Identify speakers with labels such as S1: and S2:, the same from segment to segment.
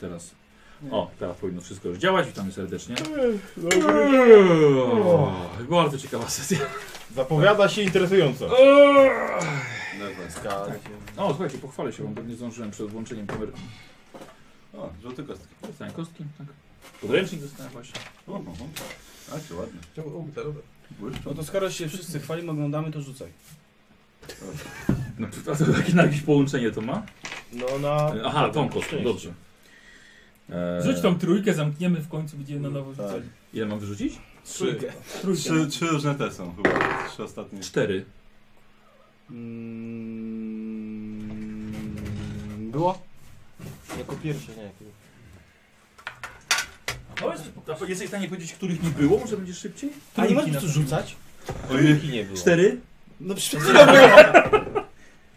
S1: teraz. O, teraz powinno wszystko już działać. Witamy serdecznie. Eee, Bardzo ciekawa sesja.
S2: Zapowiada się interesująco.
S3: Nerweska.
S1: O, słuchajcie, pochwalę się, bo nie zdążyłem przed włączeniem kamery.
S3: O, żółty kostek.
S1: Dostałem kostki, tak. Podręcznik dostałem właśnie.
S3: O, o, o. A, czy ładny.
S2: tak?
S3: Błyszczą.
S4: No to skoro się wszyscy chwalimy, oglądamy, to rzucaj.
S1: No, to, to takie na jakieś połączenie to ma?
S2: No na...
S1: Aha, tą kostkę, dobrze. Eee,
S5: Rzuć tą trójkę, zamkniemy w końcu, będziemy na nowo
S3: Tak.
S5: rzucali.
S1: Ile mam wyrzucić?
S3: Trzy,
S5: Trójkę. no.
S3: trzy, trzy różne te są chyba. Trzy ostatnie.
S1: Cztery.
S2: Mm, było? Jako pierwsze, nie? Jako...
S1: Jesteś w stanie powiedzieć, których nie było? Może będzie szybciej?
S4: A nie możesz
S5: Trójki
S4: po prostu rzucać?
S3: Ojej.
S2: nie było.
S1: Cztery.
S4: No przecież to było.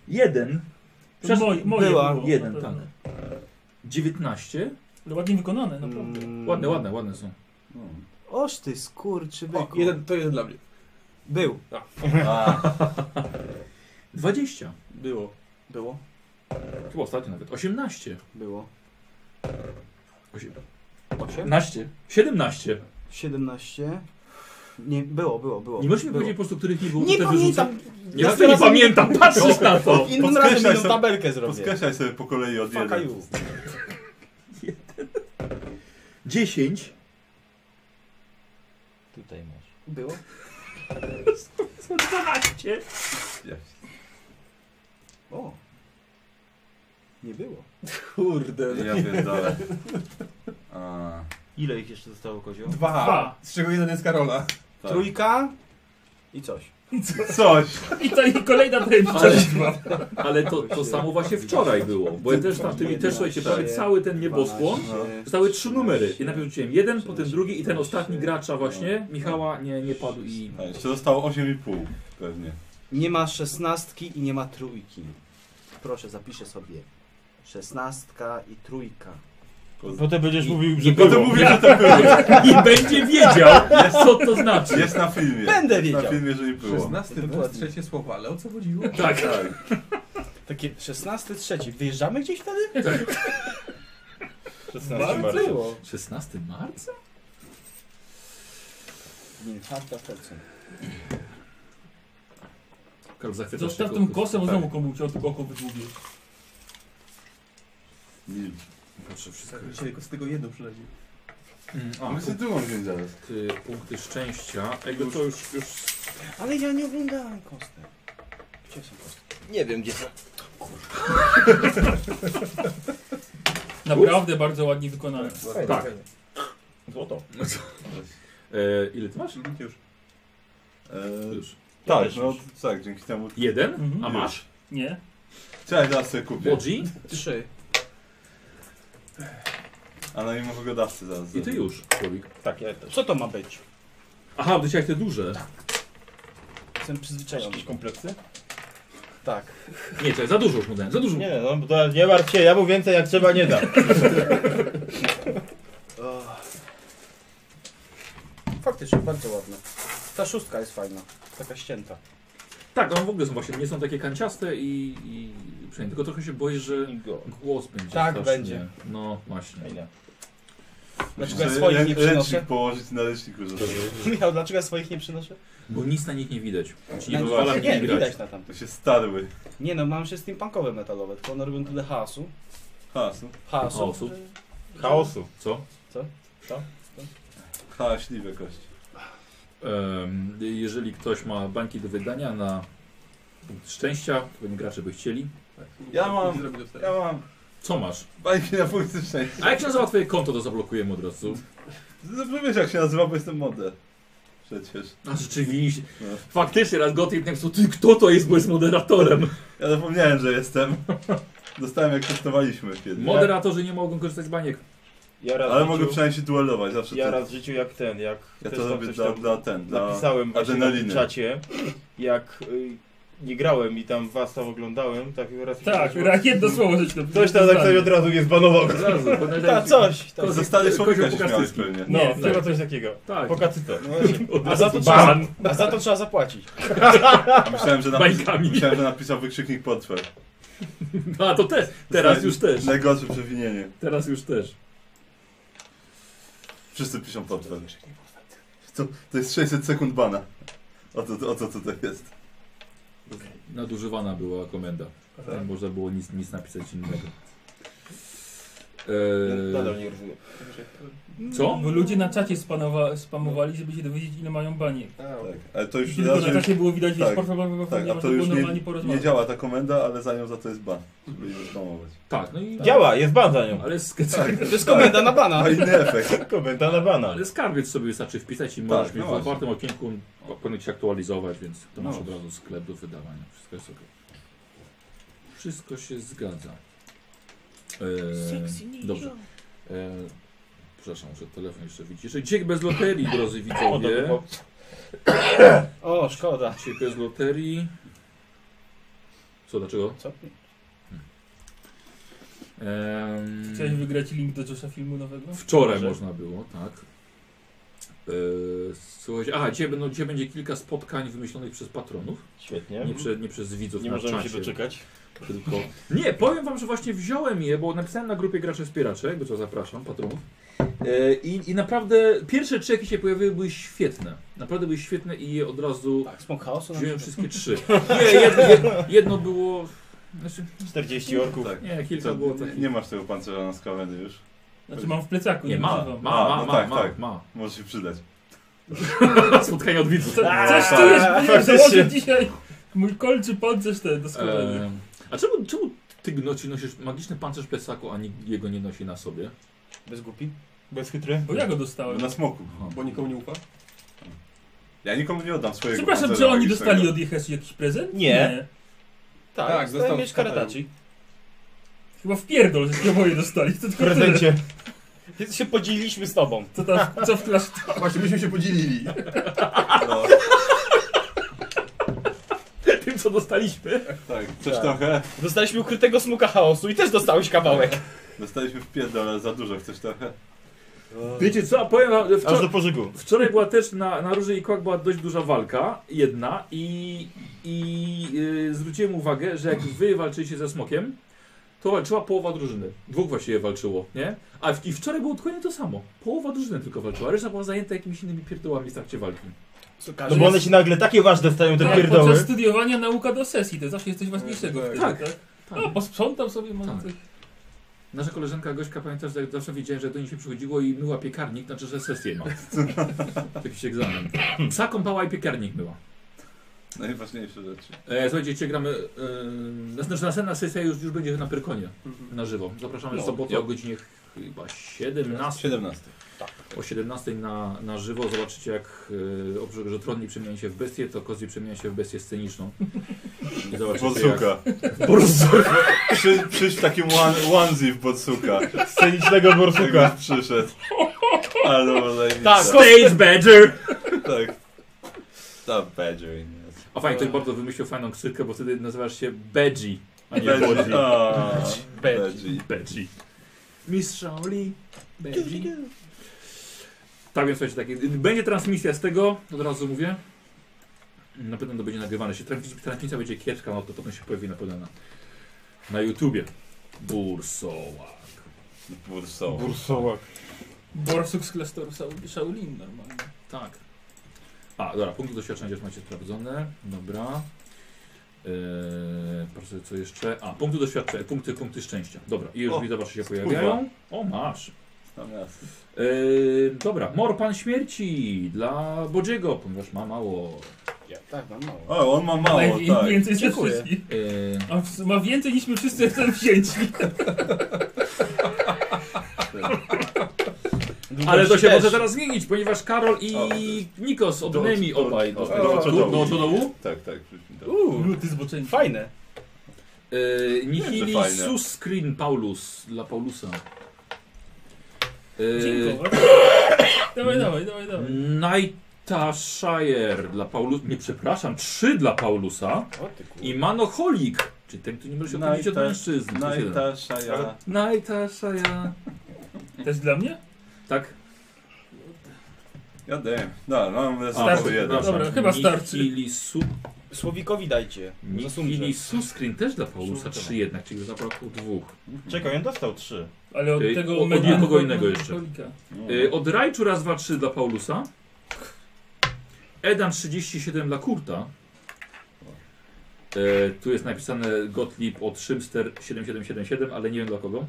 S1: Jeden.
S5: To moje, moje
S4: była
S5: było, no,
S1: jeden, tak.
S5: na pewno.
S1: Dziewiętnaście.
S5: Ale ładnie wykonane, no
S3: Mm.
S5: naprawdę.
S1: Ładne,
S2: Mm.
S1: ładne, ładne są.
S3: No.
S6: Oż ty skurczy byku.
S4: jeden, to jeden dla mnie.
S6: Był.
S3: A,
S1: Dwadzieścia.
S4: Było. Było?
S1: To było ostatnio nawet. Osiemnaście.
S6: Było.
S1: Osiem.
S2: Tak?
S6: 8?
S1: Naście. Siedemnaście.
S6: 17. Nie, było, było, było.
S1: Nie możesz mi
S6: Było.
S1: powiedzieć po prostu, których nie było,
S6: Nie
S1: to też wyrzucę.
S6: pamiętam.
S1: Nie, ja nie pamiętam, patrzysz na to!
S6: Innym razem
S3: Podkreślaj
S6: jedną
S3: sobie-
S6: tabelkę zrobię.
S3: Podkreślaj sobie po kolei od
S6: Fuck
S3: jeden.
S6: you.
S1: Dziesięć.
S2: Tutaj masz.
S6: Było?
S1: Dwanaście.
S6: O. Nie było.
S4: Kurde.
S3: Ja pierdolę. A,
S6: Ile ich jeszcze zostało kozioł?
S5: Dwa.
S2: Z czego jeden jest Karola.
S3: tak.
S6: Trójka i coś.
S5: I, co?
S3: Coś.
S5: I to i kolejna
S1: Ale,
S5: dręcza.
S1: ale to, to samo właśnie wczoraj było, bo ja też tam, ty Tak, mi też słuchajcie, prawie cały ten niebosłon. Zostały trzy numery i najpierw rzuciłem jeden, potem drugi i ten ostatni gracza właśnie, Michała, nie, nie padł i...
S3: A, jeszcze zostało 8,5 pewnie.
S6: Nie ma szesnastki i nie ma trójki. Proszę, zapiszę sobie. Szesnastka i trójka.
S2: Potem będziesz mówił,
S1: I-
S2: że
S1: i-
S3: No to mówię, że to było.
S1: I będzie wiedział, co to znaczy.
S3: Jest na filmie.
S6: Będę
S3: Jest na
S6: wiedział.
S3: filmie, że nie było.
S7: 16 była trzecie słowo, ale o co chodziło?
S1: Tak.
S3: Tak.
S6: Takie szesnasty, trzeci. Wyjeżdżamy gdzieś wtedy?
S2: Tak. 16 marca.
S6: Było.
S1: 16 marca?
S6: Nie, czwarta w sercu.
S1: Karol, zachwycasz
S5: Zostaw
S1: się
S5: tą
S1: kotku.
S5: kosę, bo znowu komu cię od oko wydłubił.
S3: Milcz.
S1: Patrzę wszystko.
S7: Tak, dzisiaj tylko z tego jedno przynajmniej.
S1: Mm,
S3: A
S1: A,
S3: my sobie drugą wziąć zaraz.
S1: punkty, y, punkty szczęścia. Jakby to już, już
S6: Ale ja nie oglądałem kostek. Gdzie są kostki?
S4: Nie wiem gdzie są.
S5: Naprawdę bardzo ładnie wykonane.
S1: Tak.
S2: Złoto.
S1: E, ile ty masz?
S3: Już. Eee,
S1: Już.
S3: tak, no tak, dzięki temu.
S1: Jeden?
S5: Mhm.
S1: A masz?
S5: Nie?
S3: Cześć, zaraz sobie kupię.
S1: Bodzi?
S4: Trzy.
S3: A na imię dawcy zaraz.
S1: I ty już, człowiek.
S2: Tak, ja też.
S6: Co to ma być?
S1: Aha, bo ty chciałeś te duże.
S6: Jestem przyzwyczajony.
S2: Jakieś kompleksy?
S6: Tak.
S1: Nie, czekaj, za dużo już mu dałem, za dużo. mu-
S2: Nie, no to nie martw się, ja mu więcej jak trzeba nie dam.
S6: Faktycznie, bardzo ładne. Ta szóstka jest fajna. Taka ścięta.
S1: Tak, one w ogóle są właśnie, nie są takie kanciaste i... i przynajmniej, tylko trochę się boję, że głos będzie
S6: Tak,
S1: strasznie.
S6: będzie.
S1: No, właśnie.
S6: Dlaczego ja
S3: Sobie
S6: swoich nie
S3: rę-
S6: przynoszę?
S3: Ręcznik położyć na ręczniku, żeby
S6: Michał, dlaczego ja swoich nie przynoszę?
S1: Bo nic na nich nie widać. Czyli nie
S6: Na-
S1: pozwala mi
S6: No nie,
S1: grać.
S6: widać na tam.
S3: to się starły.
S6: Nie no, mam się z tym punkowe metalowe, tylko one robią tyle hałasu.
S3: Ha, no.
S6: Hałasu.
S1: Chaosu.
S6: że-
S2: Chaosu.
S1: Co?
S3: Ha, śliwe kości.
S1: Em, jeżeli ktoś ma bańki do wydania na punkt szczęścia, to pewnie gracze by chcieli.
S3: Ja mam-
S7: Nie zrobię tego.
S3: Ja mam
S1: Co masz?
S3: bajki na punkty szczęścia.
S1: A jak się nazywa twoje konto, to zablokujemy od razu.
S3: Dobrze wiesz jak się nazywa, bo jestem modę. Przecież.
S1: A rzeczywiście.
S3: No.
S1: Faktycznie raz Gottlieb napisał, ty kto to jest, bo jest moderatorem.
S3: Ja zapomniałem, że jestem. Dostałem jak testowaliśmy kiedyś.
S1: Moderatorzy nie mogą korzystać z baniek.
S2: Ja raz
S3: Ale
S2: w
S3: mogę
S2: życiu-
S3: przynajmniej się duelować, zawsze
S2: Ja
S3: to,
S2: raz w życiu jak ten, jak
S3: ja
S2: też
S3: to
S2: tam
S3: robię
S2: coś
S3: dla,
S2: tam
S3: dla ten, dla
S2: napisałem właśnie
S3: adrenaliny.
S2: na czacie, jak y, nie grałem i tam was tam oglądałem, tak i raz mi
S5: Tak,
S2: przyszło-
S5: ra- jedno słowo żeś to
S2: Ktoś tam tak sobie od razu mnie zbanował.
S1: Zaraz, bo
S6: Ta,
S1: najlepiej-
S6: Tak, coś. tam.
S1: Ko-
S3: Ze starych
S1: Kozioł
S3: słownika się śmiałeś
S1: Pukastycki.
S3: pewnie.
S2: No,
S5: Nie,
S2: trzeba
S5: tak.
S2: coś takiego.
S1: Tak,
S2: Pokacyte.
S6: No A za, to trzeba,
S2: Ban!
S6: a za to trzeba zapłacić.
S3: A myślałem, że, napis,
S1: Bańkami.
S3: myślałem, że napisał wykrzyknik potwór.
S1: No, a to też. Teraz już też.
S3: Najgorsze przewinienie.
S1: Teraz już też.
S3: Wszyscy piszą portfel. To, to jest 600 sekund bana. O to, o to tutaj jest.
S1: Nadużywana była komenda. Tam można było nic, nic napisać innego.
S6: No,
S2: Nadal nie rozumiem.
S1: Eee, co?
S5: Bo ludzie na czacie spanowa- spamowali, żeby się dowiedzieć ile mają banie.
S3: Tak, ale to już
S5: Tylko na
S3: raczej-
S5: czacie było widać, że
S3: tak,
S5: portfel bankowy
S3: tak,
S5: nie
S3: a
S5: ma,
S3: to
S5: było
S3: już nie,
S5: normalnie porozmawiać.
S3: nie działa ta komenda, ale za nią za to jest ban. Żeby jej reklamować.
S1: Tak, no i.
S2: Działa, jest ban za nią.
S1: Ale, sk-
S6: To jest komenda na bana.
S3: A No inny efekt.
S2: Komenda na bana.
S1: ale skarbiec sobie wystarczy wpisać i możesz mieć
S3: Tak. no
S1: w
S3: właśnie.
S1: otwartym okienku powinien się aktualizować, więc to
S3: No
S1: masz od
S3: właśnie.
S1: razu sklep do wydawania. Wszystko jest ok. Wszystko się zgadza. Eee, dobrze. Eee, przepraszam, że telefon jeszcze widzisz. Dziek bez loterii, drodzy widzowie.
S6: O, szkoda.
S1: Ciebie z loterii. Co, dlaczego?
S6: Co?
S1: Em,
S5: Chciałeś wygrać link do Josha filmu nowego?
S1: wczoraj
S2: Może.
S1: można było, tak. E, słuchajcie, aha, dzisiaj, będą, dzisiaj będzie kilka spotkań wymyślonych przez patronów.
S2: Świetnie.
S1: Nie, prze, nie przez widzów
S2: Nie
S1: na
S2: możemy
S1: czasie.
S2: się doczekać.
S1: tylko... Nie, powiem wam, że właśnie wziąłem je, bo napisałem na grupie graczy wspieraczy, jakby co zapraszam, patronów. E, I, I naprawdę pierwsze trzy, jakie się pojawiły, były świetne. Naprawdę były świetne i je od razu
S6: Tak, smok chaosu nam
S1: wziąłem wszystkie trzy. Nie, jedno, jedno, jedno było... Znaczy,
S2: 40 orków.
S3: Tak.
S1: Nie, kilka
S3: Co,
S1: było
S3: nie,
S1: takich.
S3: nie masz tego pancerza na skaweny już.
S5: Znaczy mam w plecaku,
S1: Nie, ma, ma,
S5: używam.
S1: ma,
S3: A,
S1: ma,
S3: no
S1: ma,
S3: tak,
S1: ma,
S3: tak. Może się przydać.
S1: Spotkanie od widzów.
S5: Co, coś tu jest, powinienem założyć dzisiaj mój kol czy pancerz ten doskonale.
S1: Ehm, a czemu, czemu ty nosi, nosisz magiczny pancerz plecaku, a nikt jego nie nosi na sobie?
S6: Bez głupi?
S2: Bez chytry?
S5: Bo ja go
S3: Bo
S5: dostałem.
S3: Na smoku.
S7: Bo nikomu nie ufa?
S3: Ja nikomu nie oddam swojego
S5: Przepraszam,
S3: pancerza
S5: czy oni
S3: magicznego.
S5: dostali od Jehesu jakiś prezent?
S2: Nie.
S6: Tak,
S7: Tak,
S6: tak
S7: został
S6: dostałem mieć
S7: w katalogu.
S6: karataci.
S5: Chyba w pierdol, że się oboje dostali. To
S2: W
S5: tylko tyle.
S2: prezencie.
S6: Więc się podzieliliśmy z tobą.
S5: Co tam, co w klasz...
S7: Właśnie byśmy się podzielili.
S3: No,
S1: Tym, co dostaliśmy.
S3: tak, coś trochę.
S6: Dostaliśmy ukrytego smoka chaosu i też dostałeś kawałek.
S1: Tak.
S3: Dostaliśmy w pierdol, ale za dużo, chcesz trochę.
S1: Wiecie co, a powiem wam, że
S2: Aż
S1: wczor-
S2: do pożygu.
S1: wczoraj była też na, na Róży i Kłak była dość duża walka, jedna, i, i yy, zwróciłem uwagę, że jak wy walczyliście ze smokiem, to walczyła połowa drużyny. Dwóch właściwie walczyło, nie? A w, i wczoraj było dokładnie to samo. Połowa drużyny tylko walczyła, reszta była zajęta jakimiś innymi pierdołami w trakcie walki.
S6: Tak.
S2: No bo one się nagle takie ważne stają, te
S5: Tak, podczas
S2: pierdoły.
S5: studiowania nauka do sesji, to zawsze jest coś ważniejszego. wtedy,
S1: Tak.
S5: No, posprzątam sobie może
S1: Tak.
S5: coś.
S1: Nasza koleżanka Gośka, pamiętasz, że jak zawsze wiedziałem, że do niej się przychodziło i myła piekarnik, znaczy, że sesję ma. Jakiś egzamin. Psa kąpała i piekarnik myła.
S3: Najważniejsze rzeczy.
S1: E, słuchajcie, dzisiaj gramy... E, znaczy, następna sesja już, już będzie na Pyrkonie, na żywo. Mhm. Zapraszamy w sobotę o godzinie chyba 17.
S3: 17.
S1: O 17 na, na żywo zobaczycie, jak e, oprócz tego, że Trondli przemienia się w bestię, to Kozji przemienia się w bestię sceniczną. I zobaczycie, jak...
S3: Bodsuka. Przy, przyjść w takim one- onesie w Bodsuka.
S2: Scenicznego borsuka.
S3: Jakbyś przyszedł. Ale dobra, zajebista.
S6: Tak,
S1: Stage Badger!
S3: tak. Ta badger jest.
S1: A fajnie, ktoś bardzo wymyślił fajną ksywkę, bo wtedy nazywasz się Badgie, a nie Bodzi.
S3: Badger. A,
S6: Badger.
S3: badger.
S1: Beji. Mistrz Shaoli. Beji. Tak więc słuchajcie, takie, będzie transmisja z tego, od razu mówię. Na pewno to będzie nagrywane. Jeśli trans- transmisja będzie kiepska, no to potem się pojawi na pewno na, na YouTubie. Bursoła.
S3: Bursowa.
S2: Bursołak.
S5: Borsuk z klasztoru Sau- Shaolin normalnie.
S1: Tak. A, dobra, punkty doświadczenia już macie sprawdzone. Dobra. Eee, proszę, co jeszcze? A, punkty doświadczenia, punkty, punkty szczęścia. Dobra, i już
S3: O,
S1: widzę, wasze się pojawiają. O, masz.
S3: Tam jasne.
S1: Yy, dobra, Morpan Śmierci dla Bodziego, ponieważ ma mało.
S6: Tak, mam mało.
S3: O, on ma mało,
S5: Najwię-
S3: tak.
S5: więcej ze
S6: Dziękuję.
S5: wszystkich.
S1: Yy,
S5: A w- ma więcej niż my wszyscy razem wzięci.
S1: ale to się
S6: Też.
S1: może teraz zmienić, ponieważ Karol i
S3: O, to-
S1: Nikos odnemi
S3: do-
S1: obaj do,
S3: o,
S1: do,
S3: do
S1: do,
S3: dołu.
S1: No, do, do dołu.
S3: Tak, tak, przyjdźmy tam.
S5: Lu, ty zboczeni.
S6: Fajne.
S1: Yy, Nihili
S3: Fajne.
S1: Suscreen Paulus dla Paulusa. Yy,
S5: Dziękowa. Dawaj, dawaj, dawaj, dawaj.
S1: Najtashire dla Paulusa. Nie, przepraszam, trzy dla Paulusa. I Manoholik, czyli ten, który nie może się oddzielić od
S3: Najta-
S1: mężczyzn. To jest jeden.
S3: Najtasza No ja.
S1: Najtashire.
S5: Też dla mnie?
S1: Tak?
S3: God damn. No, mam
S5: Starczy.
S3: po jeden.
S5: Dobra, chyba starczy.
S1: Nihilisu...
S6: Słowikowi dajcie.
S1: Nihilisus screen też dla Paulusa 3 jednak, czyli już zabrakło dwóch.
S2: Czekaj, on dostał trzy.
S5: Ale od
S1: Ej,
S5: tego...
S1: o- od
S5: medialnego
S1: nikogo innego jeszcze.
S5: alkoholika.
S3: No.
S2: no.
S1: Y, Od Rajczu raz, dwa, trzy dla Paulusa. Edan 37 dla Kurta. E, tu jest napisane Gottlieb od Szymster 7777, ale nie wiem dla kogo.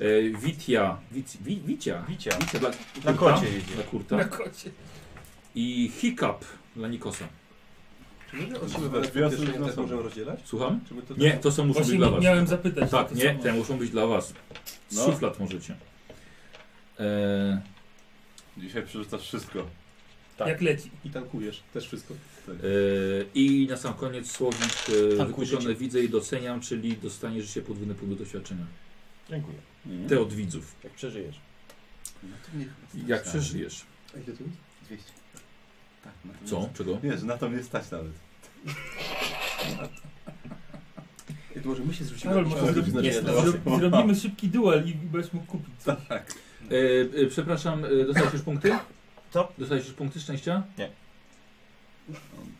S1: E, Witia, Wic, Wi, Wicia,
S2: Wicia.
S1: Wicia dla
S2: Na
S1: Kurta.
S2: kocie jedzie.
S1: Dla
S5: Na
S1: Kurta.
S5: kocie.
S1: I Hiccup dla Nikosa.
S7: Czy my te
S3: Dwie osoby
S7: otrzymywane podwyższenia
S3: na
S7: też
S3: sobą.
S7: tak możemy rozdzielać?
S1: Słucham?
S7: Czy my to
S1: Nie, to są muszą być
S5: Właśnie
S1: dla was.
S5: miałem zapytać.
S1: Tak,
S5: to
S1: nie,
S5: samo.
S1: te muszą być dla was. Z
S3: No.
S1: szuflad możecie. E,
S3: Dzisiaj przerzucasz wszystko.
S2: Tak.
S5: Jak leci.
S7: I tankujesz też wszystko.
S1: Yy, I na sam koniec słowik yy,
S6: Tak,
S1: wykluczone
S6: ujrzycie.
S1: widzę i doceniam, czyli dostanie życie podwójne punkt doświadczenia.
S2: Dziękuję.
S3: Mhm.
S1: Te od widzów.
S6: Jak przeżyjesz.
S3: No to niech.
S1: Jak przeżyjesz?
S7: A ile tu jest?
S3: 200. Tak, na to
S1: Co?
S3: mnie-
S1: Czego?
S3: Wiesz, na to mnie stać nawet.
S7: I to może my się zwrócimy.
S5: Karol, może
S7: Ale
S5: zrobi-
S7: znaczy,
S2: jest
S7: że-
S2: to-
S5: zro- zrobimy szybki duel i byś mógł kupić.
S2: Tak.
S5: coś.
S1: E, e, przepraszam, e, dostałeś już punkty?
S2: Co?
S1: Dostałeś już punkty szczęścia?
S5: To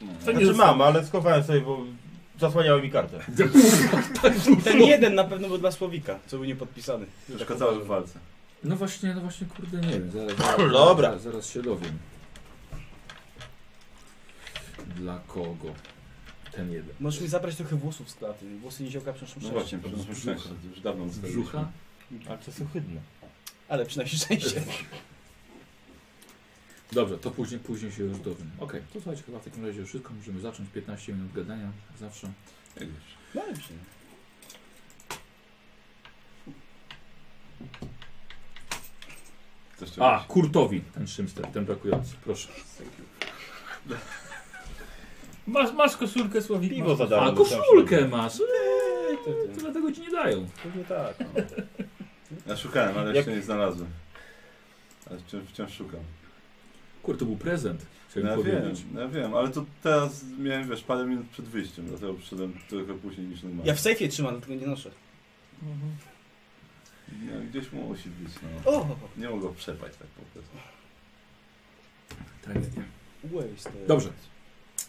S5: nie
S2: Znaczy
S5: zostało.
S2: mam, ale schowałem sobie, bo zasłaniały mi kartę.
S6: Ten jeden na pewno był dla Słowika, co był niepodpisany.
S3: Przeszkadzało w walce.
S1: No właśnie, no właśnie, kurde, nie wiem. Zaraz, zaraz,
S2: Dobra.
S1: Zaraz, zaraz się dowiem. Dla kogo? Ten jeden.
S6: Możesz mi zabrać trochę włosów z klaty. Włosy niziołka przynoszą
S3: No
S6: szczęście.
S3: właśnie, przeszło szczęście. Już dawno
S1: Z
S3: ustaliliśmy.
S1: brzucha?
S2: Ale to jest ohydne.
S6: Ale przynajmniej szczęście.
S1: Dobrze, to później, później się już dowiem. Okej, to słuchajcie, chyba w takim razie już wszystko. Możemy zacząć 15 minut gadania, jak zawsze.
S3: Jak wiesz.
S6: No dobrze.
S3: Coś czegoś.
S1: A, Kurtowi, ten Szymster, ten brakujący, proszę.
S5: Masz, masz koszulkę Słowik.
S2: Piwo
S5: masz.
S2: za
S3: Tak,
S2: darmo.
S1: A, koszulkę masz! Eee, to, to dlatego ci nie dają.
S2: Pewnie tak. No.
S3: Ja szukałem, ale
S2: Jak-
S3: jeszcze nie znalazłem. Ale wciąż, wciąż szukam.
S1: Kurde, to był prezent, chciałem
S3: No ja wiem,
S1: powiedzieć.
S3: no ja wiem, ale to teraz miałem, wiesz, parę minut przed wyjściem, dlatego przyszedłem trochę później niż normalnie.
S6: Ja w sejfie trzymam, dlatego nie noszę.
S5: Mhm.
S3: No, gdzieś mu musi być, no.
S6: O!
S3: Nie mogę przepaść tak po prostu.
S1: Tragedia.
S6: Waste.
S1: Dobrze. Tak,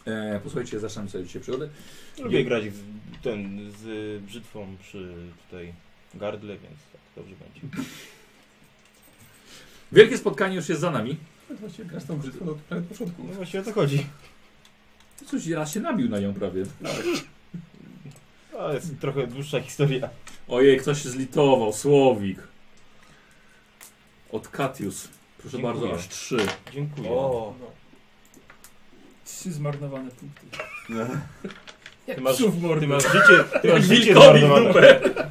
S1: E, posłuchajcie, zaczynam sobie dzisiaj przygodę.
S2: Lubię grać w, ten z y, brzytwą przy tutaj gardle, więc tak dobrze będzie.
S1: Wielkie spotkanie już jest za nami.
S7: Właściwie grasz tam brzydko od prawie początku.
S2: No właśnie o to chodzi.
S1: Coś raz się nabił na nią prawie.
S2: To jest trochę dłuższa historia.
S1: Ojej, ktoś się zlitował, Słowik. Od Katius. Proszę
S2: Dziękuję.
S1: bardzo, aż trzy.
S2: Dziękuję.
S6: O!
S5: Trzy zmarnowane punkty.
S3: No.
S5: Jak
S2: masz-
S5: psów mordy.
S2: Ty masz życie, ty masz życie
S1: Wilkowi w
S2: zmarnowane.
S1: dupę.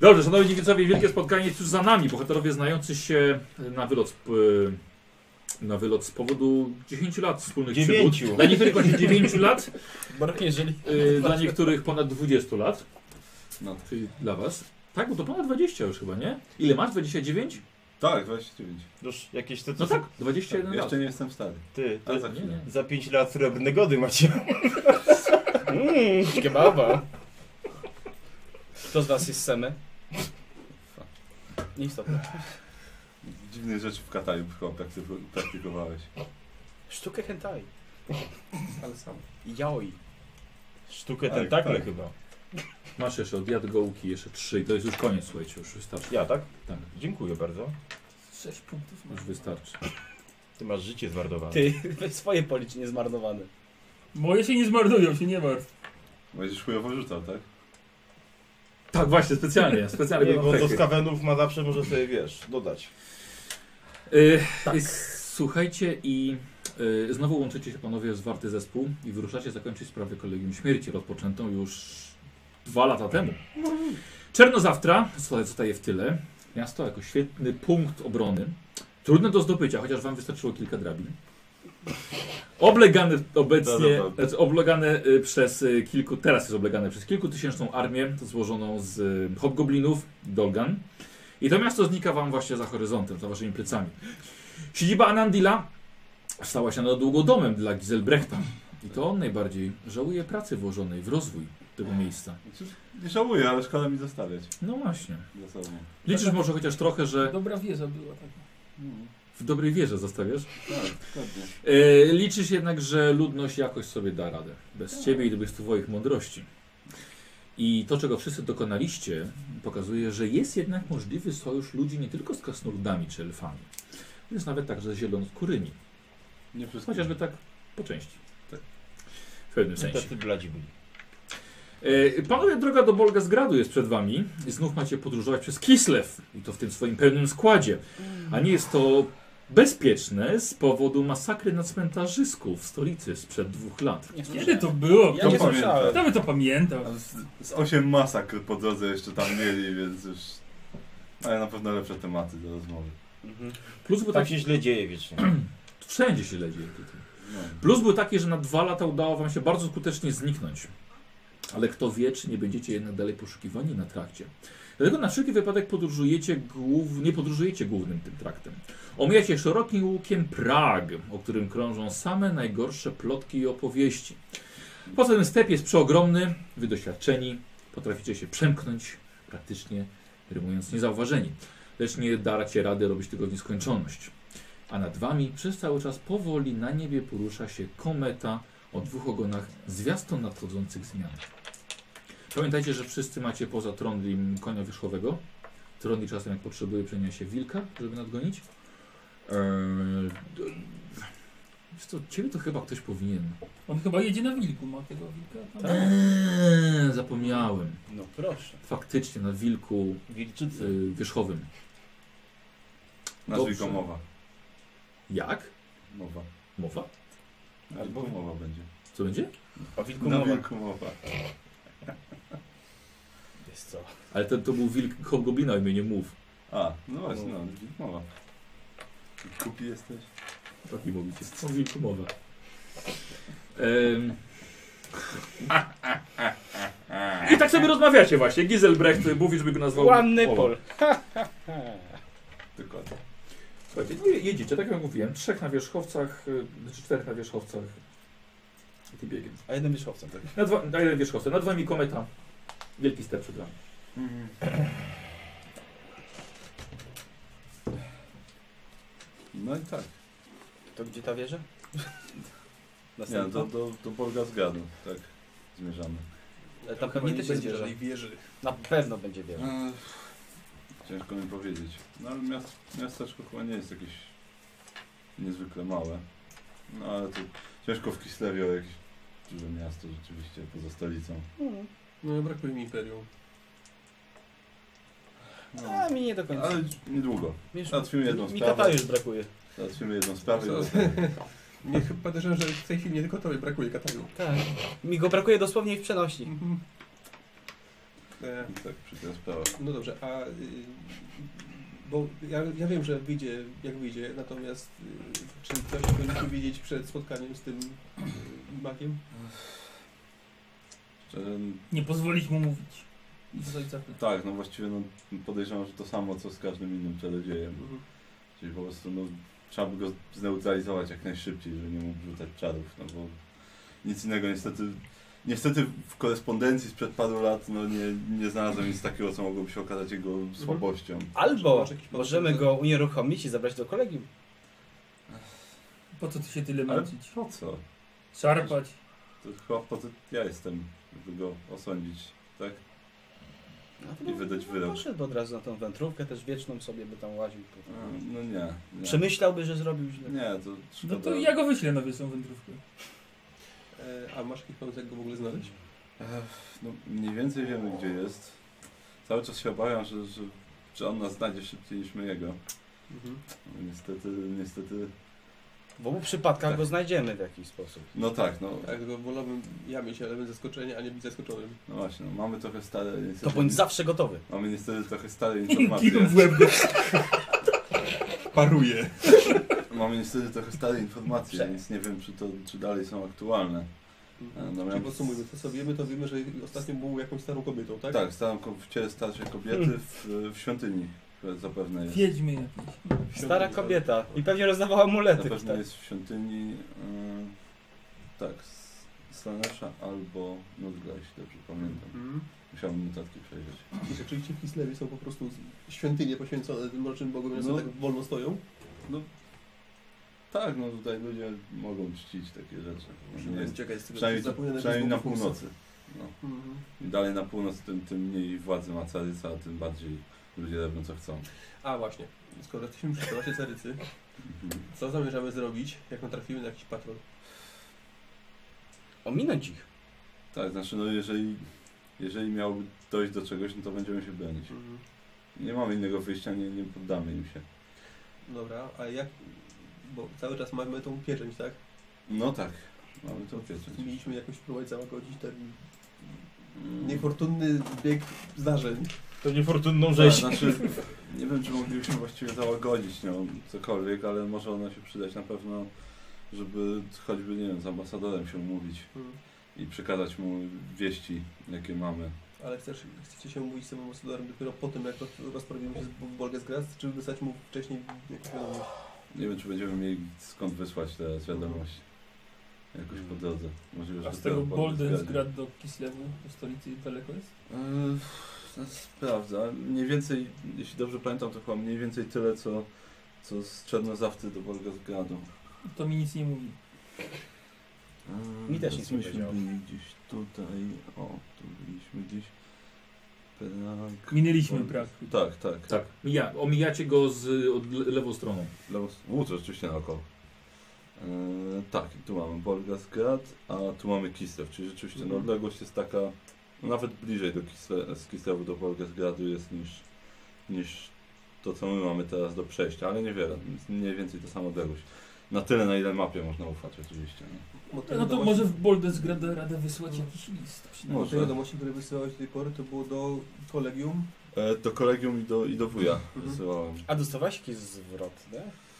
S1: Dobrze, szanowni widzowie, wielkie spotkanie jest już za nami. Bohaterowie znający się na wylot, z- na wylot z powodu 10 lat wspólnych
S2: Dziewięciu.
S1: przygód. Dla niektórych właśnie 9 lat,
S6: Barwnie, jeżeli
S2: Y,
S1: yy, dla niektórych ponad 20 lat,
S3: No.
S1: czyli dla was. Tak, bo to ponad 20 już chyba, nie? Ile masz? 29?
S3: Tak, 29.
S2: Już jakieś te, co
S1: No tak, 21 lat.
S3: Jeszcze nie jestem stary.
S2: Ty,
S3: Ale
S2: ty
S3: za
S1: Nie,
S3: chwilę.
S1: nie.
S2: za 5 lat srebrne gody macie.
S6: Mmm, kebaba. Kto z was jest seme? Nieistotne.
S3: Dziwnych rzeczy w Kataju chyba praktyku- praktykowałeś.
S6: Sztukę hentai.
S7: Ale sam.
S6: Yaoi.
S2: Sztukę
S3: Tak,
S2: tentakle
S3: tak.
S2: chyba.
S1: Masz jeszcze od jadgołki jeszcze 3 i to jest już koniec, słuchajcie, już wystarczy.
S2: Ja, tak?
S1: Tak,
S2: Dziękuję bardzo.
S5: Sześć punktów
S1: już
S5: masz.
S1: wystarczy.
S2: Ty masz życie zmarnowane.
S6: Ty, weź swoje policz niezmarnowane.
S5: Moje się nie zmarnują, się nie martw.
S3: Będziesz chujowo rzucał, tak?
S1: Tak, właśnie, specjalnie, specjalnie.
S2: Nie,
S1: będą
S2: Tak, bo do
S1: efekty.
S2: skawenów ma zawsze, może sobie wiesz, dodać.
S1: Y, y, Słuchajcie i y, znowu łączycie się panowie w zwarty zespół i wyruszacie zakończyć sprawę Kolegium Śmierci rozpoczętą już dwa lata temu. Czernozawtra słuchaj, zostaje w tyle. Miasto jako świetny punkt obrony. Trudne do zdobycia, chociaż wam wystarczyło kilka drabin. Oblegane obecnie,
S3: No, no, no.
S1: znaczy oblegane y, przez y, kilku, teraz jest oblegane przez kilkutysięczną armię złożoną z y, hobgoblinów, Dolgan. I to miasto znika wam właśnie za horyzontem, za waszymi plecami. Siedziba Anandila stała się na długo domem dla Giselbrechta. I to on najbardziej żałuje pracy włożonej w rozwój tego miejsca.
S3: Znaczy, nie żałuję, ale szkoda mi zostawiać
S1: No właśnie.
S3: za sobą.
S1: Liczysz może chociaż trochę, że
S5: Dobra wieża była tak. taka.
S1: W dobrej wierze zostawiasz?
S3: Tak, dokładnie.
S1: E, liczysz jednak, że ludność jakoś sobie da radę. Bez ciebie i bez twoich mądrości. I to, czego wszyscy dokonaliście, pokazuje, że jest jednak możliwy sojusz ludzi nie tylko z krasnoludami czy elfami. Jest nawet także z zielonskórymi.
S7: Nie wszystko.
S1: Chociażby tak po części. tak? W pewnym sensie.
S2: Tacy bladzi byli.
S1: E, Panowie, droga do Bolgazgradu jest przed wami i znów macie podróżować przez Kislev i to w tym swoim pełnym składzie. A nie jest to bezpieczne z powodu masakry na cmentarzysku w stolicy sprzed dwóch lat.
S5: Kiedy to tak. było?
S4: Ja
S3: To
S4: nie
S3: pamiętam.
S4: słyszałem.
S5: Kto by to pamiętał?
S3: A Z, z 8 masakr po drodze jeszcze tam mieli, więc już... Ale na pewno lepsze tematy do rozmowy.
S6: Mhm.
S1: Plus był
S2: Tak
S1: taki,
S2: się źle dzieje wiecznie.
S1: wszędzie się ledzie.
S3: No.
S1: Plus był taki, że na dwa lata udało wam się bardzo skutecznie zniknąć. Ale kto wie, czy nie będziecie jednak dalej poszukiwani na trakcie. Dlatego na wszelki wypadek podróżujecie głów... nie podróżujecie głównym tym traktem. Omijacie szerokim łukiem Prag, o którym krążą same najgorsze plotki i opowieści. Poza tym step jest przeogromny, wy doświadczeni, potraficie się przemknąć, praktycznie rymując niezauważeni. Lecz nie daracie rady robić tego w nieskończoność. A nad wami przez cały czas powoli na niebie porusza się kometa o dwóch ogonach zwiastun nadchodzących zmian. Pamiętajcie, że wszyscy macie poza Trondlim konia wierzchowego. Trondli czasem jak potrzebuje przeniesie wilka, żeby nadgonić. Eee, d- wiesz co, ciebie to chyba ktoś powinien. Tak?
S5: On chyba jedzie na wilku, ma tego
S2: Tak.
S5: wilka. tam.
S1: Eee, zapomniałem.
S6: No proszę.
S1: Faktycznie na wilku
S2: Wilczycy.
S1: y, wierzchowym.
S3: Nazwij
S1: Dobrze.
S3: go mowa.
S1: Jak?
S3: Mowa.
S1: Mowa?
S3: Albo mowa będzie.
S1: Co będzie?
S2: A wilku
S3: Na
S2: mowa.
S3: wilku mowa.
S6: Jest co?
S1: Ale ten to był wilk hobgoblina imieniu Mów.
S3: A, no właśnie, no, wilk mowa. Kupi jesteś?
S1: Taki mówicie. Są wilku mowa. Em. I tak sobie rozmawiacie właśnie. Giselbrecht mówi, żeby go nazwał...
S4: One
S1: Polak.
S4: pol.
S3: Dokładnie.
S1: Słuchajcie, no i jedziecie, tak jak mówiłem, trzech na wierzchowcach, y, znaczy czterech na wierzchowcach i ty biegiem.
S6: A jednym wierzchowcem, tak?
S1: Na dwa, na jeden wierzchowce, nad wami kometa. Wielki step przed wami.
S3: Mhm. No i tak.
S6: To gdzie ta wieża?
S3: Nie,
S6: Następna.
S3: do, do, do Bolga zgadu, tak. Zmierzamy.
S6: Ale E, Tam pewnie też jest wieża.
S7: żadnej wieży.
S6: Na pewno będzie wieża.
S3: E, Ciężko mi powiedzieć. No ale miast, miasteczko chyba nie jest jakieś niezwykle małe. No ale to ciężko w Kislewie o jakieś duże miasto rzeczywiście poza stolicą.
S7: No brakuje mi imperium.
S3: No.
S6: A mi nie do końca.
S3: Ale niedługo.
S6: Mi już-
S3: Załatwimy jedną
S6: Mi tata
S3: sprawę.
S6: już brakuje.
S3: Załatwimy jedną sprawę. i
S7: Co?
S3: wracamy.
S7: Nie chyba podejrzewam, że w tej chwili nie tylko tobie brakuje kataju.
S6: Tak. Mi go brakuje dosłownie w przenośni.
S3: Hmm.
S7: Mhm. E,
S3: I tak przykra sprawa.
S7: No dobrze, a y, bo ja, ja wiem, że wyjdzie jak wyjdzie, natomiast y, czy ktoś będzie powiedzieć przed spotkaniem z tym y, makiem?
S3: Szczerze, no,
S5: Nie pozwolić mu mówić. I zostać za
S3: tak, no właściwie no, podejrzewam, że to samo co z każdym innym czarodziejem. Czyli po prostu no, trzeba by go zneutralizować jak najszybciej, żeby nie mógł rzucać czarów, no bo nic innego niestety. Niestety w korespondencji sprzed paru lat no, nie, nie znalazłem nic takiego, co mogłoby się okazać jego słabością.
S6: Albo
S7: Masz jakiś
S6: możemy
S7: pomysł?
S6: go unieruchomić i zabrać do kolegium.
S5: Po co tu się tyle
S3: Ale
S5: męczyć?
S3: po co?
S5: Szarpać.
S3: To chyba po to ja jestem, żeby go osądzić, tak? I wydać wyrok.
S6: Poszedłby No, od razu na tą wędrówkę też wieczną sobie by tam łaził. po-
S3: E, No nie. nie.
S6: Przemyślałby, że zrobił źle.
S3: Nie, to
S5: No
S3: szkoda.
S5: to ja go wyślę na wieczną wędrówkę.
S7: E, a masz jakiś pomysł, jak go w ogóle znaleźć?
S3: Ech, No, mniej więcej wiemy, gdzie jest. Cały czas się obawiam, że, że, że on nas znajdzie szybciej niż my jego.
S7: Mhm.
S3: No, niestety, niestety...
S6: W obu przypadkach
S3: Tak.
S6: go znajdziemy w jakiś sposób.
S3: No tak, no,
S7: Tak, tylko wolałbym ja mieć element zaskoczenia, a nie być zaskoczonym.
S3: no właśnie, no, mamy trochę stare...
S6: To
S3: niestety-
S6: bądź zawsze gotowy.
S3: Mamy niestety trochę stare
S5: Kijom
S3: informacje.
S5: w łeb go.
S7: Paruję.
S3: Mamy niestety trochę stare informacje, więc nie wiem, czy, to, czy dalej są aktualne. E, dobra.
S7: Czyli podsumujmy, to co wiemy, to wiemy, że ostatnio był jakąś starą kobietą, tak?
S3: Tak, stałem ko- w ciele starszej kobiety w, w świątyni, która zapewne jest.
S5: Wiedźmy jakieś.
S6: Stara kobieta. I pewnie rozdawała amulety.
S3: Zapewne
S6: Tak.
S3: jest w świątyni... y, tak, S- Slanesha albo Nudgla, jeśli dobrze pamiętam.
S7: Mhm.
S3: Musiałbym notatki przejrzeć.
S7: I rzeczywiście w Kislewie są po prostu świątynie poświęcone tym mrocznym bogom, no.
S3: No.
S7: tak wolno stoją.
S3: No tak, no tutaj ludzie mogą czcić takie rzeczy. No Nie jest,
S4: Uciekaj z tego.
S3: przynajmniej
S7: zapomniane
S3: przynajmniej na
S7: Facebooku
S3: północy. No.
S7: Mhm.
S3: Im dalej na północ, tym, tym mniej władzy ma caryca, a tym bardziej ludzie robią co chcą.
S7: A właśnie, skoro jesteśmy przy temacie Carycy,
S3: Mhm.
S7: co zamierzamy zrobić, jak natrafimy na jakiś patrol?
S6: Ominąć ich.
S3: Tak, znaczy no jeżeli, jeżeli miałoby dojść do czegoś, no to będziemy się bronić.
S7: Mhm.
S3: Nie mamy innego wyjścia, nie, nie poddamy im się.
S7: Dobra, a jak... Bo cały czas mamy tą pieczęć, tak?
S3: No tak, mamy to pieczęć.
S7: Mieliśmy jakoś próbować załagodzić ten
S3: Mm.
S7: niefortunny bieg zdarzeń.
S2: To niefortunną
S3: Tak,
S6: No,
S2: rzeź.
S3: znaczy, nie wiem, czy moglibyśmy właściwie załagodzić nią cokolwiek, ale może ona się przydać na pewno, żeby choćby, nie wiem, z ambasadorem się umówić
S5: Hmm.
S7: Mhm.
S3: i przekazać mu wieści, jakie mamy.
S7: Ale chcesz, chcecie się mówić z tym ambasadorem dopiero po tym, jak roz- rozprawimy się z Bo- Bolgesgrast, czy wysłać mu wcześniej jakąś wiadomość?
S3: Nie wiem, czy będziemy mieli skąd wysłać teraz wiadomość. Jakoś po drodze. Może już
S5: Hmm. A z
S3: do
S5: tego
S3: tego podróż zgadnie.
S5: Boldensgrad do Kislewu, do stolicy, daleko jest?
S3: Eee, to jest Prawda. Mniej więcej, jeśli dobrze pamiętam, to chyba mniej więcej tyle, co, co z Czernozawty do Bolgazgradu.
S5: To mi nic nie mówi.
S3: Eee,
S6: Mi też
S3: teraz
S6: nic nie
S3: myśmy
S6: powiedział.
S3: byli gdzieś tutaj, o, tu byliśmy gdzieś. Prag.
S5: Minęliśmy
S3: Bol-
S5: Prag.
S3: Tak, tak.
S1: Tak, mija, omijacie go z od le- lewą stroną.
S3: Lewo, u, to rzeczywiście naokoło. Eee, tak, i tu mamy Bolgazgrad, a tu mamy Kislew, czyli rzeczywiście no, odległość jest taka, no, nawet bliżej do Kisle, z Kislewu do Bolgazgradu jest niż, niż to, co my mamy teraz do przejścia, ale niewiele, więc mniej więcej ta sama odległość. Na tyle, na ile mapie można ufać oczywiście. Nie?
S7: Bo te
S5: No to
S7: wiadomości-
S5: może w Boldensgrad radę wysłać jakiś list.
S7: Bo
S3: Może.
S7: te wiadomości, które wysyłałeś do tej pory, to było do kolegium.
S3: E, do kolegium i do, i do wuja
S7: Mhm.
S3: wysyłałem.
S6: A dostawałeś jakieś zwrotne?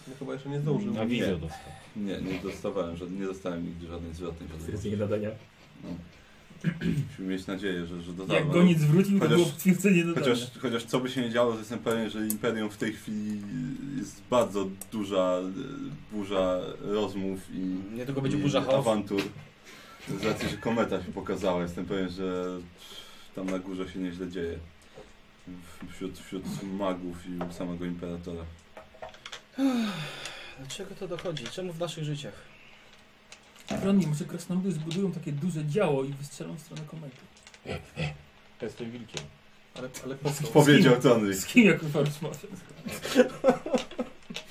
S7: No chyba jeszcze nie zdążył.
S2: Na wizję
S3: Nie.
S2: dostał.
S3: Nie, nie dostawałem, żad- nie dostałem nigdy żadnej zwrotnej wiadomości.
S1: Stwierdzenie nadania.
S3: No. Musimy mieć nadzieję, że, że dotarłem.
S5: Jak go nic zwrócił, to
S3: Chociaż-
S5: było twierdzenie dodane.
S3: Chociaż, chociaż co by się nie działo, to jestem pewien, że Imperium w tej chwili jest bardzo duża e, burza rozmów i,
S6: Nie tylko będzie
S3: i
S6: burza chaosu.
S3: awantur. Z racji, że kometa się pokazała, jestem pewien, że tam na górze się nieźle dzieje. W- Wśród, wśród magów i samego imperatora.
S6: Dlaczego to dochodzi? Czemu w naszych życiach?
S5: Broni, może krasnoludy zbudują takie duże działo i wystrzelą w stronę komety.
S2: Jestem wilkiem.
S7: Ale, ale po co?
S3: Powiedział Tony,
S5: Z kim jak ufa rozmawiam?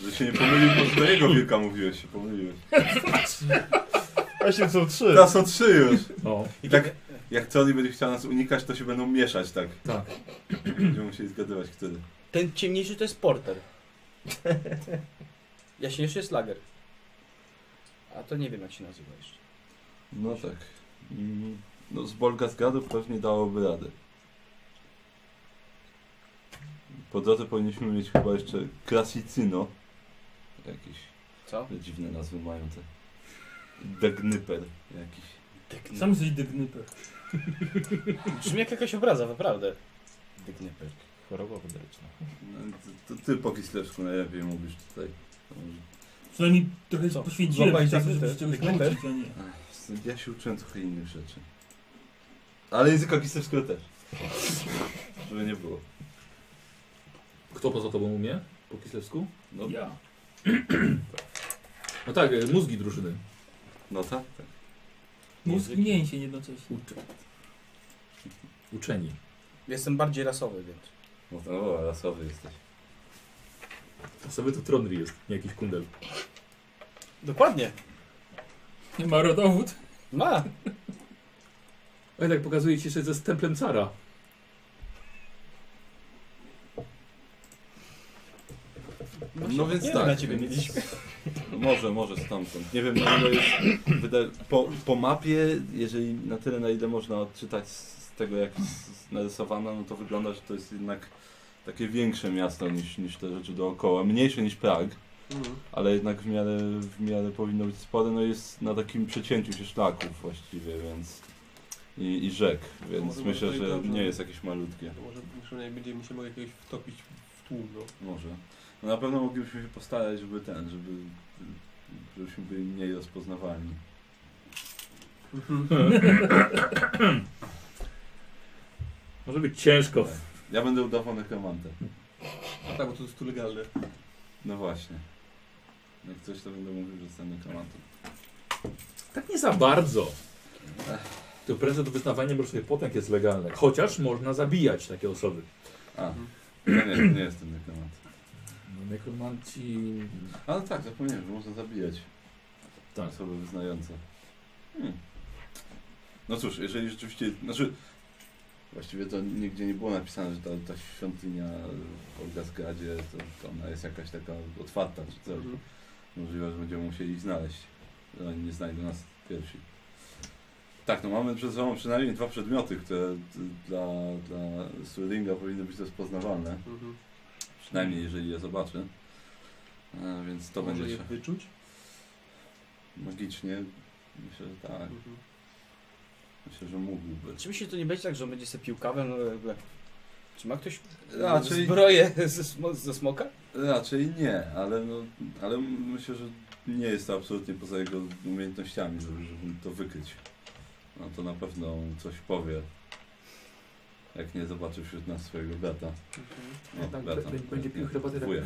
S3: że się nie pomylił, bo do jego wilka mówiłeś, się pomyliłeś.
S2: Właśnie są trzy.
S3: Teraz są trzy już.
S1: O,
S3: I tak, jak Tony będzie chciał nas unikać, to się będą mieszać, tak.
S1: tak.
S3: Będziemy musieli zgadywać, który.
S6: Ten ciemniejszy to jest porter. Jaśniejszy jest lager. A to nie wiem jak się nazywa jeszcze.
S3: No tak. Mm, No z Bolgazgadów pewnie dałoby radę. Po drodze powinniśmy mieć chyba jeszcze Krasicyno. Jakieś
S6: Co?
S3: dziwne nazwy mają te. Degnyper jakiś.
S5: Sam jesteś dygnyper.
S6: Brzmi jak jakaś obraza, naprawdę. Dygnyper.
S2: Choroba weneryczna.
S3: No, to, to ty po kislewsku najlepiej mówisz tutaj. To może-
S5: Przynajmniej trochę
S6: Co?
S5: poświęciłem
S6: Złapałeś
S5: czasu,
S6: dygnyper?
S5: żeby się czegoś
S6: Dygnyper?
S5: nauczyć, a nie.
S3: Ach, Ja się uczyłem trochę innych rzeczy. Ale języka kislewskiego też. Żeby nie było.
S1: Kto poza tobą umie po kislewsku?
S3: No,
S5: Ja.
S1: No tak, e, mózgi drużyny.
S3: no tak, tak.
S5: Mózg i
S2: Języki.
S5: mięsień jednocześnie.
S1: Uczy. Uczeni.
S6: Jestem bardziej rasowy, więc.
S3: No to no, rasowy jesteś.
S1: To sobie to Trondri jest, nie jakiś kundel.
S6: Dokładnie.
S5: Nie ma rodowód.
S6: Ma.
S1: Oj, tak pokazuje ci jeszcze ze stemplem cara.
S3: No więc
S6: nie
S3: tak.
S6: Na ciebie
S3: więc-
S6: mieliśmy.
S3: No Może, może stamtąd. Nie wiem, na ile jest. Wyda- po, po mapie, jeżeli na tyle, na ile można odczytać z z tego, jak jest narysowana, no to wygląda, że to jest jednak takie większe miasto niż, niż te rzeczy dookoła. Mniejsze niż Prag,
S7: Mhm.
S3: ale jednak w miarę, w miarę powinno być spore. No jest na takim przecięciu się szlaków właściwie, więc. I, i rzek, więc
S7: może
S3: myślę,
S7: to i
S3: że
S7: dobrze.
S3: nie jest jakieś malutkie.
S7: To może przynajmniej będziemy się mogli jakiegoś wtopić w tłum, no.
S3: Może. No na pewno moglibyśmy się postarać, żeby ten, żeby żebyśmy byli mniej rozpoznawalni.
S1: Może być ciężko.
S3: Tak. Ja będę udawał nekromantę.
S7: A tak, bo to jest tu legalne.
S3: No właśnie. Jak coś, to będę mówił, że jestem nekromantem.
S1: Tak nie za bardzo. To prędzej do wyznawania mrocznych potęg jest legalne. Chociaż można zabijać takie osoby.
S3: A,
S7: Mhm.
S3: no nie, nie jestem nekromantem.
S1: No, Nekromanci...
S3: Ale tak, zapomniałem, że można zabijać
S1: Tak.
S3: osoby wyznające. Hmm. No cóż, jeżeli rzeczywiście, znaczy właściwie to nigdzie nie było napisane, że ta, ta świątynia w Olgasgradzie, to, to ona jest jakaś taka otwarta czy coś.
S7: Mhm.
S3: Możliwe, że będziemy musieli ich znaleźć. że Oni nie znajdą nas pierwsi. Tak, no mamy przed sobą przynajmniej dwa przedmioty, które d- dla, dla Sterlinga powinny być rozpoznawalne.
S7: Mhm.
S3: Przynajmniej jeżeli je zobaczy. E, więc to
S7: Może
S3: będzie
S7: je
S3: się
S7: wyczuć?
S3: magicznie. Myślę, że tak.
S7: Mhm.
S3: Myślę, że mógłby.
S6: Oczywiście to nie będzie tak, że on będzie sobie pił kawę, no jakby... Czy ma ktoś
S3: Raczej-
S6: zbroję ze, smo- ze smoka?
S3: Raczej nie, ale, no, ale myślę, że nie jest to absolutnie poza jego umiejętnościami, żeby, żeby to wykryć. No to na pewno coś powie. Jak nie zobaczy wśród nas swojego brata.
S7: Mhm.
S3: No,
S1: Tak, b- b- będzie pił
S3: nie,
S1: herbatę tak-
S3: wuja.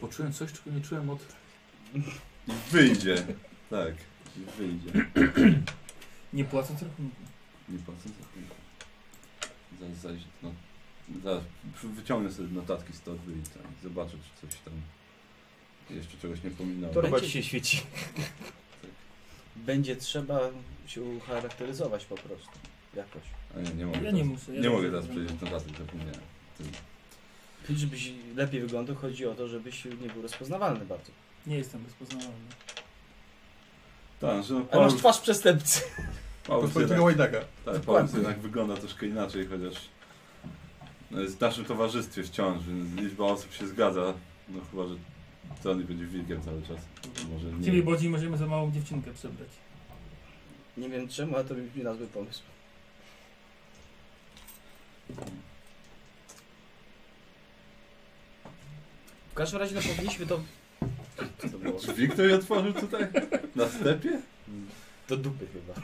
S1: Poczułem coś, czego nie czułem od...
S3: I wyjdzie. Tak, i wyjdzie.
S5: Nie płacąc
S3: Nie patrzę Zaraz, zaraz, no, zaraz przy- wyciągnę sobie notatki z torby i tam, zobaczę, czy coś tam jeszcze czegoś nie pominąłem.
S6: Torba ci się świeci. Będzie trzeba się ucharakteryzować po prostu. Jakoś.
S3: A nie, nie mogę.
S5: Ja
S3: teraz-
S5: nie muszę. Ja
S3: No, nie mogę
S5: tak
S3: teraz
S5: zrobię.
S3: przejść notatek, zapomniałem.
S6: Ty, Żebyś lepiej wyglądał, chodzi o to, żebyś nie był rozpoznawalny bardzo.
S5: Nie jestem rozpoznawalny.
S3: Tak, że
S6: Ale masz
S3: Paulus,
S6: twarz przestępcy.
S3: Paulus,
S4: Pospolitego
S3: jednak,
S4: Łajdaka.
S3: tak, Paulus jednak wygląda troszkę inaczej, chociaż no, jest w naszym towarzystwie wciąż, więc liczba osób się zgadza. No chyba, że Tony będzie wilkiem cały czas. Może
S5: Ciebie
S3: nie.
S5: bardziej możemy za małą dziewczynkę przebrać.
S6: Nie wiem czemu, ale to mi mi na zły pomysł. W każdym razie no, powinniśmy to... Co to było?
S3: Drzwi ktoś otworzył tutaj? Na stepie?
S6: Do dupy chyba.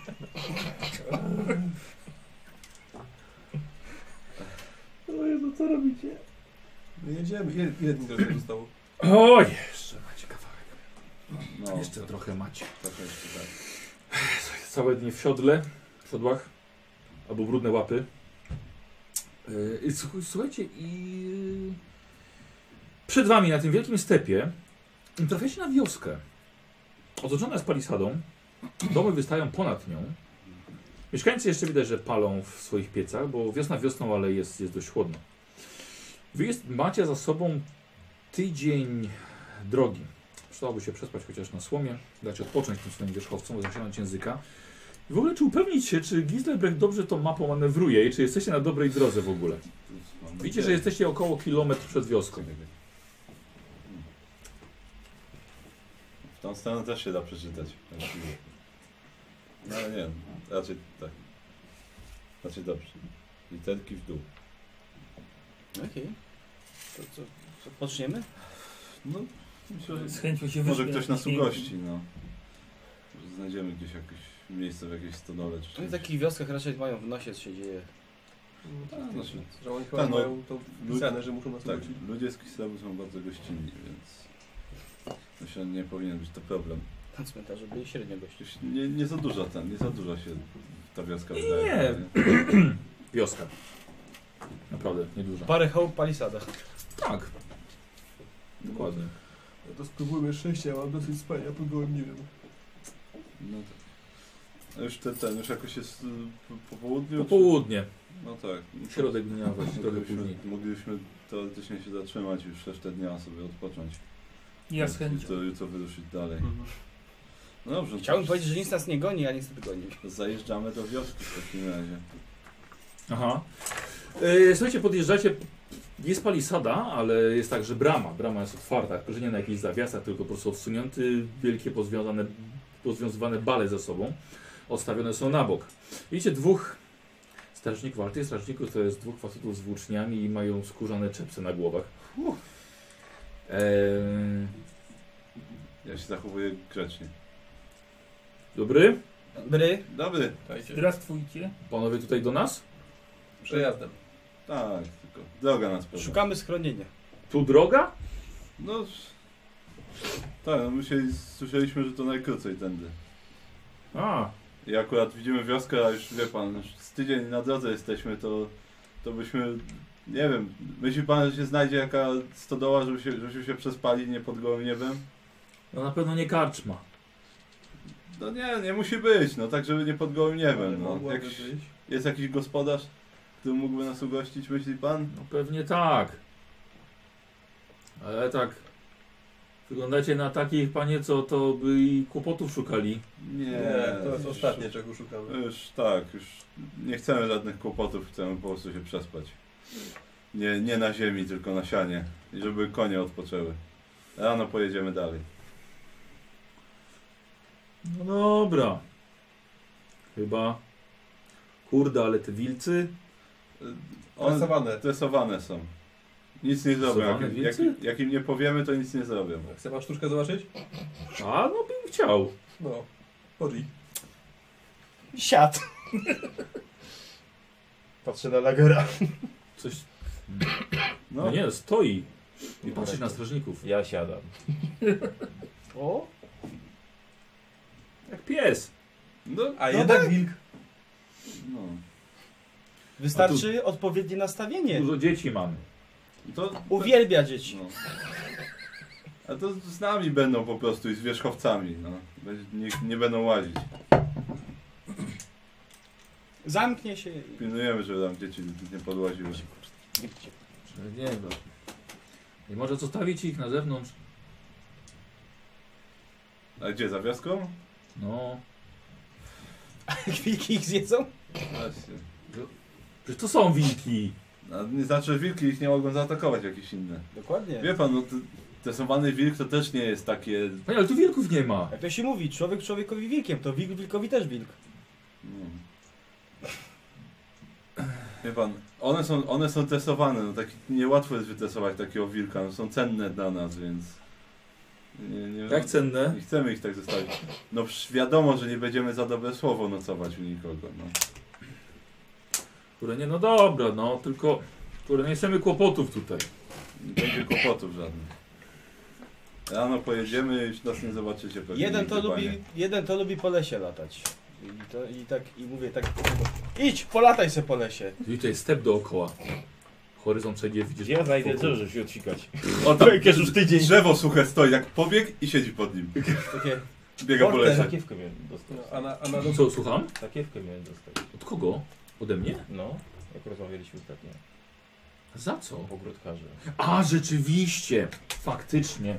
S7: No jedziemy. Ile, ile dni do tego zostało?
S1: Oj! Jeszcze macie kawałek.
S3: No,
S1: Jeszcze trochę macie.
S3: trochę jeszcze tak.
S1: Całe dnie w siodle, w siodłach, albo brudne łapy. Yy, i słuch- Słuchajcie, i y, przed wami na tym wielkim stepie trafiacie na wioskę. Otoczona jest palisadą, domy wystają ponad nią. Mieszkańcy jeszcze widać, że palą w swoich piecach, bo wiosna wiosną, ale jest, jest dość chłodno. Wy jest, macie za sobą tydzień drogi. Przydałoby się przespać chociaż na słomie, dać odpocząć tym swoim wierzchowcom, zasiąść języka. I w ogóle czy upewnić się, czy Gislebrecht dobrze tą mapą manewruje i czy jesteście na dobrej drodze w ogóle.
S3: Mam
S1: Widzicie, że jesteście około kilometr przed wioską.
S3: W tą stronę też się da przeczytać. właściwie. No ale nie wiem, raczej tak. Raczej dobrze. Literki w dół.
S6: Okej. To co? co poczniemy?
S3: No, myślę,
S5: Z
S3: że
S5: chęcią się
S3: może
S5: wyśpię
S3: ktoś
S5: na
S3: nas
S5: pięknym-
S3: ugości, no. Może Znajdziemy gdzieś jakieś miejsce w jakiejś stodole czy
S6: Oni
S3: czymś.
S6: w takich wioskach raczej mają w nosie, co się dzieje.
S7: No
S3: Tak, znaczy,
S7: Że oni chyba
S3: Tak, no.
S7: mają to wpisane, że muszą nas
S3: tak,
S7: wrócić.
S3: ludzie z Kislewu są bardzo gościnni, więc myślę, że nie powinien być to problem.
S6: Na cmentarzu byli średnio gości.
S3: Gdzieś Nie, nie za dużo ten, nie za dużo się ta wioska
S1: Nie.
S3: wydaje.
S1: Wioska. Naprawdę, nieduża.
S6: Parę hołb palisada.
S1: Tak. Dokładnie.
S7: No to spróbujmy szczęścia, ja mam dosyć spania pod gołym niebem.
S3: No tak. A już ten, ten, już jakoś jest y, po, po południu?
S1: Po
S3: czy-
S1: południe,
S3: No tak. No,
S1: środek dnia właśnie, trochę
S3: Moglibyśmy,
S1: później.
S3: moglibyśmy teoretycznie się zatrzymać już resztę dnia sobie odpocząć.
S5: Ja z chęcią.
S3: Jutro, jutro wyruszyć dalej.
S1: Hmm.
S7: Mhm.
S3: No dobrze,
S6: Chciałbym
S3: to
S6: powiedzieć, że nic nas nie goni, a niestety goni.
S3: zajeżdżamy do wioski w takim razie.
S1: Aha. E, słuchajcie, podjeżdżacie. Jest palisada, ale jest także brama. Brama jest otwarta, tylko że nie na jakichś zawiasach, tylko po prostu odsunięty, wielkie pozwiązane, pozwiązywane bale ze sobą. Odstawione są na bok. Widzicie dwóch strażników, ale tych strażników to jest dwóch facetów z włóczniami i mają skórzane czepce na głowach. Ehm,
S3: Ja się zachowuję grzecznie.
S1: dobry,
S6: Bry,
S3: Dobry,
S5: Teraz twójcie.
S1: panowie tutaj do nas?
S7: Przejazdem.
S3: tak, tylko droga nas prowadzi.
S6: szukamy schronienia.
S1: Tu droga?
S3: No, sz- Tak, no my się słyszeliśmy, że to najkrócej tędy.
S1: A,
S3: I akurat widzimy wioskę, a już wie pan, już z tydzień na drodze jesteśmy, to, to byśmy, nie wiem, myśli pan, że się znajdzie jaka stodoła, żeby się, żebyśmy się przespali nie pod gołym niebem?
S1: no na pewno nie karczma.
S3: No nie, nie musi być, no tak, żeby nie pod gołym
S7: Ale
S3: niebem, no.
S7: mogłaby
S3: Jak
S7: być.
S3: jest jakiś gospodarz, który mógłby nas ugościć, myśli pan?
S1: No pewnie tak. Ale tak. Wyglądacie na takich, panie, co to by i kłopotów szukali.
S3: Nie,
S7: Nie, to jest
S3: już-
S7: ostatnie, czego szukamy.
S3: Już tak, już nie chcemy żadnych kłopotów, chcemy po prostu się przespać. Nie, nie na ziemi, tylko na sianie. I żeby konie odpoczęły. Rano pojedziemy dalej.
S1: No dobra. Chyba. Kurde, ale te wilcy.
S3: One
S7: Trasowane.
S3: stresowane są. Nic nie zrobią. Jak,
S1: Stresowane
S3: jak,
S1: wilcy?
S3: jak im nie powiemy, to nic nie zrobią.
S7: Chce pan sztuczkę zobaczyć?
S1: A no bym chciał.
S7: No. Chodzi.
S6: Siad.
S2: Patrzę na lagera.
S1: Coś.
S3: No,
S1: No nie, stoi. I patrzy na strażników.
S2: Ja siadam.
S6: O,
S1: Jak pies.
S3: no,
S7: A
S3: no
S7: jednak
S3: tak.
S7: wilk.
S3: No.
S6: wystarczy odpowiednie nastawienie.
S1: Dużo dzieci mamy.
S3: To,
S6: Uwielbia dzieci.
S3: no. A to z nami będą po prostu i z wierzchowcami. No. Będzie- Nie, nie będą łazić.
S6: Zamknie się. i-
S3: Pilnujemy, żeby tam dzieci nie podłaziły.
S1: Nie no. wiem. I może zostawić ich na zewnątrz.
S3: A gdzie, za wioską?
S1: No.
S6: Wilki ich zjedzą?
S3: Właśnie.
S1: Przecież to są wilki.
S3: A nie znaczy, że wilki ich nie mogą zaatakować jakieś inne.
S6: Dokładnie.
S3: Wie pan, no, te- testowany wilk to też nie jest takie...
S1: Panie, ale tu wilków nie ma.
S6: Jak to się mówi, człowiek człowiekowi wilkiem, to wilk wilkowi też wilk.
S3: No. Wie pan, one są, one są testowane, no tak niełatwo jest wytestować takiego wilka, no są cenne dla nas, więc... Nie, nie,
S1: Jak cenne.
S3: nie chcemy ich tak zostawić. No przecież wiadomo, że nie będziemy za dobre słowo nocować u nikogo, no.
S1: Które nie, no dobra, no tylko. Które nie chcemy kłopotów tutaj.
S3: Nie będzie kłopotów żadnych. Rano pojedziemy, już nas nie zobaczycie pewnie.
S6: Jeden to
S3: nigdy,
S6: lubi,
S3: panie.
S6: jeden to lubi po lesie latać. I, to, i tak, i mówię tak, idź, polataj se po lesie.
S1: I tutaj step dookoła. Horyzont wszędzie widzisz.
S2: Gdzie ja znajdę
S1: wokół.
S2: co, żeby się odsikać?
S3: O tam,
S2: Jakieś już tydzień.
S3: drzewo suche stoi, jak pobieg i siedzi pod nim.
S6: Takie,
S3: Biega po lesie.
S2: Sakiewkę miałem dostać.
S7: No, a na, a na dół
S1: Co, słucham?
S2: Sakiewkę miałem dostać.
S1: Od kogo? Ode mnie?
S2: No, jak rozmawialiśmy ostatnio.
S1: Za co?
S2: Ogródkarze.
S1: A, rzeczywiście! Faktycznie.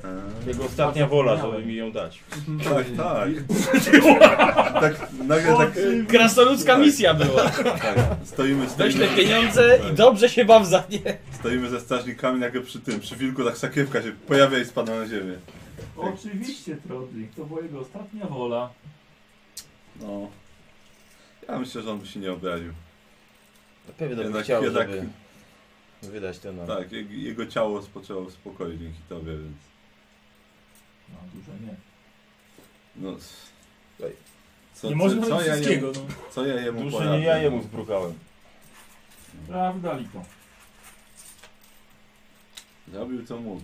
S2: Jego ostatnia wola, żeby mi ją dać.
S3: Tak, tak. tak nagle tak,
S6: krasnoludzka misja była.
S3: tak. Stoimy,
S6: Weź te
S3: stoimy,
S6: pieniądze i dobrze się baw za nie.
S3: stoimy ze strażnikami nagle przy tym, przy wilku tak sakiewka się pojawia i spada na ziemię.
S1: Oczywiście, Trodnik. To była jego ostatnia wola.
S3: No. Ja myślę, że on by się nie obraził.
S2: Na pewno bym
S3: Jednak-
S2: chciał,
S3: jednak-
S2: żeby wydać ten nam.
S3: Tak, jego, jego ciało spoczęło w spokoju dzięki tobie, więc.
S1: No, dużo nie.
S3: No. s-
S2: Oj.
S3: Co,
S5: nie
S3: co-
S5: można
S3: co
S5: robić
S3: ja
S5: wszystkiego.
S3: jemu-
S5: no.
S3: Co ja jemu
S2: Duszy
S3: poradzę? no?
S2: nie ja jemu zbrukałem.
S1: Prawda, Lito.
S3: Zrobił co mógł.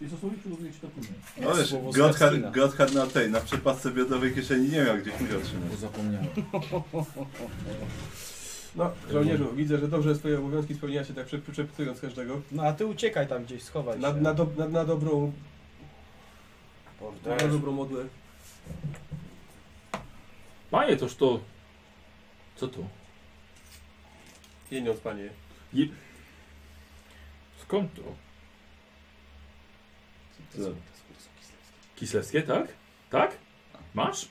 S1: Jest osobiście uznać to później.
S3: No wiesz,
S6: Słowo z
S3: Gotthard,
S6: Kastina.
S3: Gotthard na tej, na przypadce biodowej kieszeni nie miał gdzieś musiał trzymać.
S1: Bo zapomniałem.
S7: No, żołnierzu, widzę, że dobrze swoje obowiązki spełniacie, tak przep- przepytując każdego.
S6: No a ty uciekaj tam gdzieś, schowaj
S7: Na,
S6: się.
S7: na, do, na, na dobrą, na
S6: Bordeaux.
S7: dobrą modłę.
S1: Panie, toż to... Co to?
S7: Pieniądz, panie.
S1: Skąd to?
S3: Co?
S1: Kislewskie, tak? Tak? Masz?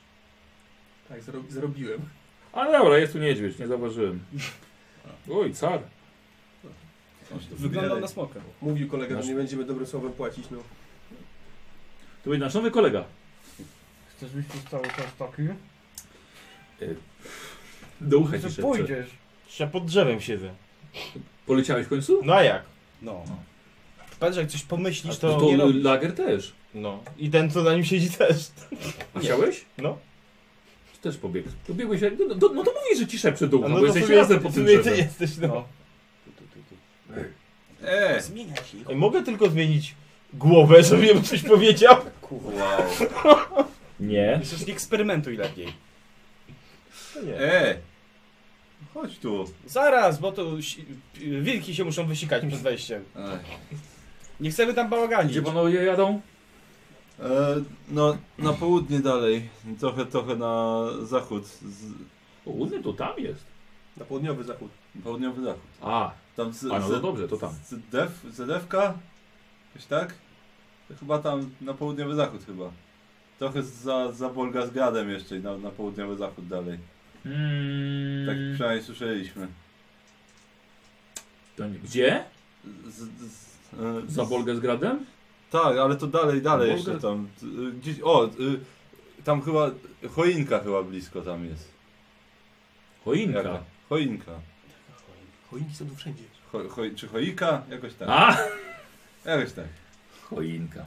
S7: Tak, zro, zrobiłem.
S1: A dobra, jest tu niedźwiedź, nie zauważyłem. Oj, car.
S3: Masz to
S6: Wyglądał
S3: wybieraj.
S6: na smoka.
S7: Mówił kolega,
S1: Masz-
S7: że nie będziemy dobrym słowem płacić, no.
S1: To będzie nasz nowy kolega.
S8: Chcesz być tu cały czas taki?
S1: Do ucha ci
S8: Że
S1: szepcze.
S8: pójdziesz.
S2: Ja pod drzewem siedzę.
S1: Poleciałeś w końcu?
S2: No a jak?
S6: No.
S1: No.
S6: Patrz, jak coś pomyślisz,
S2: A
S1: To,
S2: To
S1: to
S6: nie robisz.
S1: lager też.
S2: No. I ten co na nim siedzi też.
S1: A chciałeś?
S2: No.
S1: też pobiegł. To biegłeś jak... No, to- no to mówisz, że ci szepcze do ucha,
S2: A
S1: bo
S2: w
S1: jesteś
S2: sumie-
S1: razem po
S2: w
S1: tym
S2: sumie ty
S1: drzewem.
S2: jesteś, no. Tu, tu, tu, tu.
S3: Eee!
S6: Zmienia się.
S2: Ej, Mogę tylko zmienić głowę, żebym coś powiedział?
S3: Wow.
S1: Nie.
S6: Przecież nie eksperymentuj lepiej.
S2: No nie.
S3: Eee! Chodź tu.
S6: Zaraz, bo to si- wilki się muszą wysikać przed wejściem.
S3: Ej.
S6: Nie chcemy tam bałaganić.
S1: Gdzie panowie jadą?
S3: E, no, na południe dalej. Trochę, trochę na zachód. Z,
S1: Południe to tam jest.
S7: Na południowy zachód.
S3: południowy zachód.
S1: A,
S3: Tam z,
S1: a no to
S3: z,
S1: dobrze, to tam.
S3: z def, zedewka? Jakoś tak? To Chyba tam na południowy zachód chyba. Trochę za, za Bolga z Gadem jeszcze i na, na południowy zachód dalej. Tak
S1: Mm,
S3: przynajmniej słyszeliśmy.
S1: to nie- Gdzie?
S3: Z, z, z, e,
S1: Za Bolgę z gradem?
S3: Tak, ale to dalej, dalej
S1: Bolga-
S3: jeszcze tam. Y, Gdzieś, o, y, tam chyba, choinka chyba blisko tam jest.
S1: Choinka.
S3: Jaka? Choinka.
S7: Choinki są tu wszędzie.
S3: Cho, choi- czy choika? Jakoś tak.
S1: A!
S3: Jakoś tak.
S1: Choinka.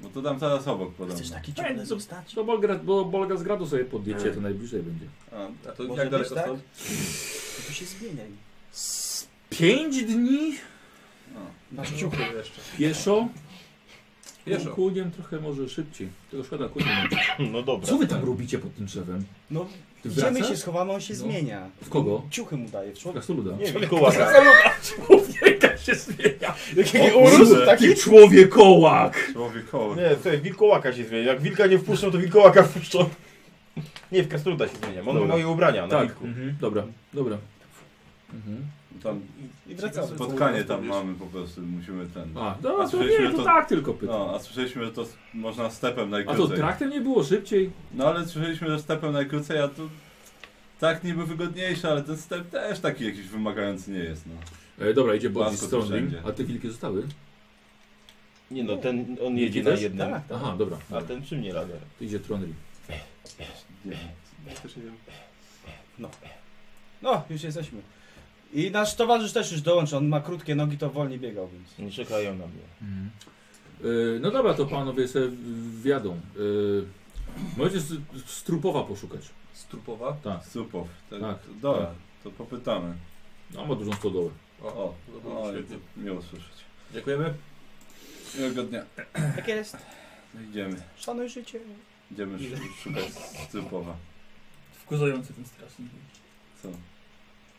S3: No to tam zaraz obok podobno.
S2: tak?
S6: Chcesz taki
S1: ciągle
S6: ciągle zostać?
S1: To Bolga, bo Bolga z gradu sobie podjecie, to najbliżej będzie.
S3: A,
S7: A to
S6: Może
S7: jak daleko
S6: być tak? No
S7: stąd?
S6: To się zmieniaj.
S1: Z pięć dni
S3: no.
S7: Masz ciuchy jeszcze.
S1: pieszo.
S7: Pieszo.
S1: No, Kłódiem trochę może szybciej. Tego szkoda kłódiem.
S2: No dobra.
S1: Co wy tam robicie pod tym drzewem?
S6: No,
S1: Ty
S6: idziemy
S1: wracasz?
S6: się schowamy, on się
S1: No.
S6: zmienia.
S1: W kogo?
S6: Ciuchy mu daje, w człowieka.
S1: Kastoluda.
S2: Nie, Mikołaja.
S1: Człowieka się zmienia.
S2: Jakiego urósł taki?
S1: Ty człowiekołak!
S3: Człowiekowy.
S2: Nie, słuchaj, wilkołaka się zmienia. Jak wilka nie wpuszczą, to wilkołaka wpuszczą. Nie, w kastruda się zmienia. On ma
S1: Dobra.
S2: moje ubrania no na
S1: Tak,
S2: wilku.
S1: mhm, dobra, dobra. Mhm.
S3: Tam
S6: I wracamy.
S3: spotkanie tam mamy po prostu, musimy ten...
S1: A, no, to
S3: słyszeliśmy,
S1: nie, to
S3: to-
S1: tak tylko pytam.
S3: No, a słyszeliśmy, że to s- można stepem
S1: A to
S3: najkrócej.
S1: traktem nie było szybciej?
S3: No ale słyszeliśmy, że stepem najkrócej, a tu... Tak niby wygodniejsze, ale ten step też taki jakiś wymagający nie jest, no.
S1: E, dobra, idzie Body
S3: Łasko tu
S1: Strongling,
S3: wszędzie.
S1: a te wilki zostały?
S2: Nie no, ten, on jedzie na
S1: Jedziesz?
S2: jednym.
S6: Tak,
S1: Aha, dobra,
S2: A
S1: dobra.
S2: ten czym nie radę?
S1: To idzie Tronry.
S3: Nie.
S7: Też nie wiem.
S6: No, już jesteśmy. I nasz towarzysz też już dołączy, on ma krótkie nogi, to wolniej biegał, więc...
S2: Nie czekają na mnie.
S1: Mhm. E, no dobra, to panowie sobie w- wjadą. E, możecie z, z trupowa poszukać.
S7: Strupowa.
S3: Supow. Tak.
S1: Tak.
S3: to Dobra, to popytamy.
S1: No ma dużą stodołę.
S7: O,
S3: O,
S7: no
S3: o,
S7: było świetnie.
S3: miło słyszeć.
S7: Dziękujemy.
S3: Miłego dnia.
S6: Tak jest,
S3: No Idziemy.
S6: szanuj życie.
S3: Idziemy sz szukać Supowa.
S5: Wkurzający ten strasznik.
S3: Co?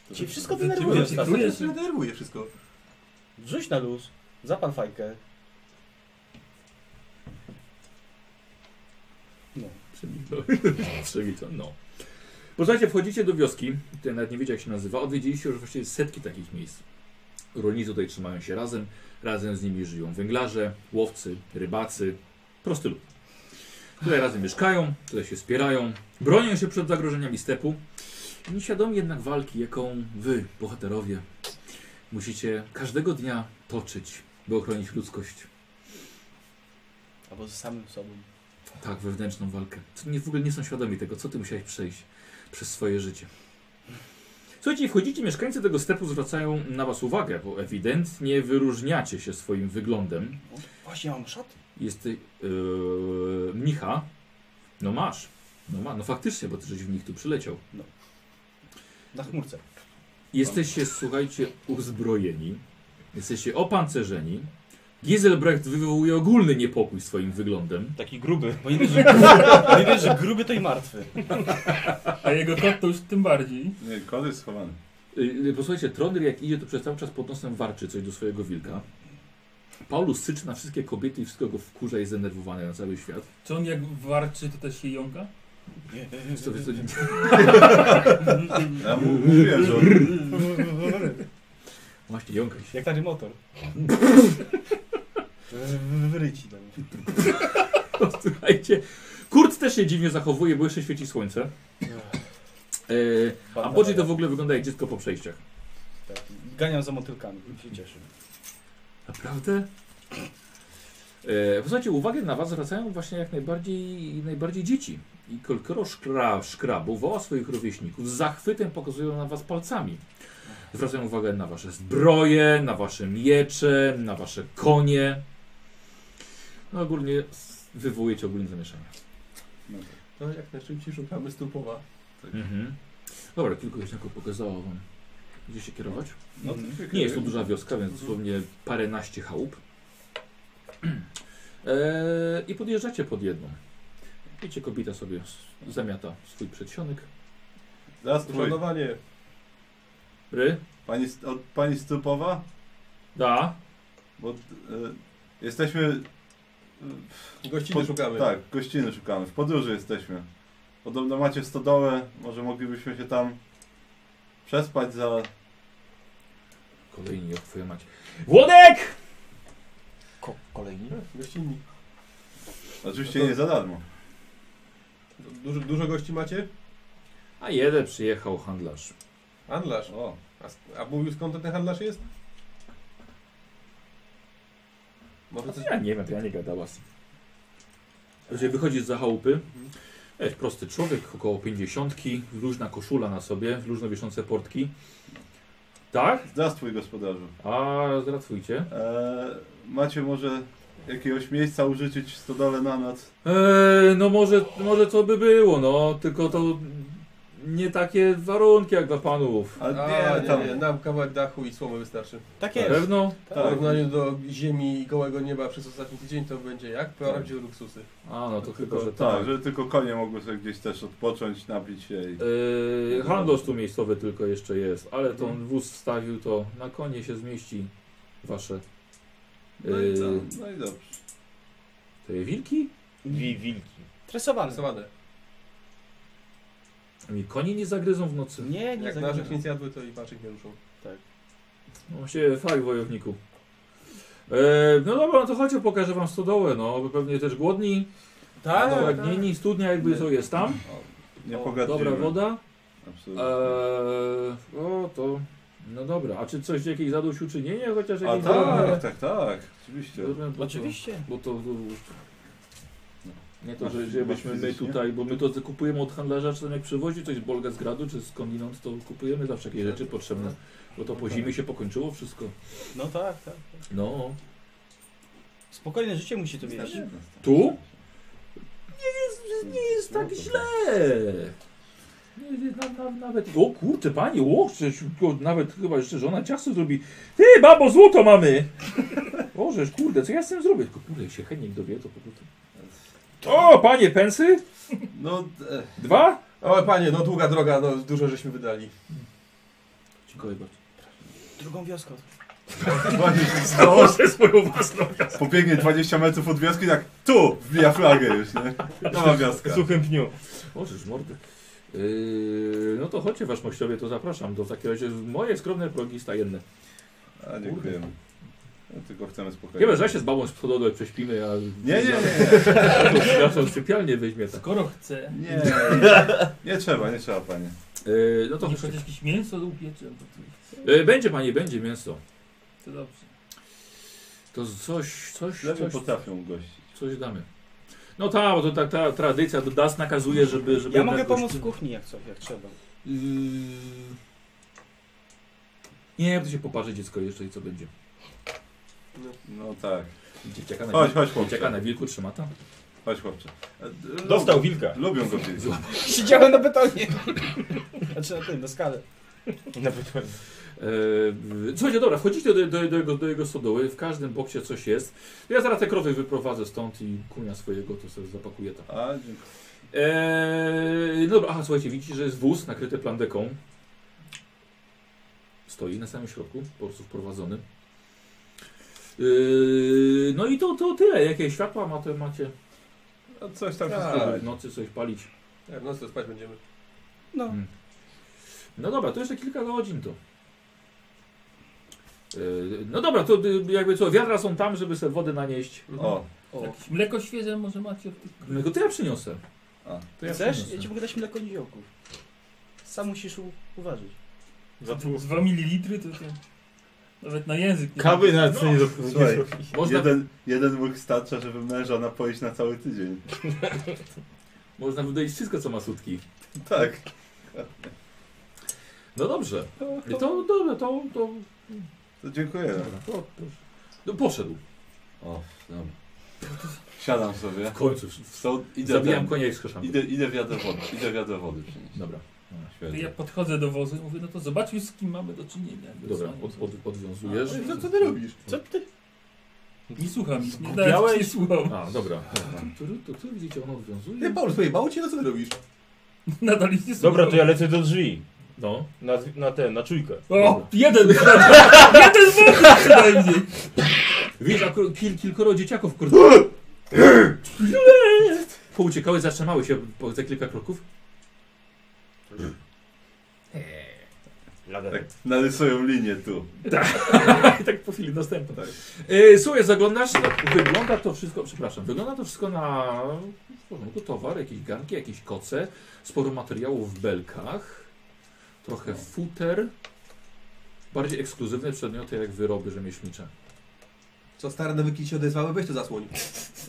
S3: To-
S6: Ci wszystko
S5: Ciebie
S6: denerwuje.
S5: denerwuje.
S7: Denerwuje się. Denerwuje wszystko.
S6: Rzuć na luz, zapal fajkę. No.
S1: Przewito, no. Posłuchajcie, wchodzicie do wioski, tutaj nawet nie wiecie jak się nazywa, odwiedziliście już właściwie setki takich miejsc. Rolnicy tutaj trzymają się razem, razem z nimi żyją węglarze, łowcy, rybacy, prosty lud. Tutaj razem mieszkają, tutaj się spierają, bronią się przed zagrożeniami stepu. Nieświadomi jednak walki, jaką wy, bohaterowie, musicie każdego dnia toczyć, by ochronić ludzkość.
S6: Albo z samym sobą.
S1: Tak, wewnętrzną walkę. To nie, w ogóle nie są świadomi tego, co ty musiałeś przejść przez swoje życie. Słuchajcie, wchodzicie, mieszkańcy tego stepu zwracają na was uwagę, bo ewidentnie wyróżniacie się swoim wyglądem.
S6: O, No, Właśnie mam szaty.
S1: Jesteś yy, mnicha. No masz. No ma, no faktycznie, bo ty żeś w nich tu przyleciał.
S6: Na chmurce.
S1: Jesteście, słuchajcie, uzbrojeni. Jesteście opancerzeni. Gieselbrecht wywołuje ogólny niepokój swoim wyglądem.
S2: Taki gruby.
S6: Bo nie wiesz, że gruby, bo nie wiesz, że gruby to i martwy.
S5: A jego kot to już tym bardziej.
S3: Nie, kod jest schowany.
S1: Yy, Posłuchajcie, Trondyr jak idzie, to przez cały czas pod nosem warczy coś do swojego wilka. Paulus syczy na wszystkie kobiety i wszystko go wkurza i jest zdenerwowany na cały świat.
S5: Czy on jak warczy, to też się jąka?
S1: Wiesz co, wiesz co,
S3: Ja mu mówiłem, że on...
S1: właśnie, jąkaj się.
S6: Jak tary motor. Wryci do mnie.
S1: Słuchajcie, Kurt też się dziwnie zachowuje, bo jeszcze świeci słońce. Yy, a Bodzi to w ogóle wygląda jak dziecko po przejściach.
S6: Tak, Ganiam za motylkami, się cieszę.
S1: Naprawdę? E, Posłuchajcie, uwagę na was zwracają właśnie jak najbardziej, najbardziej dzieci. I kolkoro szkra, szkrabu woła swoich rówieśników, z zachwytem pokazują na was palcami. Zwracają uwagę na wasze zbroje, na wasze miecze, na wasze konie. No ogólnie s- wywołujecie ogólne zamieszanie.
S3: No,
S7: To jak najszybciej szukamy stupowa.
S1: Mhm. Dobra, kilku już jako pokazało wam. Gdzie się kierować?
S3: No, to się
S1: Mhm. Nie
S3: kieruje.
S1: jest to duża wioska, więc dosłownie paręnaście chałup. Eee, I podjeżdżacie pod jedną. Wiecie, kobieta sobie s- zamiata swój przedsionek.
S3: Zaraz twój.
S7: Uszanowanie.
S1: Ry?
S3: Pani, St- od pani Stupowa?
S1: Da.
S3: Bo y, jesteśmy...
S7: Gościny
S3: Pod-
S7: szukamy.
S3: Tak, gościny szukamy. W podróży jesteśmy. Podobno macie stodołę, może moglibyśmy się tam przespać za...
S1: Kolejni, jak twoja mać. Włodek!
S2: Ko kolejni?
S7: Gościnni.
S3: Oczywiście
S7: No
S3: nie za darmo.
S7: Dużo, dużo gości macie?
S1: A jeden przyjechał handlarz.
S7: Handlarz.
S3: O,
S7: A, sk- a mówił skąd ten handlarz jest? Może coś...
S1: Ja nie wiem, No to ja nie gadała. z nim. Jeżeli wychodzisz za chałupy,
S7: Mhm.
S1: jest E, prosty człowiek, około pięćdziesiątki, luźna koszula na sobie, luźno wiszące portki. Tak?
S3: zaraz twój gospodarzu.
S1: A zratwujcie.
S3: E, macie może jakiegoś miejsca użyczyć stodole na noc?
S1: Eee, no może, może to by było, no, tylko to nie takie warunki jak dla panów.
S3: Ale
S7: A,
S3: nie, tam...
S1: no
S7: nie, nie, nam kawałek dachu i słomy wystarczy.
S2: Tak
S1: Na
S2: jest.
S1: pewno?
S7: W
S3: Tak,
S7: porównaniu do ziemi i gołego nieba przez ostatni tydzień to będzie jak prawdziwe luksusy.
S1: A no to chyba, że tak.
S3: tak, żeby tylko konie mogły sobie gdzieś też odpocząć, napić się i...
S1: Yy, handlarz tu miejscowy tylko jeszcze jest, ale to on wóz wstawił, to na konie się zmieści wasze.
S3: No i,
S1: Yy,
S3: co? no i dobrze.
S1: te wilki?
S2: Wi wilki.
S6: Tresowany.
S3: Tak.
S7: Rysowane.
S5: Tak.
S1: Mi konie nie zagryzą w nocy.
S6: Nie, nie
S7: Jak narzek
S6: zagrażam.
S7: nic jadły, to i paczek nie ruszą.
S1: No Właściwie fakt, wojowniku. E, no dobra, no to chodźcie, pokażę wam stodołę, no. Wy pewnie też głodni,
S7: Tak,
S1: pragnieni, studnia jakby
S3: No, Nie.
S1: to jest tam.
S3: Nie
S1: O,
S3: pogadamy.
S1: Dobra woda. E,
S3: Absolutnie.
S1: o, to... No dobra, a czy coś, jakieś zadośćuczynienie chociaż?
S3: A
S1: jakieś drobne?
S3: tak, tak, tak, oczywiście.
S1: Dobra, bo to-
S2: Oczywiście.
S1: Bo to... no. Nie to,
S3: Masz-
S1: że żebyśmy
S3: masz
S1: my
S3: fizycznie?
S1: tutaj, bo my to kupujemy od handlarza, czy tam jak przywozi coś z Bolgazgradu, czy skądinąd, to kupujemy zawsze
S3: Tak.
S1: jakieś rzeczy potrzebne, bo to po zimie się pokończyło wszystko.
S2: No tak, tak. tak.
S1: No,
S6: Spokojne życie musi tu mieć.
S1: Tu?
S3: Nie jest
S1: tak źle. Nie, nie, na, na, nawet. O kurczę, panie, o, żeś, o, nawet chyba jeszcze żona ciasto zrobi. Ty, babo, złoto mamy! Bożeż, kurde, co ja z tym zrobię? Tylko kurde, jak się chętnie dowie, to po prostu. O, panie, pensy?
S3: No, e,
S1: Dwa?
S7: O panie, no długa droga, no dużo żeśmy wydali.
S1: Dziękuję bardzo.
S6: Drugą wioską.
S1: Założę swoją własną.
S3: tak. pobiegnie 20 metrów od wioski i tak tu wbija flagę już, nie? Nowa wioska.
S2: Suchym pniu.
S1: Bożeż, mordy. Yy, no to chodźcie, waszmościowie, to zapraszam. To w takim razie moje skromne progi stajenne.
S3: A dziękujemy. No, tylko chcemy spokoju.
S1: Chyba, że ja się z babą z przodu prześpimy, a...
S3: Nie, nie, nie,
S1: Ja to sypialnie weźmie tak.
S5: Skoro chce,
S3: nie. Nie, nie trzeba, nie trzeba panie.
S1: Yy, no to
S5: to
S1: chodźcie.
S5: chociaż jakieś mięso upiecze, to, to,
S1: E, Będzie panie, będzie mięso.
S5: to dobrze.
S1: To coś, coś,
S3: Lepiej
S1: coś,
S3: potrafią gościć.
S1: coś damy. No ta, bo to ta, ta tradycja, to DAS nakazuje, żeby... żeby
S6: Ja
S1: jednak
S6: mogę pomóc
S1: gości-
S6: w kuchni jak, co, jak trzeba.
S1: Yy... Nie, to się poparzy dziecko jeszcze i co będzie.
S3: No tak.
S1: Dzieciaka na,
S3: Chodź, chodź
S1: Dzieciaka
S3: chłopcze.
S1: na wilku trzyma tam.
S3: Chodź chłopcze. E, d-
S2: Dostał
S3: lub-
S2: wilka.
S3: Lubią go wilki.
S6: Siedziałem na betonie. Znaczy na tym, na skalę.
S2: Nawet
S1: Eee, słuchajcie, dobra, wchodzicie do, do, do, jego, do jego stodoły, w każdym boksie coś jest. Ja zaraz te krowy wyprowadzę stąd i kunia swojego to sobie zapakuję tam.
S3: A, dziękuję.
S1: Eee, no dobra, aha, słuchajcie, widzicie, że jest wóz nakryty plandeką. Stoi na samym środku, po prostu wprowadzony. Eee, no i to, to tyle. Jakie światła ma, to macie.
S3: A No coś tam się
S7: Tak.
S3: stało.
S1: Żeby w nocy coś palić.
S7: Tak, no co, spać będziemy.
S6: No.
S1: Mm. No dobra, to jeszcze kilka godzin to. Eee, No dobra, to y, jakby co, wiadra są tam, żeby sobie wody nanieść.
S3: O,
S6: O.
S1: Tak,
S5: Jakieś mleko świeże może macie w tych...
S1: No to ja przyniosę.
S3: a.
S1: To ja
S6: Chcesz? Ja
S1: przyniosę.
S6: ci mogę dać mleko niziołków. Sam musisz u- uważać.
S2: Za pół.
S5: 2 ml to, to nawet na język nie
S2: Kawy
S5: ma.
S2: na co nie
S3: Słuchaj,
S2: zrobił.
S1: Można,
S3: jeden, jeden łyk starcza, żeby męża napoić na cały tydzień.
S1: można wydać wszystko, co ma sutki.
S3: Tak.
S1: No dobrze. To dobra, to, to
S3: To dziękuję.
S1: No, poszedł.
S3: O, dobra. Siadam sobie.
S1: W końcu.
S3: So, idę
S1: Zabijam
S3: ten-
S1: konia No. i skrzeszam.
S3: Idę, idę wiadę wody, idę wiadę wody przynieść. No,
S1: Dobra,
S5: To ja
S3: Świetnie.
S5: podchodzę do wozu i mówię, no to zobaczmy z kim mamy do czynienia.
S1: dobra, od, od, odwiązujesz.
S7: Co, co ty robisz?
S2: Co ty?
S5: Nie słucham, nie,
S2: Kupiałeś?
S5: nawet nie słucham.
S1: A, dobra. Tu, tu, tu, tu widzicie, on
S7: Nie,
S1: odwiązuje.
S7: Paul, słuchaj, mało cię, no co ty robisz?
S5: Nadal ich nie słucham.
S2: Dobra, to ja lecę do drzwi.
S1: No.
S2: Na, na ten, na czujkę.
S5: O, jeden! jeden z wodów przynajmniej!
S1: Widzisz, akro- kil, kilkoro dzieciaków, kurde. Pouciekały, zatrzymały się po- za kilka kroków.
S2: Lager.
S3: Tak, narysują linię tu.
S1: I tak po chwili następna. E, słuchaj, zaglądasz, no, wygląda to wszystko, przepraszam, wygląda to wszystko na w porządku towar, jakieś garnki, jakieś koce, sporo materiałów w belkach, trochę futer, bardziej ekskluzywne przedmioty jak wyroby rzemieślnicze.
S7: Co, stare nawyki się odezwały? Weź to zasłoń.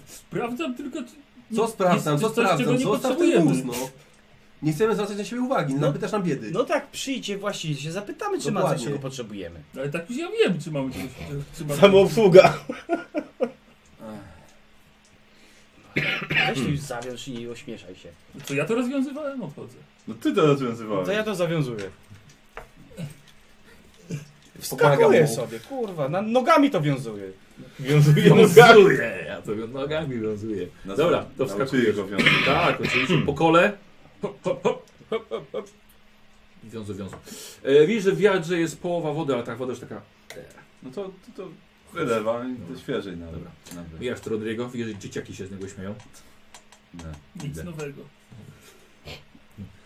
S5: Sprawdzam tylko... Czy...
S7: Co sprawdzam,
S5: jest
S7: co
S5: coś, czego
S7: sprawdzam,
S5: nie
S7: zostaw ten
S5: potrzebujemy.
S7: wóz, no. Nie chcemy zwracać na siebie uwagi, no,
S6: No.
S7: napytasz nam biedy.
S6: No tak, przyjdzie właściwie, się zapytamy, czy ma coś,
S7: Dokładnie.
S6: czego potrzebujemy.
S5: Ale tak już ja wiem, czy mamy coś... Czy mamy...
S2: Samoobsługa.
S6: Weź ty już zawiąż i nie ośmieszaj się.
S5: To ja to rozwiązywałem, odchodzę.
S3: No ty to rozwiązywałeś.
S2: To ja to zawiązuję.
S6: Wskakuję sobie, kurwa, na, nogami to wiązuję.
S2: Wiązuję nogami.
S1: Wiązuje, ja to wią- nogami wiązuję.
S3: Na-
S1: Dobra, to
S3: nauczyli
S1: wskakujesz.
S3: go wiązać.
S1: Tak, oczywiście po kole. Hop, hop, hop, hop, hop, hop. Wiązu, wiązu. E, widzisz, że w wiadrze jest połowa wody, ale tak woda już taka...
S3: No to, to, to wylewam i
S1: Dobra.
S3: to świeżej nawet.
S1: Dobra.
S3: Nawet.
S1: Mijasz to Rodrigo, widzisz, że dzieciaki się z niego śmieją.
S3: Nie.
S5: Nic
S1: Idę.
S5: nowego.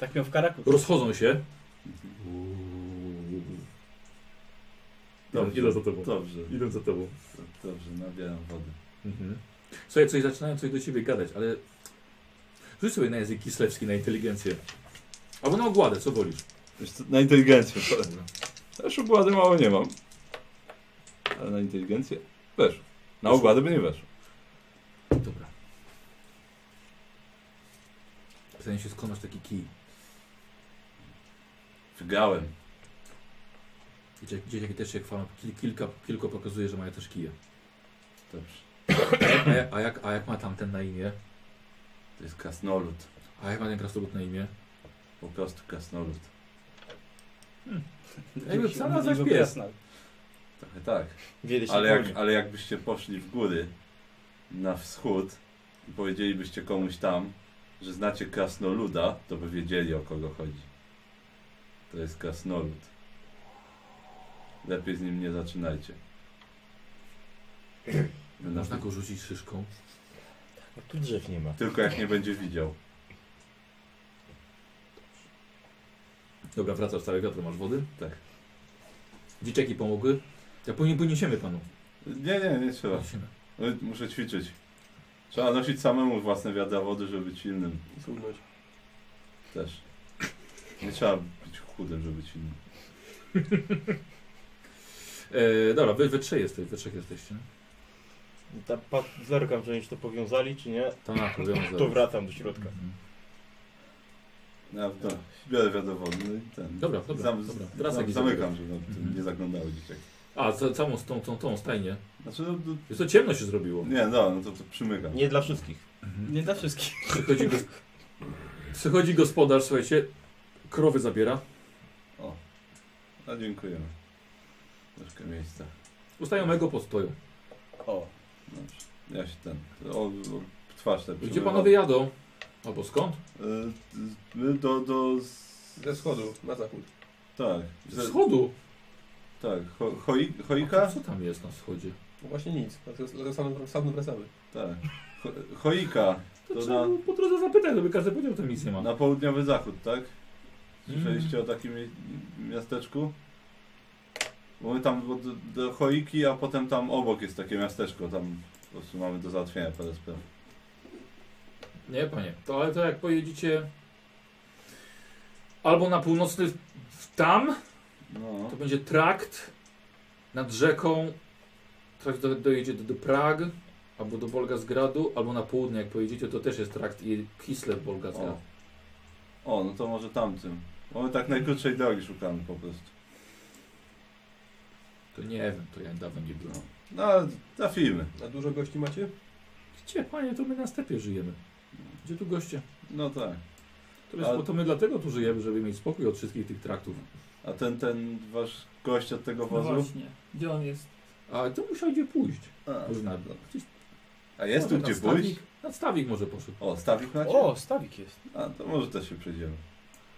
S6: Tak miał w karaku.
S1: Rozchodzą się.
S3: Dobrze.
S1: Idę za tobą.
S3: Dobrze,
S1: Idę za tobą.
S3: dobrze, nabieram wody.
S1: Mhm. Słuchaj, coś zaczynają coś do ciebie gadać, ale rzuć sobie na język kislewski, na inteligencję. Albo na ogładę, co wolisz.
S3: Wiesz co, na inteligencję. Ja Już ogłady mało nie mam. Ale na inteligencję weszło. Na ogłady by nie weszło.
S1: Dobra. Pytanie się, skąd masz taki kij?
S3: Wygrałem.
S1: Dzieciaki, dzieciaki też się chwalą. Kil, kilka, kilku pokazuje, że mają też kije.
S3: Dobrze.
S1: A jak, a jak, a jak ma tamten na imię?
S3: To jest krasnolud.
S1: A jak ma ten krasnolud na imię?
S3: Po prostu krasnolud.
S1: Jakby psa nazwać
S6: Niby
S1: pies.
S6: krasnal.
S3: Trochę tak.
S2: Wiedzie się
S3: Ale,
S2: koni.
S3: jak, ale jakbyście poszli w góry na wschód i powiedzielibyście komuś tam, że znacie krasnoluda, to by wiedzieli o kogo chodzi. To jest krasnolud. Lepiej z nim nie zaczynajcie. Na-
S1: Można go rzucić szyszką.
S2: No Tu drzew nie ma.
S3: Tylko jak nie będzie widział.
S1: Dobra, wracasz stary wiatr, masz wody?
S3: Tak.
S1: Dzieciaki pomogły? Ja później poniesiemy panu.
S3: Nie, nie, nie trzeba.
S1: Poniesiemy.
S3: Muszę ćwiczyć. Trzeba nosić samemu własne wiadra wody, żeby być silnym.
S7: Słuchaj.
S3: Też. Nie trzeba być chudym, żeby być silnym.
S1: E, dobra, wy, wy trzej jesteś, wy trzech jesteście.
S2: Ta, pa, zerkam, czy oni to powiązali, czy nie.
S1: Tak,
S2: To wracam do środka.
S3: Ja w- no, biorę wiadro wody no i ten.
S1: Tak. Dobra, dobra, dobra. Teraz
S3: zam,
S1: taki
S3: zamykam, żeby
S1: Mhm.
S3: nie zaglądały dzieciaki.
S1: A, ca, całą z tą, tą, tą stajnię.
S3: Znaczy, no, no,
S1: Jest to ciemno się zrobiło.
S3: nie, no, no to, to przymykam.
S2: Nie dla wszystkich.
S6: Mhm. Nie dla wszystkich.
S1: Przychodzi, gos- przychodzi gospodarz, słuchajcie, krowy zabiera.
S3: O, a dziękujemy. Troszkę miejsca.
S1: Ustają mego podstoju.
S6: O,
S3: Dobrze. Ja się ten, o, o twarz tak
S1: Gdzie
S3: przymywam.
S1: panowie jadą? Albo skąd?
S3: Y, y, do, do, z,
S7: Ze wschodu, na zachód.
S3: tak,
S1: Ze
S3: ze,
S1: schodu.
S3: tak, ho, hoi,
S1: A
S3: choika?
S1: co tam jest na wschodzie?
S7: No właśnie nic, dlatego sam, sam wracamy.
S3: Tak, ho, choika,
S1: To,
S3: To
S1: trzeba
S3: na-
S1: po drodze zapytać, żeby każdy powiedział, że tam nic nie ma.
S3: na południowy zachód, tak? Słyszeliście o takim mie- miasteczku? Bo my tam do, do Choiki, a potem tam obok jest takie miasteczko, tam po prostu mamy do załatwienia parę spraw.
S1: Nie, panie. To, ale to jak pojedziecie albo na północny w tam,
S3: No,
S1: to będzie trakt nad rzeką. Trakt do, dojedzie do, do Prag, albo do Bolgazgradu, albo na południe jak pojedziecie, to też jest trakt i Kislev Bolgazgrad.
S3: o. o, no to może tamtym. Bo my tak najkrótszej drogi szukamy po prostu.
S1: To nie wiem, to ja dawno nie byłem.
S3: No, no ale trafimy.
S7: A dużo gości macie?
S1: Gdzie, panie, to my na stepie żyjemy. Gdzie tu goście?
S3: No tak.
S1: To, jest,
S3: A-
S1: bo to my dlatego tu żyjemy, żeby mieć spokój od wszystkich tych traktów.
S3: A ten, ten wasz gość od tego
S5: No
S3: wozu?
S5: właśnie. Gdzie on jest?
S1: Ale to musiał gdzie pójść.
S3: A,
S1: Już na dno. Gdzieś-
S3: a jest tu
S1: może
S3: gdzie
S1: nadstawik?
S3: pójść?
S1: Nadstawik może poszedł.
S3: O, stawik macie?
S6: O, stawik jest.
S3: A, to może też się przejdziemy.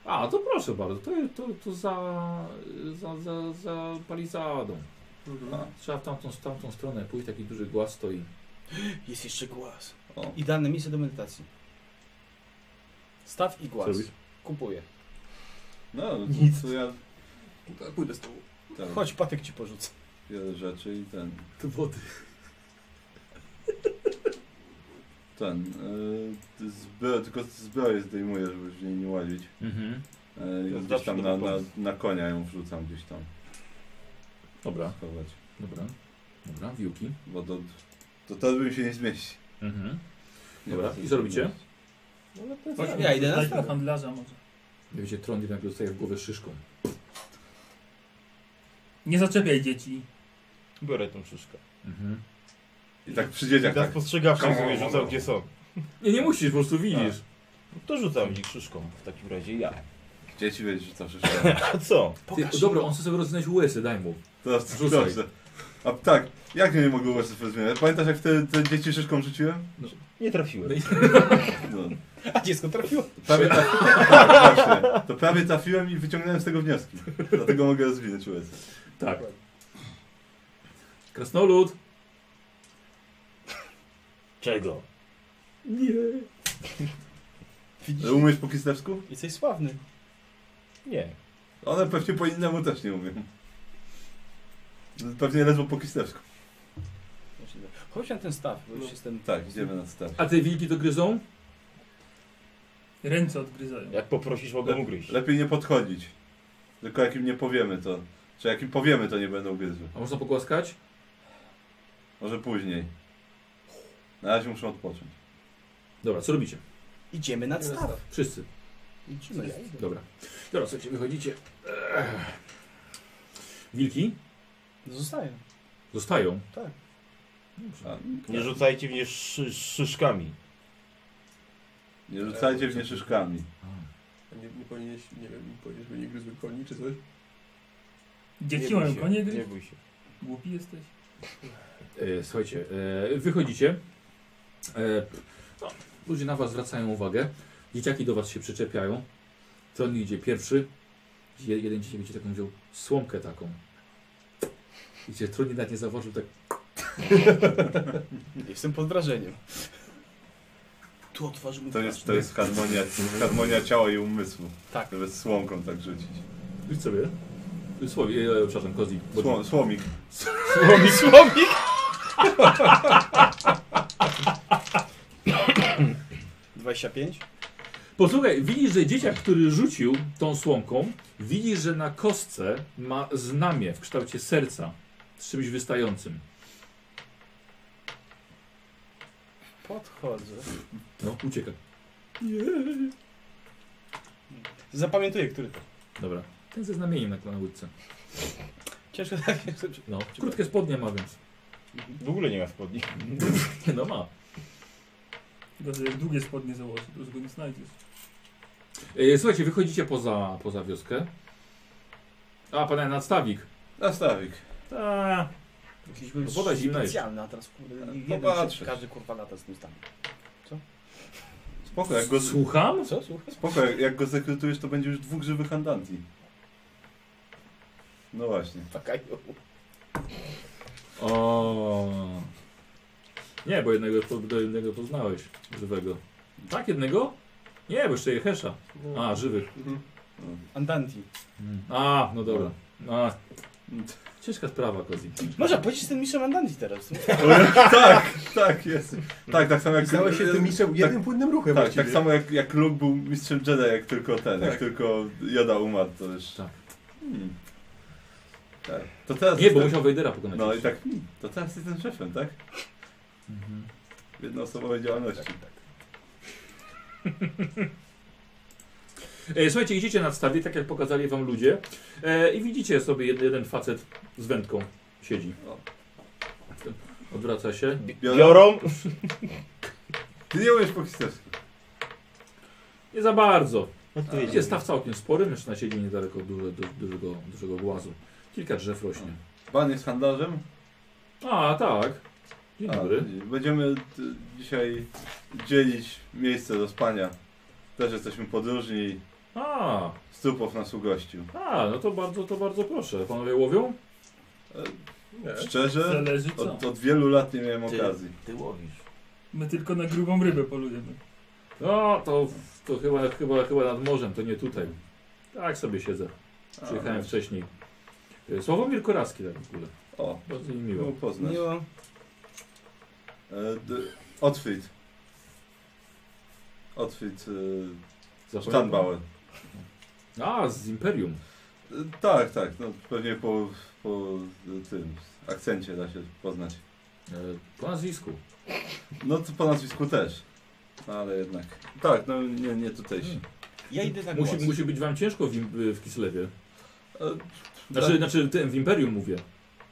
S1: A, to proszę bardzo, to, to, to za, za, za, za palizadą.
S3: A,
S1: Trzeba w tamtą, w tamtą stronę pójść, taki duży głaz stoi.
S6: Jest jeszcze głaz.
S3: o.
S6: Idealne miejsce do medytacji. Staw i głaz.
S1: Co robisz?
S6: Kupuję.
S3: No, no
S8: Nic.
S3: to, to ja...
S4: Pójdę z tobą.
S3: Tak,
S6: Chodź, Patek ci porzucę.
S3: wiele rzeczy i ten...
S1: Tu wody.
S3: Ten... Yy, ty zbroję, tylko zbroję zdejmuję, żeby w niej nie łazić.
S1: Mhm.
S3: Yy,
S2: To tak
S3: i
S2: jest
S3: gdzieś
S2: No, zawsze
S3: tam na,
S2: dobry
S3: na,
S2: pomysł.
S3: na konia ją wrzucam gdzieś tam.
S1: Dobra,
S3: Schować.
S1: dobra. Dobra, wiłki.
S3: Bo to... To teraz bym się nie zmieścił.
S1: Mhm.
S3: Nie
S1: Dobra,
S3: wiem, co
S1: i co robicie?
S7: tak.
S5: Chodźmy,
S6: ja idę na
S5: znajdźmy
S6: stawę.
S5: handlarza może.
S1: Wiecie, tron jednak dostaje w głowę szyszką.
S5: Nie zaczepiaj dzieci.
S2: Biorę tą szyszkę.
S1: Mhm.
S3: I tak przy dzieciach
S2: Tak
S3: tak...
S2: spostrzegawczy sobie
S3: Kom-
S2: rzucam gdzie są.
S1: Nie,
S3: Tak.
S1: nie musisz, po prostu widzisz.
S2: No To rzucam ich szyszką w takim razie ja.
S3: Dzieci wiedzieć, że to przyszło.
S2: A co?
S1: Ty, dobra, on chce sobie rozwinąć łysy, daj mu.
S3: Teraz to
S1: Rzucaj.
S3: dobrze. A tak, jak nie mogło właśnie rozmieniać? Pamiętasz jak te, te dzieci szyszką rzuciłem?
S2: Nie trafiłem.
S3: No.
S6: A dziecko trafiło.
S3: Prawie traf... tak, właśnie. To prawie trafiłem i wyciągnąłem z tego wnioski. Dlatego mogę rozwinąć US.
S1: Tak. Krasnolud.
S2: Czego?
S1: Nie.
S6: Widzisz?
S3: Ale Umiesz po kislewsku?
S6: Jesteś sławny.
S2: Nie.
S3: One pewnie po innemu też nie umieją. Pewnie ledwo po kislewsku.
S6: Chodź na ten staw, bo już jestem...
S3: Tak, idziemy na staw.
S1: A te wilki to gryzą?
S5: Ręce odgryzają.
S2: Jak poprosisz, mogę ugryźć.
S3: Lepiej nie podchodzić. Tylko jak im nie powiemy to. Czy jak im powiemy to nie będą gryzły.
S1: A można pogłaskać?
S3: Może później. Na razie muszą odpocząć.
S1: Dobra, co robicie?
S6: Idziemy na staw.
S1: Wszyscy.
S6: Idziemy. Ja idę.
S1: Dobra. Dobra, słuchajcie, wychodzicie. Ech. Wilki
S6: No Zostaję.
S1: zostają.
S6: Tak.
S1: Dobrze.
S3: A,
S2: Nie rzucajcie mnie szy szyszkami.
S3: nie rzucajcie w nie szyszkami.
S7: A nie, nie powinieneś, nie wiem, powinieneś, żeby nie gryzły koni czy coś?
S5: Dzieci
S2: Nie bój
S5: mają
S2: się,
S5: konie
S2: Nie
S5: gry.
S2: bój się.
S5: Głupi jesteś.
S1: E, słuchajcie, e, wychodzicie. E, no, ludzie na was zwracają uwagę. Dzieciaki do was się przyczepiają. Tron idzie pierwszy. Je, jeden dzieciak będzie taką wziął słomkę taką. I cię Tron nawet nie zauważył tak.
S6: Jestem pod wrażeniem. Tu otworzył mi
S3: To jest, to jest harmonia, harmonia ciała i umysłu.
S6: Tak.
S3: Nawet słomką tak rzucić.
S1: Idź sobie. Słowi, e, przepraszam, Kozi. Bo-
S3: Słom, słomik.
S2: Słomik, słomik!
S6: pras. 25?
S1: Posłuchaj, widzisz, że dzieciak, który rzucił tą słomką, widzisz, że na kostce ma znamię w kształcie serca z czymś wystającym.
S6: Podchodzę.
S1: No, ucieka.
S6: Zapamiętuję, który to.
S1: Dobra. Ten ze znamieniem na klanowódce.
S6: Ciężko tak jest.
S1: No, krótkie spodnie ma, więc.
S2: W ogóle nie ma spodni.
S1: Nie, no ma.
S5: Tylko, że jak długie spodnie założy, to już go nie znajdziesz.
S1: E, słuchajcie, wychodzicie poza, poza wioskę. A, pana nadstawik.
S3: Nastawik.
S5: Ta.
S6: Jakiś był
S1: No woda zimna jest.
S6: specjalny, a teraz kurde, jeden
S3: Popatrz.
S6: się- każdy kurwa lata z tym stanem.
S3: Spoko, jak Tak, go,
S1: Słucham?
S6: No Co, słuchaj?
S3: spoko, jak- jak go zrekrutujesz, to będzie już dwóch żywych andanti. No właśnie.
S6: Pakają.
S1: O. Nie, bo jednego, po- do jednego poznałeś. Żywego. Tak, jednego? Nie, bo jeszcze Jehesza.
S7: No.
S1: A, żywych.
S7: Mhm.
S6: Andanti.
S1: A, no dobra. A, ciężka sprawa, Kozi.
S6: Można powiedzieć, że jestem mistrzem Andanti teraz.
S3: tak, tak jest. Tak, tak samo jak...
S7: Znałeś się tym mistrzem jednym płynnym ruchem
S3: Tak,
S7: właściwie.
S3: tak samo jak, jak Luke był mistrzem Jedi, jak tylko ten, jak
S7: Tak.
S3: tylko Yoda umarł, to już...
S1: Tak.
S3: Hmm. tak. To teraz...
S1: Nie, bo
S3: jestem-
S1: musiał Wejdera pokonać.
S3: No i tak, hmm, to teraz jestem szefem, tak?
S1: Mhm.
S3: W jednoosobowej działalności.
S7: Tak,
S1: E, słuchajcie, idziecie na stawie, tak jak pokazali wam ludzie. E, I widzicie sobie jed, jeden facet z wędką siedzi. Odwraca się.
S2: Biorą?
S3: Ty nie umiesz po hiszpańsku.
S1: Nie za bardzo.
S2: Odpowiedzi.
S1: Jest staw całkiem spory, mężczyzna siedzi niedaleko duże, du, dużego, dużego głazu. Kilka drzew rośnie.
S3: Pan jest handlarzem?
S1: A, tak. Dzień
S3: A,
S1: dobry.
S3: Będziemy t- dzisiaj dzielić miejsce do spania. Też jesteśmy podróżni.
S1: A,
S3: Stupow nas ugościł.
S1: a, no to bardzo, to bardzo proszę. Panowie łowią? Tak.
S3: Szczerze,
S5: Zależy co.
S3: od, od wielu lat nie miałem
S2: Ty.
S3: okazji.
S2: Ty łowisz.
S5: My tylko na grubą rybę polujemy.
S1: No, to, to chyba, chyba, chyba nad morzem, to nie tutaj. Tak sobie siedzę. Przyjechałem wcześniej. E, Sławomir Koraski tak w ogóle.
S3: O,
S1: Bardzo mi miło.
S3: miło poznać.
S6: Miło.
S3: E, d- Otwit. Otwit e,
S1: Zapomniałem.
S3: Standbauer.
S1: A, z Imperium.
S3: E, tak, tak. No, pewnie po, po e, tym akcencie da się poznać.
S1: E, po nazwisku.
S3: No to po nazwisku też. Ale jednak. Tak, no nie, nie tutejsi.
S6: Ja idę na głos.
S1: Musi, musi być wam ciężko w, Im- w Kislewie.
S3: Tak E,
S1: Znaczy, znaczy tym, w Imperium mówię.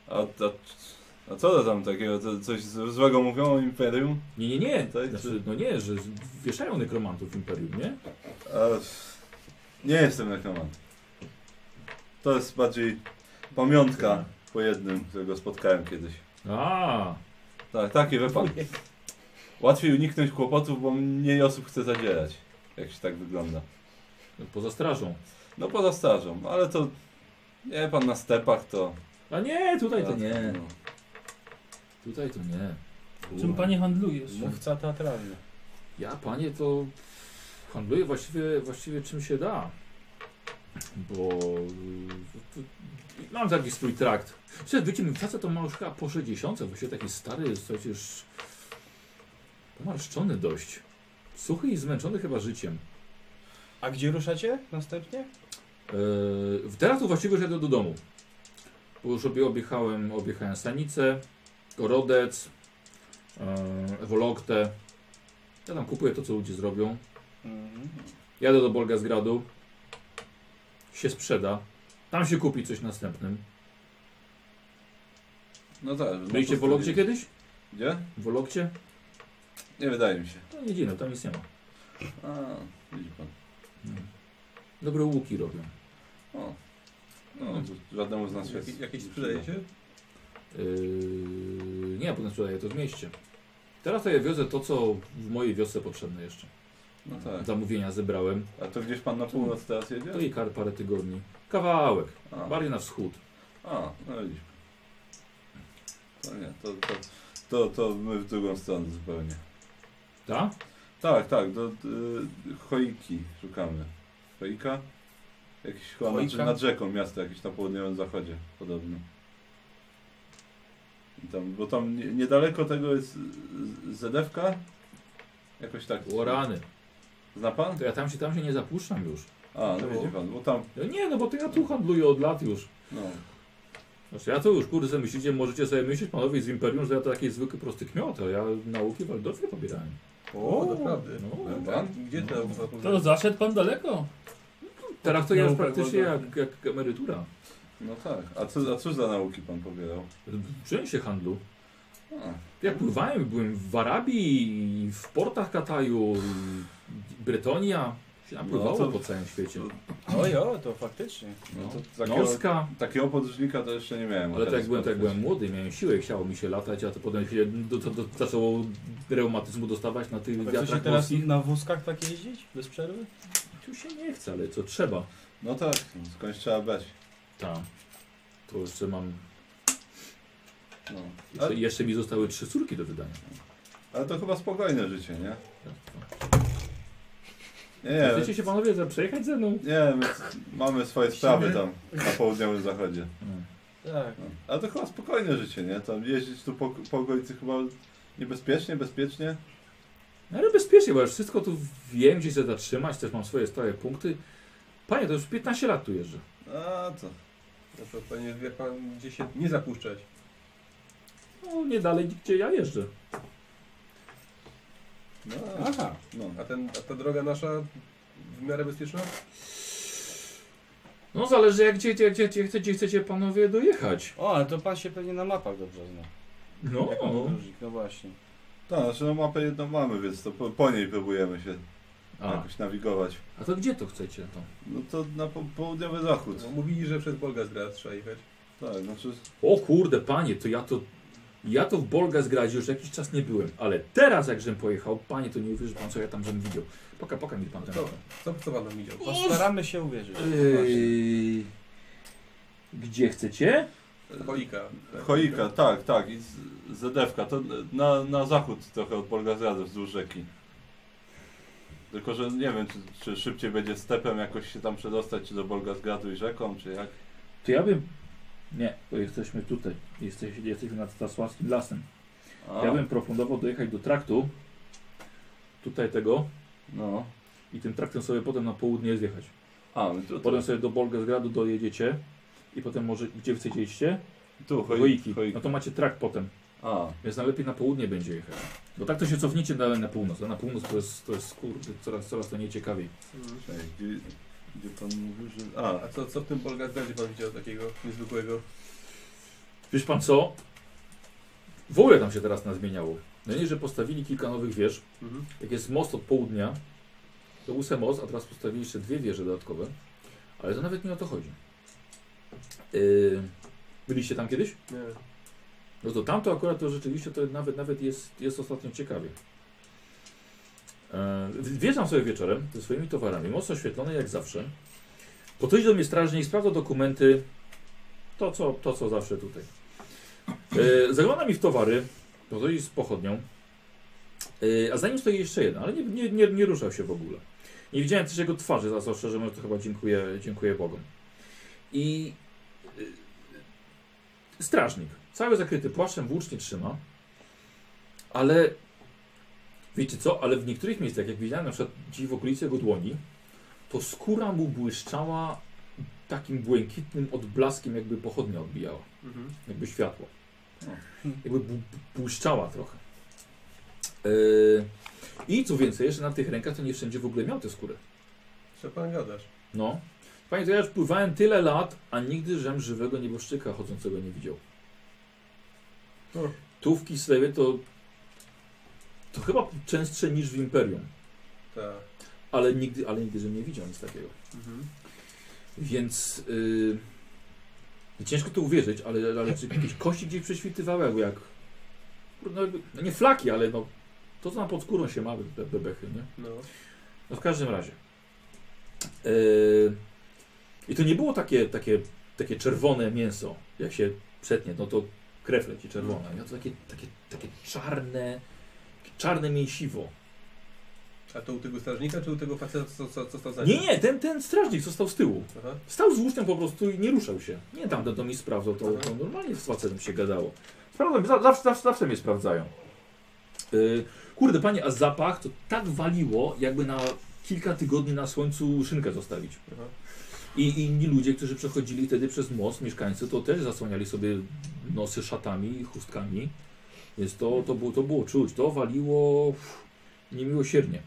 S3: A, a, a co tam takiego? Co- Coś z- złego mówią o Imperium?
S1: Nie, nie, nie.
S3: To jest-
S1: Znaczy, no nie, że z- wieszają nekromantów w Imperium, nie?
S3: E, nie jestem nekromant. To jest bardziej pamiątka po jednym, którego spotkałem kiedyś.
S1: A,
S3: Tak, taki wypadek. Łatwiej uniknąć kłopotów, bo mniej osób chce zadzierać. Jak się tak wygląda.
S1: poza strażą.
S3: No poza stażą, ale to... Nie, pan na stepach to...
S1: A nie, tutaj to
S3: a,
S1: nie.
S3: no.
S1: Tutaj to nie.
S5: Czym panie handlujesz?
S6: Mówca teatralny.
S1: Ja, panie, to handluję właściwie, właściwie czym się da. Bo y, to, mam taki swój trakt. Przed wyciem facet to ma już chyba po 60, właściwie taki stary, przecież pomarszczony dość. Suchy i zmęczony chyba życiem.
S6: A gdzie ruszacie następnie?
S1: Yy, teraz to właściwie już jadę do domu. Bo już obie- objechałem, objechałem Sanicę, Gorodec, yy, Ewoloktę. Ja tam kupuję to, co ludzie zrobią.
S6: Mhm.
S1: Jadę do Bolgazgradu. Się sprzeda. Tam się kupi coś następnym.
S3: No tak. no
S1: Byliście
S3: to
S1: w Wolokcie kiedyś?
S3: Gdzie?
S1: W Wolokcie?
S3: Nie wydaje mi się.
S1: To nie dziwne, tam nic nie ma.
S3: A, widzi pan. No.
S1: Dobre łuki robią.
S3: O. No, żadnemu z nas się...
S7: Jakie- Jakieś sprzedajecie?
S1: Yy, nie, potem sprzedaję to w mieście. Teraz to ja wiozę to, co w mojej wiosce potrzebne jeszcze.
S3: No tak.
S1: Zamówienia zebrałem.
S3: A to gdzieś pan na północ teraz jedzie?
S1: To i kar parę tygodni. Kawałek.
S3: A,
S1: Bardziej na wschód.
S3: a no widzisz. To nie, to, to, to, to my w drugą stronę zupełnie.
S1: Tak?
S3: Tak, tak, do y, choiki szukamy. Choika? Jakiś chyba
S6: Choika?
S3: nad, nad rzeką miasto jakieś na południowym zachodzie podobno. I tam, bo tam nie, niedaleko tego jest y, Zedewka? Jakoś tak.
S1: O rany.
S3: Zna pan?
S1: To ja tam się, tam się nie zapuszczam już.
S3: A, no
S1: Czemu?
S3: widzi pan, bo tam,
S1: No Nie, no bo to ja tu handluję od lat już.
S3: no,
S1: Znaczy ja to już, kurde, sobie myślicie, możecie sobie myśleć, panowie z Imperium, że ja to taki zwykły prosty kmiot, a ja nauki w Aldorfie pobierałem.
S7: O, naprawdę.
S1: No.
S3: wie pan?
S7: Gdzie to?
S5: To zaszedł pan daleko.
S1: Teraz to ja już
S5: Nauka
S1: praktycznie
S5: była
S1: jak, jak emerytura.
S3: No tak. A co, a cóż za nauki pan pobierał?
S1: Uczyłem się handlu.
S3: A,
S1: Ja pływałem, byłem w Arabii, i w portach Kataju, i Bretonia. Się napływało
S3: No to-
S1: po całym świecie.
S6: Oj, o, to faktycznie.
S3: no to no takiego,
S1: Norska.
S3: takiego podróżnika to jeszcze nie miałem.
S1: Ale tak jak,
S3: okazji
S1: byłem, tak jak
S3: spotkać.
S1: byłem młody, miałem siłę, chciało mi się latać, a to potem się do, do, do, zaczęło reumatyzmu dostawać na tych
S6: A co się
S1: wiatrach
S6: teraz
S1: morskich.
S6: na wózkach tak jeździć? Bez przerwy?
S1: Tu się nie chce, ale co trzeba.
S3: No tak, no, skądś trzeba brać.
S1: Tak. To jeszcze mam.
S3: No.
S1: Jeszcze,
S3: Ale,
S1: jeszcze mi zostały trzy córki do wydania.
S3: ale to chyba spokojne życie, nie? Nie,
S1: Nie,
S3: nie,
S1: Chcecie się panowie za- przejechać ze mną?
S3: nie my mamy swoje sprawy tam na południowym zachodzie.
S6: Tak.
S3: No. Ale to chyba spokojne życie, nie? Tam jeździć tu po, po okolicy chyba niebezpiecznie, bezpiecznie.
S1: No, ale bezpiecznie, bo już wszystko tu wiem, gdzie się zatrzymać, też mam swoje stałe punkty. Panie, to już 15 lat tu jeżdżę.
S3: A to.
S7: Proszę, panie, wie pan, gdzie się nie zapuszczać?
S1: No nie dalej, gdzie ja jeżdżę.
S3: No,
S1: Tak?
S6: Aha.
S3: no.
S7: A, ten, a ta droga nasza w miarę bezpieczna?
S1: No zależy, jak gdzie, gdzie, gdzie, gdzie, chcecie, gdzie chcecie panowie dojechać.
S6: O, ale to pan się pewnie na mapach dobrze zna.
S1: No,
S6: Jako podróżnik, no właśnie.
S3: Tak, znaczy no mapę jedną mamy, więc to po, po niej próbujemy się
S1: a,
S3: jakoś nawigować.
S1: a to gdzie to chcecie? To?
S3: No to na po, południowy zachód.
S7: No, mówili, że przez Bolgazgrad trzeba jechać.
S3: Tak, znaczy
S1: O kurde, panie, to ja to. Ja to w Bolga zgradzie już jakiś czas nie byłem, ale teraz jak żem pojechał, panie, to nie uwierzy pan, co ja tam żem widział. Poka, poka mi pan ten.
S7: Co, co, co pan nam widział?
S6: Postaramy się uwierzyć.
S1: Ej, Gdzie chcecie?
S7: Choika. tak.
S3: Choika, tak, tak. I z- Zedewka, to na, na zachód trochę od Bolgazrady wzdłuż rzeki. Tylko, że nie wiem, czy, czy szybciej będzie stepem jakoś się tam przedostać, czy do Bolgazgradu i rzeką, czy jak.
S1: To ja bym. Nie, to jesteśmy tutaj. Jesteś, jesteśmy nad Stasławskim lasem.
S3: A,
S1: Ja bym proponował dojechać do traktu. Tutaj tego.
S3: No.
S1: I tym traktem sobie potem na południe zjechać.
S3: A, no my tu, tu,
S1: Potem sobie do Bolgazgradu dojedziecie. I potem może gdzie chcecie iście?
S3: tu
S1: Choiki.
S3: choiki. choiki.
S1: No to macie trakt potem.
S3: A,
S1: Więc najlepiej na południe będzie jechać. Bo tak to się cofniecie dalej na północ. A na północ to jest, to jest kurde, coraz, coraz to nieciekawiej.
S7: Mm.
S3: czekaj, gdzie, gdzie pan mówił, że... A,
S7: A co, co w tym Bolgazgradzie pan widział takiego niezwykłego?
S1: Wiesz pan co? W ogóle tam się teraz nazmieniało. No nie, że postawili kilka nowych wież.
S7: Mhm.
S1: Jak jest most od południa, to był se most, a teraz postawili jeszcze dwie wieże dodatkowe. Ale to nawet nie o to chodzi. Yy, byliście tam kiedyś?
S7: Nie.
S1: No to tamto akurat to rzeczywiście to nawet, nawet jest, jest ostatnio ciekawie. E, wjeżdżam sobie wieczorem ze swoimi towarami, mocno oświetlony jak zawsze. Podchodzi do mnie strażnik, sprawdza dokumenty, to co, to co zawsze tutaj. E, zagląda mi w towary, podchodzi z pochodnią, e, a za nim stoi jeszcze jeden, ale nie, nie, nie, nie ruszał się w ogóle. Nie widziałem też jego twarzy, za co szczerze mówiąc to chyba dziękuję, dziękuję Bogom. I Strażnik, cały zakryty płaszczem, włócznie trzyma, ale wiecie co, ale w niektórych miejscach, jak widziałem na przykład gdzieś w okolicy jego dłoni, to skóra mu błyszczała takim błękitnym odblaskiem, jakby pochodnia odbijała,
S7: Mhm.
S1: jakby światło.
S3: No.
S1: Jakby bu- błyszczała trochę. Yy, I co więcej, jeszcze na tych rękach to nie wszędzie w ogóle miał tę skórę.
S7: Co pan gadasz?
S1: No. Panie, to ja już pływałem tyle lat, a nigdy żem żywego nieboszczyka chodzącego nie widział.
S7: O.
S1: Tu w Kislewie to... To chyba częstsze niż w Imperium.
S7: Tak.
S1: Ale nigdy, ale nigdy żem nie widział nic takiego.
S7: Mhm.
S1: Więc... Yy, i ciężko to uwierzyć, ale, ale czy jakieś kości gdzieś prześwitywały, jakby jak... No, jakby, no nie flaki, ale no... To, co nam pod skórą się ma, be, bebechy, nie?
S7: No.
S1: No w każdym razie. Yy, I to nie było takie, takie, takie czerwone mięso. Jak się przetnie, no to krew leci czerwona. Miało to takie, takie, takie czarne, takie czarne mięsiwo.
S7: A to u tego strażnika, czy u tego faceta, co, co, co stał za nim?
S1: Nie, nie, ten, ten strażnik, co stał z tyłu.
S7: Aha.
S1: Stał z łóżkiem po prostu i nie ruszał się. Nie, tamten to mi sprawdzał, to, to normalnie z facetem się gadało. Sprawdzam, za- zawsze, zawsze, zawsze mnie sprawdzają. Yy, kurde, panie, a zapach to tak waliło, jakby na kilka tygodni na słońcu szynkę zostawić.
S7: Aha.
S1: I inni ludzie, którzy przechodzili wtedy przez most, mieszkańcy, to też zasłaniali sobie nosy szatami i chustkami. Więc to, to, było, to było czuć, to waliło uff, niemiłosiernie.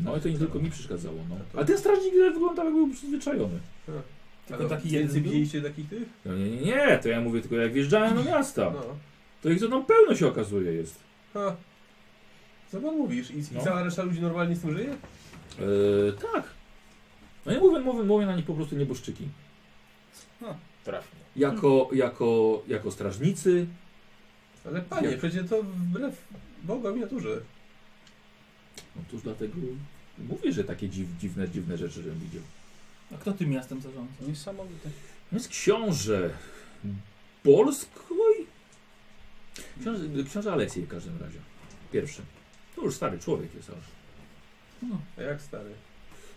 S1: No i to nie tylko mi przeszkadzało. No. A ten strażnik wyglądał jakby był przyzwyczajony.
S7: Tylko
S5: taki
S7: taki
S5: jeden
S7: więcej
S5: był?
S7: widzieliście takich tych?
S1: No nie, nie, nie, to ja mówię tylko jak wjeżdżałem do miasta,
S7: No.
S1: to ich to tam pełno się okazuje jest.
S7: Ha. Co pan mówisz? I,
S1: No.
S7: I cała reszta ludzi normalnie z tym żyje?
S1: Eee, tak. No i mówię, mówię, mówię na nich po prostu nieboszczyki.
S2: Trafnie.
S1: Jako, jako, jako strażnicy.
S7: Ale panie,
S1: Jak?
S7: przecież to wbrew Bogom i naturze.
S1: No cóż, dlatego mówię, że takie dziw, dziwne, dziwne rzeczy, żebym widział.
S5: A kto tym miastem zarządza?
S6: Niesamowite.
S1: No Jest książę Polskoj? Książę, książę Aleksiej w każdym razie. Pierwszy. To już stary człowiek jest, ale
S7: A jak stary?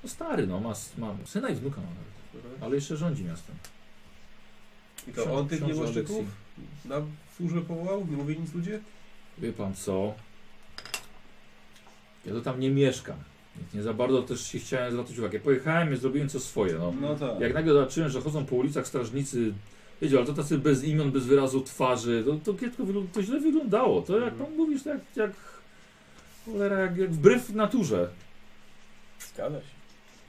S1: no stary, no ma, ma syna i wnuka ma nawet,
S7: Aha.
S1: ale jeszcze rządzi miastem.
S7: I to
S1: Ksią-
S7: on tych
S1: książę
S7: nieboszczyków
S1: Aleksiej.
S7: na służbę powołał? Nie mówi nic ludzie?
S1: Wie pan co? Ja to tam nie mieszkam. Więc nie za bardzo też się chciałem zwracać uwagę. Pojechałem i zrobiłem co swoje. No.
S3: no tak.
S1: Jak nagle zobaczyłem, że chodzą po ulicach strażnicy, wiecie, ale to tacy bez imion, bez wyrazu twarzy, to, to kiepsko wygląda, to źle wyglądało. To jak pan mówisz, to jak, jak, cholera, jak, jak wbrew naturze.
S2: Zgadza się.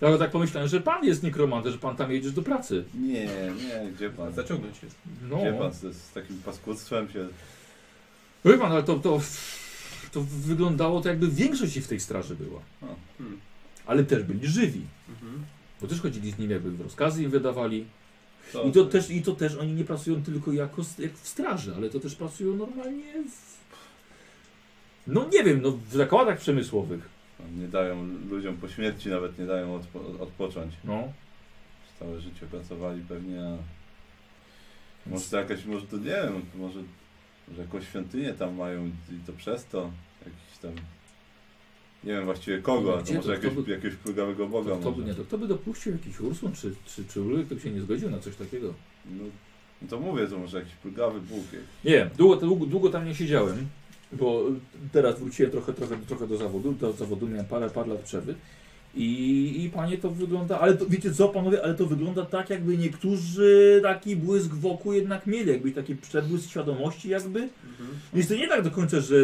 S1: Ja tak pomyślałem, że pan jest nekromantem, że pan tam jedziesz do pracy.
S3: Nie, nie, gdzie pan?
S7: Zaciągnąć się.
S1: No,
S3: Gdzie pan z, z takim paskudstwem się
S1: Wie pan, ale to, to, to wyglądało to jakby większość ich w tej straży była.
S3: A,
S7: hmm.
S1: Ale też byli żywi.
S7: Mhm.
S1: Bo też chodzili z nimi, jakby rozkazy im wydawali.
S3: To,
S1: I to, też, I to też oni nie pracują tylko jako s- jak w straży, ale to też pracują normalnie w... No nie wiem, no w zakładach przemysłowych.
S3: No, Nie dają ludziom po śmierci, nawet nie dają odpo, odpocząć.
S1: No.
S3: Całe życie pracowali pewnie, a może to jakaś, może to nie wiem, to może, może jakąś świątynię tam mają i to przez to jakiś tam, nie wiem właściwie kogo, ale to
S1: Gdzie to?
S3: może
S1: Kto
S3: jakiegoś,
S1: by-
S3: jakiegoś plugawego boga
S1: To, to, by,
S3: może.
S1: nie, to, kto by dopuścił jakiś Ursun czy, czy, czy Ulryk, kto by się nie zgodził na coś takiego?
S3: No, no to mówię, to może jakiś plugawy bóg. jak-
S1: Nie wiem, długo, długo, długo tam nie siedziałem, bo teraz wróciłem trochę, trochę, trochę do zawodu, do zawodu miałem parę, parę lat przerwy i, i panie to wygląda, ale to, wiecie co panowie, ale to wygląda tak jakby niektórzy taki błysk wokół jednak mieli, jakby taki przebłysk świadomości jakby.
S7: Mhm.
S1: Więc to nie tak do końca, że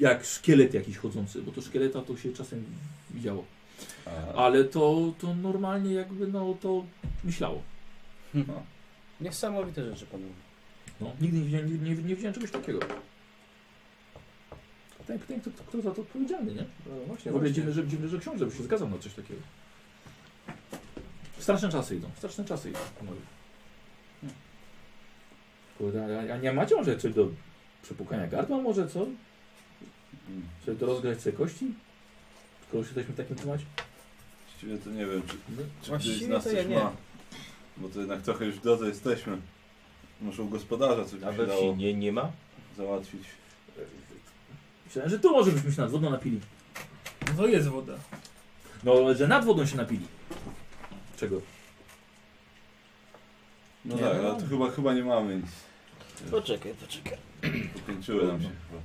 S1: jak szkielet jakiś chodzący, bo to szkieleta to się czasem widziało,
S3: A,
S1: ale to, to normalnie jakby no to myślało.
S3: no,
S6: Niesamowite rzeczy panowie.
S1: No, nigdy nie widziałem, nie, nie, nie widziałem czegoś takiego. Pytanie, pytanie kto, kto za to odpowiedzialny, nie?
S7: No właśnie,
S1: W ogóle
S7: właśnie.
S1: dziwne, że, dziwne, że książę by się zgadzał na coś takiego. Straszne czasy idą, straszne czasy idą. panowie. Kurde, a, a nie macie może coś do przepukania gardła może, co?
S3: mm,
S1: Czy do rozgrać sobie kości? Skoro już jesteśmy w takim temacie? No,
S3: właściwie to nie wiem, czy, czy któryś
S6: Właściwie
S3: z nas
S6: to ja
S3: coś
S6: nie.
S3: ma, bo to jednak trochę już w drodze jesteśmy. Może u gospodarza coś
S2: A
S3: by się
S2: we wsi
S3: dało
S2: nie, nie ma?
S3: załatwić.
S1: Myślałem, że tu może byśmy się nad wodą napili.
S5: To jest woda.
S1: No, ale że nad wodą się napili. Czego?
S3: No
S1: Nie,
S3: tak,
S1: no.
S3: ale to chyba, chyba nie mamy nic.
S6: Poczekaj, poczekaj.
S3: Popięciły nam się chyba.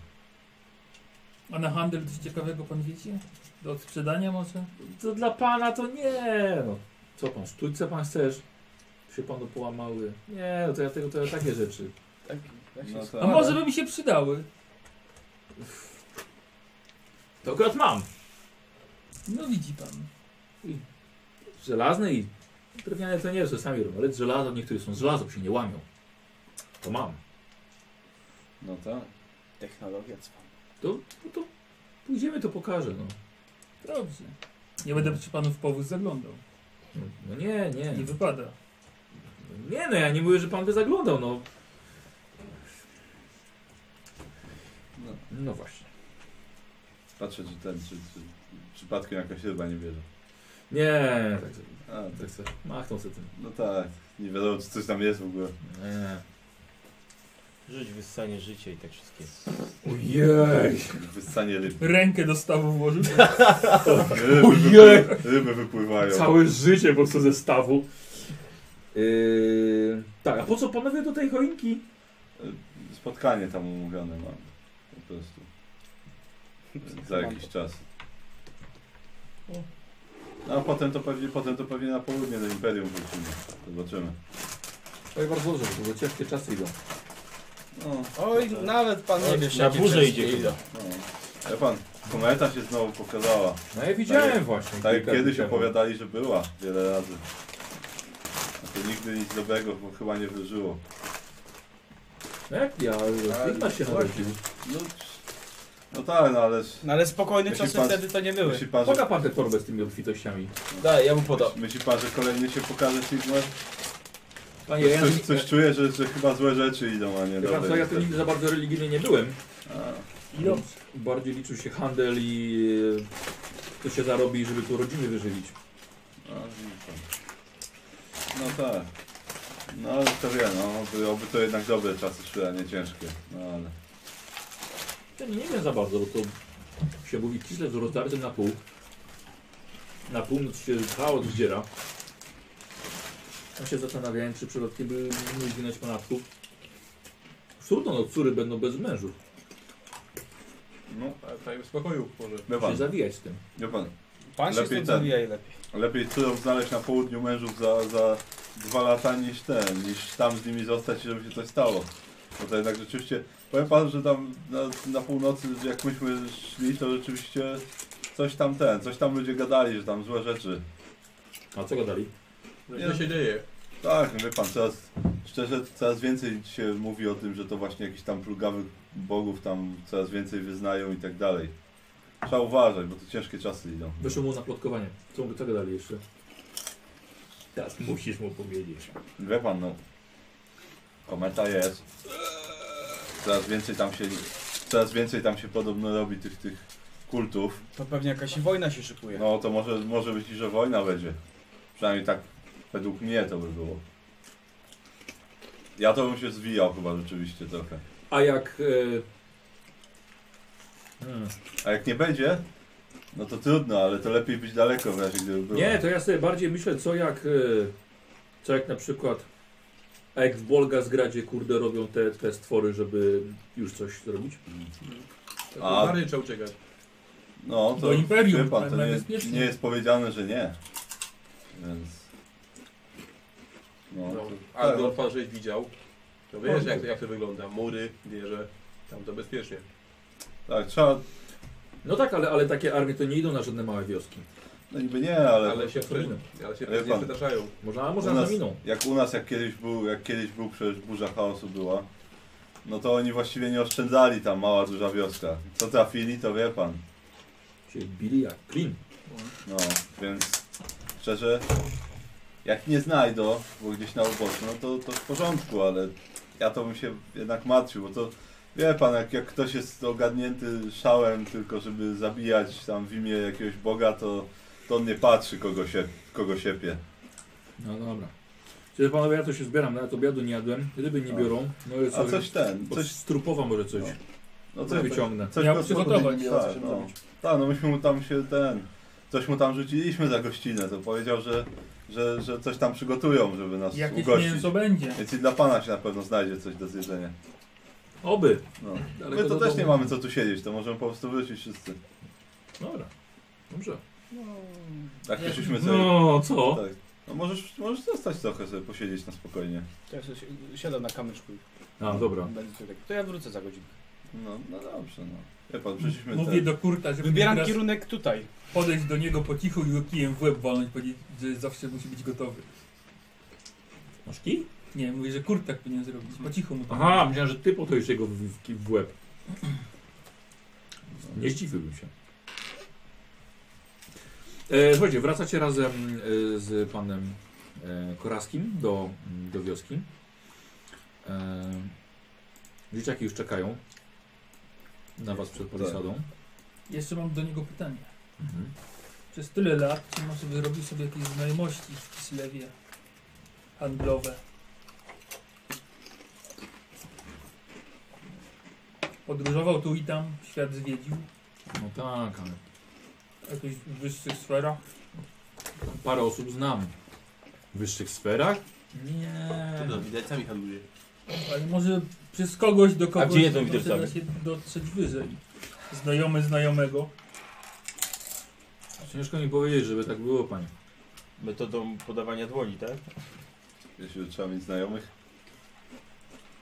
S5: A na handel coś ciekawego pan wiecie? Do odsprzedania może?
S1: To dla pana to nie. No. Co pan, sztućce pan chcesz? Się panu połamały. Nie, no to ja tego to ja takie rzeczy.
S8: Tak, tak się
S3: No
S5: A
S3: tak.
S5: może by mi się przydały?
S1: To akurat mam.
S5: No widzi pan.
S1: Żelazne i drewniane to nie, że sami robią. Ale z żelazo, niektóre są z żelazo, się nie łamią. To mam.
S3: No tak.
S6: Technologia cwa.
S1: To, to, No to pójdziemy, to pokażę. No,
S5: Dobrze. Nie
S2: Hmm.
S5: będę przy panu w powóz zaglądał.
S1: no, no nie, nie.
S5: Nie wypada.
S1: Nie no, ja nie mówię, że pan by zaglądał, no.
S3: No.
S1: No właśnie.
S3: Patrzę, czy ten, czy, czy przypadkiem jakaś ryba nie bierze.
S1: Nie, tak sobie.
S3: A, tak.
S1: Tak sobie. Machnął sobie tym.
S3: No tak, nie wiadomo, czy coś tam jest w ogóle.
S1: Nie.
S2: Żyć, wyssanie życie i tak wszystkie.
S1: Ojej.
S3: Wyssanie ryb.
S5: Rękę do stawu włożył.
S3: Ryby,
S1: Ojej!
S3: wypły- ryby wypływają.
S1: Całe życie po prostu ze stawu. Yy, tak, a po co panowie do tej choinki?
S3: Spotkanie tam umówione mam. Po prostu. Za jakiś czas. No, a potem to pewnie, potem to pewnie na południe do Imperium wrócimy. Zobaczymy.
S1: Oj, bardzo dobrze, bo ciężkie czasy idą.
S3: No,
S6: Oj, nawet pan nie wiesz,
S2: Na
S6: jakie
S2: burzę
S6: wszystkie
S2: idzie chyba.
S6: idą.
S3: no. Ale pan, kometa się znowu pokazała.
S1: No ja widziałem
S3: Tak jak-
S1: właśnie.
S3: Tak jak
S1: kilka
S3: kiedyś
S1: dni temu.
S3: opowiadali, że była wiele razy. A to nigdy nic dobrego bo chyba nie wyżyło.
S1: Jak Tak, ja? Filma się
S3: właśnie.
S1: narodził.
S3: No, no tak, no ale
S6: No ale spokojne
S3: Jeśli
S6: czasy
S3: pan-
S6: wtedy to nie były.
S3: myśli pan,
S1: Poda
S3: że,
S1: pan tę torbę z tymi obfitościami.
S6: Daj, ja mu podam.
S3: myśli pan, że kolejny się pokaże Sigmar?
S1: Panie,
S3: Coś,
S1: ja,
S3: coś, coś czuję, że, że chyba złe rzeczy idą, a nie
S1: ja, ja,
S3: dobre.
S1: ja tu nigdy za bardzo religijny nie byłem.
S3: A,
S5: I dobrze.
S1: Bardziej liczył się handel i e, co się zarobi, żeby tu rodziny wyżywić.
S3: a, widzi pan. No tak. No ale to wie, no, oby, oby to jednak dobre czasy szły, a nie ciężkie. No ale...
S1: Ja nie wiem za bardzo, bo to się mówi kislew z rozdartym na pół. Na północ się chaos wdziera. Ja się zastanawiałem, czy przypadkiem by nie zginąć ponadków. Trudno, no córy będą bez mężów.
S3: No,
S7: Dajmy tak spokoju może.
S3: wie
S1: Się
S3: pan,
S1: zawijać z tym.
S3: wie pan.
S6: Pan się
S3: Lepiej
S6: stąd
S3: ten.
S6: zawijaj lepiej.
S3: Lepiej cudom znaleźć na południu mężów za, za dwa lata niż ten, niż tam z nimi zostać i żeby się coś stało. Bo to jednak rzeczywiście, powiem panu, że tam na, na północy jak myśmy szli, to rzeczywiście coś tam ten, coś tam ludzie gadali, że tam złe rzeczy.
S1: A co gadali?
S7: Co się dzieje?
S3: Tak, wie pan, teraz Szczerze, coraz więcej się mówi o tym, że to właśnie jakiś tam plugawych bogów tam coraz więcej wyznają i tak dalej. Trzeba uważać, bo to ciężkie czasy idą.
S1: Wyszło mu na plotkowanie. Co, co gadali jeszcze? Teraz musisz mu powiedzieć.
S3: Wie pan, no. Kometa jest. Coraz więcej tam się. Coraz więcej tam się podobno robi tych tych kultów.
S6: To pewnie jakaś wojna się szykuje.
S3: No to może, może być, i, że wojna będzie. Przynajmniej tak według mnie to by było. Ja to bym się zwijał chyba rzeczywiście trochę.
S1: A jak... Yy... Hmm.
S3: A jak nie będzie, no to trudno, ale to lepiej być daleko w razie gdyby było.
S1: Nie, to ja sobie bardziej myślę, co jak, y, co jak na przykład, a jak w Bolgazgradzie, kurde, robią te, te stwory, żeby już coś zrobić.
S3: A-
S7: Mary trzeba uciekać.
S3: No to
S5: Do imperium,
S3: wie pan, to
S5: na- na
S3: nie,
S5: bezpiecznie.
S3: nie jest powiedziane, że nie. Więc... No,
S7: No,
S3: to,
S7: Aldor pan żeś widział. To wiesz jak, jak to wygląda. Mury, wieże. Tam to bezpiecznie.
S3: tak, trzeba...
S1: No tak, ale, ale takie armie to nie idą na żadne małe wioski.
S3: No niby nie, ale...
S7: Ale się,
S1: to inne.
S7: ale się
S3: Ale
S7: pewnie
S3: pan-
S7: przetaszają.
S1: Może, a może
S3: U
S1: na
S3: nas-
S1: miną.
S3: Jak u nas, jak kiedyś był, jak kiedyś był przecież burza chaosu była, no to oni właściwie nie oszczędzali tam mała, duża wioska. Co trafili, to wie pan.
S1: Się bili jak klin.
S3: No, więc szczerze, jak nie znajdą, bo gdzieś na uboczu, no to, to w porządku, ale ja to bym się jednak martwił, bo to wie pan, jak, jak ktoś jest ogarnięty szałem tylko, żeby zabijać tam w imię jakiegoś boga, to, to on nie patrzy, kogo, się, kogo siepie.
S1: No dobra. Czyli panowie, ja to się zbieram, nawet obiadu nie jadłem, ryby nie
S3: A.
S1: biorą. No i
S3: A
S1: co,
S3: coś ten,
S1: od
S3: coś,
S1: strupowa może coś.
S3: no
S1: coś
S3: coś,
S1: wyciągnę.
S3: coś
S5: Miał
S3: go-
S5: przygotować,
S3: tak,
S5: miał coś
S3: no. Tak, no myśmy mu tam się ten, coś mu tam rzuciliśmy za gościnę, to powiedział, że, że, że coś tam przygotują, żeby nas
S5: Jakieś
S3: ugościć.
S5: mięso będzie.
S3: Więc i dla pana się na pewno znajdzie coś do zjedzenia.
S1: Oby.
S3: No.
S1: Daleko do
S3: My to też
S1: domu.
S3: nie mamy co tu siedzieć, to możemy po prostu wrócić wszyscy.
S1: Dobra. Dobrze.
S6: No.
S3: Tak przyszliśmy sobie.
S1: No co?
S3: Tak. No możesz, możesz zostać trochę sobie posiedzieć na spokojnie.
S6: To ja sobie si- siadam na kamyczku i
S1: A, dobra.
S6: będę tutaj. To ja wrócę za godzinę.
S3: No, no dobrze, no. Wie pan, przyszliśmy tak.
S5: Mówię
S3: ten-
S5: do kurta, żeby
S6: Wybieram
S5: teraz
S6: kierunek tutaj.
S5: podejść do niego po cichu i go kijem w łeb walnąć, powiedzieć, że zawsze musi być gotowy.
S1: Masz kij?
S5: Nie, mówię, że kurt tak powinien zrobić. Po cichu mu to
S1: Aha, myślałem, że ty potoisz jego w, w, w łeb. No, Nie zdziwiłbym się. E, słuchajcie, wracacie razem e, z panem e, Koraskim do, do wioski. E, dzieciaki już czekają na was przed palisadą.
S5: Jeszcze mam do niego pytanie.
S1: Mhm.
S5: Przez tyle lat, czy może by zrobił sobie jakieś znajomości w Kislewie handlowe? Podróżował tu i tam, świat zwiedził,
S1: No tak, ale
S5: w jakichś wyższych sferach.
S1: parę osób znam. W wyższych sferach?
S7: To
S1: Nie.
S7: do widelcami handluje.
S5: Ale może przez kogoś do kogoś
S2: gdzie jedzą
S5: może
S2: widelcami?
S5: da się dotrzeć wyżej. Znajomy znajomego.
S1: Ciężko mi powiedzieć, żeby tak było, panie.
S2: Metodą podawania dłoni, tak?
S3: Jeśli trzeba mieć znajomych.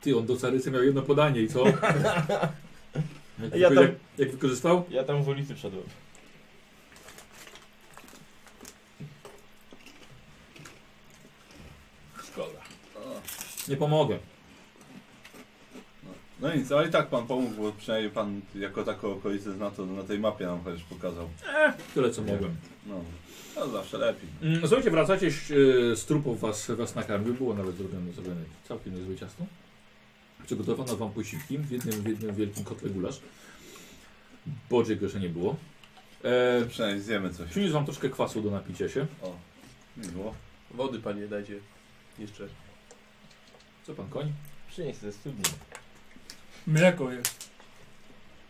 S1: Ty, on do Carysy miał jedno podanie i co? Jak,
S2: Ja
S1: wyko-
S2: tam-
S1: jak, jak wykorzystał?
S2: Ja tam w ulicy wszedłem.
S1: Szkoda. Nie pomogę.
S3: No nic, ale i tak pan pomógł, bo przynajmniej pan jako taką okolicę zna to na tej mapie nam chociaż pokazał.
S1: Tyle co mogłem.
S3: No, no zawsze lepiej.
S1: Mm, Słuchajcie, wracacie e, z trupów was, was nakarmił. Było nawet zrobione, zrobione całkiem niezłe ciasto. Przygotowano wam posiłki w jednym, w jednym wielkim kotle gulasz. Bodziek jeszcze nie było. E,
S3: Przynajmniej zjemy coś.
S1: przyniósł wam troszkę kwasu do napicia się.
S3: O, miło.
S7: Wody panie dajcie. Jeszcze.
S1: Co pan koń?
S2: Przynieś ze studni.
S5: Mleko jest.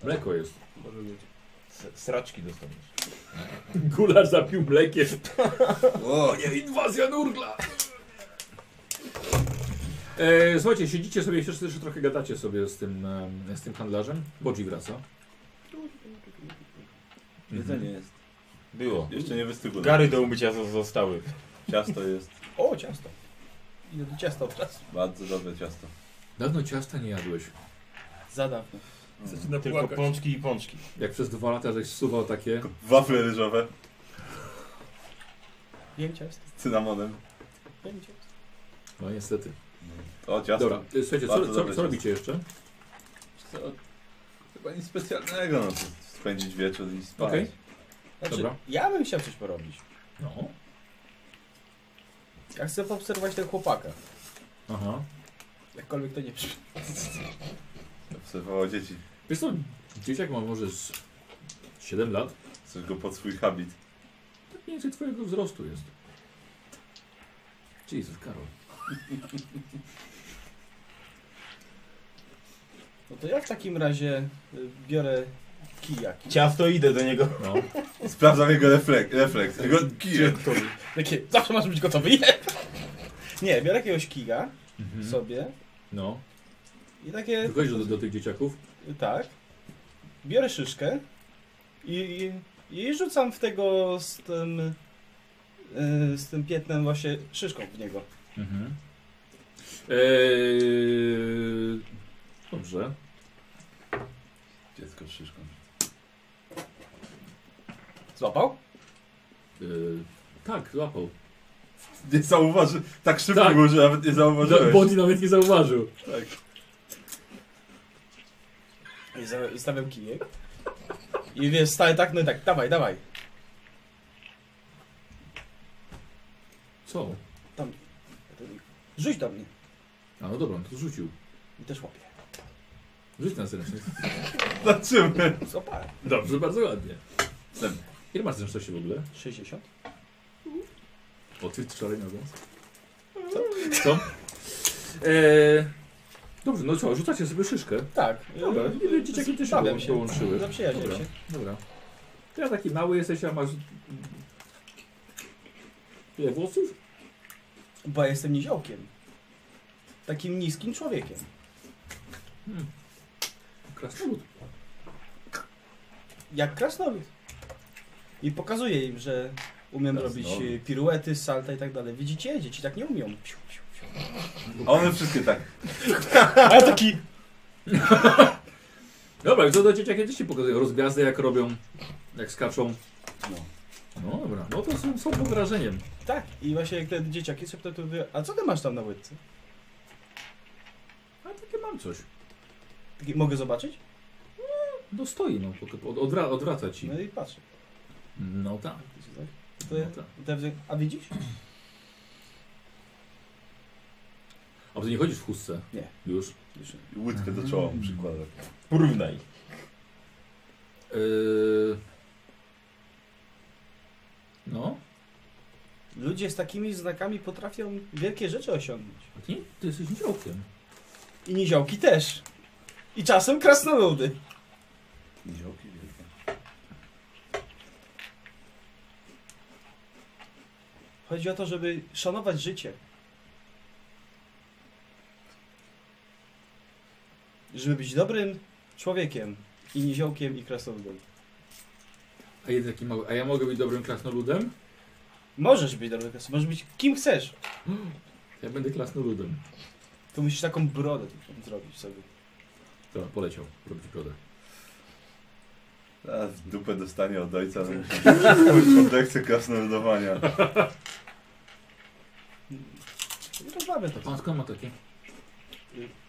S1: Mleko jest.
S7: Może mieć.
S2: S- Sraczki dostaniesz.
S1: Gulasz zapił mlekiem. O nie, inwazja nurgla! E, słuchajcie, siedzicie sobie, jeszcze, jeszcze trochę gadacie sobie z tym, e, z tym handlarzem. Bodzi wraca. Mhm.
S3: Jedzenie jest.
S2: Było.
S3: Jeszcze nie wystygło.
S2: Gary do umycia zo- zostały.
S3: Ciasto jest.
S2: O, ciasto.
S6: Idę do ciasta od razu.
S3: Bardzo dobre ciasto.
S1: Dawno ciasta nie jadłeś.
S6: Za dawno.
S1: Mm.
S5: Zaczyna
S2: Tylko
S5: płakać.
S2: pączki i pączki.
S1: Jak przez dwa lata żeś suwał takie.
S3: Wafle ryżowe
S6: Jem ciasto.
S3: z cynamonem.
S6: Jem ciasto.
S1: No niestety.
S3: O, ciasto.
S1: Dobra, y, słuchajcie, co,
S3: Bardzo
S1: co,
S3: dobre
S1: co robicie jeszcze?
S3: Co? Chyba nic specjalnego, no to spędzić wieczór i spać.
S1: Okej.
S2: Znaczy,
S1: Dobra.
S2: ja bym chciał coś porobić.
S1: No.
S2: Ja chcę poobserwować tego chłopaka.
S1: Aha.
S2: Jakkolwiek to nie przy...
S3: Obserwował dzieci.
S1: Wiesz co, dzieciak ma może z 7 lat?
S3: Coś go pod swój habit.
S1: Tak mniej więcej twojego wzrostu jest. Jesus, Karol.
S2: No to ja w takim razie y, biorę kijak.
S9: Ciasto idę do niego.
S1: No.
S3: Sprawdzam jego refleks. refleks. Jego kijek.
S2: Takie, zawsze masz być gotowy. nie, biorę jakiegoś kija
S1: Mhm.
S2: sobie
S1: No.
S2: i takie,
S1: Wychodzisz do, do tych dzieciaków.
S2: tak, biorę szyszkę i, i, i rzucam w tego z tym, y, z tym piętnem właśnie szyszką w niego.
S1: Mhm. Eee, E, dobrze.
S3: Dziecko z szyszką.
S2: Złapał?
S1: Eee, tak, złapał.
S3: Nie zauważy. Tak szybko
S1: Tak.
S3: było, że nawet nie
S1: No,
S3: zauważyłeś.
S1: Body nawet nie zauważył.
S3: Tak.
S2: I, za, i stawiam kijek. I wiesz, staję tak, no i tak, dawaj, dawaj.
S1: Co?
S2: Rzuć do mnie.
S1: A no dobra, on to rzucił.
S2: I też łapię.
S1: Rzuć na zręczny.
S3: Zobaczymy.
S2: Złapałem.
S1: Dobrze, bardzo ładnie.
S3: Sem.
S1: Ile masz zręczności w ogóle?
S2: 60?
S1: O, ty wczoraj na głos. Co? Co? Eee, dobrze, no co, rzucacie sobie szyszkę.
S2: Tak.
S1: Dobra,
S2: Y,
S1: y, dzieciaki też się
S2: stawiam
S1: połą- połączyły.
S2: Zaprzyjaźniam
S1: Dobra.
S2: się.
S1: Dobra. Ty ja taki mały jesteś, a masz... Ile włosów?
S2: Bo ja jestem niziołkiem. Takim niskim człowiekiem.
S1: Krasnolud.
S2: Jak krasnolud. I pokazuję im, że umiem
S3: Krasnolud.
S2: robić y, piruety, salta i tak dalej. Widzicie? Dzieci tak nie umią. Piu, piu, piu.
S3: A one wszystkie tak.
S2: A ja taki...
S1: Dobra, i co do dzieciaki też ci pokazują rozgwiazdy, jak robią, jak skaczą.
S2: No.
S1: No dobra, no to są, są pod wrażeniem.
S2: Tak. I właśnie jak te dzieciaki się pytają, to mówię, a co ty masz tam na łydce?
S1: A takie mam coś.
S2: Taki, Mogę zobaczyć?
S1: No stoi, no, po- po- od, odwra, odwraca ci.
S2: No i patrzę.
S1: No tak.
S2: To
S1: No
S2: ja,
S1: tak.
S2: to ja wzię- a widzisz?
S1: A ty nie chodzisz w chustce?
S2: Nie.
S1: Już?
S3: I Łódkę do czoła mu przykłada.
S9: Porównaj.
S1: Yy... No.
S2: Ludzie z takimi znakami potrafią wielkie rzeczy osiągnąć.
S1: A ty, ty jesteś niziołkiem.
S2: I niziołki też. I czasem krasnoludy.
S3: Niziołki wielkie.
S2: Chodzi o to, żeby szanować życie. Żeby być dobrym człowiekiem i niziołkiem i krasnoludem.
S1: A jeden taki mały. A ja mogę być dobrym krasnoludem?
S2: Możesz być dobrym krasnoludem, możesz być kim chcesz.
S1: Ja będę krasnoludem.
S2: To musisz taką brodę taką zrobić sobie.
S1: Dobra, poleciał. Robić brodę.
S3: A w dupę dostanie od ojca. no musi- Oddechce krasnoludowania.
S2: No to mamy
S1: A
S2: to.
S1: pan skąd ma takie?
S2: Y,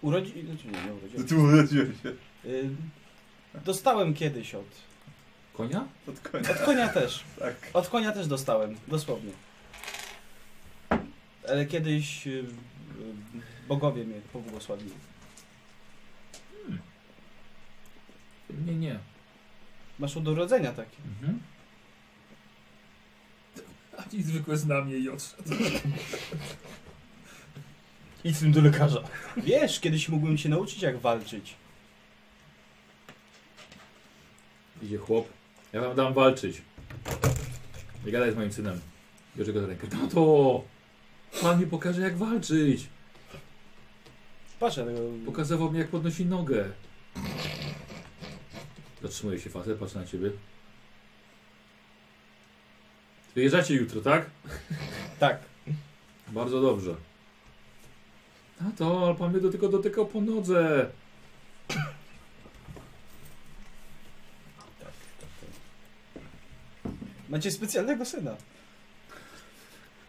S2: Urodzi... Znaczy nie, nie
S3: No
S2: urodziłem.
S3: ty urodziłeś się.
S2: Y, Dostałem kiedyś od...
S1: Konia?
S3: Od konia.
S2: Od konia też.
S3: Tak.
S2: Od konia też dostałem, dosłownie. Ale kiedyś y, y, bogowie mnie pobłogosławili.
S1: Nie, nie.
S2: Masz od urodzenia takie.
S1: Mhm.
S5: A ci zwykłe znamie i odszedł.
S9: Idź z tym do lekarza.
S2: Wiesz, kiedyś mógłbym się nauczyć jak walczyć.
S1: Idzie chłop. Ja wam dam walczyć. Nie gadaj z moim synem. Bierze go za rękę. Tato! Pan mi pokaże jak walczyć.
S2: Patrzę tego.
S1: Pokazywał mi jak podnosi nogę. Zatrzymuje się facet, patrzy na ciebie. Wyjeżdżacie jutro, tak?
S2: Tak.
S1: Bardzo dobrze. A to, ale pan mnie do tylko dotykał po nodze.
S2: Macie specjalnego syna.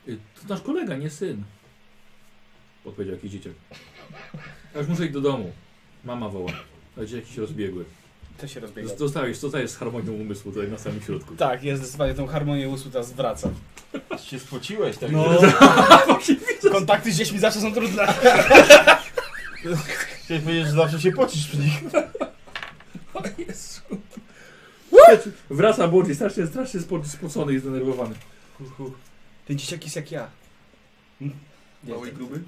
S1: Y, To nasz kolega, nie syn. Odpowiedział jakiś dzieciak. Ja już muszę iść do domu. Mama woła. A dzieciaki się rozbiegły.
S6: To się rozbiega.
S1: Z- Zostawisz, co to jest z harmonią umysłu tutaj na samym środku.
S6: Tak, jest zdecydowanie tą harmonię usług teraz zwraca.
S2: Się spociłeś, tak?
S6: No. Kontakty z dziećmi zawsze są trudne.
S2: Chciałeś powiedzieć, że zawsze się pocisz przy nich.
S5: O Jezu.
S1: Wraca Burgi, strasznie, strasznie spo- spocony i zdenerwowany.
S6: Ten dzieciak jest jak ja. Nie,
S7: Mały i gruby?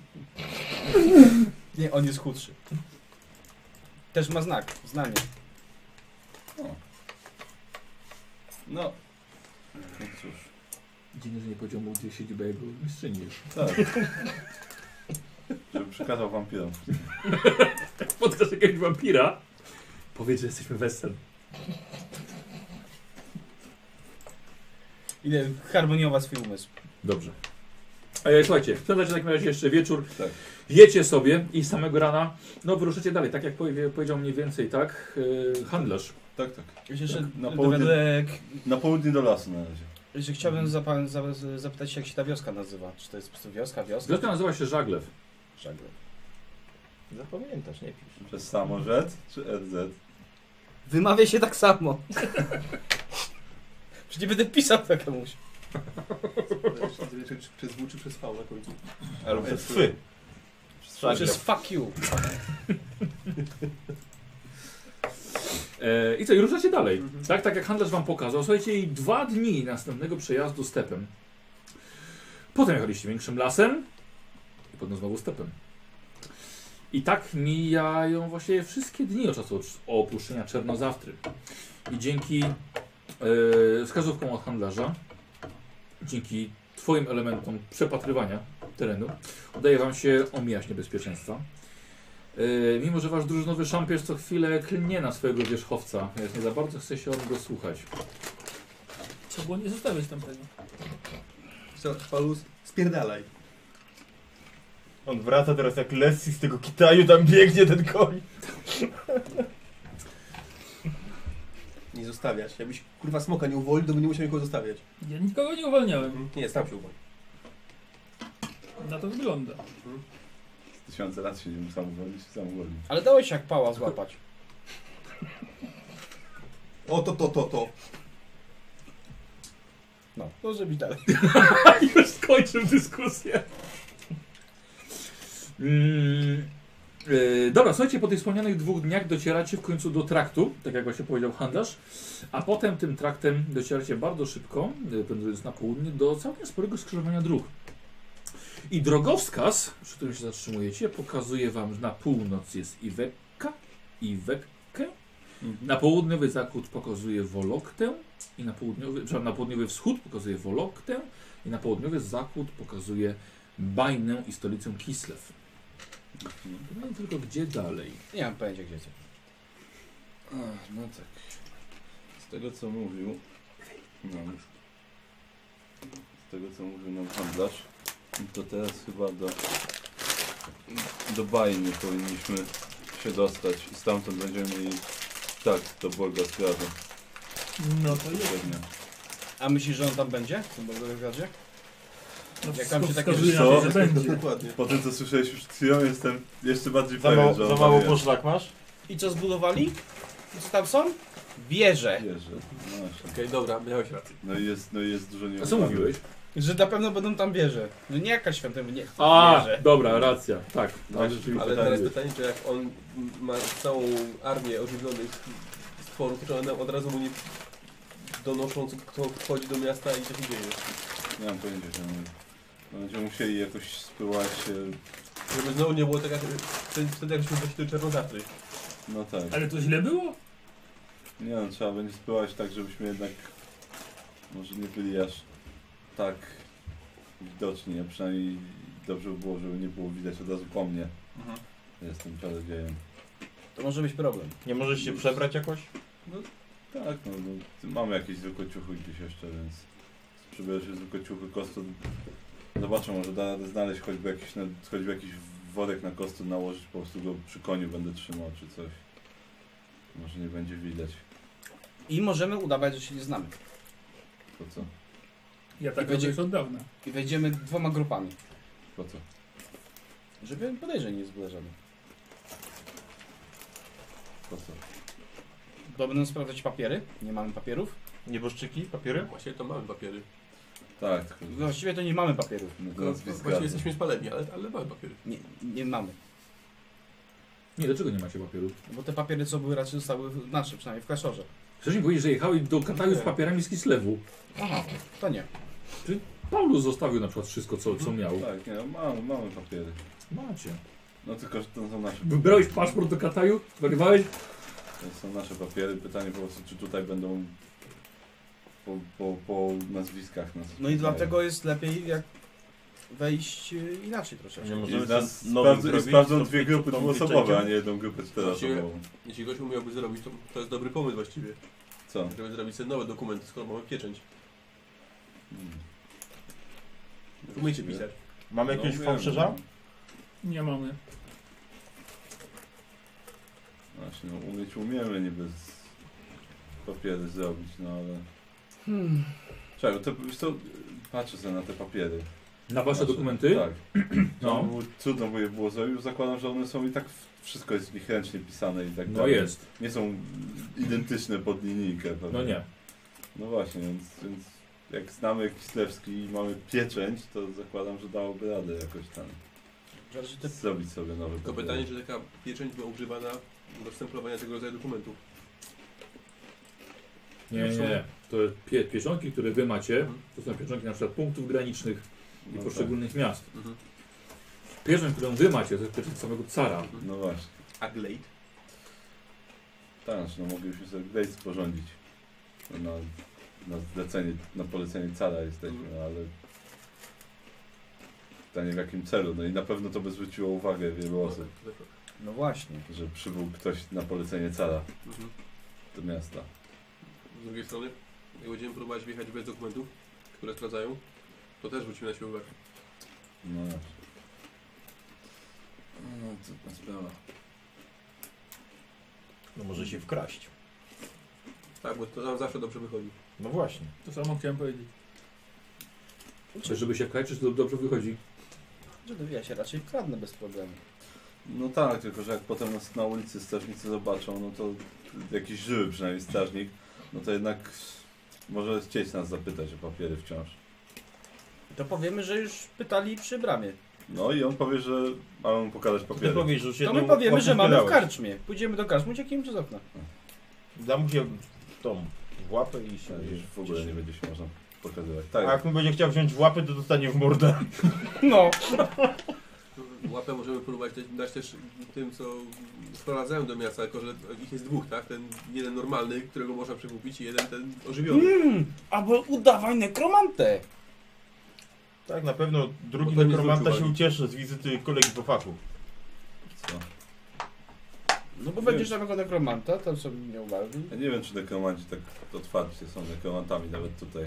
S6: nie, on jest chudszy. Też ma znak, znamie.
S3: No. No cóż.
S1: Dziwne, że nie powiedział mu, gdzie siedziba jego mistrzyni jest.
S3: Tak. Żeby przekazał wampirom.
S1: Spotkasz jakiegoś wampira, powiedz, że jesteśmy wesel.
S6: Ile harmoniowa swój umysł.
S1: Dobrze. A ja, słuchajcie, spędzacie w takim razie jeszcze wieczór,
S3: Tak.
S1: jecie sobie i samego rana, no wyruszycie dalej, tak jak powie- powiedział mniej więcej, tak, yy, handlarz.
S3: Tak, tak.
S6: Jeszcze
S3: Tak, na
S6: na
S3: południe-
S6: dowiadek,
S3: Na południe do lasu na razie.
S6: że chciałbym za pan, za, za- zapytać się, jak się ta wioska nazywa. Czy to jest po prostu wioska, wioska?
S1: Zresztą nazywa się Żaglew.
S6: Żagle.
S2: Zapamiętasz, nie pisz.
S3: Przez samorzec czy RZ?
S6: Wymawia się tak samo. Przecież nie będę pisał tak komuś.
S7: Zależy, Czy przez W czy przez V na końcu.
S2: Albo
S3: Albo
S2: przez
S3: przez
S2: fy. Tak,
S6: Przez fuck you.
S1: E, I co, i ruszacie dalej.
S7: Mhm.
S1: Tak, tak jak handlarz wam pokazał. Słuchajcie, i dwa dni następnego przejazdu stepem. Potem jechaliście większym lasem i potem znowu stepem. I tak mijają właśnie wszystkie dni od czasu od- opuszczenia Czernozawtry. I dzięki e, wskazówkom od handlarza, dzięki twoim elementom przepatrywania terenu, udaje wam się omijać niebezpieczeństwa. E, mimo, że wasz drużynowy szampierz co chwilę klnie na swojego wierzchowca, więc nie za bardzo chce się on go słuchać.
S5: Trzeba było nie zostawiać tamtego.
S7: Co, Palus, spierdalaj.
S2: On wraca teraz jak Leslie z tego Kitaju, tam biegnie ten koń.
S7: Nie zostawiać. Jakbyś kurwa smoka nie uwolnił, to by nie musiał nikogo zostawiać.
S5: Ja nikogo nie uwalniałem.
S7: Nie, sam się uwolni.
S5: Na to wygląda.
S3: Tysiące lat się nie mógł sam uwolnić, sam uwolnić.
S6: Ale dałeś jak pała złapać.
S7: O, to, to, to, to.
S6: No, to żeby dalej.
S1: Już skończył dyskusję. Mm, e, dobra, słuchajcie, po tych wspomnianych dwóch dniach docieracie w końcu do traktu, tak jak właśnie powiedział handlarz, a potem tym traktem docieracie bardzo szybko, e, pędząc na południe, do całkiem sporego skrzyżowania dróg. I drogowskaz, przy którym się zatrzymujecie, pokazuje wam, że na północ jest Iwekka, Iwekkę,
S2: Mhm.
S1: na południowy zachód pokazuje Woloktę i na południowy, przepraszam, na południowy wschód pokazuje Woloktę i na południowy zachód pokazuje Bajnę i stolicę Kislew.
S3: Mhm.
S1: Nie wiem tylko gdzie dalej.
S6: Nie mam pojęcia gdzie to.
S3: Ach, no tak. Z tego co mówił nam... Z tego co mówił nam handlarz, to teraz chyba do... Do Bajny powinniśmy się dostać i stamtąd będziemy mieli... Tak, do Bolgasgradu.
S5: No to jest.
S3: Pewnie.
S6: A myślisz, że on tam będzie? W tym Bolgogradzie?
S5: No,
S6: Jak tam
S5: wszystko
S6: się takie
S5: wskazuje na
S3: rzeczy-
S5: to, że będzie.
S7: Dokładnie.
S3: Po tym co słyszałeś już przed chwilą jestem jeszcze bardziej
S2: Za, mało-
S3: pewien, że on
S2: za
S3: tam
S2: mało
S3: jest.
S2: poszlak masz?
S6: I co zbudowali? I co tam są? Wieże.
S3: Wierzę. No właśnie.
S4: Okej, dobra, miałeś rację.
S3: No i jest, no i jest dużo nie.
S1: A co mówiłeś?
S6: Że na pewno będą tam wieże. No nie jakaś świątynia, nie.
S1: A,
S6: Wieże.
S1: dobra, racja. Tak, tak
S3: Właśnie,
S1: rzeczywiście.
S7: Ale
S3: Pytanie
S7: teraz
S1: jest.
S7: pytanie, czy jak on ma całą armię ożywionych stworów, czy one od razu mu nie donoszą, co- kto wchodzi do miasta i co się dzieje.
S3: Nie mam pojęcia, że mówię. No, Będziemy musieli jakoś spływać. e,
S7: Żeby znowu nie było tak jak wtedy- wtedy, jak się do czerwonawcy.
S3: No tak.
S5: Ale to źle było?
S3: Nie no, trzeba będzie spływać tak, żebyśmy jednak może nie byli aż tak widoczni, a przynajmniej dobrze by było, żeby nie było widać od razu po mnie.
S7: Mhm.
S3: Jestem czarodziejem.
S6: To może być problem.
S2: Nie możesz się przebrać jakoś?
S3: Tak, no, no mamy jakieś zwykłe ciuchy gdzieś jeszcze, więc przybierzesz się zwykłe ciuchy kostu. Zobaczę, może da radę znaleźć choćby jakiś, na, choćby jakiś worek na kostu nałożyć, po prostu go przy koniu będę trzymał czy coś. Może nie będzie widać.
S6: I możemy udawać, że się nie znamy.
S3: Po co?
S5: Ja tak
S6: będzie-
S5: robię już od dawna.
S6: I wejdziemy dwoma grupami.
S3: Po co?
S2: Żeby podejrzeń nie zbliżali.
S3: Po co?
S2: Bo będą sprawdzać papiery. Nie mamy papierów.
S6: Nieboszczyki, papiery?
S7: Właśnie to mamy papiery.
S3: Tak, tylko
S2: Właściwie to nie mamy papierów.
S3: no, to
S7: No,
S3: nazwiska.
S7: właśnie jesteśmy spaleni, ale, ale mamy papiery.
S2: Nie, nie mamy.
S1: Nie, dlaczego nie macie papieru?
S2: Bo te papiery, co były, raczej zostały nasze, przynajmniej w klaszorze.
S1: Chcesz mi powiedzieć, że jechałeś do Kataju z papierami z Kislewu?
S2: Aha, to nie.
S1: Paulus zostawił na przykład wszystko, co, co miał.
S3: Tak, nie, no, mamy, mamy papiery.
S1: Macie.
S3: No tylko, że to są nasze
S1: Wybrałeś paszport do Kataju? Wyrywałeś?
S3: To są nasze papiery. Pytanie po prostu, czy tutaj będą po, po, po nazwiskach nas.
S2: No i dlatego jest lepiej jak wejść y, inaczej troszeczkę.
S6: Nie
S3: I
S6: możemy
S3: nas
S6: z nowym
S3: sprawdzą, i
S6: zrobić,
S3: sprawdzą
S6: to
S3: dwie
S6: przed
S3: grupy
S6: tą
S3: dwuosobowe,
S6: wyczęciem.
S3: a nie jedną grupę czteroosobową.
S7: Jeśli ktoś umiałby zrobić, to to jest dobry pomysł właściwie.
S3: Co?
S7: Żeby zrobić sobie nowe dokumenty, skoro mamy pieczęć.
S3: Hmm.
S7: Umiecie pisać.
S6: Mamy jakiegoś
S3: No,
S6: fałszerza?
S5: Nie mamy.
S3: Właśnie, no, umieć umiemy niby z papiery zrobić, no ale...
S2: Hmm.
S3: Czekaj, to wiesz co, patrzę sobie na te papiery.
S1: Na wasze
S3: Znaczy,
S1: dokumenty?
S3: Tak. No.
S1: No.
S3: Trudno by je było zrobić, już zakładam, że one są i tak, w- wszystko jest w nich ręcznie pisane i tak
S1: No
S3: dalej.
S1: jest.
S3: Nie są identyczne pod linijkę. Pewnie.
S1: No nie.
S3: No właśnie, więc, więc jak znamy Kislewski i mamy pieczęć, to zakładam, że dałoby radę jakoś tam
S2: Zależy te
S3: zrobić sobie nowy
S7: Tylko
S3: papier.
S7: pytanie, czy taka pieczęć była używana do wstępowania tego rodzaju dokumentów.
S1: Nie, nie, nie. To pie pieczątki, które wy macie,
S7: Mhm.
S1: to są pieczątki na przykład punktów granicznych i
S3: no
S1: poszczególnych miast.
S7: Mhm.
S1: Pieczęć, którą wy macie, to jest pieczęć samego cara.
S3: Tak. No właśnie.
S7: A Glade?
S3: Tak, znaczy, no moglibyśmy sobie gdzieś sporządzić. Na, na zlecenie, na polecenie cara jesteśmy, ale... Pytanie w jakim celu, no i na pewno to by zwróciło uwagę wielu
S7: Mhm.
S3: osób,
S2: No właśnie.
S3: że przybył ktoś na polecenie cara
S7: Mhm.
S3: do miasta.
S7: Z drugiej strony, jak będziemy próbować wjechać bez dokumentów, które sprawdzają, to też wrócimy na siebie uwagę.
S3: No właśnie. No, to ta sprawa.
S6: No może się wkraść.
S7: Tak, bo to nam zawsze dobrze wychodzi.
S6: No właśnie.
S5: To samo chciałem powiedzieć.
S1: Czy żeby się kajczyć, to dobrze wychodzi.
S2: Żeby ja się raczej kradnę bez problemu.
S3: No tak, tylko że jak potem nas na ulicy strażnicy zobaczą, no to jakiś żywy przynajmniej strażnik, no to jednak może chcieć nas zapytać o papiery wciąż.
S2: To powiemy, że już pytali przy bramie.
S3: No i on powie, że mamy mu pokazać
S6: Ty
S3: papiery.
S6: powiesz, że już
S2: To
S6: jedną
S2: my powiemy,
S6: łapkę
S2: że mamy w
S6: wydałeś.
S2: karczmie. Pójdziemy do karczmy, uciekniemy przez okno.
S6: Dam mu się tą w łapę i się...
S3: Tak, Już w ogóle nie będzie się można pokazywać.
S6: A
S3: Tak,
S6: jak mu będzie chciał wziąć w łapę, to dostanie w mordę.
S2: No.
S7: Łapę możemy próbować dać, dać też tym, co sprowadzają do miasta, tylko że ich jest dwóch, tak? Ten jeden normalny, którego można przekupić i jeden ten ożywiony.
S2: Mm, albo udawaj nekromantę.
S6: Tak, na pewno drugi
S7: Bo to nie
S6: nekromanta
S7: zwrócił
S6: się
S7: uwagi.
S6: ucieszy z wizyty kolegi po fachu.
S3: co?
S2: No bo będziesz nowego nekromanta, to sobie nie uważaj.
S3: Ja nie wiem, czy nekromanci tak otwarcie są nekromantami nawet tutaj.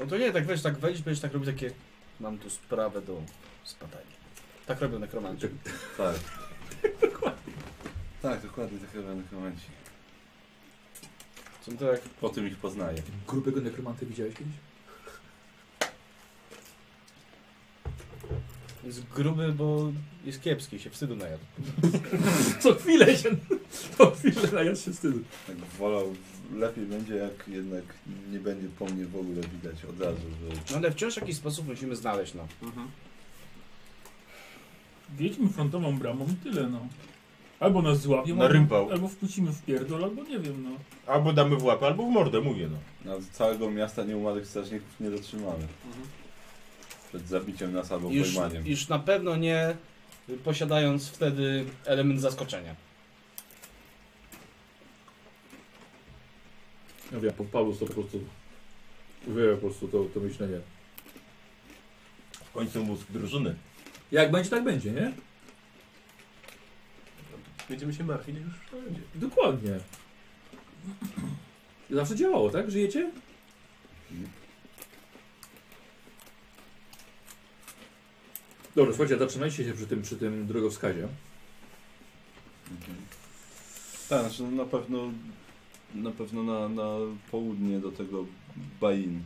S2: No to nie, tak wiesz, tak wejdziesz, będziesz tak robić takie... Mam tu sprawę do spadania. Tak robią nekromanci.
S3: Tak. tak, dokładnie tak chyba nekromanci.
S7: Tak.
S2: Są to jak...
S3: Po tym ich poznaję.
S1: Grubego nekromanty widziałeś kiedyś?
S2: Jest gruby, bo jest kiepski, się wstydu najadł.
S1: Co chwilę się... Co chwilę, a ja się wstydzę.
S3: Tak wolał, lepiej będzie jak jednak nie będzie po mnie w ogóle widać od razu, że
S2: No ale wciąż w jakiś sposób musimy znaleźć, no.
S7: Mhm.
S5: Wiedźmy frontową bramą i tyle, no. Albo nas złapią,
S6: Na rympał.
S5: albo, albo wpuścimy w pierdol, albo nie wiem, no.
S6: Albo damy w łapę, albo w mordę, mówię no.
S3: na całego miasta nieumarłych strażników nie zatrzymamy.
S7: Mhm.
S3: Przed zabiciem nas albo
S2: Już,
S3: pojmaniem.
S2: już na pewno nie posiadając wtedy element zaskoczenia.
S1: Ja wiem, po Paulus to po prostu... Wie po prostu to, to myślenie.
S6: W końcu mózg drużyny.
S1: Jak będzie, tak będzie, nie?
S7: Będziemy się martwić, jak już będzie.
S1: Dokładnie. Zawsze działało, tak? Żyjecie? Dobra, słuchajcie, zatrzymajcie się przy tym, przy tym drogowskazie.
S3: Mhm. Tak, znaczy no na pewno na pewno na, na południe do tego Bain.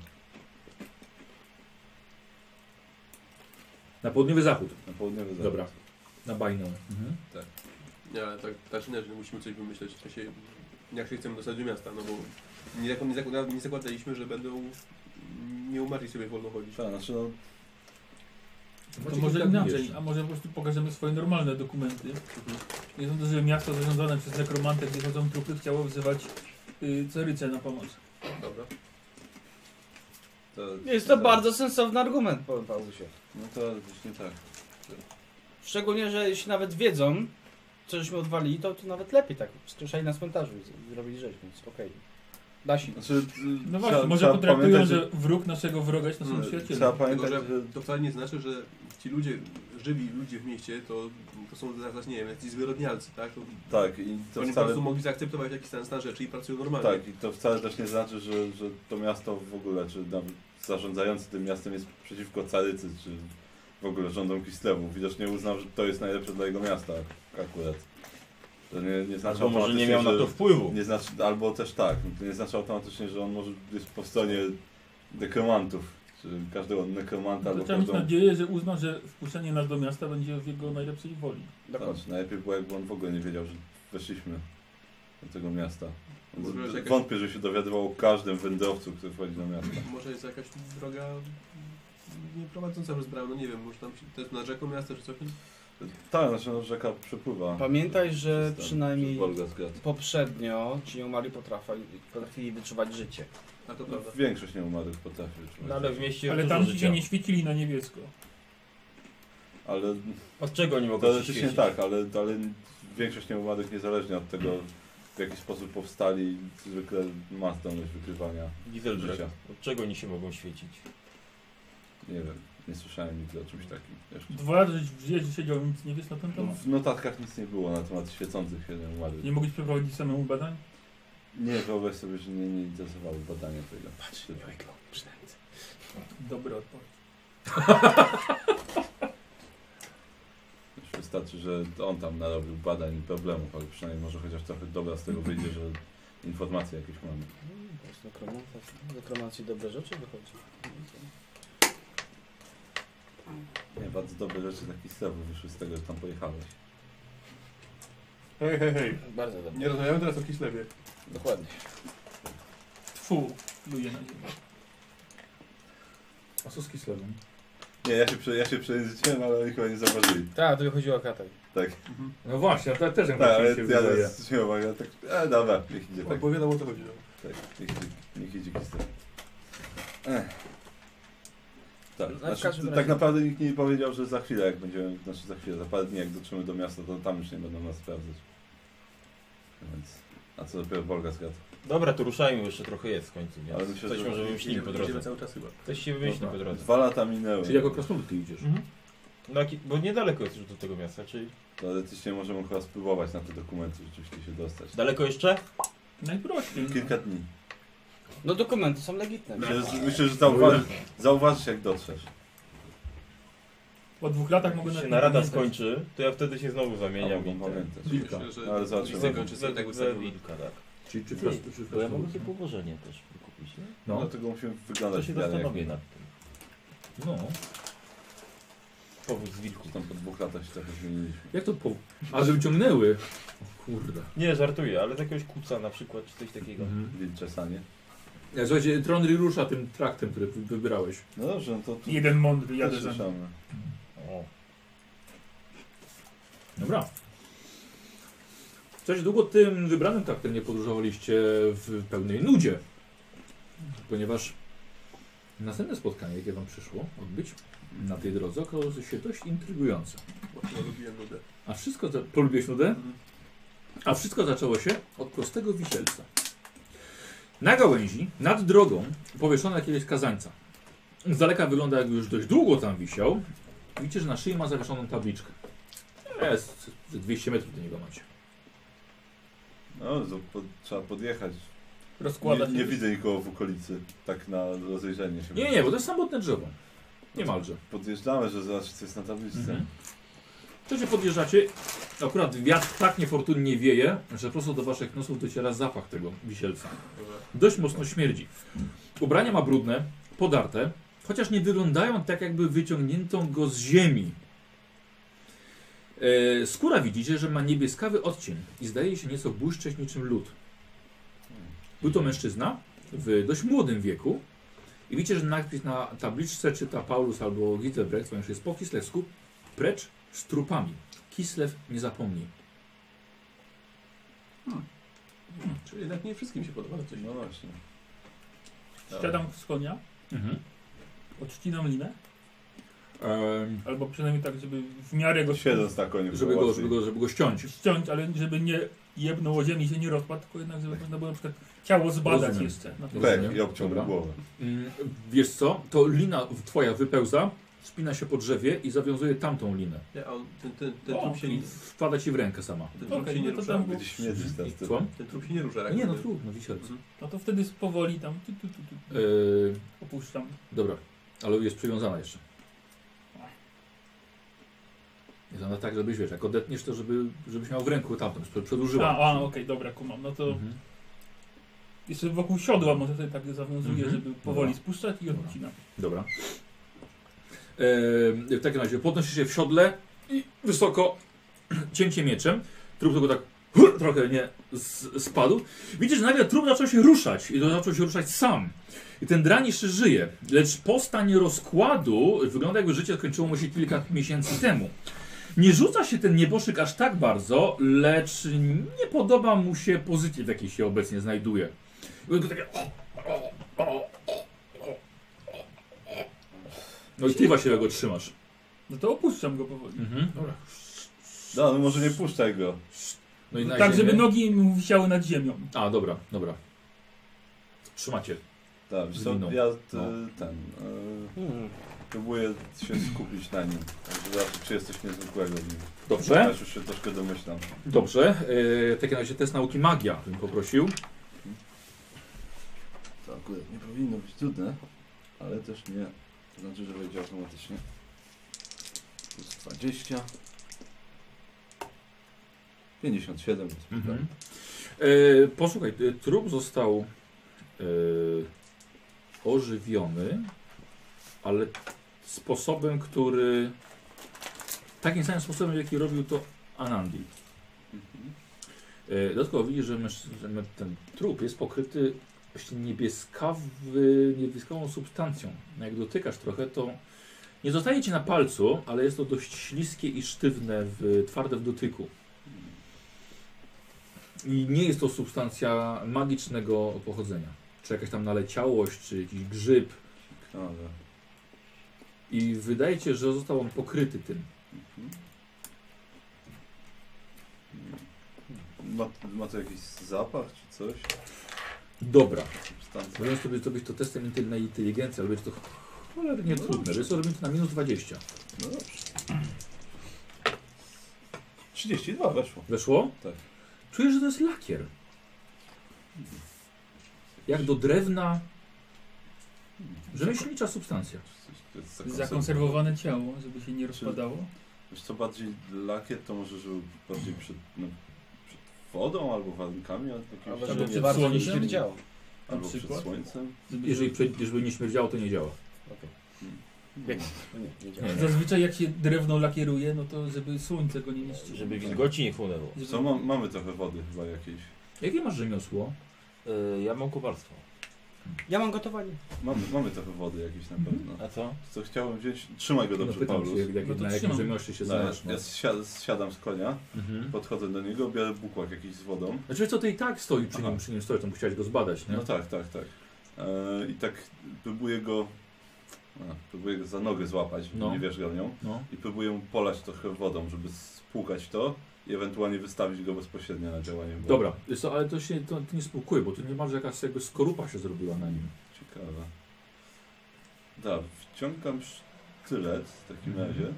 S1: Na południowy zachód.
S3: Na południowy zachód.
S1: Dobra. Na bajną. Mhm.
S7: Nie, ale tak, tak czy inaczej musimy coś wymyśleć. W sensie, jak się chcemy dostać do miasta, no bo nie, zak- nie, zakłada, nie zakładaliśmy, że będą nie umarli sobie wolno chodzić.
S3: Tak, znaczy no,
S5: To
S1: Macie
S5: może
S1: kilka dni
S5: inaczej,
S1: jeszcze.
S5: a może po prostu pokażemy swoje normalne dokumenty. Nie są to, że miasto zarządzane przez nekromantę, gdzie chodzą trupy, chciało wzywać y, Ceryce na pomoc.
S7: Dobra.
S3: to,
S6: Jest to bardzo sensowny argument, powiem Paulusie.
S3: No to właśnie tak.
S6: Szczególnie, że jeśli nawet wiedzą, co żeśmy odwalili, to, to nawet lepiej tak. Wskrzeszali na cmentarzu i zrobili rzeź, więc okej. Dasi.
S3: Znaczy, y,
S5: No
S3: trzeba-
S5: właśnie, może
S3: trzeba
S5: potraktują,
S3: pamiętać, No,
S5: że wróg naszego wroga jest naszym
S7: Mm,
S5: przyjacielem.
S3: Trzeba
S7: Tylko,
S3: pamiętać,
S7: że
S3: że
S7: to wcale nie znaczy, że ci ludzie, żywi ludzie w mieście, to, to są zaraz, nie wiem, jacyś zwyrodnialcy, tak? To,
S3: tak i to
S7: oni po
S3: wcale
S7: prostu mogli zaakceptować jakiś stan stan rzeczy i pracują normalnie.
S3: Tak, i to wcale też nie znaczy, że, że to miasto w ogóle, czy nawet zarządzający tym miastem jest przeciwko Carycy, czy w ogóle rządom Kislewu. Widocznie uznał, że to jest najlepsze dla jego miasta akurat. To nie, nie znaczy
S10: Albo może nie
S3: automatycznie,
S10: miał na
S3: że-
S10: to wpływu.
S3: nie znaczy, albo też tak, to nie znaczy automatycznie, że on może jest po stronie dekromantów, czy każdego dekromanta,
S5: No To
S3: albo
S5: trzeba mieć
S3: każdą...
S5: nadzieję, że uzna, że wpuszczenie nas do miasta będzie w jego najlepszej woli.
S3: Znaczy, najlepiej było, jakby on w ogóle nie wiedział, że weszliśmy do tego miasta.
S7: Może jakaś-
S3: Wątpię, że się dowiadywał o każdym wędrowcu, który wchodzi do miasta.
S7: Może jest jakaś droga nie prowadząca przez bramę, no nie wiem, może tam się, to jest nad rzeką miasto czy coś?
S3: Tak, znaczy no, rzeka przepływa.
S6: Pamiętaj, że
S3: Przez ten- przez
S6: przynajmniej
S3: Wolgograd.
S6: poprzednio ci umarli potrafili, potrafili wyczuwać życie.
S7: A to prawda.
S3: No, Większość nieumarłych potrafi wyczuwać.
S10: No ale w mieście
S5: Ale
S10: dużo
S5: tam
S10: życia.
S5: się nie świecili na niebiesko.
S3: Ale
S10: Od czego oni mogą się
S3: teoretycznie
S10: świecić?
S3: tak, ale, ale większość nieumarłych niezależnie od tego w jaki sposób powstali, zwykle ma zdolność wykrywania
S10: Gizelbrecht.
S3: życia.
S10: Od czego oni się mogą świecić?
S3: Nie wiem, nie słyszałem nigdy o czymś takim jeszcze.
S5: Dwa razy w życiu siedział nic nie wiesz na ten
S3: No,
S5: temat.
S3: w notatkach nic nie było na temat świecących się nieumarłych.
S5: Nie mogłeś przeprowadzić samemu badań?
S3: Nie, wyobraź sobie, że mnie nie interesowało badanie tego. Patrz,
S5: Dobry odpowiedź.
S3: Już wystarczy, że on tam narobił badań i problemów, ale przynajmniej może chociaż trochę dobra z tego wyjdzie, że informacje jakieś mamy.
S6: Z nekromancji, z nekromancji dobre rzeczy wychodzi.
S3: Nie, bardzo dobre rzeczy taki serwis wyszły z tego, że tam pojechałeś.
S7: Hej, hej, hej.
S6: Bardzo dobre.
S7: Nie rozmawiamy teraz o Kislewie.
S6: Dokładnie.
S5: Tfu, ludzie no. na ziemię.
S1: A co z Kislewem?
S3: Nie, ja się, prze, ja się przejęzyczyłem, ale oni chyba nie zauważyli.
S6: Tak, to wychodziło o kataj.
S3: Tak,
S1: No właśnie, ja też
S3: tak ale ja zwróciłem uwagę, tak, e, dobra, niech idzie, tak,
S7: Opowiadam o co chodzi. no.
S3: tak, niech idzie, niech idzie kistem. Tak,
S6: No, w
S3: znaczy,
S6: każdym
S3: tak
S6: razie-
S3: naprawdę nikt nie powiedział, że za chwilę, jak będziemy, znaczy za chwilę, za parę dni, jak dotrzemy do miasta, to tam już nie będą nas sprawdzać. Więc, a co dopiero Bolga zgadza.
S10: Dobra, to ruszajmy, jeszcze trochę jest w końcu,
S3: Ale
S10: więc
S3: myślę,
S10: coś
S3: że-
S10: może wymyślimy po
S7: Będziemy-
S10: drodze.
S7: Będziemy cały czas chyba.
S10: Coś się wymyśli po drodze.
S3: Dwa lata minęły.
S1: Czyli jako krasnoludki idziesz.
S10: No, ki- bo niedaleko jest już do tego miasta, czyli...
S3: Teoretycznie możemy chyba spróbować na te dokumenty rzeczywiście się dostać.
S10: Daleko Tak. jeszcze?
S5: Najprościej. no.
S3: Kilka dni.
S6: No dokumenty są legitne.
S3: Myślę, że, myślę, że zauważysz, zauważysz jak dotrzesz.
S5: Po dwóch latach mogę
S10: Jak się
S5: nawet nie
S10: narada
S5: pamiętać.
S10: skończy, to ja wtedy się znowu zamieniam
S3: Albo
S10: i ten...
S3: pamiętasz. No,
S1: Wilka.
S7: Myślę, że
S3: Ale
S7: nie
S3: zobaczymy.
S7: zakończy sobie tak
S10: Za, za
S7: ustawione.
S10: wilka, tak.
S1: Czyli czy
S10: Nie,
S1: kras- czy
S10: Bo ja mogę
S1: krasnoludki?
S10: sobie położenie też kupić, nie?
S1: No.
S3: Dlatego musimy
S10: To
S3: wyglądać
S10: się
S3: w miarę
S10: zastanowię
S3: jak
S10: nad tym.
S1: No.
S10: Powóz z wilku.
S3: Czy tam po dwóch latach się trochę zmieniliśmy.
S1: Jak to po... A, że wyciągnęły. O kurde.
S10: Nie, żartuję, ale z jakiegoś kuca na przykład, czy coś takiego.
S1: Mhm.
S3: Wilczesanie.
S1: Ja, słuchajcie, Tronry rusza tym traktem, który wy- wybrałeś.
S3: No dobrze, no to tu
S5: Jeden mądry jadę
S3: też
S5: za nim.
S3: ruszamy.
S10: O.
S1: Dobra. Coś długo tym wybranym traktem nie podróżowaliście w pełnej nudzie. Ponieważ następne spotkanie, jakie wam przyszło odbyć na tej drodze, okazało się dość intrygujące.
S7: Właśnie lubiłem ludę.
S1: A wszystko... Za... Polubiłeś nudę?
S7: Mhm.
S1: A wszystko zaczęło się od prostego wisielca. Na gałęzi, nad drogą, powieszono jakiegoś kazańca. Z daleka wygląda, jakby już dość długo tam wisiał. Widzicie, że na szyi ma zawieszoną tabliczkę. Jest, ze 200 metrów do niego macie.
S3: No, to po, trzeba podjechać.
S5: Rozkłada
S3: Nie,
S5: się.
S3: nie widzę nikogo w okolicy. Tak na rozejrzenie się.
S1: Nie, nie, bo to jest samotne drzewo. Niemalże.
S3: Podjeżdżamy, że zobaczyć co jest na tabliczce.
S1: Mhm. To się podjeżdżacie, akurat wiatr tak niefortunnie wieje, że prosto do waszych nosów dociera zapach tego wisielca.
S7: Dobra.
S1: Dość mocno śmierdzi. Ubrania ma brudne, podarte, chociaż nie wyglądają tak, jakby wyciągnięto go z ziemi. E, skóra widzicie, że ma niebieskawy odcień i zdaje się nieco błyszczeć niczym lód. Był to mężczyzna w dość młodym wieku i widzicie, że napis na tabliczce czyta Paulus albo Gitebrecht, ponieważ jest po kislewsku, precz z trupami. Kislew nie zapomni.
S7: Czyli jednak nie wszystkim się podoba coś.
S3: No właśnie.
S5: Siadam z konia,
S1: Mhm.
S5: odcinam linę,
S1: Em,
S5: albo przynajmniej tak, żeby w miarę go
S3: Siedząc na koniu.
S1: żeby, go, żeby, go, żeby go ściąć.
S5: ściąć, ale żeby nie jebnął o ziemi i się nie rozpadł, tylko jednak żeby można było na przykład ciało zbadać
S1: Rozumiem.
S5: jeszcze. Na to-
S3: Pek i obciął
S1: Dobra.
S3: mu głowę.
S1: Mm, Wiesz co? To lina w- twoja wypełza, spina się po drzewie i zawiązuje tamtą linę.
S7: Nie, a on, ten, ten, ten
S5: O,
S7: trup się
S1: I
S7: nie,
S1: wpada ci w rękę sama.
S7: ten trup
S5: Okej,
S7: się nie
S5: no to
S7: rusza.
S5: tam
S3: Będzie śmierdzić teraz ty.
S1: Słucham?
S7: Ten trup się nie rusza. tak? jak
S1: Nie no
S7: gdyby.
S1: trudno, wisielce.
S5: No to wtedy powoli tam tu, tu, tu, tu,
S1: Yy,
S5: opuszczam.
S1: dobra, ale jest przywiązana jeszcze. Jest ona tak, żebyś wiesz, jak odetniesz to, żeby, żebyś miał w ręku tamtą, żeby
S5: A,
S1: przedłużyła.
S5: a okej, dobra, kumam. No to
S1: Mhm.
S5: jeszcze wokół siodła może sobie tak zawiązuję,
S1: Mhm.
S5: żeby powoli
S1: Dobra.
S5: spuszczać i
S1: Dobra.
S5: odcinam.
S1: Dobra. Ehm, w takim razie podnosisz się w siodle i wysoko cięcie mieczem. Trup tylko tak hur, trochę nie z, spadł. Widzisz, że nagle trup zaczął się ruszać i to zaczął się ruszać sam. I ten dran jeszcze żyje, lecz postań rozkładu wygląda jakby życie skończyło mu się kilka miesięcy temu. Nie rzuca się ten nieboszyk aż tak bardzo, lecz nie podoba mu się pozycja, w jakiej się obecnie znajduje. I tylko takie No i ty właściwie go trzymasz.
S5: No to opuszczam go powoli.
S1: Mhm. Dobra.
S3: No, no może nie puszczaj go.
S1: No i na
S5: tak,
S1: ziemię.
S5: żeby nogi mu wisiały nad ziemią.
S1: A, dobra, dobra. Trzymacie.
S3: Tak, wiesz co,
S1: Zwinął.
S3: ja t,
S1: No.
S3: ten... E, próbuję się skupić na nim. Także zobaczę, czy jest coś niezwykłego w nim.
S1: Dobrze.
S3: Też już się troszkę domyślam.
S1: Dobrze. Yy, w takim razie test nauki magia bym poprosił.
S3: To akurat nie powinno być trudne, ale też nie znaczy, że wejdzie automatycznie. Plus 20. 57.
S1: Mhm. Yy, posłuchaj, yy, trup został yy, ożywiony, ale sposobem, który... Takim samym sposobem, jaki robił to Anandi.
S3: Mhm.
S1: E, Dodatkowo widzisz, że mężczyzna- ten trup jest pokryty właśnie niebieskawy, niebieskawą substancją. No Jak dotykasz trochę, to nie zostaje ci na palcu, ale jest to dość śliskie i sztywne, w, twarde w dotyku. I nie jest to substancja magicznego pochodzenia. Czy jakaś tam naleciałość, czy jakiś grzyb.
S3: Ale.
S1: I wydaje ci się, że został on pokryty tym.
S3: Mhm. Ma, ma to jakiś zapach czy coś?
S1: Dobra.
S3: Substancja?
S1: Mówiąc sobie zrobić to testem intel- na inteligencję, ale będzie to cholernie trudne. Wiesz co, robimy to na minus 20.
S3: No dobrze. 32 weszło.
S1: Weszło?
S3: Tak.
S1: Czujesz, że to jest lakier. Jak do drewna rzemieślnicza substancja.
S3: To jest
S5: Zakonserwowane ciało, żeby się nie rozpadało.
S3: Wiesz co, bardziej lakier to może, żeby bardziej przed, no, przed wodą albo warunkami albo jakimś
S2: Albo
S5: Albo
S2: żeby
S5: przed
S2: nie bardzo nie
S5: słońcem?
S2: śmierdziało.
S5: Na
S3: albo przed
S5: przykład.
S3: słońcem.
S5: Żeby
S1: Jeżeli, prze- jeżeli nie śmierdziało, to nie działa.
S3: Nie, nie, nie działa.
S5: Zazwyczaj jak się drewno lakieruje, no to żeby słońce go nie niszczyło.
S10: Żeby wilgoci nie chłonęło.
S5: Żeby-
S3: Co, mam, mamy trochę wody chyba jakiejś.
S1: Jakie masz rzemiosło?
S10: Y, ja mam kubarstwo.
S2: Ja mam gotowanie.
S3: Mamy, mamy trochę wody jakiejś na pewno.
S10: A co?
S3: Co chciałem wziąć? Trzymaj go dobrze,
S1: no, pytam
S3: Paulus.
S1: się, jak, jak,
S5: No to
S1: na jakim
S5: trzymam.
S1: rzemiośle się
S3: No, ja
S1: znasz. No.
S3: ja zsia- zsiadam z konia,
S1: Mhm.
S3: podchodzę do niego, biorę bukłak jakiś z wodą.
S1: Znaczy wiesz co, ty i tak stoi przy nim,
S3: Aha.
S1: przy nim stoi, to musiałeś go zbadać, nie?
S3: No tak, tak, tak. E, I tak próbuję go... A, próbuję go za nogę złapać,
S1: No.
S3: nie wierzę nią.
S1: No.
S3: I próbuję mu polać trochę wodą, żeby spłukać to i ewentualnie wystawić go bezpośrednio na działanie. wody.
S1: Dobra, wiesz co, ale to się to, to nie spłukuje, bo tu nie masz jakaś jakby skorupa się zrobiła na nim.
S3: Ciekawe. Da, wciągam sztylet w takim
S1: Mhm.
S3: razie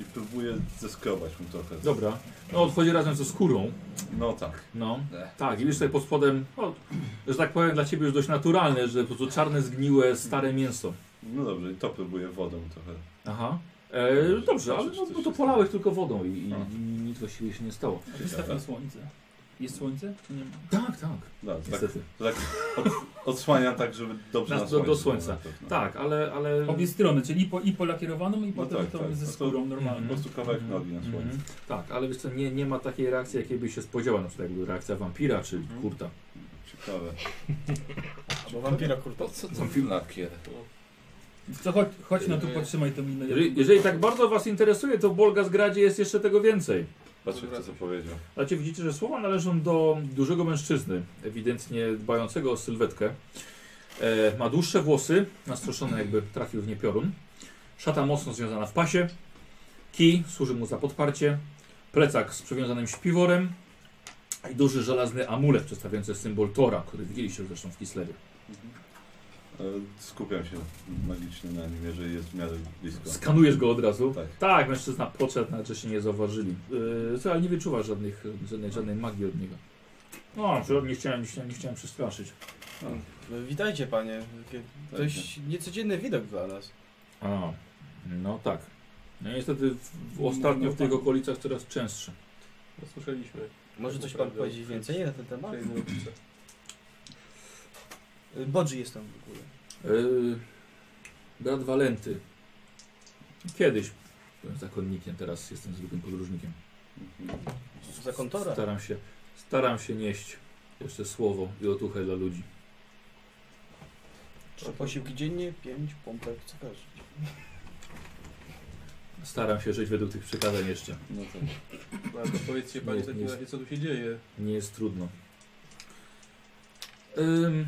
S3: i próbuję zeskrobać mu trochę.
S1: Dobra, no odchodzi razem ze skórą,
S3: No tak.
S1: no.
S3: Ech.
S1: Tak, i wiesz tutaj pod spodem, no, że tak powiem, dla ciebie już dość naturalne, że po prostu czarne, zgniłe, stare mięso.
S3: No dobrze, i to próbuję wodą trochę.
S1: Aha. E, dobrze, ale no, no to polałeś tylko wodą i, i, i nic właściwie się nie stało.
S5: Wystaw na słońce. Jest słońce? Nie ma.
S1: Tak, tak.
S3: Da, tak,
S1: Niestety.
S3: odsłaniam tak, żeby dobrze
S1: Na-
S3: na,
S1: do- do
S3: słońcu
S1: słońca.
S3: było na pewno.
S1: Tak, ale. ale...
S5: Obie strony, czyli i po, i po lakierowaną, i
S3: E, No
S5: potem
S3: tak,
S5: tą
S3: tak.
S5: ze
S3: No to-
S5: skórą normalną.
S3: Po prostu kawałek nogi na słońcu.
S5: Mhm.
S1: Tak, ale wiesz co, nie, nie ma takiej reakcji, jakiej by się spodziewał, na przykład jakby reakcja wampira czy
S3: Mhm.
S1: kurta.
S3: Ciekawe.
S2: Albo wampira kurta.
S4: Po co ten film lakier?
S5: Co, chodź, chodź no tu,
S3: E,
S5: podtrzymaj tą minę.
S1: Jeżeli, jeżeli tak bardzo was interesuje, to w Bolgazgradzie jest jeszcze tego więcej.
S3: Patrzę, kto co powiedział.
S1: Znaczy widzicie, że słowa należą do dużego mężczyzny, ewidentnie dbającego o sylwetkę. E, ma dłuższe włosy, nastroszone jakby trafił w nie piorun. Szata mocno związana w pasie. Kij służy mu za podparcie. Plecak z przywiązanym śpiworem. I duży żelazny amulet przedstawiający symbol Tora, który widzieliście już zresztą w Kislewie.
S3: E, Skupiam się magicznie na nim, jeżeli jest w miarę blisko.
S1: Skanujesz go od razu.
S3: Tak.
S1: Tak, mężczyzna podszedł, nawet że się nie zauważyli. Yy, co, ale nie wyczuwasz żadnych, żadnej, żadnej magii od niego. No, że nie chciałem, nie chciałem, nie chciałem przestraszyć.
S2: No, witajcie panie. Takie Dość niecodzienny widok dla nas.
S1: A, no tak. No niestety w, w ostatnio w tych okolicach coraz częstsze.
S7: No, słyszeliśmy.
S2: Może
S7: Tak
S2: coś pan
S7: naprawdę.
S2: powiedzieć więcej na ten temat?
S7: Tej nauce.
S2: Y, Bodzi jest tam w ogóle.
S1: Yy, brat Walenty. Kiedyś byłem zakonnikiem, teraz jestem zwykłym podróżnikiem.
S3: Mhm.
S2: Za kontora.
S1: Staram się, staram się nieść jeszcze słowo i otuchę dla ludzi.
S2: Trzy posiłki dziennie, pięć pompek, co każesz.
S1: Staram się żyć według tych przekazań jeszcze.
S3: No tak.
S7: No, to powiedzcie panie
S1: Nie,
S7: w takim
S1: nie.
S7: razie, co tu się dzieje.
S1: Nie jest trudno. Ym...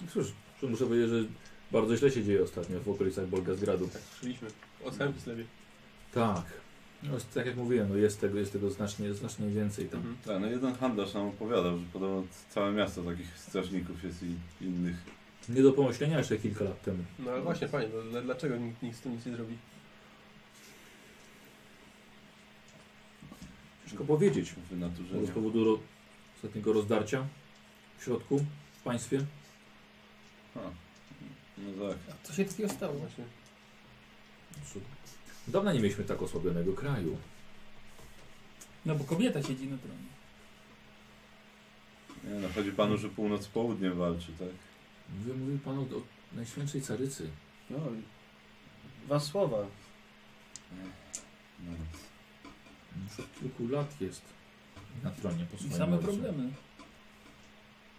S1: No Cóż, to muszę powiedzieć, że bardzo źle się dzieje ostatnio w okolicach Bolgazgradu.
S7: Tak, słyszeliśmy. O całym Kislewie.
S1: Tak. No, jest- tak jak mówiłem, no jest tego, jest tego znacznie, znacznie więcej tam.
S7: Mhm.
S3: Tak, no jeden handlarz nam opowiadał, że podobno całe miasto takich strażników jest i innych.
S1: Nie do pomyślenia jeszcze kilka lat temu.
S7: No ale właśnie panie, no, dla- dlaczego nikt, nikt z tym nic nie zrobi?
S1: Ciężko powiedzieć.
S3: Wynaturzenia.
S1: No, Z powodu ro... ostatniego rozdarcia w środku, w państwie.
S3: A, No tak.
S5: Co się takiego stało?
S7: Właśnie.
S1: No Cóż, Dawno nie mieliśmy tak osłabionego kraju.
S5: No bo kobieta siedzi na tronie.
S3: Nie, no chodzi panu, że północ z południem walczy, tak?
S1: Mówił, mówił pan o, o Najświętszej Carycy.
S2: No, i dwa słowa.
S3: No.
S1: Już od kilku lat jest na tronie po
S5: I
S1: swoim
S5: same
S1: ojcu.
S5: problemy.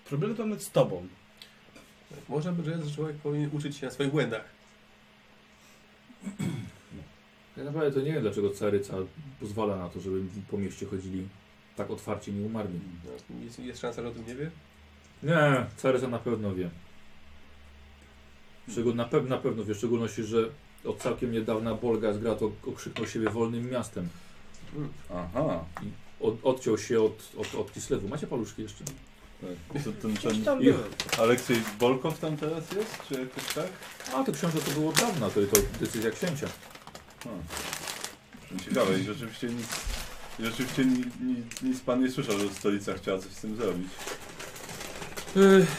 S2: Problemy to my z tobą.
S7: Tak, Może by, że człowiek powinien uczyć się na swoich błędach.
S1: Ja naprawdę to nie wiem, dlaczego caryca pozwala na to, żeby po mieście chodzili tak otwarcie nieumarli.
S7: No, jest, jest szansa, że o tym nie wie?
S1: Nie, caryca na pewno wie. Szczegól, na, pe na pewno wie, w szczególności, że od całkiem niedawna Bolga z Grat ok- okrzyknął siebie wolnym miastem.
S3: Aha.
S1: Od odciął się od, od, od Kislewu. Macie paluszki jeszcze?
S3: Tak. To ten,
S2: Gdzieś
S3: ten
S2: tam
S3: ich
S2: byłem.
S3: Aleksiej Bolkow tam teraz jest? Czy jakoś tak?
S1: A, to książę to było od dawna, to, to decyzja księcia.
S3: No Ciekawe Hmm. i rzeczywiście nic, i rzeczywiście ni, ni, nic pan nie słyszał, że stolica chciała coś z tym zrobić.
S1: Ech,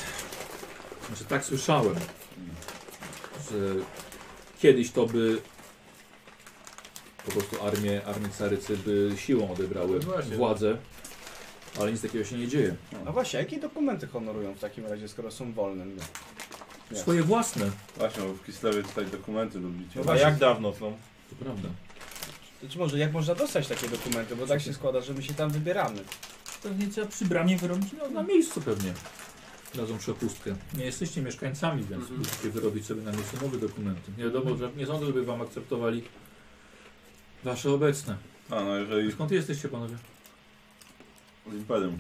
S1: znaczy, Yy, tak słyszałem, że kiedyś to by po prostu armie, armie carycy by siłą odebrały
S7: No właśnie.
S1: władzę, ale nic takiego się nie dzieje.
S2: A No właśnie, jakie dokumenty honorują w takim razie, skoro są wolne? No. Nie.
S1: Swoje własne,
S3: Właśnie, bo w Kislewie tutaj dokumenty
S1: No
S3: lubicie.
S10: A jak dawno są?
S1: to prawda.
S2: No To czy może jak można dostać takie dokumenty, bo tak się składa, że my się tam wybieramy.
S5: Pewnie trzeba przy bramie wyrobić
S1: No,
S5: nogi.
S1: na miejscu pewnie dadzą przepustkę. Nie jesteście mieszkańcami, więc
S7: Mhm.
S1: musicie wyrobić sobie na miejscu nowe dokumenty. Nie wiadomo, że nie sądzę, żeby wam akceptowali wasze obecne.
S3: A no jeżeli
S1: Skąd jesteście panowie?
S3: z imperium.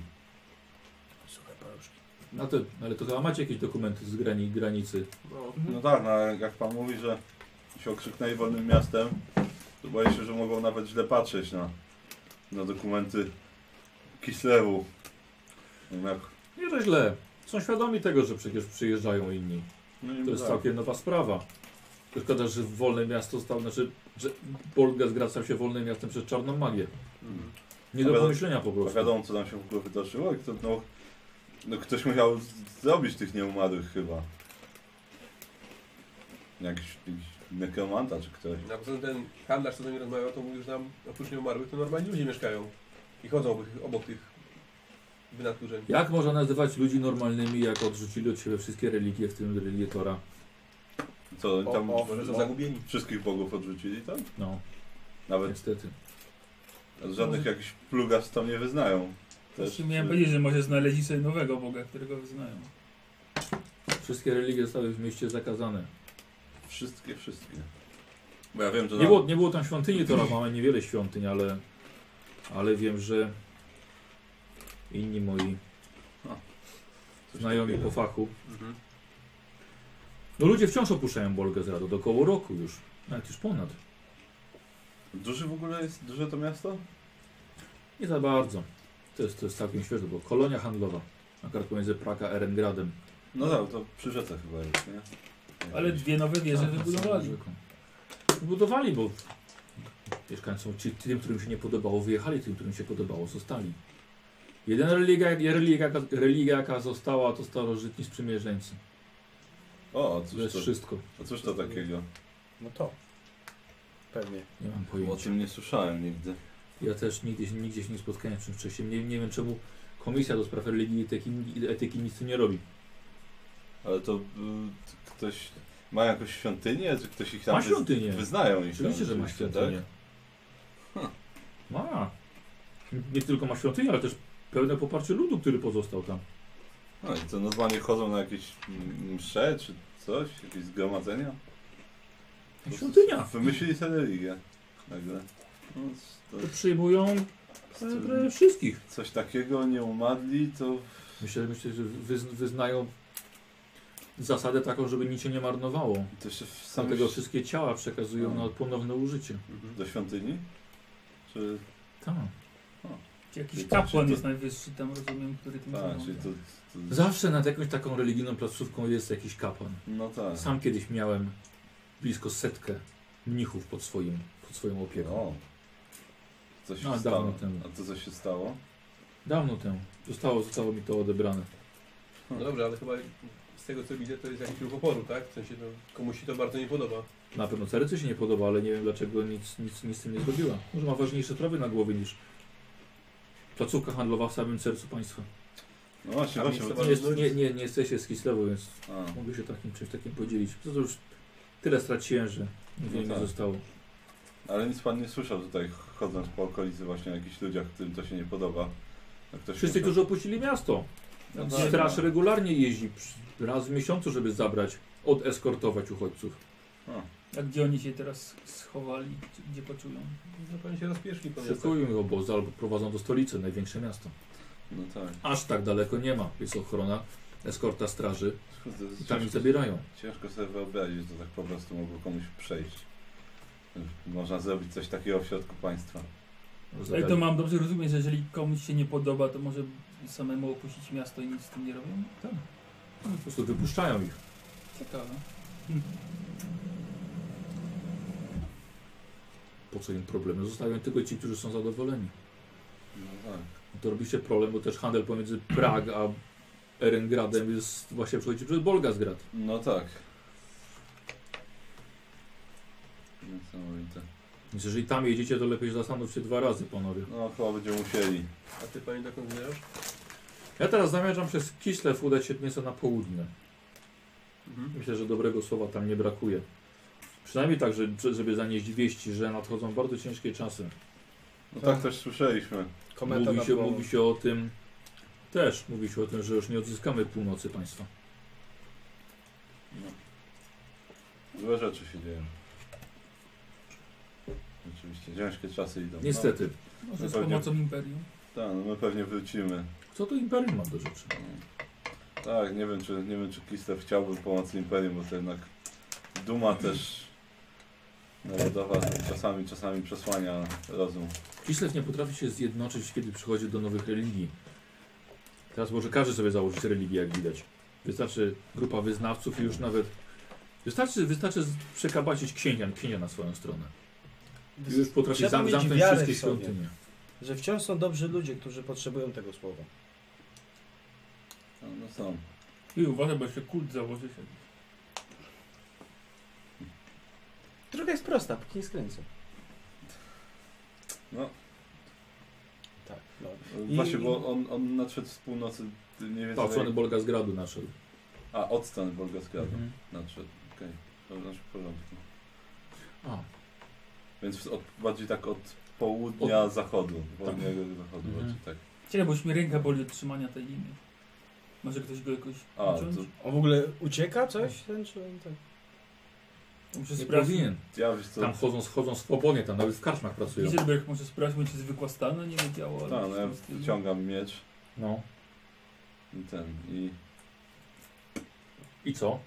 S2: Słuchaj, paluszki.
S1: Na te, ale to chyba macie jakieś dokumenty z grani, granicy.
S7: No.
S3: No tak, no jak pan mówi, że się okrzyknęli wolnym miastem, to boję się, że mogą nawet źle patrzeć na, na dokumenty Kislewu. No Jak,
S1: Nie, że źle. Są świadomi tego, że przecież przyjeżdżają inni.
S3: no
S1: To jest całkiem nowa sprawa. To Szkoda, że wolne miasto stało, znaczy, że Polga zgracał się wolnym miastem przez czarną magię.
S7: Mhm.
S1: Nie do
S3: A wiadomo-
S1: pomyślenia po
S3: Bo
S1: prostu.
S3: wiadomo, co tam się w ogóle wydarzyło. i Kto, no, no ktoś musiał z- zrobić tych nieumarłych chyba. Jakiś, jakiś nekromanta czy ktoś.
S7: Na poza tym ten handlarz, co z nami rozmawiał, to mówił, że tam oprócz nieumarłych to normalni ludzie mieszkają. I chodzą obok, obok tych wynaturzeń.
S1: Jak można nazywać ludzi normalnymi, jak odrzucili od siebie wszystkie religie, w tym religię Tora?
S3: Co, oni tam no,
S4: O, o, może są zagubieni.
S3: wszystkich bogów odrzucili tam?
S1: No,
S3: Nawet
S1: niestety.
S3: żadnych jakichś plugas tam nie wyznają. e,
S5: Też Znaczy, miałem powiedzieć, że może znaleźli sobie nowego Boga, którego wyznają.
S1: Wszystkie religie zostały w mieście zakazane.
S3: Wszystkie, wszystkie. Bo ja wiem, że
S1: Nie było, nie było tam świątyni Tora, mamy niewiele świątyń, ale, ale wiem, że inni moi
S3: coś
S1: znajomi
S3: takiego.
S1: po fachu.
S7: Mhm.
S1: No ludzie wciąż opuszczają Bolgezrado, do około roku już, nawet już ponad.
S3: Duży w ogóle jest, duże to miasto?
S1: Nie za bardzo. To jest, to jest całkiem świeże, bo kolonia handlowa, akurat pomiędzy Praga a Erengradem.
S3: No tak, to przy rzece chyba jest, nie?
S5: Ale dwie nowe wieże
S1: Tak, nad samą
S5: wybudowali.
S1: rzeką. Wybudowali, bo mieszkańcom, ci, tym, którym się nie podobało, wyjechali, tym, którym się podobało, zostali. Jeden religia, religia, jaka- religia jaka została, to starożytni sprzymierzeńcy.
S3: O,
S1: To
S3: a
S1: jest
S3: cóż to,
S1: wszystko.
S3: a cóż to takiego?
S2: No to. Pewnie.
S1: Nie mam
S3: O
S1: pojęcia.
S3: tym nie słyszałem nigdy.
S1: Ja też nigdy, się- nigdzie się nie spotkałem z czymś wcześniej. Nie, nie wiem, czemu Komisja do Spraw Religii i Etyki, i etyki nic tu nie robi.
S3: Ale to y, t- ktoś ma jakąś świątynię, czy ktoś ich tam
S1: Ma
S3: wyz-
S1: świątynię.
S3: wyznają ich
S1: Oczywiście,
S3: tam,
S1: że ma
S3: rzeczywiście, tak?
S1: świątynię. Ma. Nie tylko ma świątynię, ale też pełne poparcie ludu, który pozostał tam.
S3: No i co, normalnie chodzą na jakieś m- msze, czy coś? Jakieś zgromadzenia?
S1: Świątynia.
S3: Wymyślili sobie religię. Nagle. No, to,
S1: To przyjmują e, wszystkich.
S3: coś takiego nie umadli, to
S1: Myślę, myślę że wyz, wyznają zasadę taką, żeby nic się nie marnowało.
S3: to się w samym
S1: Dlatego wszystkie ciała przekazują
S3: No.
S1: na ponowne użycie.
S7: Mhm.
S3: do świątyni? Czy
S1: Tak.
S5: Czy jakiś
S3: Czyli to-
S5: kapłan
S3: czy to-
S5: jest najwyższy tam, rozumiem, który tym
S3: tak,
S5: zarządza.
S3: czyli to, to,
S1: No. Zawsze nad jakąś taką religijną placówką jest jakiś kapłan.
S3: No tak.
S1: Sam kiedyś miałem blisko setkę mnichów pod, swoim, pod swoją opieką.
S3: O. Co się
S1: No, dawno
S3: stało?
S1: temu.
S3: A to co się stało?
S1: Dawno temu. Zostało, zostało mi to odebrane.
S7: No dobrze, ale chyba z tego co widzę to jest jakiś ruch oporu, tak? W sensie no, komuś się to bardzo nie podoba.
S1: Na pewno Cerycy się nie podoba, ale nie wiem dlaczego nic, nic, nic z tym nie zrobiła. Może ma ważniejsze sprawy na głowie niż placówka handlowa w samym sercu państwa.
S3: No właśnie,
S7: A
S3: właśnie.
S7: miejsce
S3: Bo...
S1: Nie, jest- nie, nie, nie jesteście z Kislewu, więc
S3: A,
S1: mogę się takim czymś takim podzielić. To, to już tyle straciłem, że niewiele
S3: No
S1: mi
S3: tak.
S1: zostało.
S3: ale nic pan nie słyszał tutaj, chodząc po okolicy właśnie o jakichś ludziach, którym to się nie podoba. A ktoś
S1: Wszyscy,
S3: nie-
S1: którzy opuścili miasto.
S3: No tak,
S1: Straż
S3: no.
S1: regularnie jeździ przy- raz w miesiącu, żeby zabrać, odeskortować uchodźców.
S3: A,
S5: A gdzie oni się teraz schowali? Czy Gdzie poczują?
S7: No pewnie się rozpieszli po miastach.
S1: Szykują ich obozy albo prowadzą do stolicy, największe miasto.
S3: no tak.
S1: Aż tak daleko nie ma. Jest ochrona, eskorta straży
S3: Kurde, to jest
S1: i tam ich
S3: ciężko,
S1: zabierają.
S3: ciężko sobie wyobrazić, że tak po prostu mogło komuś przejść. Można zrobić coś takiego w środku państwa.
S5: Ale
S1: tak.
S5: to mam dobrze rozumieć, że jeżeli komuś się nie podoba, to może samemu opuścić miasto i nic z tym nie robią?
S1: Tak. No, Po prostu wypuszczają ich.
S5: Ciekawe.
S1: Po co im problemy? Zostawiają tylko ci, którzy są zadowoleni.
S3: No tak.
S1: No To robi się problem, bo też handel pomiędzy Prag a Erengradem jest właśnie przechodzi przez Bolgazgrad.
S3: No tak. Niesamowite.
S1: Więc jeżeli tam jedziecie, to lepiej zastanów się dwa razy, panowie.
S3: No chyba będziemy musieli.
S7: A ty panie dokąd zmierzasz?
S1: Ja teraz zamierzam przez Kislew udać się nieco na południe.
S7: Mhm.
S1: Myślę, że dobrego słowa tam nie brakuje. Przynajmniej tak, że, że- żeby zanieść wieści, że nadchodzą bardzo ciężkie czasy.
S3: No tak też słyszeliśmy.
S2: Komenta
S1: Mówi
S2: nad
S1: się,
S2: głową.
S1: mówi się o tym... Też mówi się o tym, że już nie odzyskamy północy państwa.
S3: Złe rzeczy się dzieją. Oczywiście, ciężkie czasy idą.
S1: Niestety.
S5: Może z
S3: Pewnie.
S5: pomocą Imperium.
S3: No, tak, no my pewnie wrócimy.
S1: Co to imperium ma do rzeczy?
S3: Tak, nie wiem czy, nie wiem, czy Kislev chciałby pomocy Imperium, bo to jednak duma też narodowa czasami, czasami przesłania rozum.
S1: Kislev nie potrafi się zjednoczyć, kiedy przychodzi do nowych religii. Teraz może każdy sobie założyć religię, jak widać. Wystarczy grupa wyznawców i już nawet... Wystarczy, wystarczy z- przekabacić księgiem, księcia na swoją stronę. I już potrafi
S2: Trzeba
S1: zam,
S2: mieć
S1: zamknąć
S2: wiarę
S1: wszystkie
S2: w sobie.
S1: świątynie.
S2: Że wciąż są dobrzy ludzie, którzy potrzebują tego słowa.
S3: No, no są.
S5: I uważaj, bo jeszcze kult założy się.
S2: Droga jest prosta, póki nie skręcę.
S3: No.
S2: Tak.
S3: I... Właśnie, bo on, on nadszedł z północy, ty nie wiem.
S1: Patrzony Bolga z gradu naszedł.
S3: A, od strony Bolgaskradu
S1: Mhm.
S2: Mhm.
S3: nadszedł. Okej, okay. znaczy w porządku.
S1: A,
S3: Więc od, bardziej tak od południa zachodu, południego zachodu
S1: Mhm.
S3: bardziej tak.
S5: Ciekawe, boś mi ręka boli od trzymania tej linii. Może ktoś go jakoś
S3: A, to-
S5: uciąć?
S2: On w ogóle ucieka coś? Ten czy on tak?
S5: Muszę
S1: nie
S5: sprawdzić.
S1: powinien.
S3: Ja wiesz co,
S1: Tam
S3: tam.
S1: chodzą, chodzą swobodnie, tam nawet w karczmach pracują.
S5: Izelberg może sprawdźmy, czy zwykła stalna nie wiedziała. ale
S3: no
S5: coś
S3: ja
S5: w tym stylu.
S3: wyciągam miecz
S1: No.
S3: i ten i...
S1: I co?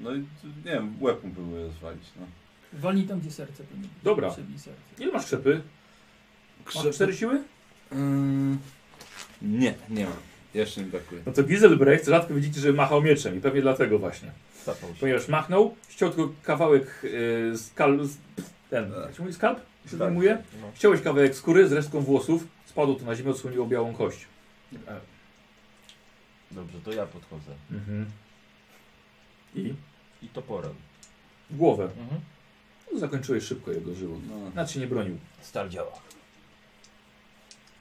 S3: No i nie wiem, łeb mu próbuję zwalić, no.
S5: Walnij tam, gdzie serce powinno być.
S1: Dobra.
S5: Przebij serce.
S1: Ile masz krzepy? Masz cztery siły?
S3: nie, nie mam. Jeszcze mi brakuje.
S1: No to Giselbrecht rzadko widzicie, że machał mieczem i pewnie dlatego właśnie.
S10: Zapał się.
S1: Ponieważ machnął, ściął tylko kawałek yy, skal... Z, ten,
S3: Tak.
S1: jak się mówi, skalp? Się zajmuje?
S10: No.
S1: Ściąłeś kawałek skóry z resztką włosów, spadło to na ziemię, odsłoniło białą kość.
S10: Dobrze, to ja podchodzę.
S1: Mhm. I?
S10: I toporem.
S1: W głowę.
S10: Mhm.
S1: No, zakończyłeś szybko jego żywot.
S3: No.
S1: Nad się nie bronił.
S10: Stal działa.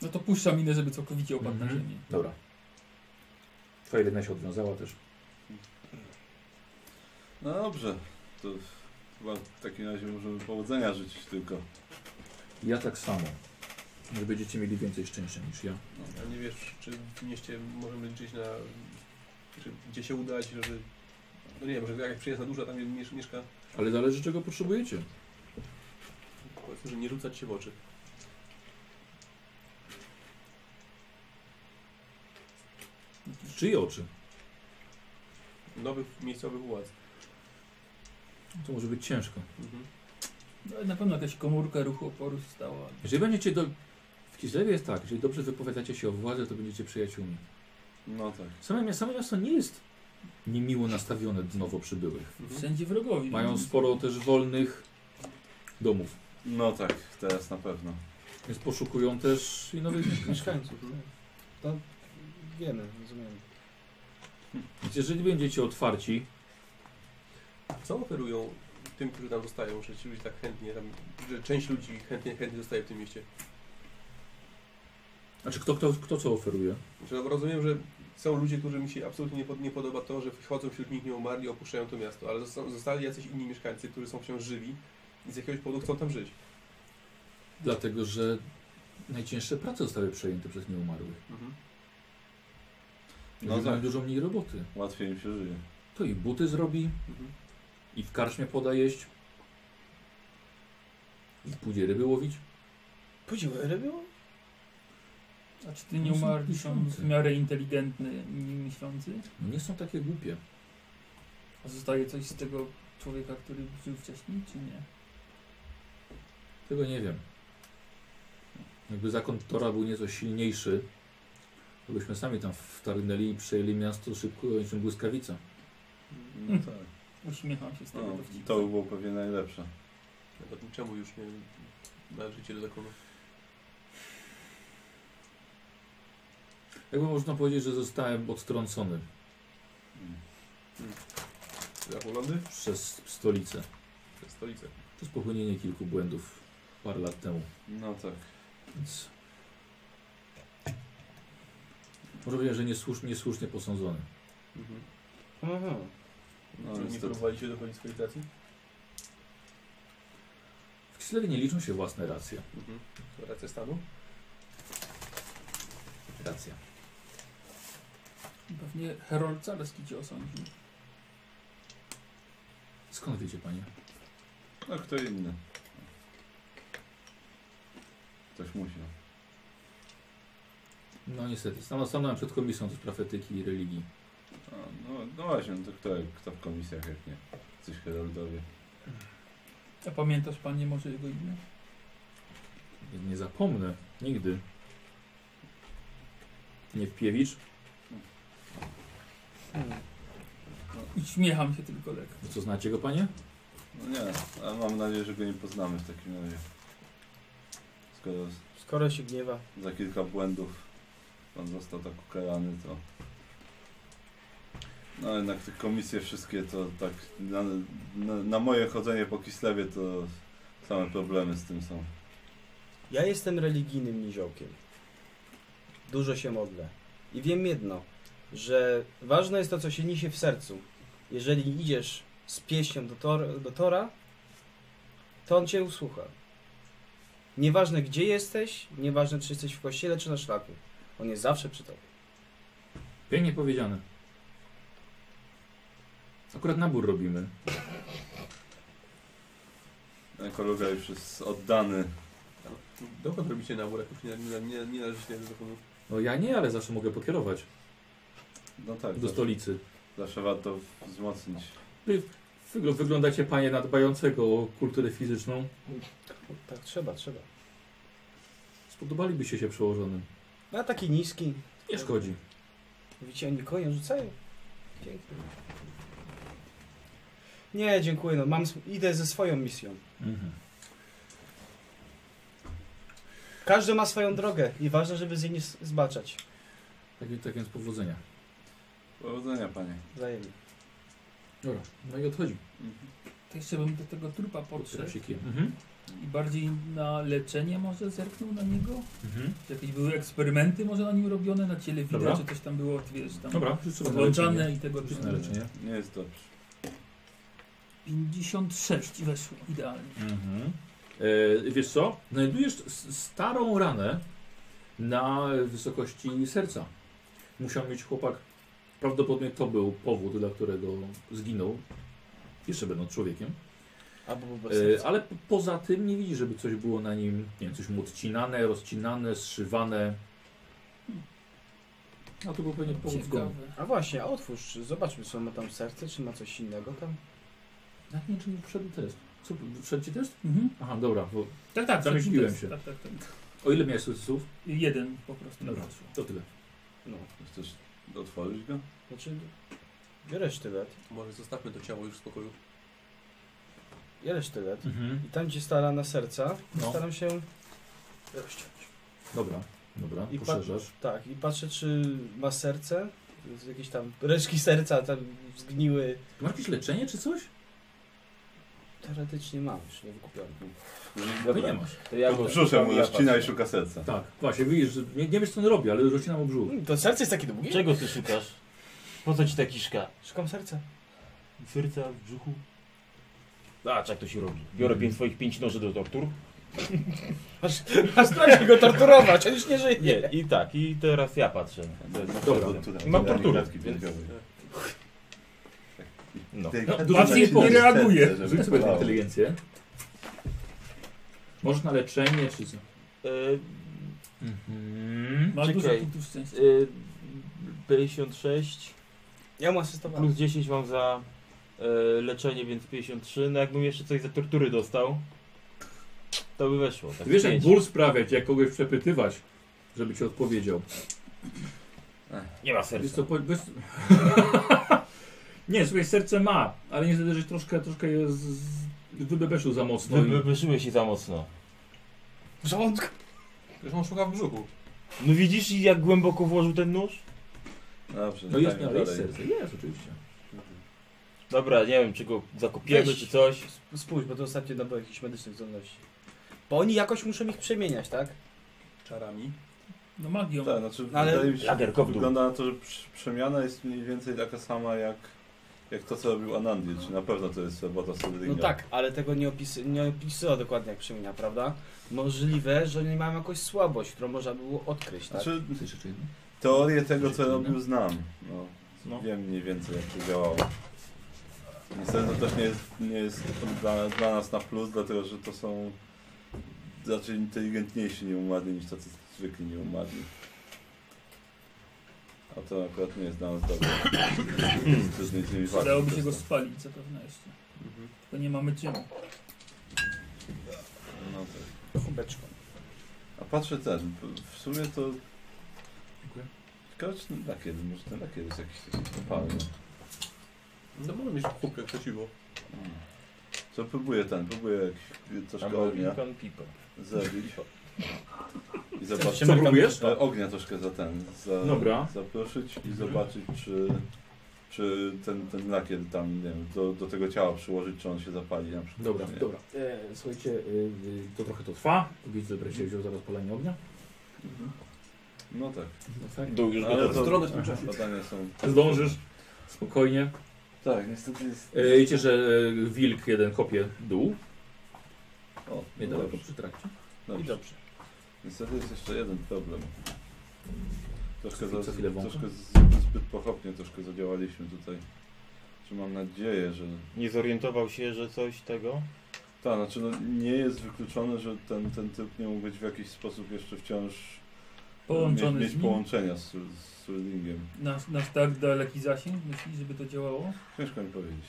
S5: No to puszczam minę, żeby całkowicie opadł na
S1: Mhm.
S5: ziemię.
S1: Dobra. Twoja jedna się odwiązała też.
S3: no dobrze, to chyba w takim razie możemy powodzenia życzyć tylko.
S1: Ja tak samo. Że będziecie mieli więcej szczęścia niż ja.
S7: A nie wiesz, czy w mieście możemy gdzieś na... Czy gdzie się udać, żeby... No nie wiem, może jakaś przyjazna duża tam mie- mieszka.
S1: Ale zależy czego potrzebujecie.
S7: Powiedzmy, że nie rzucać się w oczy.
S1: Czyje oczy?
S7: Nowych miejscowych władz.
S1: To może być ciężko.
S7: Mhm.
S5: No, i na pewno jakaś komórka ruchu oporu stała.
S1: Jeżeli będziecie do... W Kislewie jest tak, jeżeli dobrze wypowiadacie się o władzy, to będziecie przyjaciółmi.
S3: No tak.
S1: Same, mia- same miasto nie jest niemiło nastawione do nowo przybyłych.
S7: Mhm.
S5: Wszędzie wrogowie.
S1: Mają sporo też wolnych domów,
S3: No tak, teraz na pewno.
S1: więc poszukują też i nowych mieszkańców.
S2: Mieszkańców, no. To wiemy, rozumiemy.
S1: Więc jeżeli będziecie otwarci,
S7: Co oferują tym, którzy tam zostają, że ci ludzie tak chętnie tam... Że część ludzi chętnie, chętnie zostaje w tym mieście?
S1: znaczy kto, kto, kto co oferuje?
S7: Znaczy, no, rozumiem, że są ludzie, którym się absolutnie nie, pod, nie podoba to, że wchodzą wśród nich nieumarli, opuszczają to miasto, ale zosta- zostali jacyś inni mieszkańcy, którzy są wciąż żywi i z jakiegoś powodu chcą tam żyć.
S1: Dlatego, że najcięższe prace zostały przejęte przez nieumarłych.
S7: Mhm.
S3: No
S1: No mają
S3: tak.
S1: dużo mniej roboty.
S3: Łatwiej im się żyje.
S1: To i buty zrobi,
S7: Mhm.
S1: i w karczmie poda jeść, i pójdzie ryby łowić.
S2: Podziły ryby?
S5: A czy ty nie umarli są w miarę inteligentny i myślący?
S1: No nie są takie głupie.
S5: A zostaje coś z tego człowieka, który żył wcześniej, czy nie?
S1: Tego nie wiem. Jakby zakon Tora był nieco silniejszy, to byśmy sami tam wtargnęli i przejęli miasto szybko niczym błyskawica.
S3: No tak.
S5: Uśmiecham się z
S3: No,
S5: tego dowcipu.
S3: to by było pewnie najlepsze.
S7: Poza tym, No Czemu już nie należycie do zakonu?
S1: Jakby można powiedzieć, że zostałem odtrącony
S3: Mm.
S7: Za Holandy?
S1: przez stolicę.
S7: Przez stolicę.
S1: To jest popełnienie kilku błędów parę lat temu.
S3: No tak.
S1: Więc... Może powiedzieć, że niesłusznie, niesłusznie posądzony.
S7: Mhm.
S2: Aha.
S3: No,
S7: Czyli nie
S3: niestety.
S7: próbowaliście dochodzić swojej racji?
S1: W Kislewie nie liczą się własne racje.
S7: Mhm. To Racja stanu?
S1: Racja.
S5: Pewnie Herold Carski cię osądził.
S1: Skąd wiecie, panie?
S3: No kto inny. Ktoś musiał.
S1: No niestety, stanąłem, stanąłem przed komisją do spraw etyki i religii.
S3: A, no, no właśnie, no to kto, kto w komisjach, jak nie? Coś heraldowie.
S5: A pamiętasz panie może jego imię?
S1: Nie, nie zapomnę, nigdy. Nie wpiewicz?
S2: Hmm.
S5: Uśmiecham się tylko tak. lekko.
S1: Co znacie go, panie?
S3: No nie, ale mam nadzieję, że go nie poznamy w takim razie. Skoro z-
S2: Skoro się gniewa.
S3: za kilka błędów pan został tak ukarany, to... No jednak te komisje wszystkie to tak... Na, na, na moje chodzenie po Kislewie to same problemy z tym są.
S2: Ja jestem religijnym niziołkiem. dużo się modlę. I wiem jedno, że ważne jest to, co się niesie w sercu. Jeżeli idziesz z pieśnią do, tor, do Tora, to On Cię usłucha. Nieważne gdzie jesteś, nieważne czy jesteś w kościele czy na szlaku. On jest zawsze przy Tobie.
S1: Pięknie powiedziane. Akurat nabór robimy.
S3: Ekologa już jest oddany.
S7: Dokąd robicie nabór, jak już nie, nie, nie, nie należycie do dokonów?
S1: No ja nie, ale zawsze mogę pokierować
S3: No tak,
S1: do
S3: zawsze,
S1: stolicy.
S3: zawsze warto wzmocnić.
S1: Wygl wyglądacie panie na dbającego o kulturę fizyczną.
S2: Tak, trzeba, trzeba.
S1: Spodobalibyście się przełożonym.
S2: A taki niski.
S1: Nie szkodzi.
S2: Widzicie, oni konie rzucają. Pięknie. Nie, dziękuję. No, mam, sw- idę ze swoją misją.
S1: Mhm.
S2: Każdy ma swoją drogę i ważne, żeby z niej nie s- zbaczać.
S1: Tak, więc- tak więc powodzenia.
S3: Powodzenia, panie.
S2: Wzajemnie.
S1: Dobra, no i odchodzi.
S10: Mhm.
S5: To jeszcze bym do tego trupa podszedł
S1: Podszedł. Mhm.
S5: i bardziej na leczenie może zerknął na niego?
S1: Mhm.
S5: Czy jakieś były eksperymenty może na nim robione, na ciele widać,
S1: Dobra.
S5: czy coś tam było, wiesz, tam
S1: Dobra, wszyscy na
S5: odłączane
S1: leczenie.
S5: i tego
S1: Wszyscy
S5: typu.
S1: na leczenie.
S3: Nie jest dobrze.
S5: 56 weszło, idealnie.
S1: Mhm. E, wiesz co? Znajdujesz s- starą ranę na wysokości serca. Musiał mieć chłopak. Prawdopodobnie to był powód, dla którego zginął. Jeszcze będąc człowiekiem.
S2: Albo po prostu.
S1: E, ale po- poza tym nie widzi, żeby coś było na nim. Nie wiem, coś mu odcinane, rozcinane, zszywane. A to był pewnie powód
S5: Ciekawe.
S1: zgonu.
S2: A właśnie, a otwórz, czy- zobaczmy, co ma tam serce, czy ma coś innego tam.
S1: Jak nie, czy nie wszedł test? Co, wszedł ci test?
S5: Mhm.
S1: Aha, dobra. Bo,
S5: Tak, tak,
S1: Zamyśliłem
S5: to-
S1: się.
S5: Tak, tak, tak.
S1: o ile miałeś sukcesów?
S5: Jeden po prostu.
S1: Dobra, to tyle.
S2: No,
S3: Chcesz otworzyć go?
S2: znaczy, biorę sztylet,
S7: Może zostawmy to ciało już w spokoju.
S2: biorę sztylet
S1: Mhm.
S2: i tam, gdzie stara na serca,
S1: No.
S2: staram się rozciąć.
S1: Dobra, dobra,
S2: I
S1: poszerzasz.
S2: Tak, i patrzę, czy ma serce, z jakieś tam reszki serca, tam zgniły.
S1: Masz jakieś leczenie czy coś?
S2: Teoretycznie mam, już nie No wykupiony.
S1: Ty nie masz.
S10: No, To ja
S3: Bo brzuszem mu
S10: ja
S3: rozcina i
S10: patrzę.
S3: szuka serca.
S1: Tak, właśnie, widzisz, że nie, nie wiesz co on robi, ale rozcina mu brzuch.
S2: Mm, To serce jest takie długie?
S10: Czego ty szukasz? Po co ci ta kiszka?
S2: Szukam serca.
S10: Serca w brzuchu? Zobacz jak tak to się robi. Biorę pięć swoich pięć noży do tortur.
S2: A strasznie go torturować, on już nie żyje.
S10: Nie, i tak, i teraz ja patrzę. To jest-
S1: Dobra.
S10: I mam torturę.
S3: Klatki piersiowej.
S10: No.
S3: Delikatnie
S1: dużo
S3: zacinać
S1: nie
S3: serce,
S5: reaguje.
S3: żeby
S1: Rzuć sobie tę
S3: bolało.
S1: inteligencję. Możesz na leczenie czy co?
S2: Y,
S10: E,
S1: Mhm.
S5: Masz dużo
S10: Czekaj.
S5: punktów szczęścia.
S10: e, 56
S2: y, Ja mu asystowałem.
S10: plus 10 mam za e, leczenie, więc 53. No jakbym jeszcze coś za tortury dostał, to by weszło. Tak
S1: Wiesz jak
S10: pięć.
S1: ból sprawiać, jak kogoś przepytywać, żeby ci odpowiedział.
S10: Nie ma
S1: Wiesz
S10: serca.
S1: co, po, bez... Nie, słuchaj, serce ma, ale niestety, że troszkę, troszkę je z, z, wybebeszył za mocno. i-
S10: Wybyszyłeś się za mocno.
S2: W żołądku.
S7: Zresztą on szuka w brzuchu.
S10: No widzisz jak głęboko włożył ten nóż?
S3: Dobrze,
S1: No jest
S3: dajmy
S1: miarę, jest
S3: dalej.
S1: serce, jest oczywiście.
S10: Dobra, nie wiem czy go zakopiemy
S2: Weź.
S10: czy coś.
S2: Spójrz, bo to ostatnio nabył jakichś medycznych zdolności. Bo oni jakoś muszą ich przemieniać, tak?
S7: Czarami.
S5: No magią.
S3: Tak, znaczy
S2: No ale-
S3: wydaje mi się,
S10: Lager, kop dół.
S3: wygląda na to, że przy- przemiana jest mniej więcej taka sama jak, jak to, co robił Anandi, czy na pewno to jest robota
S2: No
S3: Sodynia.
S2: tak, ale tego nie, opisy, nie opisała dokładnie jak przemienia, prawda? Możliwe, że oni mają jakąś słabość, którą można było odkryć, tak?
S3: Znaczy,
S1: Chcesz jeszcze jedno?
S3: teorię tego, co robił, znam. No,
S10: No.
S3: Wiem mniej więcej, jak to działało. Niestety to też nie jest, nie jest dla, dla nas na plus, dlatego że to są raczej inteligentniejsi nieumarli niż tacy zwykli nieumarli. A to akurat nie jest dla nas dobre. To jest między innymi walka
S5: Przydałoby się go
S3: prosta.
S5: spalić zapewne jeszcze. To nie mamy czym.
S3: No tak.
S2: Kubeczką.
S3: A patrzę ten, w sumie to... Ciekawe czy ten lakier, może ten lakier jest jakiś taki kopalny.
S7: No może mieć kubkę przeciwko.
S3: Mm. Co próbuję ten, próbuję jakiś troszkę ognia
S10: Pan Piper.
S3: zrobić. I zobaczyć.
S1: Co próbujesz?
S3: E, Ognia troszkę za ten, za,
S1: Dobra. Mhm.
S3: zaproszyć i zobaczyć czy, czy ten, ten lakier tam, nie wiem, do, do tego ciała przyłożyć, czy on się zapali na przykład.
S1: Dobra,
S3: nie.
S1: dobra. E, słuchajcie, y, y, to trochę to trwa. Widzę, że się wziął zaraz palenie ognia.
S3: No tak.
S1: No tak.
S10: Dół już
S3: Ale
S10: gotowy.
S3: to
S7: Zdrowe w tym czasie.
S3: badania są...
S1: Zdążysz. Spokojnie.
S3: Tak, niestety jest...
S1: E, Wiecie, że e, wilk jeden kopie dół.
S3: O,
S1: Nie
S3: no
S1: daleko
S3: dobrze.
S1: przy trakcie.
S3: No dobrze.
S2: I dobrze.
S3: Niestety jest jeszcze jeden problem. Troszkę,
S1: Co
S3: za,
S1: chwilę wącha?
S3: troszkę z, zbyt pochopnie troszkę zadziałaliśmy tutaj. Czy mam nadzieję, że...
S10: Nie zorientował się, że coś tego?
S3: Tak, znaczy no, nie jest wykluczone, że ten, ten typ nie mógł być w jakiś sposób jeszcze wciąż e,
S5: Połączony
S3: mieć,
S5: z
S3: mieć
S5: nim?
S3: połączenia z, z Swellingiem.
S5: Nasz, nasz tak daleki zasięg, myśli, żeby to działało?
S3: Ciężko mi powiedzieć.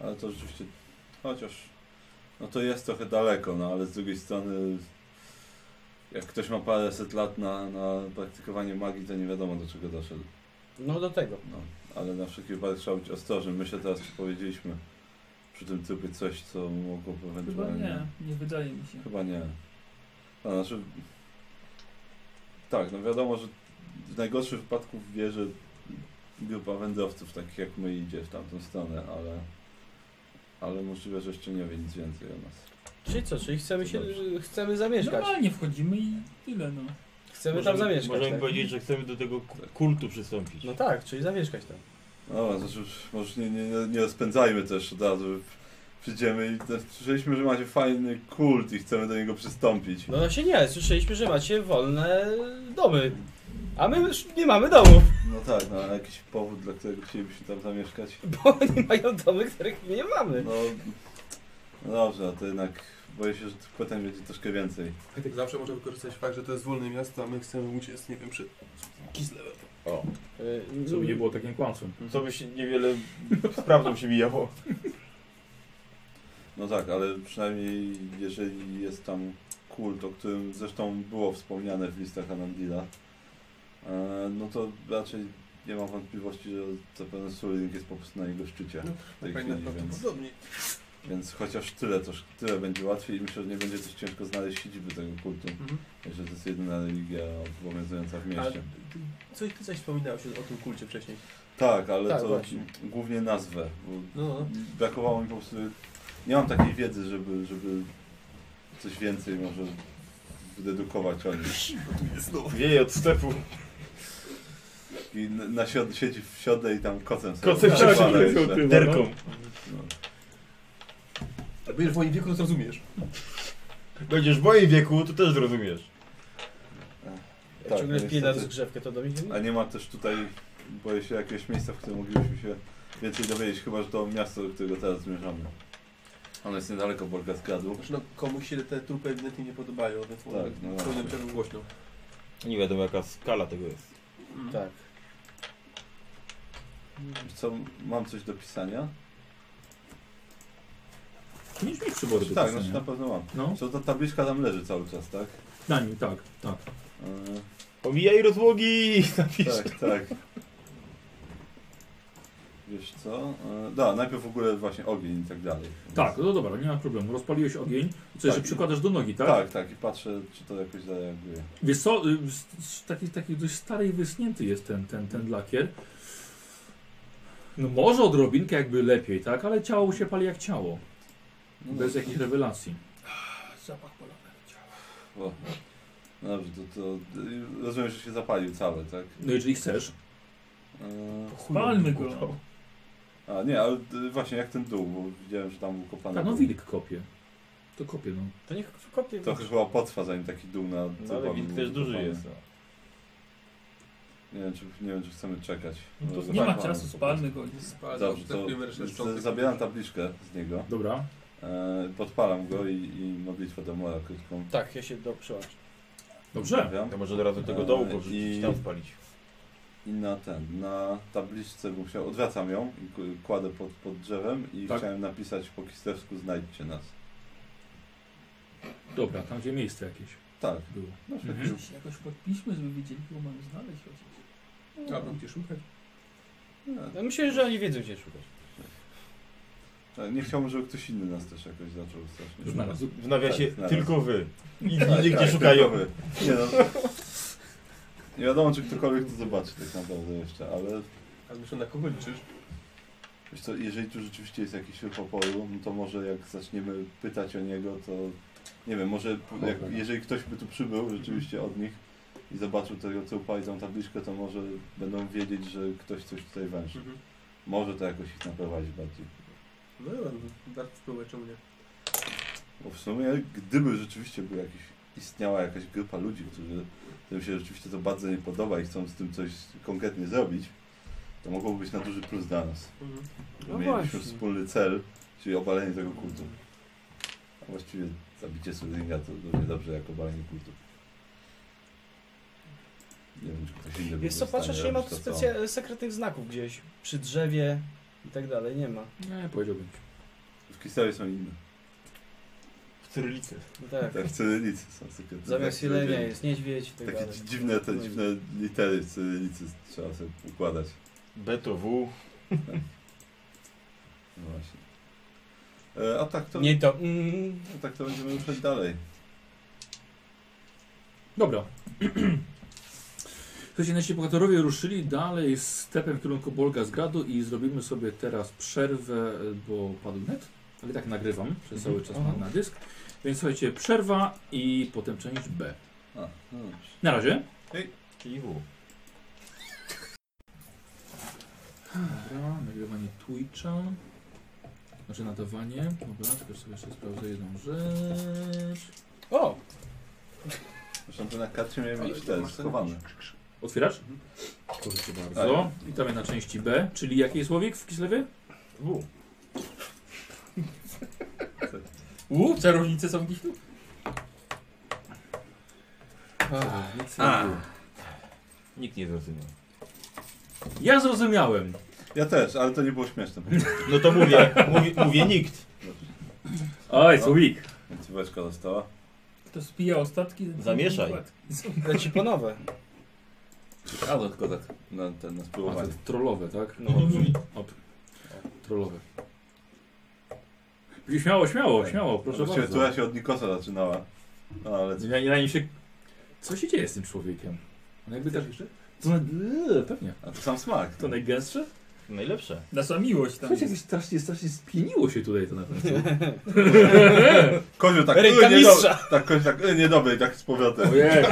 S3: Ale to rzeczywiście, chociaż no to jest trochę daleko, no ale z drugiej strony jak ktoś ma paręset lat na, na praktykowanie magii, to nie wiadomo do czego doszedł.
S2: No do tego.
S3: No, ale na wszelki wypadek trzeba być ostrożnym. My się teraz powiedzieliśmy przy tym typie coś, co mogło
S5: Chyba
S3: ewentualnie...
S5: nie, nie wydaje mi się.
S3: Chyba nie. A, znaczy... Tak, no wiadomo, że w najgorszym wypadku wierzy grupa wędrowców, takich jak my, idzie w tamtą stronę, ale... Ale możliwe, że jeszcze nie wie nic więcej o nas.
S2: Czyli co, czyli chcemy
S3: To
S2: się,
S3: dobrze.
S2: chcemy zamieszkać.
S7: No,
S5: Normalnie wchodzimy i tyle no.
S2: Chcemy tam zamieszkać.
S10: Możemy
S2: tak?
S10: powiedzieć, że chcemy do tego ku- kultu przystąpić.
S2: No tak, czyli zamieszkać tam.
S3: No, znaczy, może nie, nie, nie rozpędzajmy też od razu. Przyjdziemy i też słyszeliśmy, że macie fajny kult i chcemy do niego przystąpić.
S2: No właśnie nie, słyszeliśmy, że macie wolne domy. A my już nie mamy domów,
S3: No tak, no, ale jakiś powód, dla którego chcielibyśmy tam zamieszkać.
S2: bo oni mają domy, których my nie mamy.
S3: No, no dobrze, a to jednak boję się, że tych pytań będzie troszkę więcej.
S7: Tak zawsze można wykorzystać fakt, że to jest wolne miasto, a my chcemy uciec, nie wiem, przy Kislewem. E,
S2: Y,
S7: mm.
S1: Co by nie było takim kłamstwem.
S10: Co by się niewiele z prawdą się mijało.
S3: No tak, ale przynajmniej jeżeli jest tam kult, o którym zresztą było wspomniane w listach Anandila, e, no to raczej nie mam wątpliwości, że zapewne Suling jest po prostu na jego szczycie w tej
S7: Fajnie,
S3: chwili, więc,
S7: prawdopodobnie.
S3: więc chociaż tyle, to tyle będzie łatwiej i myślę, że nie będzie też ciężko znaleźć siedziby tego kultu,
S7: Mhm.
S3: że to jest jedyna religia obowiązująca w
S7: A
S3: mieście.
S7: ty, coś, ty coś wspominałeś o tym kulcie wcześniej.
S3: Tak, ale
S2: Tak,
S3: to
S2: właśnie.
S3: głównie nazwę, bo
S7: No,
S3: brakowało mi po prostu. Nie mam takiej wiedzy, żeby, żeby coś więcej może wydedukować o nich.
S10: Wieje od stepu.
S3: I na, na siod, siedzi w siodle i tam kocem sobie
S10: Kocem
S3: odpala
S10: siodle
S3: jeszcze.
S1: sobie odpycha.
S10: Derką.
S3: No.
S7: no. Będziesz w moim wieku, to zrozumiesz.
S10: Będziesz w moim wieku, to też zrozumiesz.
S2: Ja
S3: Tak,
S2: ciągle
S3: no
S2: piję na
S3: niestety.
S2: rozgrzewkę, to do mnie nie
S3: A nie ma też tutaj, boję się, jakiegoś miejsca, w którym moglibyśmy się więcej dowiedzieć, chyba że to miasto, do którego teraz zmierzamy. Ono jest niedaleko Borgasgradu.
S7: Znaczy, no, komuś się te trupy ewidentnie nie podobają, więc tak,
S3: no
S7: no, w
S3: właśnie.
S7: pewnym ciągu głośno.
S10: Nie wiadomo jaka skala tego jest.
S2: Tak.
S3: Co, mam coś do pisania?
S1: Przynieś mi przybory do
S3: tak,
S1: pisania.
S3: znaczy na pewno mam.
S1: No,
S3: Co ta tabliczka tam leży cały czas, tak?
S1: na nim, tak, tak.
S3: Yy,
S10: Pomijaj rozłogi! Napisz.
S3: Tak, tak. Wiesz co? E, Da, najpierw w ogóle właśnie ogień i tak dalej.
S1: Tak, no dobra, nie ma problemu. Rozpaliłeś ogień. Co,
S3: Tak.
S1: jeszcze przykładasz do nogi, tak?
S3: Tak, tak, i patrzę, czy to jakoś zareaguje.
S1: Wiesz co, y, z- z taki, taki dość stary i wysnięty jest ten, ten, ten lakier. No może odrobinkę jakby lepiej, tak? Ale ciało mu się pali jak ciało.
S3: No
S1: Bez
S3: dobrze.
S1: jakichś rewelacji.
S7: Zapach polowy.
S3: O. No dobrze, to, to y, rozumiem, że się zapalił cały, tak?
S1: No jeżeli chcesz.
S3: E,
S5: Spalmy go.
S3: A nie, ale y, właśnie jak ten dół, bo widziałem, że tam był kopany.
S1: Tak, no
S3: dół.
S1: wilk kopie. To kopie, no.
S2: To niech kopie.
S3: Trochę chyba potrwa, zanim taki dół na
S10: No, ale
S3: tyłami
S10: wilk
S3: był
S10: też duży
S3: wykopany.
S10: jest. no.
S3: Nie wiem, czy, nie wiem, czy chcemy czekać.
S5: No to
S3: Może
S5: nie ma
S3: zapalmy.
S5: czasu, spalmy go.
S3: Dobrze, to zabieram tabliczkę z niego.
S1: Dobra.
S3: E, podpalam go i, i modlitwę do mora krótką.
S2: Tak, ja się do przyłączę.
S1: Dobrze.
S3: Wiem.
S10: To może od razu tego
S3: Eee,
S10: dołu porzucić
S3: i-
S10: i tam spalić.
S3: I na ten, na tabliczce bym chciał, odwracam ją i k- kładę pod, pod drzewem i
S1: Tak.
S3: chciałem napisać po kislewsku znajdźcie nas.
S1: Dobra, tam gdzie miejsce jakieś
S3: Tak,
S1: było.
S3: no
S1: Mhm.
S5: Się Jakoś podpiszmy, żeby wiedzieli, kogo mamy znaleźć chociaż.
S7: Dobra, gdzie szukać?
S2: No myślę, że oni wiedzą gdzie szukać.
S3: tak, nie chciałbym, żeby ktoś inny nas też jakoś zaczął strasznie.
S1: Znalazł.
S10: W nawiasie
S3: Tak, znalazł.
S10: tylko wy. Inni
S3: Tak,
S10: nigdzie
S3: tak,
S10: szukają.
S3: tylko wy. Nie, no. nie wiadomo, czy ktokolwiek to zobaczy tak naprawdę jeszcze, ale
S7: A myślę, na kogo liczysz?
S3: wiesz co, jeżeli tu rzeczywiście jest jakiś ruch oporu, no to może jak zaczniemy pytać o niego, to nie wiem, może p- jak, jeżeli ktoś by tu przybył rzeczywiście od nich, i zobaczył tego trupa i tą tabliczkę, to może będą wiedzieć, że ktoś coś tutaj węży.
S7: Mhm.
S3: Może to jakoś ich naprowadzić bardziej.
S7: No dobra, no, dart wpływa, czemu nie?
S3: Bo w sumie, gdyby rzeczywiście był jakiś, istniała jakaś grupa ludzi, którzy, którym się rzeczywiście to bardzo nie podoba i chcą z tym coś konkretnie zrobić, to mogłoby być na duży plus dla nas.
S7: Mhm.
S3: Bo
S2: No
S3: mielibyśmy wspólny cel, czyli obalenie tego kultu. A właściwie zabicie Sudringa to równie dobrze jak obalenie kultu. Nie wiem, czy ktoś inny
S2: Wiesz co,
S3: byłby w
S2: patrzę,
S3: stanie
S2: czy nie ma tu
S3: robić to, co
S2: specja- sekretnych znaków gdzieś. Przy drzewie i tak dalej, nie ma.
S1: Nie, powiedziałbym.
S3: on. W Kistawie są inne.
S10: W cyrylicy.
S2: No tak.
S3: Tak, w cyrylicy są sekretne.
S2: Zamiast
S3: Tak,
S2: jelenia
S3: powiedziałem.
S2: jest niedźwiedź i tak
S3: Takie
S2: dalej.
S3: dziwne, te dziwne litery w cyrylicy trzeba sobie układać.
S10: B to W.
S3: No właśnie. E, a tak to,
S2: Nie to... Mm,
S3: a tak to będziemy ruszać dalej.
S1: Dobra. Słuchajcie, nasi bohaterowie ruszyli dalej stepem w kierunku Bolga z gradu i zrobimy sobie teraz przerwę, bo padł net, ale tak nagrywam przez cały czas na, na dysk. Więc słuchajcie, przerwa i potem część B.
S3: A, no dobrze.
S1: Na razie.
S10: Czyli W.
S1: Dobra, nagrywanie Twitcha. Znaczy nadawanie. Dobra, tylko sobie jeszcze sprawdzę jedną rzecz.
S2: o!
S3: Zresztą to na karcie miałem
S7: Ale
S3: mieć
S7: to
S3: te
S7: masz ten-
S3: schowane.
S1: Otwierasz? Proszę bardzo. Witamy na części B, czyli jaki jest łowik w Kislewie?
S10: W.
S5: U, czarownice są gdzieś tu?
S10: Nic nie było. Nikt nie zrozumiał.
S1: Ja zrozumiałem.
S3: Ja też, ale to nie było śmieszne.
S10: No to mówię,
S2: tak.
S10: mówię, mówię nikt.
S1: Oj, słowik.
S3: Cyweczka została.
S5: To spija ostatki.
S10: Zamieszaj.
S2: Leci po nowe.
S3: A no tylko tak na, ten, na
S1: A to
S3: spróbowanie.
S1: trollowe, tak?
S10: No,
S1: Op. Trollowe. Śmiało, śmiało, śmiało, proszę
S3: Właściwie
S1: bardzo.
S3: tura się od Nikosa zaczynała. No ale co?
S1: Ja, ja nim się... Co się dzieje z tym człowiekiem? On jakby tak...
S7: jeszcze?
S1: To na... Eee, Pewnie.
S3: A to sam smak.
S1: To najgęstsze?
S10: najlepsze.
S5: Nasza miłość tam.
S1: Słuchajcie, jakieś strasznie, strasznie spieniło się tutaj to na końcu.
S3: Kozioł tak,
S2: Ręka
S3: y, niedob-
S2: mistrza!
S3: tak, kozioł tak, y, niedobry, i tak z powrotem.
S1: Ojej.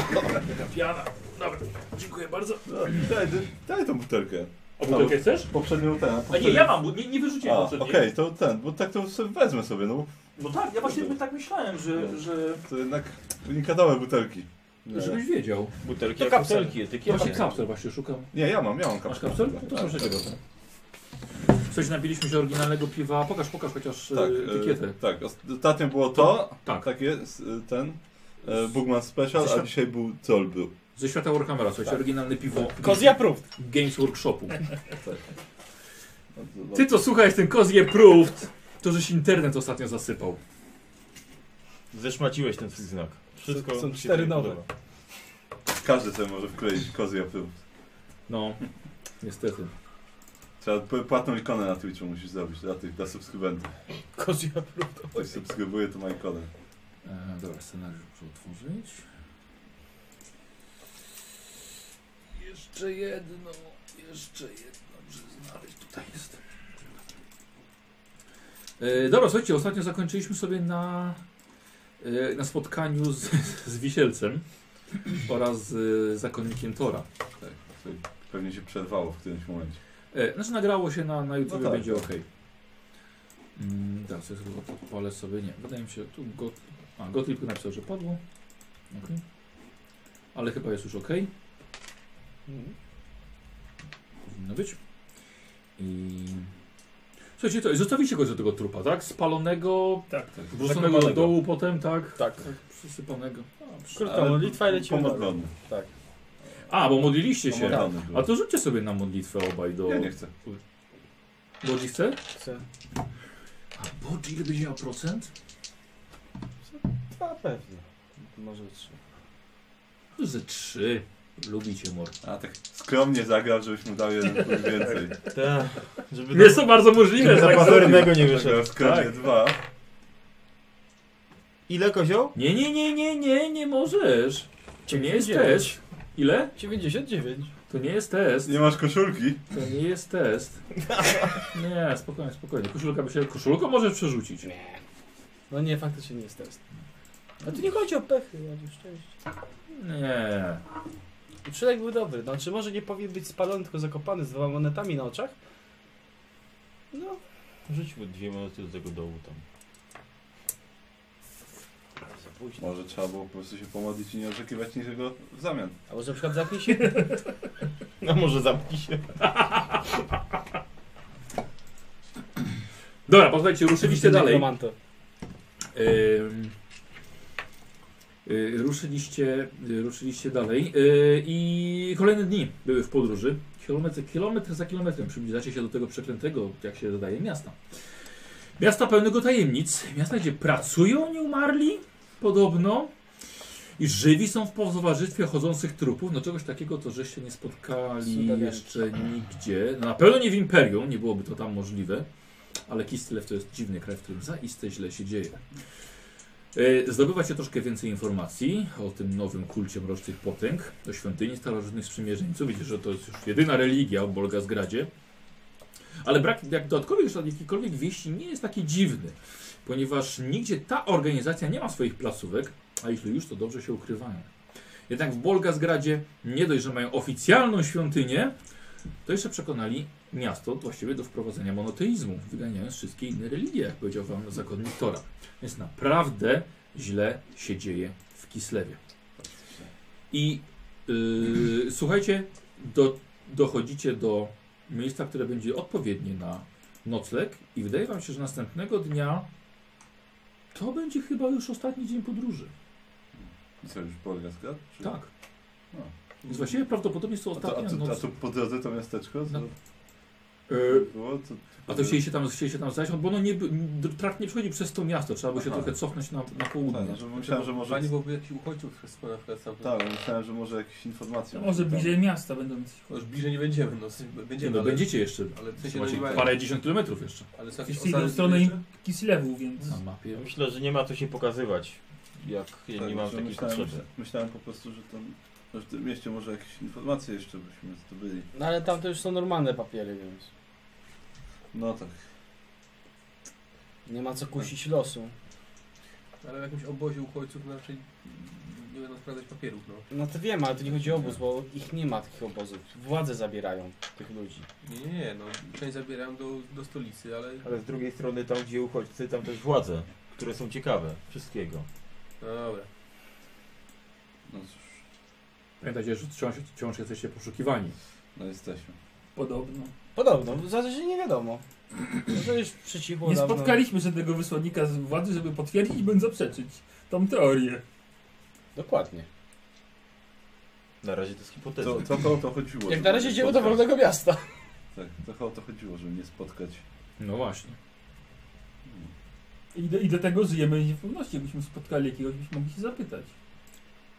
S1: Piana. Dobra, dziękuję bardzo.
S3: No, daj, daj, daj tą butelkę.
S1: A butelkę chcesz?
S3: Poprzednią ten.
S1: A nie, ja mam, bo nie, nie wyrzuciłem
S3: A, okej,
S1: poprzedniej.
S3: to ten, bo tak to sobie wezmę sobie, no.
S1: No tak, ja właśnie tak myślałem, że... że...
S3: To jednak unikatowe butelki. Nie,
S1: Żebyś wiedział.
S10: Butelki
S2: To
S10: jak
S2: kapsel.
S10: butelki, etykieta.
S1: Właśnie kapsel właśnie szukam.
S3: nie ja mam, ja mam
S1: Masz
S3: kapsel.
S1: kapsel? To proszę cię bardzo. Coś napiliśmy się oryginalnego piwa. Pokaż, pokaż chociaż
S3: Tak,
S1: tak, etykietę.
S3: e, tak, ostatnio było to,
S1: tak.
S3: takie, s- ten, e, Bugman Special,
S1: Zresztą-
S3: a dzisiaj był Troll był.
S1: Ze świata Warhammera, słuchajcie, oryginalne piwo
S2: Tak. Kozja approved.
S1: Games Workshopu.
S3: Bardzo
S1: Ty to słuchaj, ten Kozje Proved, to żeś internet ostatnio zasypał.
S10: Zeszmaciłeś ten swój znak. Wszystko
S2: Są
S10: mi się
S2: cztery
S10: nie
S2: nowe.
S10: podoba.
S3: dobrze. Każdy sobie może wkleić kozy pył.
S1: No, niestety.
S3: Trzeba p- płatną ikonę na Twitchu musisz zrobić dla tych, dla subskrybentów.
S2: Kozja
S3: Ktoś subskrybuje, to ma ikonę.
S1: E, dobra, scenariusz muszę otworzyć. Jeszcze jedno, jeszcze jedno, muszę znaleźć, tutaj jest. E, dobra, słuchajcie, ostatnio zakończyliśmy sobie na, e, na spotkaniu z, z Wisielcem oraz z e, zakonnikiem Tora.
S3: To Pewnie się przerwało w którymś momencie.
S1: E, znaczy nagrało się na, na YouTube,
S3: No tak.
S1: będzie ok. Mm, teraz sobie tylko odpalę sobie, nie, wydaje mi się, tu got, a, Gotlib napisał, że padło. Okay. Ale chyba jest już ok. Powinno być. I... Słuchajcie, to, zostawicie go do tego trupa, tak? Spalonego,
S5: Tak.
S1: wrzuconego do dołu potem, tak?
S2: Tak.
S1: Przysypanego.
S2: Krótka modlitwa i lecimy dalej. Tak.
S3: Pomodlony.
S1: A, bo modliliście się. Tak.
S3: Pomodlony był.
S1: A to rzućcie sobie na modlitwę obaj do...
S3: Ja nie chcę.
S1: Bodzi chce?
S2: Chcę.
S1: A Bodzi ile będzie miał procent?
S2: Dwa pewnie. Może trzy.
S1: To Ze 3. Lubicie mor.
S3: A
S7: Znaczy,
S3: tak skromnie zagrał, żebyś mu dał jeden punkt więcej.
S10: Tak, żeby
S1: Jest to bardzo możliwe, że
S10: Za
S1: tak
S10: pazernego nie
S3: Zagrał
S10: wyszedł.
S3: skromnie
S2: Tak.
S3: dwa.
S10: Ile kozioł?
S1: Nie, nie, nie, nie, nie, nie możesz. To nie jest test. Ile?
S2: 99.
S1: To nie jest test.
S3: Nie masz koszulki?
S1: To nie jest test. Nie, spokojnie, spokojnie. Koszulka by się... Koszulką możesz przerzucić.
S2: No nie, faktycznie nie jest test. A tu nie chodzi o pechy, ale szczęście.
S1: Nie.
S2: Uczynek był dobry. Znaczy, może nie powinien być spalony, tylko zakopany z dwoma monetami na oczach. No,
S10: Rzuć mu dwie monety do tego dołu tam.
S2: za późno.
S3: Może trzeba było po prostu się pomodlić i nie oczekiwać niczego w zamian.
S2: A może na przykład zamknij się?
S10: No może zamknij się.
S1: Dobra, posłuchajcie, ruszyliście dalej.
S2: Nekromanto.
S1: Ym, y, ruszyliście, y, ruszyliście dalej y, i kolejne dni były w podróży. Kilometr, kilometr za kilometrem przybliżacie się do tego przeklętego, jak się dodaje, miasta. Miasta pełnego tajemnic, miasta, gdzie pracują nieumarli, podobno, i żywi są w towarzystwie chodzących trupów. No czegoś takiego to żeście nie spotkali
S2: Cuda
S1: jeszcze nigdzie. No, na pewno nie w Imperium, nie byłoby to tam możliwe. Ale Kistlev to jest dziwny kraj, w którym zaiste źle się dzieje. E, Zdobywacie troszkę więcej informacji o tym nowym kulcie mrocznych potęg, o świątyni starożytnych sprzymierzeńców. Widzicie, że to jest już jedyna religia w Bolgazgradzie. Ale brak jak dodatkowych ślad- jakichkolwiek wieści nie jest taki dziwny, ponieważ nigdzie ta organizacja nie ma swoich placówek, a jeśli już, to dobrze się ukrywają. Jednak w Bolgazgradzie nie dość, że mają oficjalną świątynię, to jeszcze przekonali miasto właściwie do wprowadzenia monoteizmu, wyganiając wszystkie inne religie, jak powiedział wam zakonnik Tora. Więc naprawdę źle się dzieje w Kislewie. I yy, słuchajcie, do, dochodzicie do miejsca, które będzie odpowiednie na nocleg i wydaje wam się, że następnego dnia to będzie chyba już ostatni dzień podróży.
S3: I co, już Polga zgadł? Czy...
S1: Tak.
S3: No.
S1: Więc właściwie prawdopodobnie są
S3: A to, a,
S1: ostatnie
S3: to, a
S1: noc.
S3: to po drodze to miasteczko? Co
S1: No. Yy,
S2: Y-
S3: było? To, Tak,
S1: A to chcieli się tam, chcieli się tam zająć, bo no nie, by- trakt nie przechodzi przez to miasto, trzeba by się
S3: Aha.
S1: trochę cofnąć na, na południe.
S3: Tak, że myślałem, że może...
S7: Fajnie byłoby jakichś uchodźców z pana wracał.
S3: Tak, myślałem, że może jakieś informacje.
S5: To No, może
S3: tam.
S5: bliżej miasta będą coś.
S7: Już bliżej nie będziemy, no
S1: Nie,
S7: będziemy,
S1: no
S7: ale,
S1: będziecie jeszcze,
S7: ale w sensie no,
S1: macie
S7: nie mają,
S1: parę dziesiąt kilometrów jeszcze. No.
S7: ale są jakieś
S5: Jeśli idą
S7: osady
S5: w stronę
S7: jeszcze?
S5: Kislewu, więc...
S1: Na mapie.
S10: Myślę, że nie ma co się pokazywać. Jak ja
S3: Tak,
S10: nie mam
S3: że
S10: takiej
S3: myślałem,
S10: potrzeby.
S3: że- myślałem po prostu, że tam że w tym mieście może jakieś informacje jeszcze byśmy zdobyli.
S2: No ale tam to już są normalne papiery, więc
S3: No tak.
S2: nie ma co kusić losu.
S7: Ale w jakimś obozie uchodźców no, raczej nie będą sprawdzać papierów, no.
S2: No to wiem, ale to nie chodzi o obóz, bo ich nie ma takich obozów. Władze zabierają tych ludzi.
S7: Nie, nie, nie, no część zabierają do, do stolicy, ale...
S10: Ale z drugiej strony tam gdzie uchodźcy, tam też władze, które są ciekawe wszystkiego.
S7: No dobra.
S3: No cóż,
S1: Pamiętajcie, że wciąż, wciąż jesteście poszukiwani.
S3: no jesteśmy.
S5: Podobno.
S2: Podobno, za to, że nie wiadomo. No to już przycichło
S5: Nie
S2: dawno.
S5: spotkaliśmy żadnego wysłannika z władzy, żeby potwierdzić bądź zaprzeczyć tą teorię.
S2: Dokładnie.
S10: Na razie to jest hipoteza.
S3: To, to, to o to chodziło.
S2: Jak
S3: żeby
S2: na razie
S3: nie
S2: idziemy do
S3: spotkać.
S2: wolnego miasta.
S3: Tak, to o to chodziło, żeby nie spotkać.
S1: No właśnie.
S3: Hmm.
S5: I do, I do tego żyjemy w niepewności. Jakbyśmy spotkali jakiegoś, byśmy mogli się zapytać.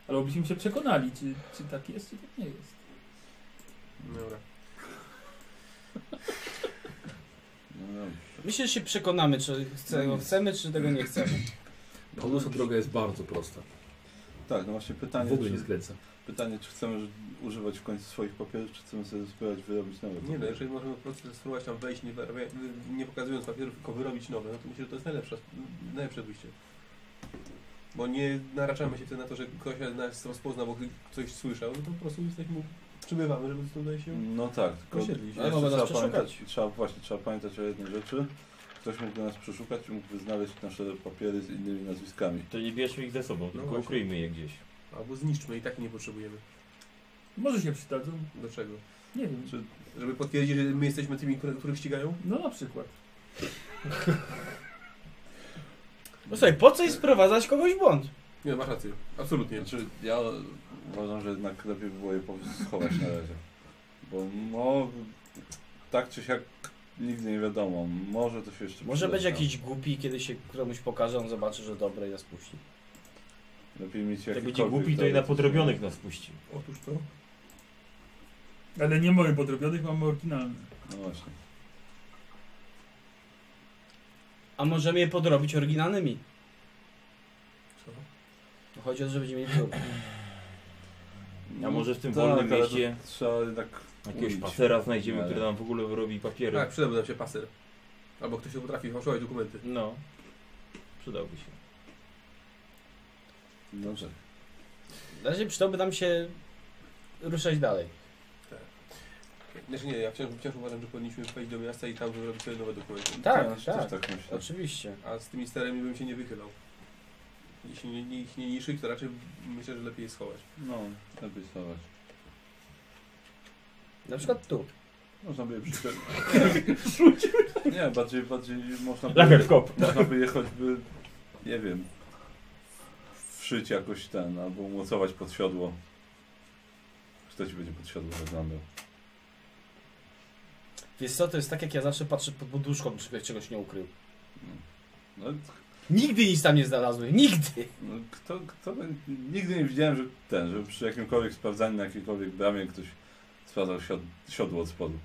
S5: Albo byśmy się przekonali, czy, czy tak jest, czy tak nie jest.
S7: Dobra.
S3: No dobrze.
S2: Myślę, że się przekonamy, czy tego chcemy, czy tego nie chcemy.
S1: Podnosza droga jest bardzo prosta.
S3: Tak, no właśnie pytanie,
S1: W ogóle nie
S3: czy,
S1: skręca.
S3: pytanie, czy chcemy że- używać w końcu swoich papierów, czy chcemy sobie spróbować wyrobić nowe
S7: Nie no,
S3: papiery.
S7: jeżeli możemy po prostu spróbować tam wejść, nie, wyrabia- nie pokazując papierów, tylko wyrobić nowe, no to myślę, że to jest najlepsze, najlepsze wyjście. Bo nie naraczamy się wtedy na to, że ktoś nas rozpozna, bo coś słyszał, no to po prostu jesteśmy, przybywamy, żeby tutaj się
S3: No tak, tylko
S7: osiedlić.
S2: Ale mogą nas
S3: trzeba
S2: przeszukać.
S3: pamiętać, trzeba, właśnie, trzeba pamiętać o jednej rzeczy. Ktoś mógłby nas przeszukać i mógłby znaleźć nasze papiery z innymi nazwiskami.
S10: To nie bierzmy ich ze sobą,
S3: No
S10: tylko
S7: właśnie.
S10: ukryjmy je gdzieś.
S7: Albo zniszczmy i tak nie potrzebujemy.
S5: Może się przydadzą,
S7: Do czego?
S5: nie wiem.
S3: Czy-
S7: Żeby potwierdzić, że my jesteśmy tymi, które- których ścigają?
S5: No na przykład.
S2: No słuchaj, po co i sprowadzać kogoś w błąd?
S7: Nie, masz rację. Absolutnie.
S3: Znaczy, ja uważam, że jednak lepiej by było je po prostu schować na razie. Bo no, tak czy siak nigdy nie wiadomo. Może to się jeszcze
S2: Może
S3: przyda,
S2: będzie
S3: no.
S2: jakiś głupi, kiedy się komuś pokaże, on zobaczy, że dobre i nas puści.
S3: Lepiej mieć
S10: Jak
S3: jakikolwiek...
S10: będzie głupi, to i na podrobionych nas puści.
S7: Otóż to.
S5: Ale nie mamy podrobionych, mamy oryginalne.
S3: No właśnie.
S2: A możemy je podrobić oryginalnymi.
S7: Co?
S2: No Chodzi o to, że będziemy mieli próbę.
S10: A może w tym
S3: tak,
S10: wolnym
S3: ale to
S10: mieście
S3: Trzeba jednak...
S10: jakiegoś
S3: umieć.
S10: pasera znajdziemy,
S3: Ale-
S10: który nam w ogóle wyrobi papiery.
S7: Tak, przydałby nam się paser. Albo ktoś, kto potrafi fałszować dokumenty.
S10: No. Przydałby się.
S3: Dobrze.
S2: Na razie przydałby nam się ruszać dalej.
S7: Znaczy nie, ja wciąż, wciąż uważam, że powinniśmy wejść do miasta i tam wyrobić sobie nowe dokumenty.
S2: Tak,
S3: Też-
S2: tak.
S3: Też tak myślę.
S2: Oczywiście.
S7: A z tymi starymi bym się nie wychylał. Jeśli nie, nie, ich nie niszczyć, to raczej myślę, że lepiej je schować.
S3: No, lepiej stawać.
S2: Na przykład tu.
S3: Można by je przyczepić. Nie, bardziej, bardziej można by,
S10: Lager kop.
S3: można by je choćby, nie wiem, wszyć jakoś ten, albo umocować pod siodło. Kto ci będzie pod siodło wyglądał?
S2: Wiesz co, to jest tak jak ja zawsze patrzę pod poduszką, czy ktoś czegoś nie ukrył.
S3: No,
S2: Nigdy nic tam nie znalazłem. Nigdy!
S3: no kto, kto, by- nigdy nie widziałem, że ten, że przy jakimkolwiek sprawdzaniu na jakiejkolwiek bramie ktoś sprawdzał siod, siodło od spodu.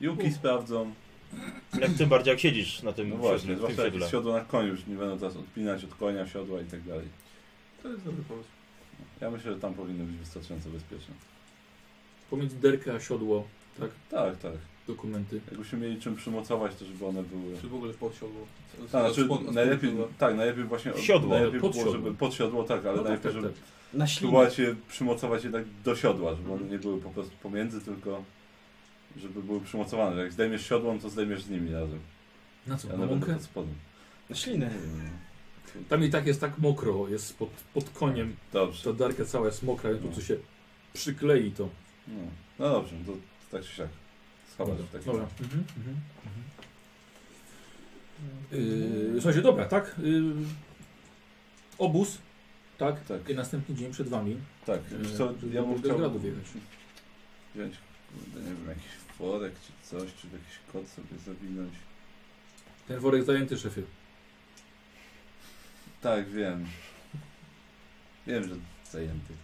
S3: Juki sprawdzą,
S10: Jak tym bardziej jak siedzisz na tym
S3: no właśnie,
S10: siodle, w tym
S3: zwłaszcza jakieś
S10: siodle.
S3: siodło na koniu, już nie będą teraz odpinać od konia siodła i tak dalej.
S7: To jest dobry pomysł.
S3: Ja myślę, że tam powinno być wystarczająco bezpieczne.
S1: Pomiędzy derkę a siodło
S3: Tak, tak.
S1: dokumenty.
S3: Jakbyśmy mieli czym przymocować, to żeby one były.
S7: Czy w ogóle podsiągło?
S3: Tak, znaczy, najlepiej, tak, najlepiej właśnie. od-
S10: Siodło.
S3: Najlepiej
S1: Pod
S3: było,
S1: siodło.
S3: żeby pod siodło, tak,
S1: No
S3: ale
S1: tak,
S3: najlepiej,
S1: tak,
S3: żeby
S1: tak.
S2: Na ślinę.
S3: próbować je przymocować jednak do siodła, żeby
S1: Mhm.
S3: one nie były po prostu pomiędzy, tylko żeby były przymocowane. Jak zdejmiesz siodło, to zdejmiesz z nimi razem.
S1: Na co?
S3: Ja
S1: Na
S3: nawet
S1: łąkę?
S3: pod spodem.
S2: Na ślinę.
S3: Nie wiem, no.
S1: Tam i tak jest tak mokro, jest pod, pod koniem.
S3: Dobrze.
S1: Ta darka cała jest mokra, więc po prostu się przyklei to.
S3: No, no dobrze, to tak czy siak. Schować w takim
S1: Dobra.
S3: razie.
S1: Mhm, mhm, mhm. Yy, słuchajcie, dobra, tak? Yy, obóz, tak?
S3: Tak.
S1: I następny dzień przed wami.
S3: Tak,
S1: Yy,
S3: wiesz co,
S1: żeby
S3: ja
S1: do
S3: bym chciał
S1: Belgradu wjechać.
S3: wziąć, kurde, nie wiem, jakiś worek czy coś, czy w jakiś kot sobie zawinąć.
S1: Ten worek zajęty, szefie.
S3: Tak, wiem. Wiem, że zajęty.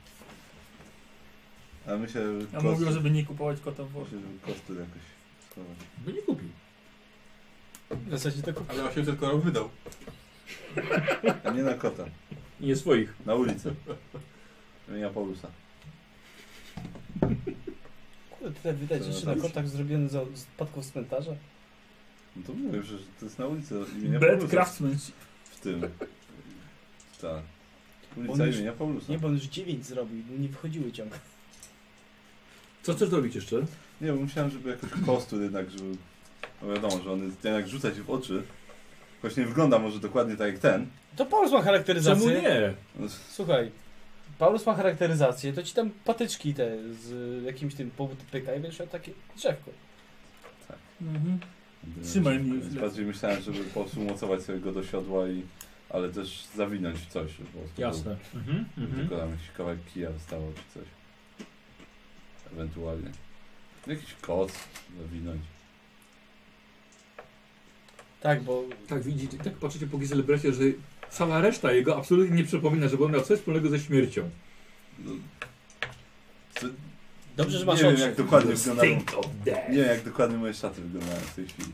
S3: A myślę, że
S5: Ja
S3: kost-
S5: mówił, żeby nie kupować kota w worku.
S3: myślę, że koszty jakoś schować.
S1: By nie kupił.
S2: W zasadzie to kup...
S7: Ale 800 koron wydał.
S3: A nie na kota,
S1: I nie swoich.
S3: na ulicę. Imienia Paulusa.
S2: Kurde, tutaj widać
S3: To
S2: rzeczy na
S3: dobrze.
S2: kontakt zrobione za z spadków z cmentarza.
S3: No to mówię, że to jest na ulicy imienia
S5: Bad
S3: Paulusa.
S5: craftsmanship.
S3: W tym. Tak.
S2: On
S3: Ulica
S2: już-
S3: imienia Paulusa.
S2: Nie, bo on już dziewięć zrobił, nie wychodziły ciągle.
S1: Co chcesz zrobić jeszcze?
S3: Nie, bo myślałem, żeby jakoś kostur jednak, żeby... No wiadomo, że on jest, jednak rzuca się w oczy. Choć nie wygląda może dokładnie tak jak ten.
S2: To Paulus ma charakteryzację.
S1: Czemu nie?
S3: No,
S2: Słuchaj, Paulus ma charakteryzację, to ci tam patyczki te z y, jakimś tym powód pyka i wiesz, takie drzewko.
S5: Mhm. Trzymaj mnie już.
S3: Bardziej myślałem, żeby po prostu umocować sobie go do siodła i... Ale też zawinąć w coś, żeby po prostu
S1: Jasne. Mhm,
S3: był-
S1: mhm.
S3: Tylko tam jakiś kawałek kija zostało czy coś. Ewentualnie. Jakiś koc zawinąć.
S2: Tak, bo
S1: Tak, widzicie, tak patrzycie po Gizelbrecie, że cała reszta jego absolutnie nie przypomina, żeby on miał coś wspólnego ze śmiercią.
S3: No. Co-
S2: dobrze, że masz
S3: nie wiem,
S2: oczy.
S3: jak dokładnie wyglądają.
S1: of death.
S3: Nie wiem, jak dokładnie moje szaty wyglądają w tej chwili.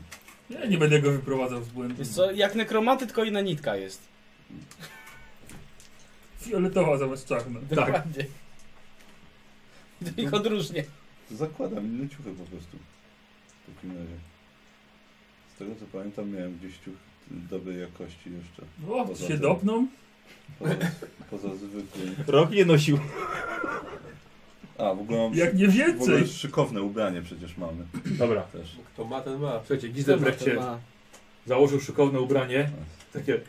S5: Ja nie będę go wyprowadzał z błędu.
S2: Wiesz co, jak nekromanty, tylko inna nitka jest.
S5: Fioletowa zamiast Tak. czarna.
S3: Tak.
S10: Tak.
S2: Dokładnie. To ich odróżnia.
S3: To zakładam inne ciuchy po prostu. W takim razie. Z tego co pamiętam, miałem gdzieś ciuch dobrej jakości jeszcze.
S5: O,
S3: Poza
S5: się
S3: tym-
S5: dopną?
S3: Poza, poza zwykłym.
S10: Rok nie nosił.
S3: A, w ogóle mam
S5: Jak nie
S3: w ogóle
S5: więcej.
S3: szykowne ubranie przecież mamy.
S1: Dobra.
S3: Też.
S7: Kto ma, ten ma.
S1: Słuchajcie, Gizelbrecie
S2: Ma-
S1: założył szykowne ubranie. Takie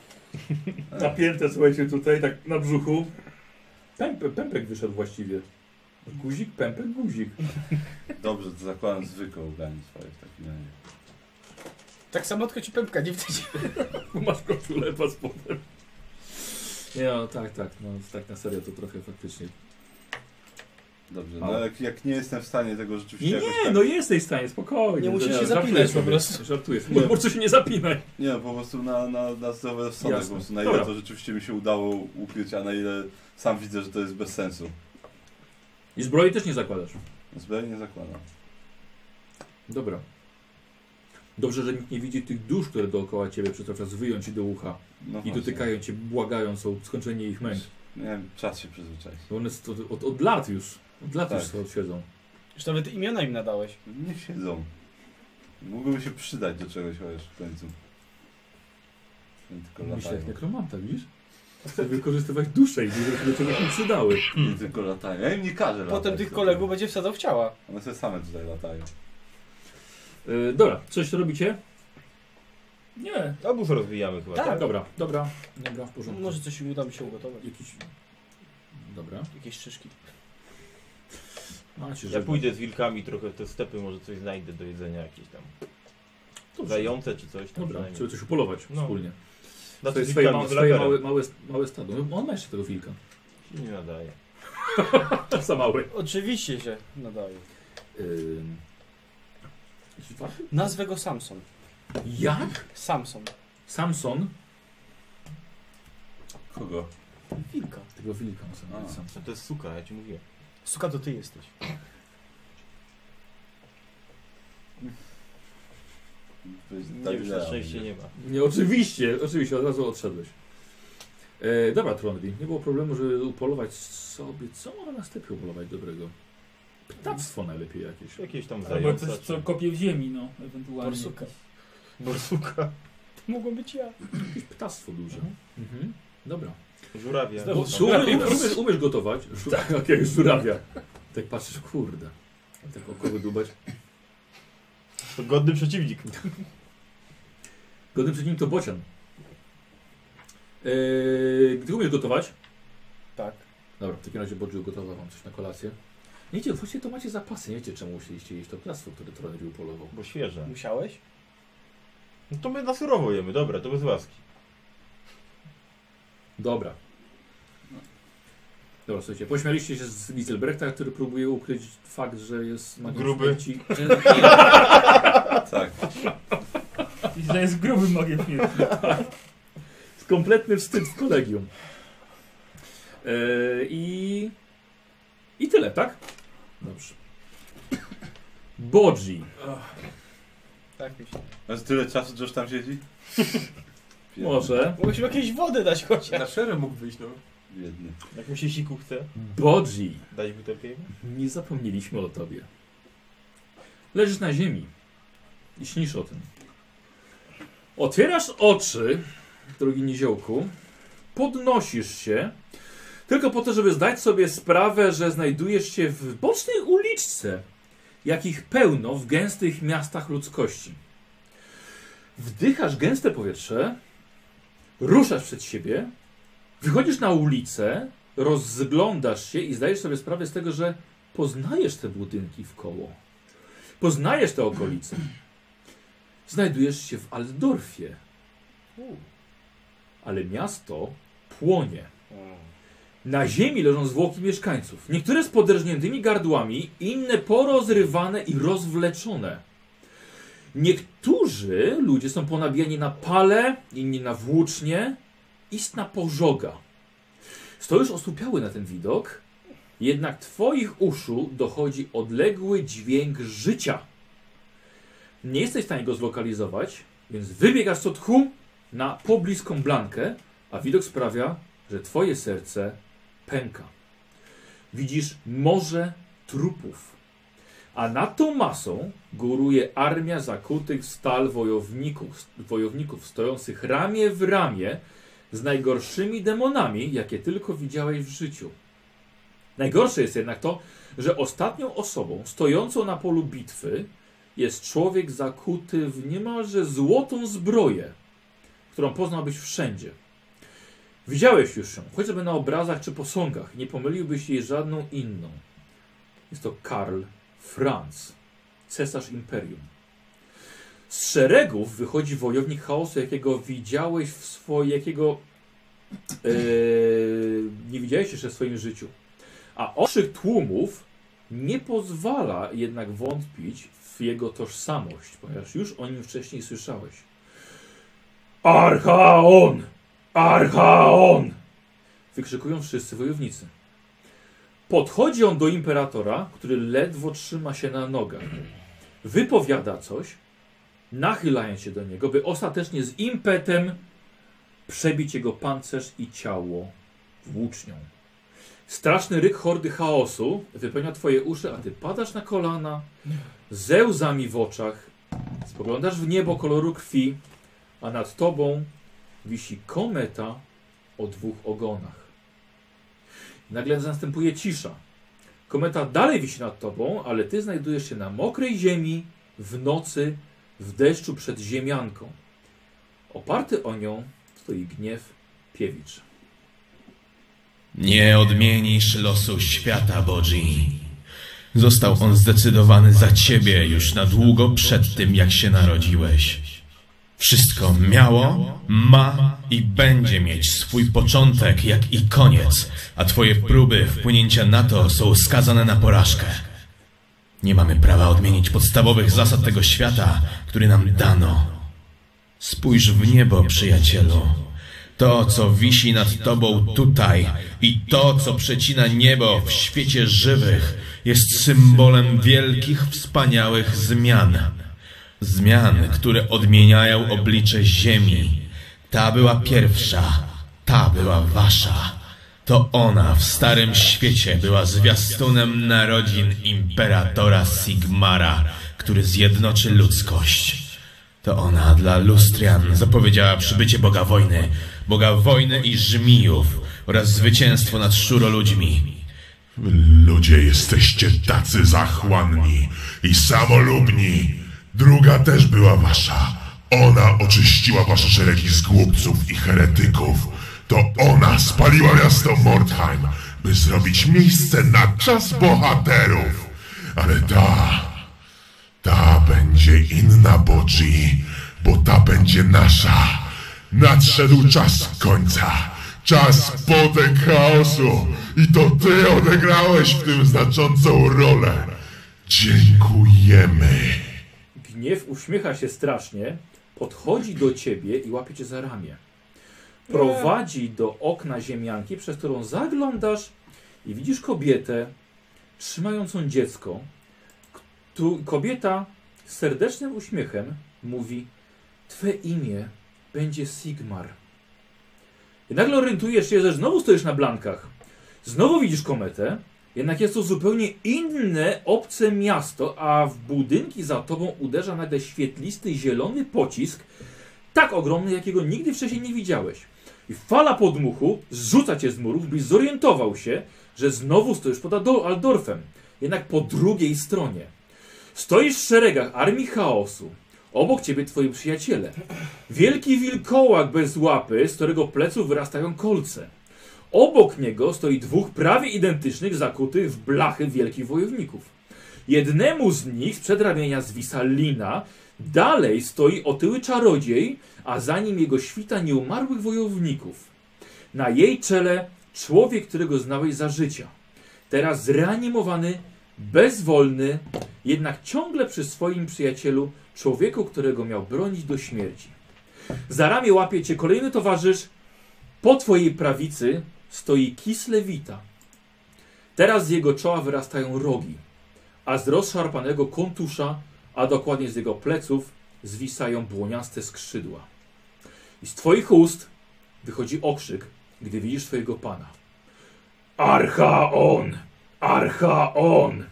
S1: napięte, słuchajcie, tutaj, tak na brzuchu. Pępe, pępek wyszedł właściwie. Guzik, pępek, guzik.
S3: Dobrze, to zakładam zwykłe ubranie swoje w takim razie.
S2: Tak samo tylko ci pępka nie widać.
S1: Masz koszulę paszportem. Nie, no tak, tak, no tak na serio to trochę faktycznie.
S3: Dobrze,
S1: Mało.
S3: no jak, jak nie jestem w stanie tego rzeczywiście
S1: Nie,
S3: jakoś
S1: nie,
S3: tak...
S1: no jesteś w stanie, spokojnie.
S2: Nie musisz
S1: Żartuję
S2: się zapinać po
S1: sobie,
S2: prostu.
S1: Żartujesz,
S3: Nie.
S1: po prostu się nie zapinaj.
S3: Nie, no, po prostu na, na, na zdrowy rozsądek,
S1: Jasne.
S3: po prostu na ile
S1: Dobra.
S3: to rzeczywiście mi się udało ukryć, a na ile sam widzę, że to jest bez sensu.
S1: I zbroi też nie zakładasz.
S3: Zbrojnie nie zakładam.
S1: Dobra. Dobrze, że nikt nie widzi tych dusz, które dookoła ciebie przez czas wyją ci do ucha
S3: No
S1: i
S3: właśnie.
S1: dotykają cię, błagają, są skończenie ich męk.
S3: Miałem czas się przyzwyczaić.
S1: Bo one st- od, od, od lat już, od lat
S3: Tak.
S1: już sobie siedzą.
S2: Już nawet imiona im nadałeś.
S3: Nie siedzą. Mogłyby się przydać do czegoś chociaż w końcu. Nie
S1: Myślę
S3: tylko
S1: jak
S3: latają.
S1: nekromanta, widzisz? Chcę wykorzystywać dusze i duże się do czegoś mi przydały.
S3: Nie tylko latają. Ja im nie każę latać. tak.
S2: Potem tych kolegów będzie wsadzał w ciała.
S3: One sobie same tutaj latają.
S1: E, dobra, coś robicie?
S5: Nie.
S10: Obóz rozwijamy chyba, tak?
S2: Tak.
S1: Dobra, dobra, dobra, w porządku.
S2: Może coś uda mi się ugotować.
S1: Jakiś... Dobra. no,
S2: Jakieś szyszki.
S1: Macie,
S10: tak? Ja
S1: że...
S10: pójdę z wilkami trochę w te stepy, może coś znajdę do jedzenia jakieś tam.
S1: Dobrze.
S10: Zające czy coś tam
S1: Dobra,
S10: przynajmniej. Znaczy,
S1: trzeba coś upolować
S10: No.
S1: wspólnie.
S10: Na
S1: To
S10: to
S1: jest swoje,
S10: wilkami z
S1: swoje
S10: lagerem.
S1: małe, małe, małe stado. No, on ma jeszcze tego wilka.
S10: Się Nie nadaje.
S1: Za mały.
S2: Oczywiście się nadaje.
S1: Ym...
S2: Nazwę go Samson.
S1: Jak?
S2: Samson.
S1: Samson?
S3: Kogo?
S2: Wilka.
S1: Tego wilka muszę
S3: A.
S1: nazwać Samson.
S10: To jest suka, ja ci mówię.
S2: Suka, to ty jesteś.
S3: To jest
S10: Nie,
S3: tak
S10: już na
S3: idealnie.
S10: szczęście nie ma.
S1: Nie, oczywiście, oczywiście, od razu odszedłeś. E, dobra, Tronwi, nie było problemu, żeby upolować sobie. Co można na stepie upolować dobrego? Ptactwo najlepiej jakieś.
S10: Jakieś tam
S5: Albo
S10: zające.
S5: coś, co
S10: czy-
S5: kopie w ziemi, no, ewentualnie.
S2: Borsuka.
S10: Borsuka.
S2: Mogą być ja.
S1: Jakieś ptactwo duże. Mhm. Dobra.
S10: Żurawia.
S1: Bo, słuchaj, umiesz, umiesz, umiesz gotować? Żu- tak, jak jak żurawia. Tak patrzysz, kurde. Tak oko wydubać.
S10: To godny przeciwnik.
S1: Godnym przed nim to bocian. Eee, ty umiesz gotować?
S2: Tak.
S1: Dobra, w takim razie Bodziu gotowa wam coś na kolację. Nie wiecie, właściwie to macie zapasy, nie wiecie czemu musieliście jeść to ptactwo, które Tronwi upolował.
S10: Bo świeże.
S2: Musiałeś?
S10: No to my na surowo jemy, dobra, to bez łaski.
S1: Dobra. Dobra, słuchajcie, pośmialiście się z Witzelbrechta, który próbuje ukryć fakt, że jest magiem
S10: Gruby.
S1: śmierci.
S3: Tak.
S5: I że jest grubym magiem śmierci.
S1: Kompletny wstyd w kolegium. Eee, I... I tyle, tak? Dobrze. Bodzi.
S2: Tak mi się.
S3: Masz tyle czasu, że już tam siedzi?
S1: Może.
S2: Mogłeś mu jakieś wody dać chociaż.
S7: Na szereg mógł wyjść, no.
S3: Biedny.
S10: Jak mu się siku chce,
S1: Bodzi.
S10: dać butelkę?
S1: Nie zapomnieliśmy o tobie. Leżysz na ziemi i śnisz o tym. Otwierasz oczy, drogi niziołku, podnosisz się, tylko po to, żeby zdać sobie sprawę, że znajdujesz się w bocznej uliczce, jakich pełno w gęstych miastach ludzkości. Wdychasz gęste powietrze, ruszasz przed siebie, wychodzisz na ulicę, rozglądasz się i zdajesz sobie sprawę z tego, że poznajesz te budynki w koło. Poznajesz te okolice. Znajdujesz się w Altdorfie. Ale miasto płonie. Na ziemi leżą zwłoki mieszkańców. Niektóre z poderżniętymi gardłami, inne porozrywane i rozwleczone. Niektórzy ludzie są ponabijani na pale, inni na włócznie, istna pożoga. Stoisz osłupiały na ten widok, jednak twoich uszu dochodzi odległy dźwięk życia. Nie jesteś w stanie go zlokalizować, więc wybiegasz z odchu na pobliską blankę, a widok sprawia, że twoje serce pęka. Widzisz morze trupów, a nad tą masą góruje armia zakutych w stal wojowników, wojowników stojących ramię w ramię z najgorszymi demonami, jakie tylko widziałeś w życiu. Najgorsze jest jednak to, że ostatnią osobą stojącą na polu bitwy jest człowiek zakuty w niemalże złotą zbroję, którą poznałbyś wszędzie. Widziałeś już ją, choćby na obrazach czy posągach, nie pomyliłbyś jej żadną inną. Jest to Karl Franz, cesarz imperium. Z szeregów wychodzi wojownik chaosu, jakiego widziałeś w swoim, jakiego e, yy, nie widziałeś jeszcze w swoim życiu. A okrzyk tłumów nie pozwala jednak wątpić w jego tożsamość, ponieważ już o nim wcześniej słyszałeś. Archaon! Archaon! Wykrzykują wszyscy wojownicy. Podchodzi on do imperatora, który ledwo trzyma się na nogach. Wypowiada coś, nachylając się do niego, by ostatecznie z impetem przebić jego pancerz i ciało włócznią. Straszny ryk hordy chaosu wypełnia twoje uszy, a ty padasz na kolana, ze łzami w oczach, spoglądasz w niebo koloru krwi, a nad tobą wisi kometa o dwóch ogonach. Nagle następuje cisza. Kometa dalej wisi nad tobą, ale ty znajdujesz się na mokrej ziemi, w nocy, w deszczu przed ziemianką. Oparty o nią stoi gniew Piewicz.
S11: Nie odmienisz losu świata, Bodzi. Został on zdecydowany za ciebie już na długo przed tym, jak się narodziłeś. Wszystko miało, ma i będzie mieć swój początek, jak i koniec, a twoje próby wpłynięcia na to są skazane na porażkę. Nie mamy prawa odmienić podstawowych zasad tego świata, który nam dano. Spójrz w niebo, przyjacielu. To, co wisi nad tobą tutaj i to, co przecina niebo w świecie żywych, jest symbolem wielkich, wspaniałych zmian. Zmian, które odmieniają oblicze Ziemi. Ta była pierwsza, ta była wasza. To ona w Starym Świecie była zwiastunem narodzin Imperatora Sigmara, który zjednoczy ludzkość. To ona dla Lustrian zapowiedziała przybycie Boga Wojny, Boga Wojny i Żmijów oraz zwycięstwo nad szuro ludźmi.
S12: Ludzie jesteście tacy zachłanni i samolubni. Druga też była wasza. Ona oczyściła wasze szeregi z głupców i heretyków. To ona spaliła miasto Mordheim, by zrobić miejsce na czas bohaterów. Ale ta... Ta będzie inna, Boji, bo ta będzie nasza. Nadszedł czas końca. Czas potek chaosu. I to ty odegrałeś w tym znaczącą rolę. Dziękujemy.
S1: Gniew uśmiecha się strasznie, podchodzi do ciebie i łapie cię za ramię. Prowadzi do okna ziemianki, przez którą zaglądasz i widzisz kobietę trzymającą dziecko. Tu kobieta z serdecznym uśmiechem mówi: Twe imię będzie Sigmar. I nagle orientujesz się, że znowu stoisz na blankach. Znowu widzisz kometę, jednak jest to zupełnie inne, obce miasto, a w budynki za tobą uderza nagle świetlisty, zielony pocisk, tak ogromny, jakiego nigdy wcześniej nie widziałeś. I fala podmuchu zrzuca cię z murów, byś zorientował się, że znowu stoisz pod Ado- Aldorfem, jednak po drugiej stronie. Stoisz w szeregach armii chaosu. Obok ciebie twoi przyjaciele. Wielki wilkołak bez łapy, z którego pleców wyrastają kolce. Obok niego stoi dwóch prawie identycznych, zakutych w blachy wielkich wojowników. Jednemu z nich z przedramienia zwisa lina, dalej stoi otyły czarodziej, a za nim jego świta nieumarłych wojowników. Na jej czele człowiek, którego znałeś za życia. Teraz zreanimowany, bezwolny, jednak ciągle przy swoim przyjacielu, człowieku, którego miał bronić do śmierci. Za ramię łapie cię kolejny towarzysz, po twojej prawicy stoi Kislewita. Teraz z jego czoła wyrastają rogi, a z rozszarpanego kontusza, a dokładnie z jego pleców, zwisają błoniaste skrzydła. I z twoich ust wychodzi okrzyk, gdy widzisz twojego pana. Archaon! Archaon!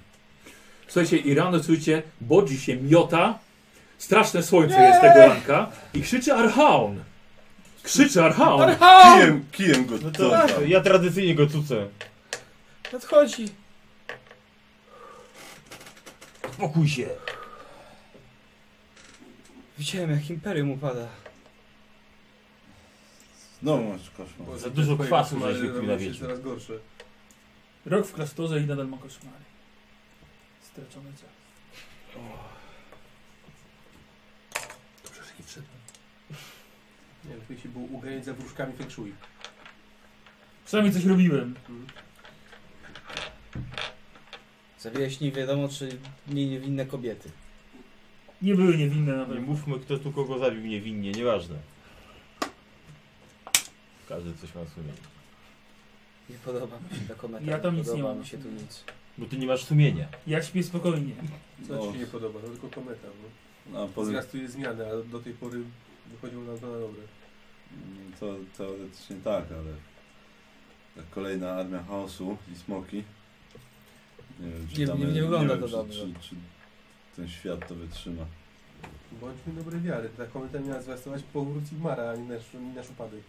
S1: Słuchajcie, i rano czujecie, bodzi się miota, straszne słońce jest tego ranka i krzyczy Archaon! Krzyczy Archaon!
S3: Kijem, kijem go.
S10: No to
S3: co tam?
S10: ja tradycyjnie go cucę.
S2: Nadchodzi.
S5: Spokój się.
S2: Widziałem jak Imperium upada.
S3: No masz koszmar.
S7: Boże,
S10: Za
S7: te
S10: dużo
S7: twoje
S10: kwasu
S7: koszmary
S10: żeś wypił na
S7: robią się
S10: wiedźmę.
S7: coraz gorsze.
S5: Rok w klasztorze i nadal ma koszmary. Stracony czas.
S7: Nie wiem, lepiej się było uganiać za wróżkami feng shui.
S5: Przynajmniej coś robiłem.
S2: Zabijałeś nie wiadomo czy nie niewinne kobiety.
S5: Nie były niewinne na
S10: Nie
S5: pewno.
S10: mówmy kto tu kogo zabił niewinnie, nieważne. Każdy coś ma w sumieniu.
S2: Nie podoba mi się ta kometa.
S5: Ja tam nic
S2: podoba
S5: nie mam.
S2: mi się tu nic.
S10: Bo ty nie masz sumienia.
S5: Ja śpię spokojnie.
S7: Co
S3: No.
S7: ci się nie podoba? No tylko kometa, bo
S3: No, poza...
S7: zwiastuje zmiany, a do tej pory wychodziło nam to na dobre.
S3: Mm, To teoretycznie tak, ale ta kolejna armia chaosu i smoki. Nie wiem, czy
S2: Nie-
S3: damy,
S2: nie- nie wygląda
S3: wiem,
S2: to
S3: czy,
S2: dobrze.
S3: Czy, czy ten świat to wytrzyma.
S7: Bądźmy dobrej wiary, ta kometa miała zwiastować powrót Sigmara, a nie nasz, nie nasz upadek.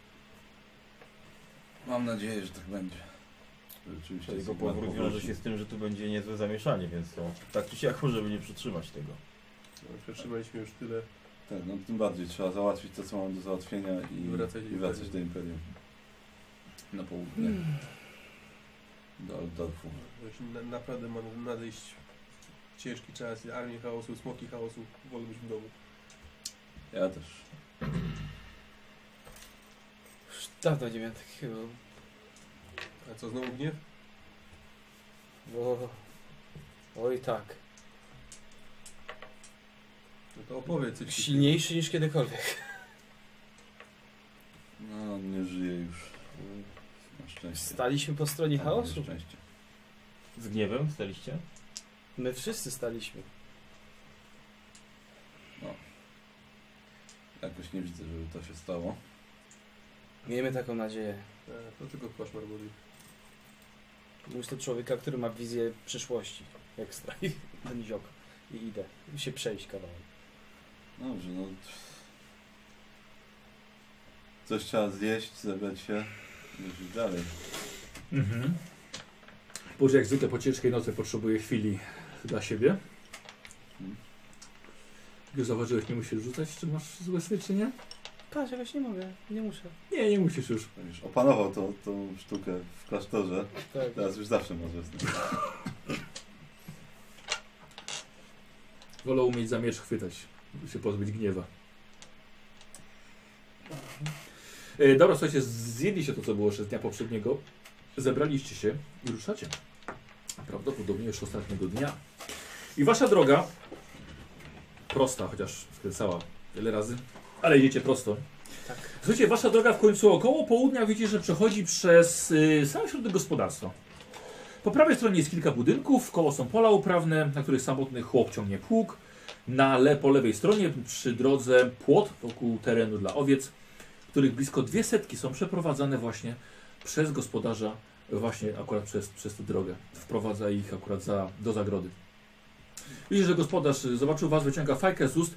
S3: Mam nadzieję, że tak będzie. Rzeczywiście
S10: Jego
S3: Sigmar
S10: powrót wiąże się z tym, że tu będzie niezłe zamieszanie, więc to tak czy siak możemy nie przytrzymać tego.
S7: No, przetrzymaliśmy już tyle.
S3: Tak, no tym bardziej trzeba załatwić to, co mam do załatwienia i,
S7: I wracać do
S3: i wracać do Imperium. Na południe. Do Aldorfu.
S7: Właśnie na, naprawdę ma nadejść ciężki czas, armię chaosu, smoki chaosu, wolę być w domu.
S3: Ja też.
S2: Już dawno nie miałem takiego.
S7: A co, znowu gniew?
S2: Bo... Oj tak.
S7: No to opowiedz coś.
S2: Silniejszy niż kiedykolwiek.
S3: No, on nie żyje już. Na szczęście.
S2: Staliśmy po stronie
S3: Tak,
S2: chaosu.
S3: Na szczęście.
S10: Z gniewem staliście?
S2: My wszyscy staliśmy.
S3: Jakoś nie widzę, żeby to się stało.
S2: Miejmy taką nadzieję.
S7: E, to tylko koszmar mówi.
S2: Mówisz to człowieka, który ma wizję przyszłości. Ekstra. I ten ziok. I idę. I się przejść kawałek.
S3: Dobrze, no. Coś trzeba zjeść, zebrać się. Już dalej.
S1: Mhm. Boże, jak zwykle po ciężkiej nocy potrzebuję chwili dla siebie. Jak już zauważyłeś, nie musisz rzucać, czy masz złe styczenie?
S2: Patrz, jakoś nie mogę. Nie muszę.
S1: Nie, nie musisz już.
S3: Już opanował tą, tą sztukę w klasztorze.
S2: Tak.
S3: Teraz już zawsze może z nim.
S1: Wolę umieć za miecz chwytać, by się pozbyć gniewa. E, dobra, słuchajcie, zjedliście to, co było jeszcze z dnia poprzedniego. Zebraliście się i ruszacie. Prawdopodobnie już ostatniego dnia. I wasza droga, prosta, chociaż skręcała wiele razy, ale idziecie prosto. Słuchajcie, wasza droga w końcu około południa widzicie, że przechodzi przez y, sam środek gospodarstwa. Po prawej stronie jest kilka budynków, koło są pola uprawne, na których samotny chłop ciągnie pług. Na le, po lewej stronie przy drodze płot wokół terenu dla owiec, których blisko dwie setki są przeprowadzane właśnie przez gospodarza, właśnie akurat przez, przez tę drogę. Wprowadza ich akurat za, do zagrody. Widzisz, że gospodarz y, zobaczył was, wyciąga fajkę z ust.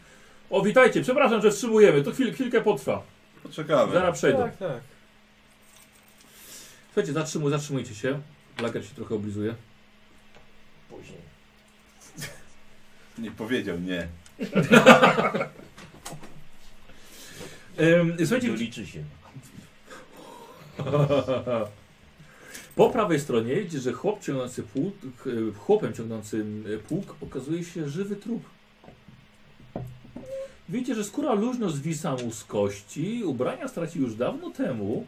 S1: O, witajcie, przepraszam, że wstrzymujemy, to chwil, chwilkę potrwa.
S3: Poczekamy.
S1: Zaraz przejdę.
S2: Tak, tak.
S1: Słuchajcie, zatrzymuj, zatrzymujcie się. Lager się trochę oblizuje.
S10: Później.
S3: Nie powiedział nie.
S1: Em, Słuchajcie,
S10: liczy się.
S1: Po prawej stronie widzicie, że chłop ciągnący pług, e, chłopem ciągnącym e, pług okazuje się żywy trup. Widzicie, że skóra luźno zwisa mu z kości, ubrania stracił już dawno temu,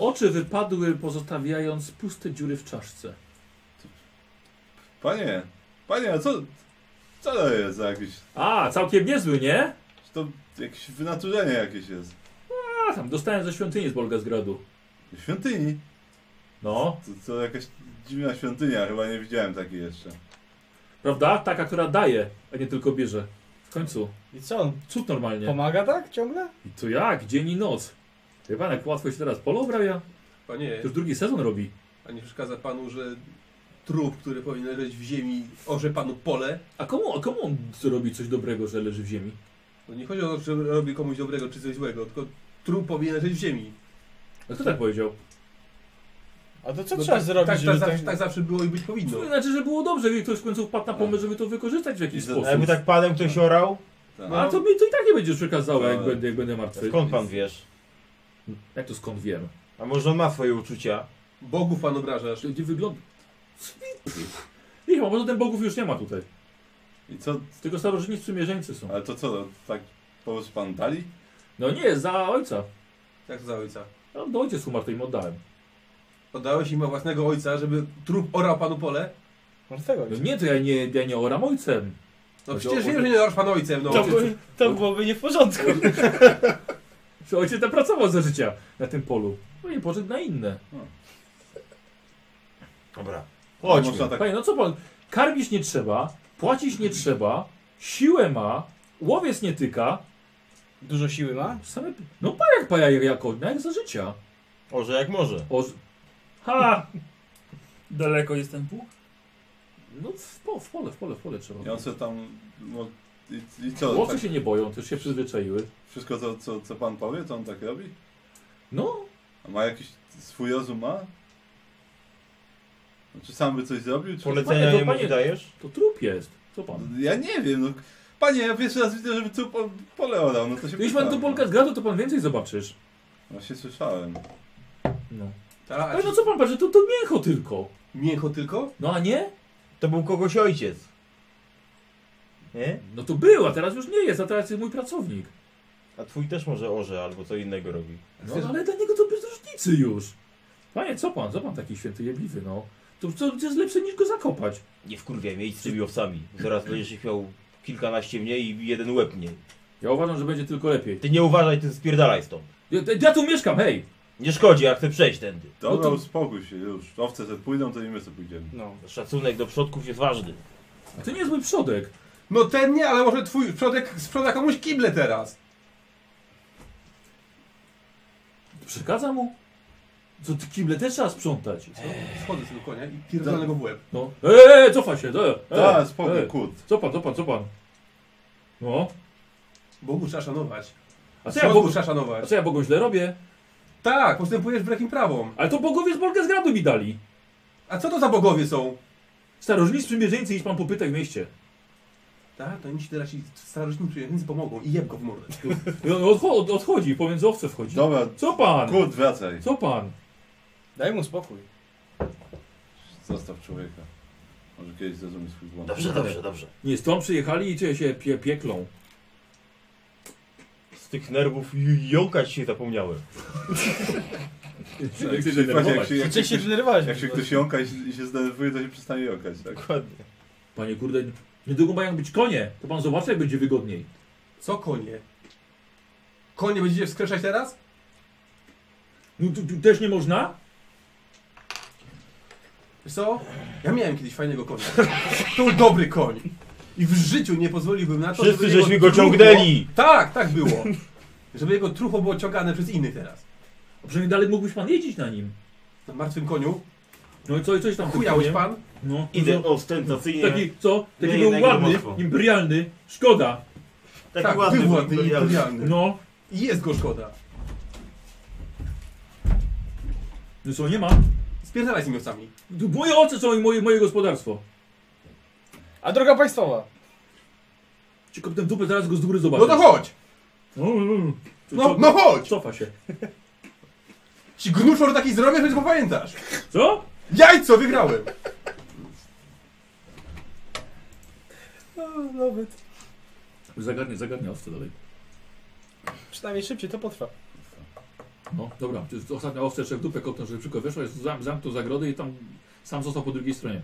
S1: oczy wypadły pozostawiając puste dziury w czaszce.
S3: Panie, panie, a co, co to jest za jakieś...
S1: A, całkiem niezły, nie?
S3: Czy to jakieś wynaturzenie jakieś jest?
S1: A, tam dostałem ze świątyni z Bolgazgradu.
S3: Świątyni?
S1: No,
S3: To, to jakaś dziwna świątynia, chyba nie widziałem takiej jeszcze.
S1: prawda? Taka, która daje, a nie tylko bierze. W końcu.
S2: I co?
S1: Cud normalnie.
S2: Pomaga tak ciągle?
S1: I to jak? Dzień i noc. Wie pan, jak łatwo się teraz polo uprawia?
S7: Panie,
S1: To już drugi sezon robi.
S7: a nie przeszkadza panu, że trup, który powinien leżeć w ziemi, orze panu pole?
S1: A komu, a komu on robi coś dobrego, że leży w ziemi?
S7: No nie chodzi o to, że robi komuś dobrego czy coś złego, tylko trup powinien leżeć w ziemi.
S1: A kto tak powiedział?
S2: A to co
S7: No
S2: trzeba
S7: tak-
S2: zrobić,
S7: tak,
S2: żeby
S7: tak, zawsze, tak zawsze było i być
S10: No.
S7: powinno.
S1: To znaczy, że było dobrze, że ktoś w końcu wpadł na pomysł, żeby to wykorzystać w jakiś
S3: I za-
S1: sposób.
S10: A jakby tak panem ktoś orał?
S3: Tak.
S1: No, ale to mi to i tak nie będziesz przekazało, jak
S10: Ale-
S1: będę, jak będę martwy.
S10: No. Skąd pan wiesz?
S1: Jak to skąd wiem?
S10: A może on ma swoje uczucia?
S7: Bogów pan obrażasz.
S1: Gdzie wygląda? Nie, bo może ten bogów już nie ma tutaj.
S3: I co,
S1: Tylko starożytni sprzymierzeńcy są.
S3: ale to co, to tak po prostu pan dali?
S1: No nie, za ojca.
S7: Jak Tak to za ojca?
S1: No, do ojciec umarł, to im oddałem.
S7: Oddałeś im własnego ojca, żeby trup orał panu pole?
S2: Martwego
S1: No nie, to ja nie, ja nie oram ojcem.
S7: No
S1: Chodzi
S7: przecież
S1: o-
S7: wiem, że nie orasz pan ojcem, no.
S2: To, by, to byłoby nie w porządku.
S1: Że ojciec napracował za życia na tym polu. No i poszedł na inne.
S10: Dobra.
S3: Można
S10: Chodźmy.
S3: tak,
S1: Panie, no co pan? Karmić nie trzeba, płacić nie trzeba, siłę ma, łowiec nie tyka.
S2: Dużo siły ma?
S1: Same... No pajak pajak jako, no jak za życia.
S10: Orze jak może.
S1: O... Ha!
S5: Daleko jest ten pług?
S1: No w, po, w pole, w pole, w pole trzeba.
S3: i on sobie tam, no, i, i co,
S1: Łowcy
S3: tak,
S1: się nie boją, też się przyzwyczaiły.
S3: wszystko co, co, co pan powie, to on tak robi?
S1: No,
S3: A ma jakiś swój rozum ma? Czy sam by coś zrobił? Czy...
S10: Polecenia Panie, to jemu panie- dajesz?
S1: To trup jest. Co pan?
S3: Ja nie wiem, no. Panie, ja pierwszy raz widzę, żeby trup o- pole orał, no to się
S1: Jeśli pan tu Polka zgadł, to pan więcej zobaczysz.
S3: Właśnie słyszałem.
S1: No.
S7: Ta,
S1: Ale no co pan patrzy, to, to mięcho tylko.
S7: Tak, Mięcho tylko?
S1: No a nie?
S10: To był kogoś ojciec. Nie?
S1: No to był, a teraz już nie jest, a teraz jest mój pracownik.
S10: A twój też może orze albo co innego robi.
S1: No ale dla niego to bez różnicy już. Panie, co pan, co pan taki święty jebliwy, no? To co to jest lepsze niż go zakopać.
S10: Nie wkurwiaj mnie, idź z tymi owcami. Zaraz będziesz ich miał kilkanaście mniej i jeden łeb mniej.
S1: Ja uważam, że będzie tylko lepiej.
S10: Ty nie uważaj, ty spierdalaj stąd.
S1: Ja, ja tu mieszkam, hej!
S10: Nie szkodzi, ja chcę przejść tędy.
S3: Dobra, uspokój się już. Owce sobie pójdą, to i my sobie pójdziemy.
S10: No. Szacunek do przodków jest ważny.
S1: A to nie jest mój przodek.
S7: No ten nie, ale może twój przodek sprzeda komuś kible teraz.
S1: Przekazał mu? Co ty kible też trzeba sprzątać?
S7: Schodzę z tego konia i pierdolę go w łeb.
S1: No. Eee, cofa się, eee,
S3: Tak,
S7: Da,
S1: eee,
S7: spokój,
S1: eee.
S7: kut.
S1: Co pan, co pan, co pan? No.
S7: Bogu trzeba szanować.
S1: A co ja
S7: Bogu
S1: Bogu-
S7: trzeba szanować.
S1: A co ja Bogu źle robię?
S7: Tak, postępujesz wbrew im prawom.
S1: Ale to bogowie z Bolga z gradu mi dali.
S7: A co to za bogowie są?
S1: Starożytni sprzymierzeńcy, idź pan popytaj w mieście.
S7: Tak, to oni ci teraz ci starożytni przyjaźnicy pomogą i jeb go w mordę.
S1: I on odcho od- odchodzi, pomiędzy owce wchodzi.
S3: Dobra.
S1: Co pan?
S3: Kurt, wracaj.
S1: Co pan?
S2: Daj mu spokój.
S3: Zostaw człowieka. Może kiedyś zrozumie swój błąd.
S1: Nie, stąd przyjechali i cię się pie pieklą.
S10: Z tych nerwów j- jąkać się zapomniałem.
S3: Tak. Jak się,
S10: denerwować.
S3: jak się, jak
S10: Zaczęli się
S3: ktoś-
S10: denerwować
S3: Jak się
S10: właśnie.
S3: ktoś jąka i, i się zdenerwuje, to się przestanie jąkać, tak?
S10: Dokładnie.
S1: Panie kurde, niedługo mają być konie. To pan zobaczy, jak będzie wygodniej.
S7: Co konie? Konie będziecie wskrzeszać teraz?
S1: No tu, tu też nie można?
S7: Wiesz co? Ja miałem kiedyś fajnego konia. To był dobry koń. I w życiu nie pozwoliłbym na to,
S10: Wszyscy
S7: żeby jego
S10: żeśmy go
S7: truchło-
S10: ciągnęli.
S7: Tak, tak było. Żeby jego trucho było ciągane przez innych teraz.
S1: A przynajmniej dalej mógłbyś pan jeździć na nim.
S7: Na martwym koniu?
S1: No i co, i coś tam. tym
S7: Chujałeś
S1: koniem?
S7: pan?
S1: No.
S10: Idę ostentacyjnie.
S1: Taki, co? Taki
S10: Nie,
S1: był
S10: jednego
S1: ładny,
S10: mocno.
S1: imperialny. Szkoda.
S10: Taki
S7: tak,
S10: ładny,
S7: był ładny,
S10: imperialny.
S7: imperialny.
S1: No.
S7: I jest go szkoda.
S1: No co, nie ma?
S7: Spierdalaj z miocami.
S1: Tu Moje oce są i moje, moje gospodarstwo.
S2: A droga państwowa.
S1: Ci kopnę w dupę, zaraz go z góry zobaczę.
S7: No to chodź!
S1: No, no, no.
S7: No, no chodź!
S1: Cofa się.
S7: Ci gnuszor taki zrobię, że go pamiętasz.
S1: Co?
S7: Jajco, wygrałem!
S3: No
S2: Nawet.
S1: Zagadnie, zagadnie owce dalej.
S2: Przynajmniej szybciej to potrwa.
S1: No, dobra. To jest Ostatnia owce jeszcze w dupę kopnął, żeby szybko weszła, jest zam, zamknął zagrodę i tam sam został po drugiej stronie.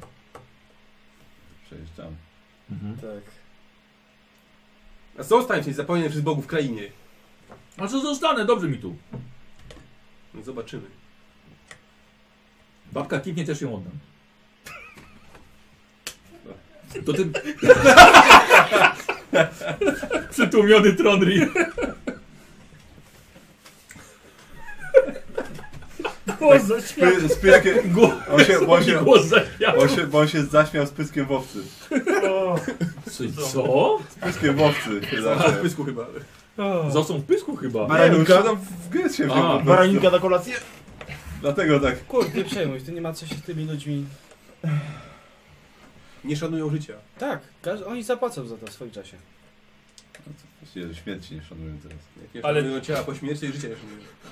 S3: Przejeżdżamy.
S1: Mhm.
S2: Tak.
S7: A zostań się zapomniany przez bogów w krainie.
S1: A co Znaczy, zostanę? Dobrze mi tu.
S7: No Zobaczymy.
S1: Babka kipnie, też ją oddam. To ten... Przytłumiony Tronri.
S5: Głos zaśmiał.
S3: Py- Z pyskiem...
S1: Głos,
S3: On się, on się,
S1: Tak, głos zaśmiał.
S3: on się, bo on się zaśmiał z pyskiem wowcy.
S1: Czy co?
S3: Z pyskiem wowcy. się
S7: Zaraz
S3: zaśmiał.
S7: w pysku chyba.
S1: Został w pysku chyba.
S10: Baraninka?
S3: Ja już tam w gry się wziął po prostu.
S10: Baraninka na kolację?
S3: Dlatego tak.
S2: Kurde, nie przejmuj, to nie ma co się tymi ludźmi.
S7: Nie szanują życia.
S2: Tak, każ- oni zapłacą za to w swoim czasie.
S3: Właściwie śmierci nie szanują teraz.
S7: Jak nie
S5: Ale-
S7: szanują ciała po śmierci i życia nie szanują.
S1: No.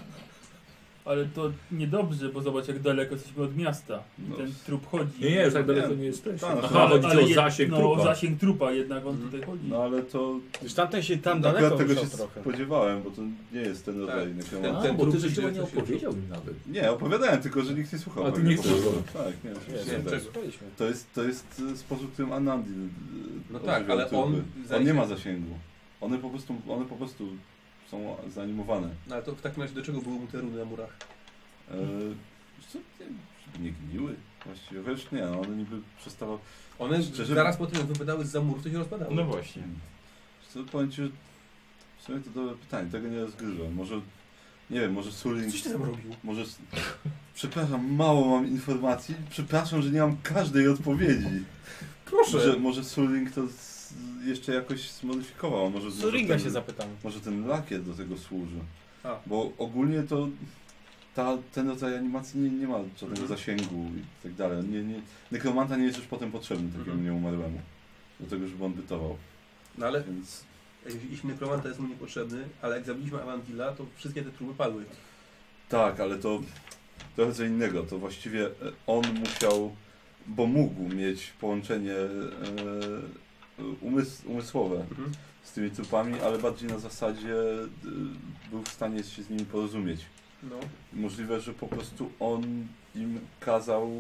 S5: Ale to niedobrze, bo zobacz jak daleko jesteśmy od miasta. I
S3: No.
S5: Ten trup chodzi.
S1: Nie, nie, już tak daleko
S3: Nie,
S1: nie jesteś.
S3: tak,
S1: Aha,
S3: no,
S1: chodzi
S5: ale
S1: o
S5: jed-
S1: zasięg
S5: no,
S1: trupa.
S5: o zasięg trupa jednak on tutaj chodzi.
S3: No ale to...
S2: Już tamten się tam
S3: Akurat
S2: daleko
S3: tego
S2: tego
S3: się
S2: trochę.
S3: spodziewałem, bo to nie jest ten rodzaj
S7: Tak.
S3: tak.
S1: A,
S7: ten
S1: bo
S7: trup
S1: ty
S7: idzie,
S1: żeś nie
S7: coś się
S1: opowiedział mi nawet.
S3: Nie, opowiadałem, tylko że nikt nie słuchał.
S1: A ty
S3: tego
S1: nie
S3: po
S1: chcesz
S3: prostu.
S1: słuchać.
S3: Tak, nie, oczywiście.
S2: Nie, no,
S3: tak.
S2: czego? Byliśmy.
S3: To jest, to jest y, sposób, którym Anandi. y,
S7: No
S3: y,
S7: tak,
S3: odżywa
S7: ale
S3: trupy.
S7: on
S3: on
S7: zajmie-
S3: nie ma zasięgu. One po prostu, one po prostu są zanimowane.
S7: No ale to w takim razie do czego były mu te runy na murach?
S3: E, wiesz co, nie, żeby nie gniły właściwie. Wiesz, nie, one niby przestały...
S7: One
S3: Szczerze-
S7: zaraz po tym wypadały z murów, to się rozpadały.
S10: No właśnie.
S3: Wiesz Co, powiem ci, że w sumie to dobre pytanie, tego nie rozgryzłem. Może, nie wiem, może Surin...
S7: Coś ty tam robił?
S3: Może... s- Przepraszam, mało mam informacji. Przepraszam, że nie mam każdej odpowiedzi. Może,
S7: Proszę.
S3: może Suring to z, jeszcze jakoś zmodyfikował. Może, może
S2: Suringa
S3: ten-
S2: się zapytam.
S3: Może ten lakier do tego służy.
S7: A.
S3: Bo ogólnie to ta, ten rodzaj animacji nie, nie ma żadnego zasięgu i tak dalej. Nie, nie, nekromanta nie jest już potem potrzebny takiemu nieumarłemu. Do tego, żeby on bytował.
S7: No ale
S3: Więc
S7: jeśli nekromanta jest mu niepotrzebny, ale jak zabiliśmy Avantila, to wszystkie te truby padły.
S3: tak, ale to trochę co innego. To właściwie e, on musiał, bo mógł mieć połączenie e, umysł, umysłowe
S1: Mhm.
S3: z tymi trupami, ale bardziej na zasadzie e, był w stanie się z nimi porozumieć.
S7: No.
S3: Możliwe, że po prostu on im kazał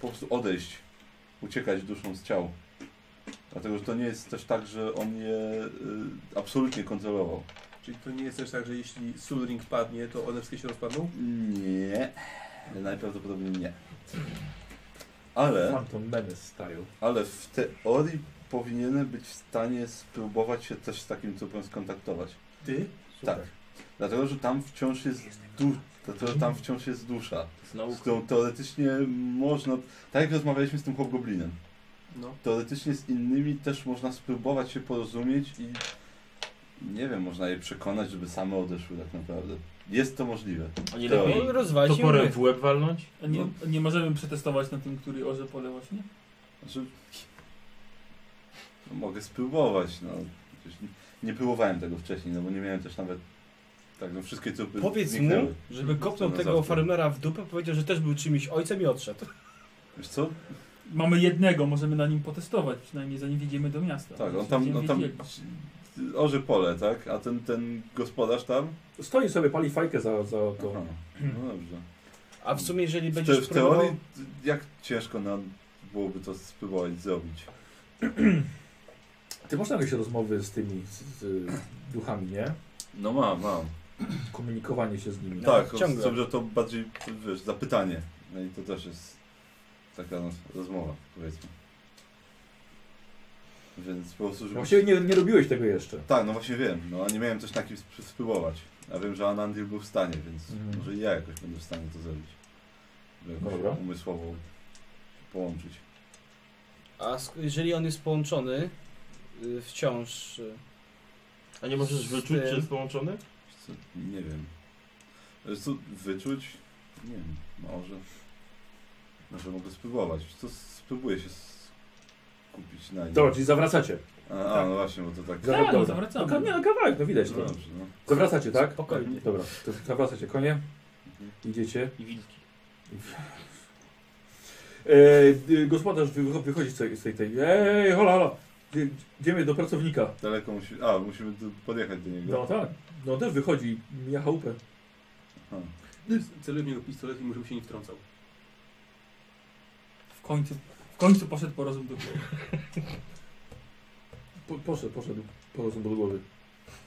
S3: po prostu odejść, uciekać duszą z ciał. Dlatego, że to nie jest też tak, że on je y, absolutnie kontrolował.
S7: Czyli to nie jest też tak, że jeśli Soul Ring padnie, to one wszystkie się rozpadną?
S3: Nie, najprawdopodobniej nie. Ale,
S1: Phantom Menace style.
S3: ale w teorii powinienem być w stanie spróbować się też z takim trupem skontaktować.
S7: Ty?
S3: Tak. Dlatego, że tam wciąż jest du- dlatego, że tam wciąż jest dusza, z którą teoretycznie można, tak jak rozmawialiśmy z tym hobgoblinem,
S7: No.
S3: teoretycznie z innymi też można spróbować się porozumieć i nie wiem, można je przekonać, żeby same odeszły tak naprawdę. Jest to możliwe.
S10: A nie
S3: Teorii.
S10: lepiej toporem w łeb walnąć?
S5: A nie, a nie możemy przetestować na tym, który orze pole właśnie?
S3: Znaczy, no, mogę spróbować, no. Przecież nie, nie próbowałem tego wcześniej, no bo nie miałem też nawet... Tak, no wszystkie trupy
S2: Powiedz mu,
S3: zniknęły.
S2: żeby kopnął
S3: Na
S2: tego
S3: zawsze.
S2: farmera w dupę, powiedział, że też był czymś ojcem i odszedł.
S3: Wiesz co?
S5: Mamy jednego, możemy na nim potestować, przynajmniej zanim wjedziemy do miasta.
S3: Tak, on
S5: Zanim
S3: tam, on tam
S5: wjedziemy.
S3: orze pole, tak? A ten, ten gospodarz tam?
S1: Stoi sobie, pali fajkę za, za to.
S3: No dobrze.
S2: A w sumie, jeżeli
S3: W,
S2: będziesz
S3: te, w teorii
S2: próbował...
S3: jak ciężko nam byłoby to spróbować zrobić?
S1: Ty masz jakieś rozmowy z tymi z, z duchami, nie?
S3: No mam, mam.
S1: Komunikowanie się z nimi.
S3: tak, ciągle. Dobrze, to bardziej, wiesz, zapytanie. No i to też jest taka no, rozmowa, powiedzmy. Więc po prostu, żeby...
S1: Właściwie nie, nie robiłeś tego jeszcze.
S3: Tak, no właśnie wiem, no a nie miałem też na kim sp- spróbować. A wiem, że Anandil był w stanie, więc
S1: Mhm.
S3: może i ja jakoś będę w stanie to zrobić. Żeby jakoś
S1: Dobra.
S3: umysłowo połączyć.
S2: A sk- jeżeli on jest połączony, y, wciąż... y,
S10: A nie możesz
S2: z
S10: wyczuć,
S2: tym-
S10: czy jest połączony?
S3: Wiesz Co? Nie wiem. Wiesz Co wyczuć? Nie wiem, może. Może mogę spróbować. Wiesz Co spróbuję się skupić na nim.
S1: Dobra, czyli zawracacie.
S3: A, a
S1: Tak.
S3: no właśnie, bo to tak.
S1: Zawra- dobra. No, nie, no kawałek, no widać to.
S3: No dobrze, no.
S1: Zawracacie, tak?
S3: Spokojnie.
S1: Dobra, to zawracacie konie. Idziecie.
S10: I wilki.
S1: E, gospodarz wy, wychodzi z tej, z tej, tej. Ej, hola, hola. Gdzie- Idziemy do pracownika.
S3: Daleko musi... A, musimy tu podjechać do niego.
S1: No tak. No też wychodzi, mija chałupę. No.
S3: Aha.
S7: Celuję w niego pistolet i muszę się nie wtrącał.
S5: W końcu, w końcu poszedł po rozum do głowy.
S1: Po, poszedł, poszedł po prostu do głowy.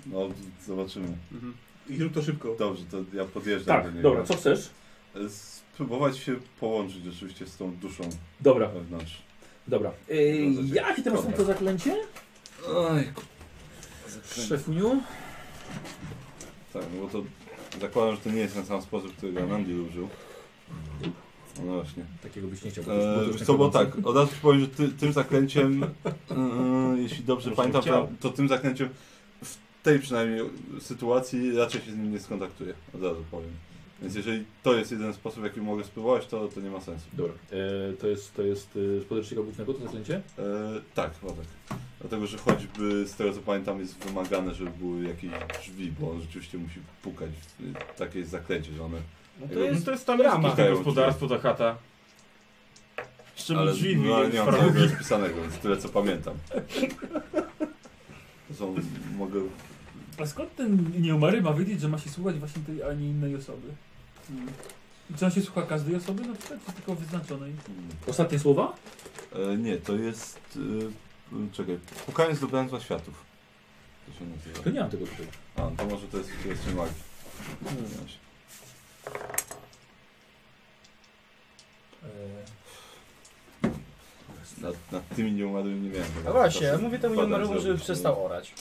S3: No, zobaczymy.
S7: Mhm. I rób to szybko.
S3: Dobrze, to ja podjeżdżam do
S1: Tak,
S3: niego. E,
S1: dobra, co chcesz?
S3: Spróbować się połączyć rzeczywiście z tą duszą.
S1: Dobra.
S3: Wewnątrz.
S1: Dobra. Ej,
S3: Dobra,
S1: jakie teraz są No, to tak. zaklęcie?
S3: Oj,
S1: Szefuniu?
S3: Tak, no bo to zakładam, że to nie jest ten sam sposób, którego Nandi użył. No właśnie.
S1: Takiego byś nie chciał.
S3: Eee, wiesz co, bo tak, od razu ci powiem, że ty, tym zaklęciem, eee, jeśli dobrze
S10: Może
S3: pamiętam,
S10: chciał.
S3: to, to tym zaklęciem w tej przynajmniej sytuacji raczej się z nim nie skontaktuję, od razu powiem. Więc jeżeli to jest jeden sposób, jaki mogę spróbować, to, to nie ma sensu.
S1: Dobra. E, to jest, to jest e, z podręcznika głównego to zaklęcie?
S3: Eee, tak, chyba tak. Dlatego, że choćby z tego co pamiętam jest wymagane, żeby były jakieś drzwi, bo on rzeczywiście musi pukać w takie jest zaklęcie, że one...
S2: No to
S3: jakby-
S2: jest,
S10: to jest tam
S2: brama.
S10: jest kilka gospodarstwo, ta chata. Z czym
S3: Ale
S10: drzwi
S3: no,
S10: wyjęły
S3: nie mam
S10: farmę.
S3: całego rozpisanego, więc tyle co pamiętam. To Są, mogę...
S5: A skąd ten nieumarły ma wiedzieć, że ma się słuchać właśnie tej, a nie innej osoby? Hmm. Czy on się słucha każdej osoby na przykład, czy tylko wyznaczonej?
S1: Ostatnie słowa?
S3: E, nie, to jest... E, czekaj, pukanie z dobręstwa światów. To się nazywa.
S1: To nie mam tego tutaj.
S3: A, to może to jest kwestia magii.
S1: Hmm.
S3: Właśnie. Nad, nad tymi nieumarłymi nie wiem.
S2: E. No właśnie, ja mówię temu Jomarowi,
S3: no.
S2: żeby przestał orać.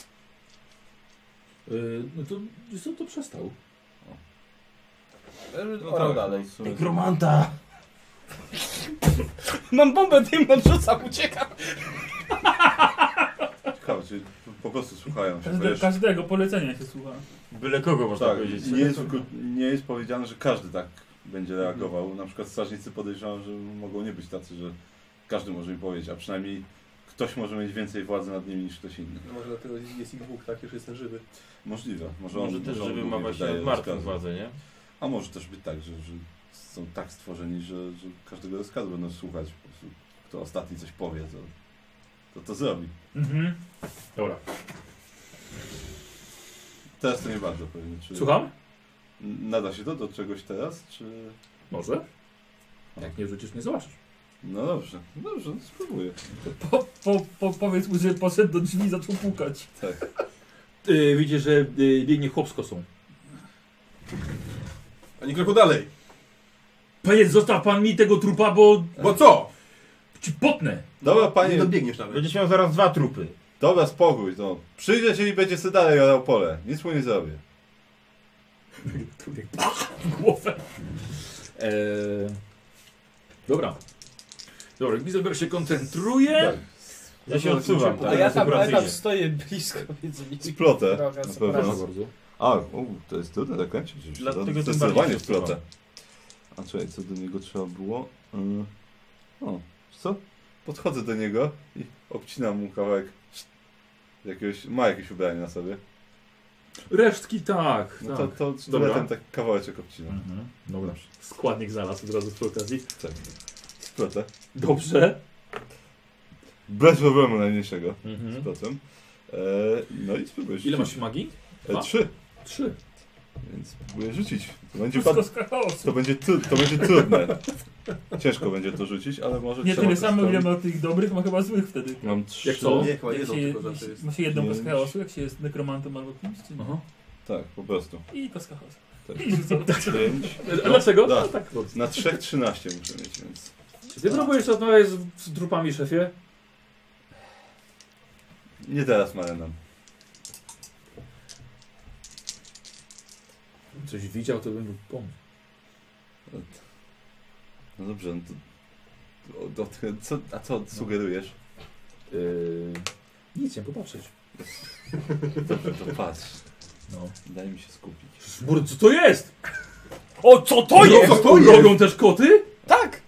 S1: E, no to, wiesz co, to przestał.
S3: tak,
S2: No Orał dalej.
S10: Nekromanta!
S2: Mam bombę dymną, rzucam, uciekam.
S3: ciekawe, czy po prostu słuchają się.
S2: tak,
S5: Każde,
S3: Wiesz,
S5: każdego polecenia się słucha.
S10: Byle kogo można
S3: tak,
S10: powiedzieć. Mhm.
S3: Nie jest, nie jest powiedziane, że każdy tak będzie reagował. Na przykład strażnicy podejrzewam, że mogą nie być tacy, że każdy może im powiedzieć, a przynajmniej ktoś może mieć więcej władzy nad nimi niż ktoś inny.
S7: No Może dlatego jest ich dwóch, tak? Jeszcze jestem żywy.
S3: Możliwe. Może,
S10: Może
S3: on,
S10: też,
S3: on
S10: żeby
S3: głównie
S10: ma właśnie
S3: wydaje
S10: martwą
S3: rozkazy.
S10: władzę, nie?
S3: A może też być tak, że, że są tak stworzeni, że, że każdego rozkazu będą słuchać. Po prostu kto ostatni coś powie, to to, to zrobi.
S5: Mhm.
S1: Dobra.
S3: Teraz to nie bardzo pewnie. Czy
S1: Słucham?
S3: N- Nada się to do czegoś teraz, czy...
S1: Może. Jak nie rzucisz, nie zobaczysz.
S3: No dobrze, dobrze, no spróbuję.
S5: Po, po, po, powiedz mu, że poszedł do drzwi i zaczął pukać.
S3: Tak.
S1: Yy, widzisz, że yy, biegnie chłopsko są.
S7: Ani kroku dalej.
S1: Panie, zostaw pan mi tego trupa, bo...
S7: Bo co?
S1: Ci potnę.
S3: Dobra, panie...
S10: No,
S7: Nie dobiegniesz nawet.
S10: Będziesz miał zaraz dwa trupy.
S3: Dobra, spokój, no. Przyjdzie ci i będzie sobie dalej orał pole. Nic mu nie zrobię.
S1: głowę. Eee, dobra. Dobra, Gizelberg się koncentruje.
S3: Tak.
S10: Ja się odsuwam,
S2: A
S10: tak?
S2: ja tam, ja tam
S10: asekuracyjnie.
S2: stoję blisko, więc nie
S3: Plotę.
S2: Droga,
S3: Na
S1: No,
S2: zapraszam.
S3: pewno. A, u, to jest trudne zakręcić.
S10: Dlatego tym
S3: Zdecydowanie
S10: bardziej
S3: w plotę.
S10: przesuwam.
S3: A czekaj, co do niego trzeba było? Yy, O, wiesz co? Podchodzę do niego i obcinam mu kawałek. Jakiegoś, ma jakieś ubranie na sobie.
S1: Resztki tak.
S3: No to,
S1: tak.
S3: to
S1: Dobra.
S3: dobra. tak kawałeczek obcinam.
S1: Mhm, Dobra. Składnik znalazł od razu przy okazji.
S3: Tak. W plotę.
S1: Dobrze.
S3: Bez problemu najmniejszego.
S1: Mhm.
S3: Z plotem. E, no i spróbuję
S1: Ile
S3: rzucić.
S1: masz magii? Dwa?
S3: E, trzy.
S1: Trzy.
S3: Więc spróbuję rzucić. To będzie,
S5: Wszystko
S3: bad...
S5: z chaosu.
S3: to będzie, tru... to będzie trudne. Ciężko będzie to rzucić, ale może
S5: Nie
S3: trzeba
S5: tyle
S3: coś
S5: samo,
S3: tam-
S5: ile ma tych dobrych, ma chyba złych wtedy.
S3: Mam trzy.
S1: Jak to?
S7: Nie, chyba
S5: Jak
S7: jedzą
S5: się,
S7: tylko
S5: jeśli-
S7: zawsze jest.
S5: ma się jedną bez
S3: Pięć.
S5: chaosu, jak się jest nekromantą albo kimś, czy nie?
S1: Aha.
S3: Tak, po prostu.
S5: I kostka chaosu.
S3: Tak.
S5: I rzucam.
S3: Pięć.
S1: A dlaczego?
S3: Da.
S1: No, tak. no.
S3: Na trzech 13 muszę mieć, więc.
S1: Czy ty próbujesz rozmawiać z, z trupami, szefie?
S3: Nie teraz Marenem.
S1: Coś widział, to bym pomógł.
S3: No dobrze, no to. O, do, co, a co sugerujesz?
S1: Yy, nic, nie popatrzeć.
S3: Dobrze, to patrz.
S1: No.
S3: Daj mi się skupić.
S1: Mur, co to jest? O, No, co to jest?
S7: co to jest?
S1: Robią też koty?
S2: Tak!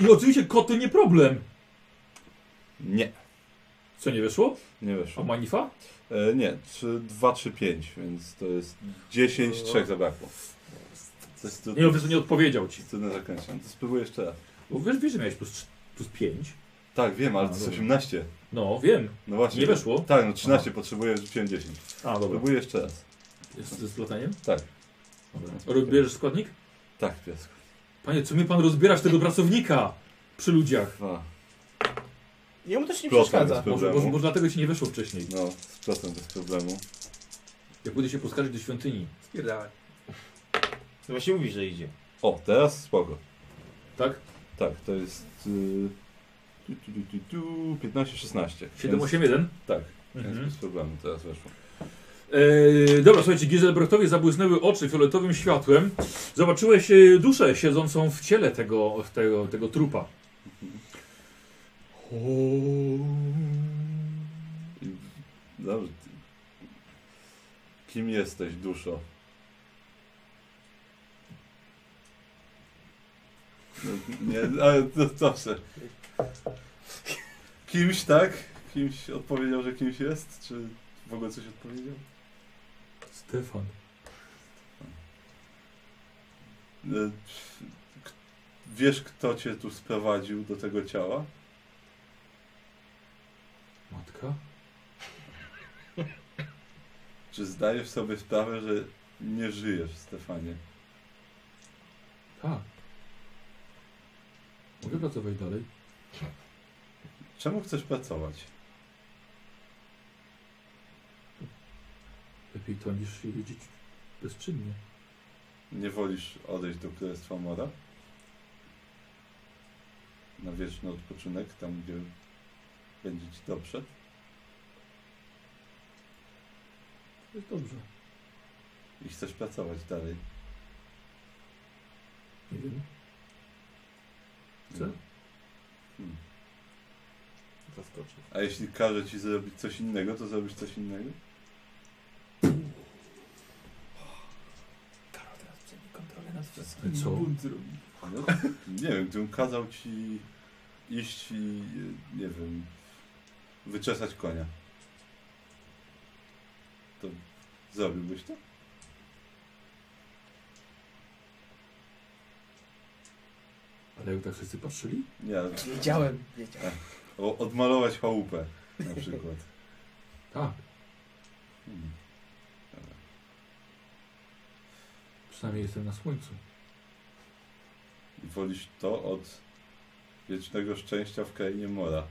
S1: I oczywiście koty nie problem.
S3: Nie,
S1: Co nie wyszło?
S3: nie
S1: A
S3: weszło.
S1: manifa?
S3: E, nie, 3, 2, 3, 5, więc to jest 10, 3 zabrakło. To jest
S1: Nie, po prostu nie odpowiedział ci.
S3: trudne zakręcie. To spróbuję jeszcze raz.
S1: Bo wiesz, wiesz że miałeś plus, trz- plus 5.
S3: Tak, wiem, ale
S1: A,
S3: to jest
S1: dobra.
S3: 18.
S1: No, wiem.
S3: No właśnie.
S1: Nie weszło?
S3: Tak, no 13 potrzebuję, rzuciłem 10.
S1: A, dobra.
S3: Spróbuję jeszcze raz.
S1: Jest ze splataniem?
S3: Tak.
S1: Dobra. Rozbierzesz składnik?
S3: Tak, piasku.
S1: Panie, co mi pan rozbierasz tego pracownika przy ludziach?
S3: Dwa.
S2: Jemu też nie
S3: Plotą
S2: przeszkadza.
S3: jest pewnie.
S1: Może,
S3: Problemu.
S1: może, może dlatego ci nie weszło wcześniej.
S3: No, z procent bez problemu.
S1: Jak pójdę się poskarżyć do świątyni.
S7: Spierdalaj.
S10: No właśnie mówi, że idzie.
S3: O, teraz spoko.
S1: Tak?
S3: Tak, to jest. y, tu, tu, tu, tu, tu, 15, 16.
S1: 7,
S3: Więc-
S1: 8, 1.
S3: Tak,
S1: Mhm.
S3: więc bez problemu teraz weszło.
S1: Eee, dobra, słuchajcie, Gizelbrechtowi zabłysnęły oczy fioletowym światłem. Zobaczyłeś e, duszę siedzącą w ciele tego, tego, tego trupa.
S3: I- Dobrze. ty- Kim jesteś, duszo? No, Nie, ale to zawsze. Kimś, tak? Kimś odpowiedział, że kimś jest? Czy w ogóle coś odpowiedział?
S1: Stefan.
S3: E, k- Wiesz, kto cię tu sprowadził do tego ciała?
S1: Matka?
S3: Czy zdajesz sobie sprawę, że nie żyjesz, Stefanie?
S1: Tak. Mogę pracować dalej?
S3: Czemu chcesz pracować?
S1: Lepiej to niż siedzieć bezczynnie.
S3: Nie wolisz odejść do Królestwa Mora? Na wieczny odpoczynek, tam gdzie będzie ci dobrze?
S1: To jest dobrze.
S3: I chcesz pracować dalej.
S1: Nie wiem. Chcę.
S3: Hmm.
S10: zaskoczy.
S3: A jeśli każe ci zrobić coś innego, to zrobisz coś innego?
S5: Kontrolę nad wszystkim.
S3: Co?
S5: Bunt zrobi.
S3: No, nie wiem, gdybym kazał ci iść i, e, nie wiem, wyczesać konia, to zrobiłbyś to?
S1: Ale jak tak wszyscy patrzyli?
S3: Nie.
S2: Wiedziałem, wiedziałem.
S3: O, odmalować chałupę na przykład.
S1: Tak.
S3: Hmm.
S1: Przynajmniej jestem na słońcu.
S3: I wolisz to od wiecznego szczęścia w krainie mora.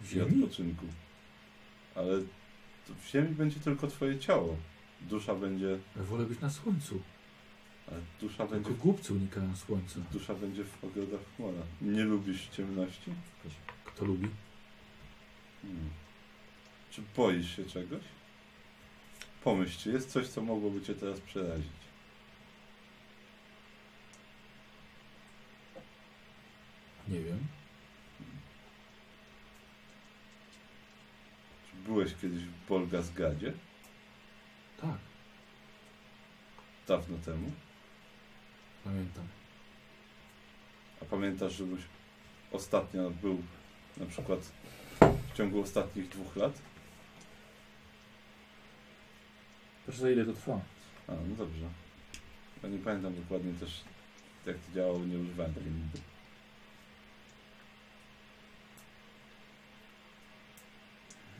S1: W
S3: I
S1: ziemi?
S3: odpoczynku. Ale to w ziemi będzie tylko twoje ciało. Dusza będzie...
S1: Ja wolę być na słońcu.
S3: Ale dusza będzie...
S1: Tylko głupcy unikają słońca.
S3: Dusza będzie w ogrodach chmura. Nie lubisz ciemności?
S1: Kto lubi?
S3: Hmm. Czy boisz się czegoś? Pomyśl, czy jest coś, co mogłoby cię teraz przerazić?
S1: Nie wiem.
S3: Czy byłeś kiedyś w Bolgazgadzie?
S1: Tak.
S3: Dawno temu?
S1: Pamiętam.
S3: A pamiętasz, żebyś ostatnio był na przykład w ciągu ostatnich dwóch lat?
S1: Proszę, za ile to trwa?
S3: A, no dobrze. Ja nie pamiętam dokładnie też, jak to działało, nie używałem tego nigdy.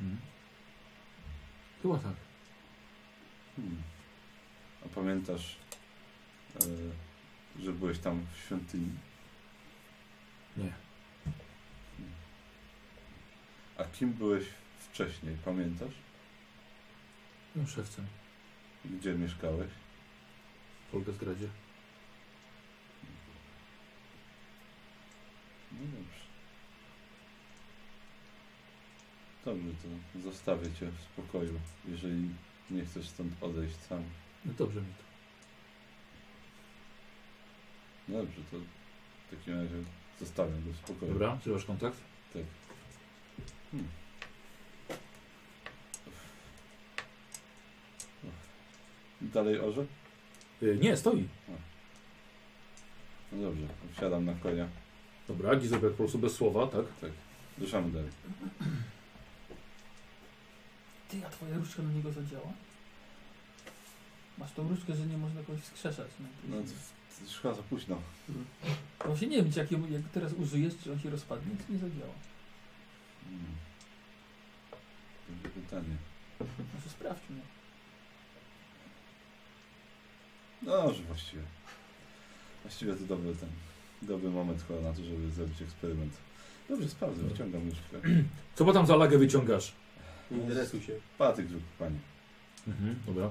S1: Mhm. Chyba tak.
S3: Hmm. A pamiętasz, e, że byłeś tam w świątyni?
S1: Nie.
S3: A kim byłeś wcześniej, pamiętasz?
S1: No szewcem.
S3: Gdzie mieszkałeś?
S1: W Polgazgradzie.
S3: No dobrze. Dobrze, to zostawię cię w spokoju, jeżeli nie chcesz stąd odejść sam.
S1: No dobrze mi to.
S3: No dobrze, to w takim razie zostawiam go w spokoju.
S1: Dobra, czy masz kontakt?
S3: Tak. Hmm. Dalej orze?
S1: Y, nie, stoi.
S3: No dobrze, wsiadam na konia.
S1: Dobra, Gizobek po prostu bez słowa, tak?
S3: Tak. Ruszamy dalej.
S5: Ty, a twoja różdżka na niego zadziała? Masz tą różdżkę, że nie można kogoś wskrzeszać.
S3: No to, to szkoda za późno.
S5: Właśnie nie wiem, czy jak, ją, jak teraz użyjesz, czy on się rozpadnie, czy nie zadziała.
S3: Hmm. Dobre pytanie.
S5: Może sprawdźmy.
S3: No dobrze, właściwie. Właściwie to dobry ten, dobry moment chyba na to, żeby zrobić eksperyment. Dobrze, sprawdzę, wyciągam nóżkę.
S1: Co bo tam za lagę wyciągasz?
S7: Nie interesuj się.
S3: Patyk rzuć, panie.
S1: Mhm, dobra.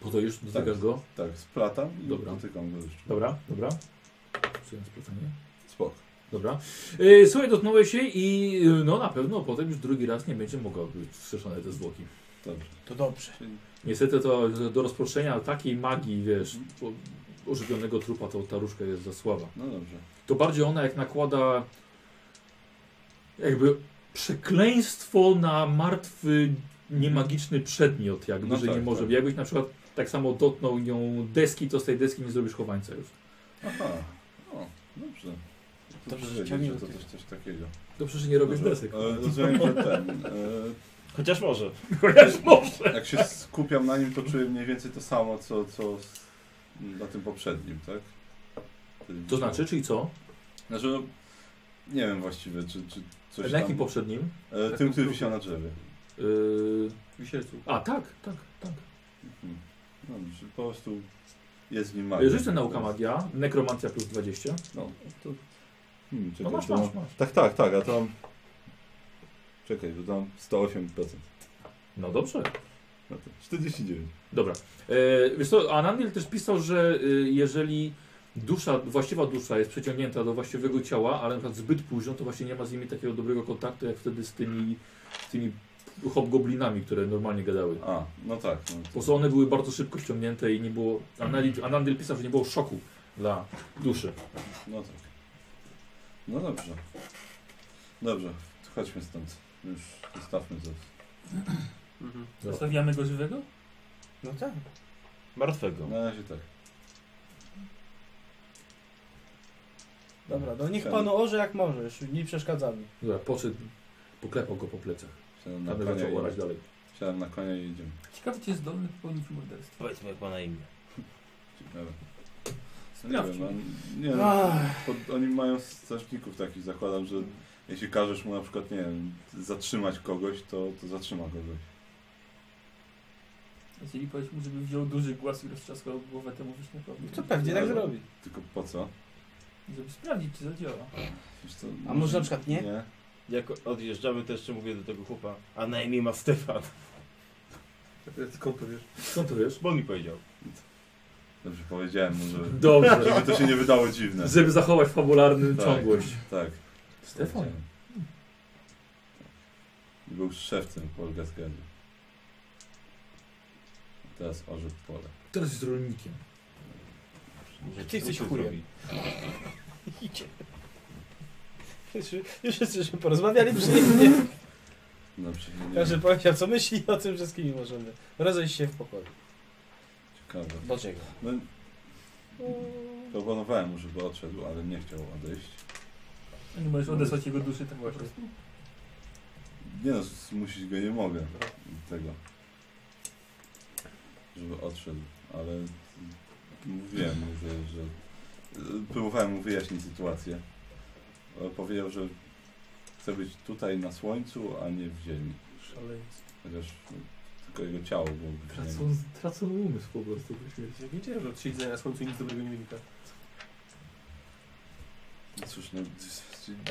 S1: Po to już dotykasz go?
S3: Tak, splatam i
S1: Dobra.
S3: dotykam go jeszcze.
S1: Dobra, dobra. Przyjąłem splecenie.
S3: Spok.
S1: Dobra. Yy, słuchaj, dotknąłeś się i yy, no na pewno potem już drugi raz nie będzie mogła być wstrzeszone te zwłoki.
S3: Dobrze.
S2: To dobrze.
S1: Niestety to do rozproszenia takiej magii, wiesz, o- ożywionego trupa to ta różka jest za słaba.
S3: No dobrze.
S1: To bardziej ona jak nakłada jakby przekleństwo na martwy, niemagiczny przedmiot, jakby,
S3: No
S1: że
S3: tak,
S1: nie może.
S3: tak.
S1: Jakbyś na przykład tak samo dotknął nią deski, to z tej deski nie zrobisz chowańca już.
S3: Aha, o, dobrze. Tu
S2: Dobrze, że
S3: powiedzieć,
S2: ciągnie
S3: że to
S2: do
S3: coś, coś takiego.
S1: Dobrze, że nie robisz
S3: Dobrze,
S1: desek.
S3: e, Rozumiem, że ten... e,
S10: Chociaż może.
S1: Chociaż może.
S3: Jak się skupiam na nim, to czuję mniej więcej to samo, co, co z- na tym poprzednim, tak?
S1: To znaczy, czyli co?
S3: Znaczy, no, nie wiem właściwie, czy, czy coś
S1: Na
S3: tam...
S1: jakim poprzednim?
S3: E, tym, który wisiał na drzewie.
S1: Yy...
S7: Wisielcu.
S1: A, tak, tak, tak.
S3: Mhm. Dobrze, po prostu jest w nim
S1: Yy,
S3: magia.
S1: Rzuć sobie nauka magia, nekromancja plus 20.
S3: No. Hmm, czekaj,
S1: No masz,
S3: to
S1: masz,
S3: mam-
S1: masz.
S3: Tak, tak, tak, a to mam... Czekaj, bo to mam 108%.
S1: No dobrze.
S3: No to 49.
S1: Dobra. E, wiesz co, a Nandil też pisał, że y, jeżeli dusza, właściwa dusza jest przyciągnięta do właściwego ciała, ale na przykład zbyt późno, to właśnie nie ma z nimi takiego dobrego kontaktu, jak wtedy z tymi, z tymi hobgoblinami, które normalnie gadały.
S3: A, no tak. No
S1: Po
S3: to...
S1: prostu one były bardzo szybko ściągnięte i nie było... a Nandil- A Nandil pisał, że nie było szoku dla duszy.
S3: No tak. No dobrze. Dobrze. Chodźmy stąd. Już zostawmy to.
S5: Zostawiamy go żywego?
S2: No tak.
S10: Martwego.
S1: No.
S3: Na razie tak.
S2: Dobra, no niech
S3: Chciałem-
S2: pan orze jak możesz, nie przeszkadzamy.
S1: Dobra, poszedł, poklepał go po plecach.
S3: Chciałem na
S1: Aby
S3: konia
S1: zaczął
S3: i-
S1: orać dalej.
S3: Chciałem na konia i jedziemy.
S5: Ciekawe, czy jest zdolny popełnić morderstwo.
S10: Powiedzmy jak ma na imię.
S3: Dobra. No Nie
S5: Sprawdźmy.
S3: wiem, on, nie,
S5: Ach.
S3: pod, oni mają strażników takich, zakładam, że jeśli każesz mu na przykład, nie wiem, zatrzymać kogoś, to, to zatrzyma kogoś.
S5: Jeżeli powiedz mu, żeby wziął duży głaz i roztrzaskał głowę temu wieśniakowi.
S2: To pewnie tak
S3: Ale-
S2: zrobi.
S3: Tylko po co?
S5: Żeby sprawdzić, czy zadziała.
S3: Wiesz co,
S2: A może na przykład nie?
S3: Nie.
S10: Jak odjeżdżamy, to jeszcze mówię do tego chłopa, a na imię ma Stefan.
S7: Skąd to wiesz?
S1: Skąd to wiesz?
S10: Bo mi powiedział.
S3: Dobrze powiedziałem mu, że
S1: Dobrze.
S3: żeby to się nie wydało dziwne.
S1: Żeby zachować fabularną
S3: No. Tak,
S1: ciągłość.
S3: Tak.
S1: Stefan.
S3: I był szewcem Polga Zgadzie. Teraz orze w pole.
S1: Teraz jest rolnikiem.
S10: Może
S2: Ty jesteś
S10: trupy
S2: chujem.
S10: zrobi.
S2: Idzie. Już, już jesteśmy porozmawiali przyjemnie.
S3: Dobrze, No, nie, nie.
S2: Każdy powiedział co myśli o tym wszystkim i możemy. Rozejść się w pokoju.
S3: Ciekawe.
S2: Do czego?
S3: No, proponowałem mu, żeby odszedł, ale nie chciał odejść.
S5: A Nie możesz odesłać jego duszy tak po prostu.
S3: Nie no, zmusić go nie mogę do tego. Żeby odszedł, ale mówiłem mu, że, że próbowałem mu wyjaśnić sytuację. Ale Powiedział, że chce być tutaj na słońcu, a nie w ziemi.
S7: Szaleństwo.
S3: Chociaż no, tylko jego ciało było w ziemi.
S1: Tracą, tracą umysł po prostu.
S7: Ja wiedziałem, że od siedzenia na słońcu nic dobrego nie wynika.
S3: Cóż, no,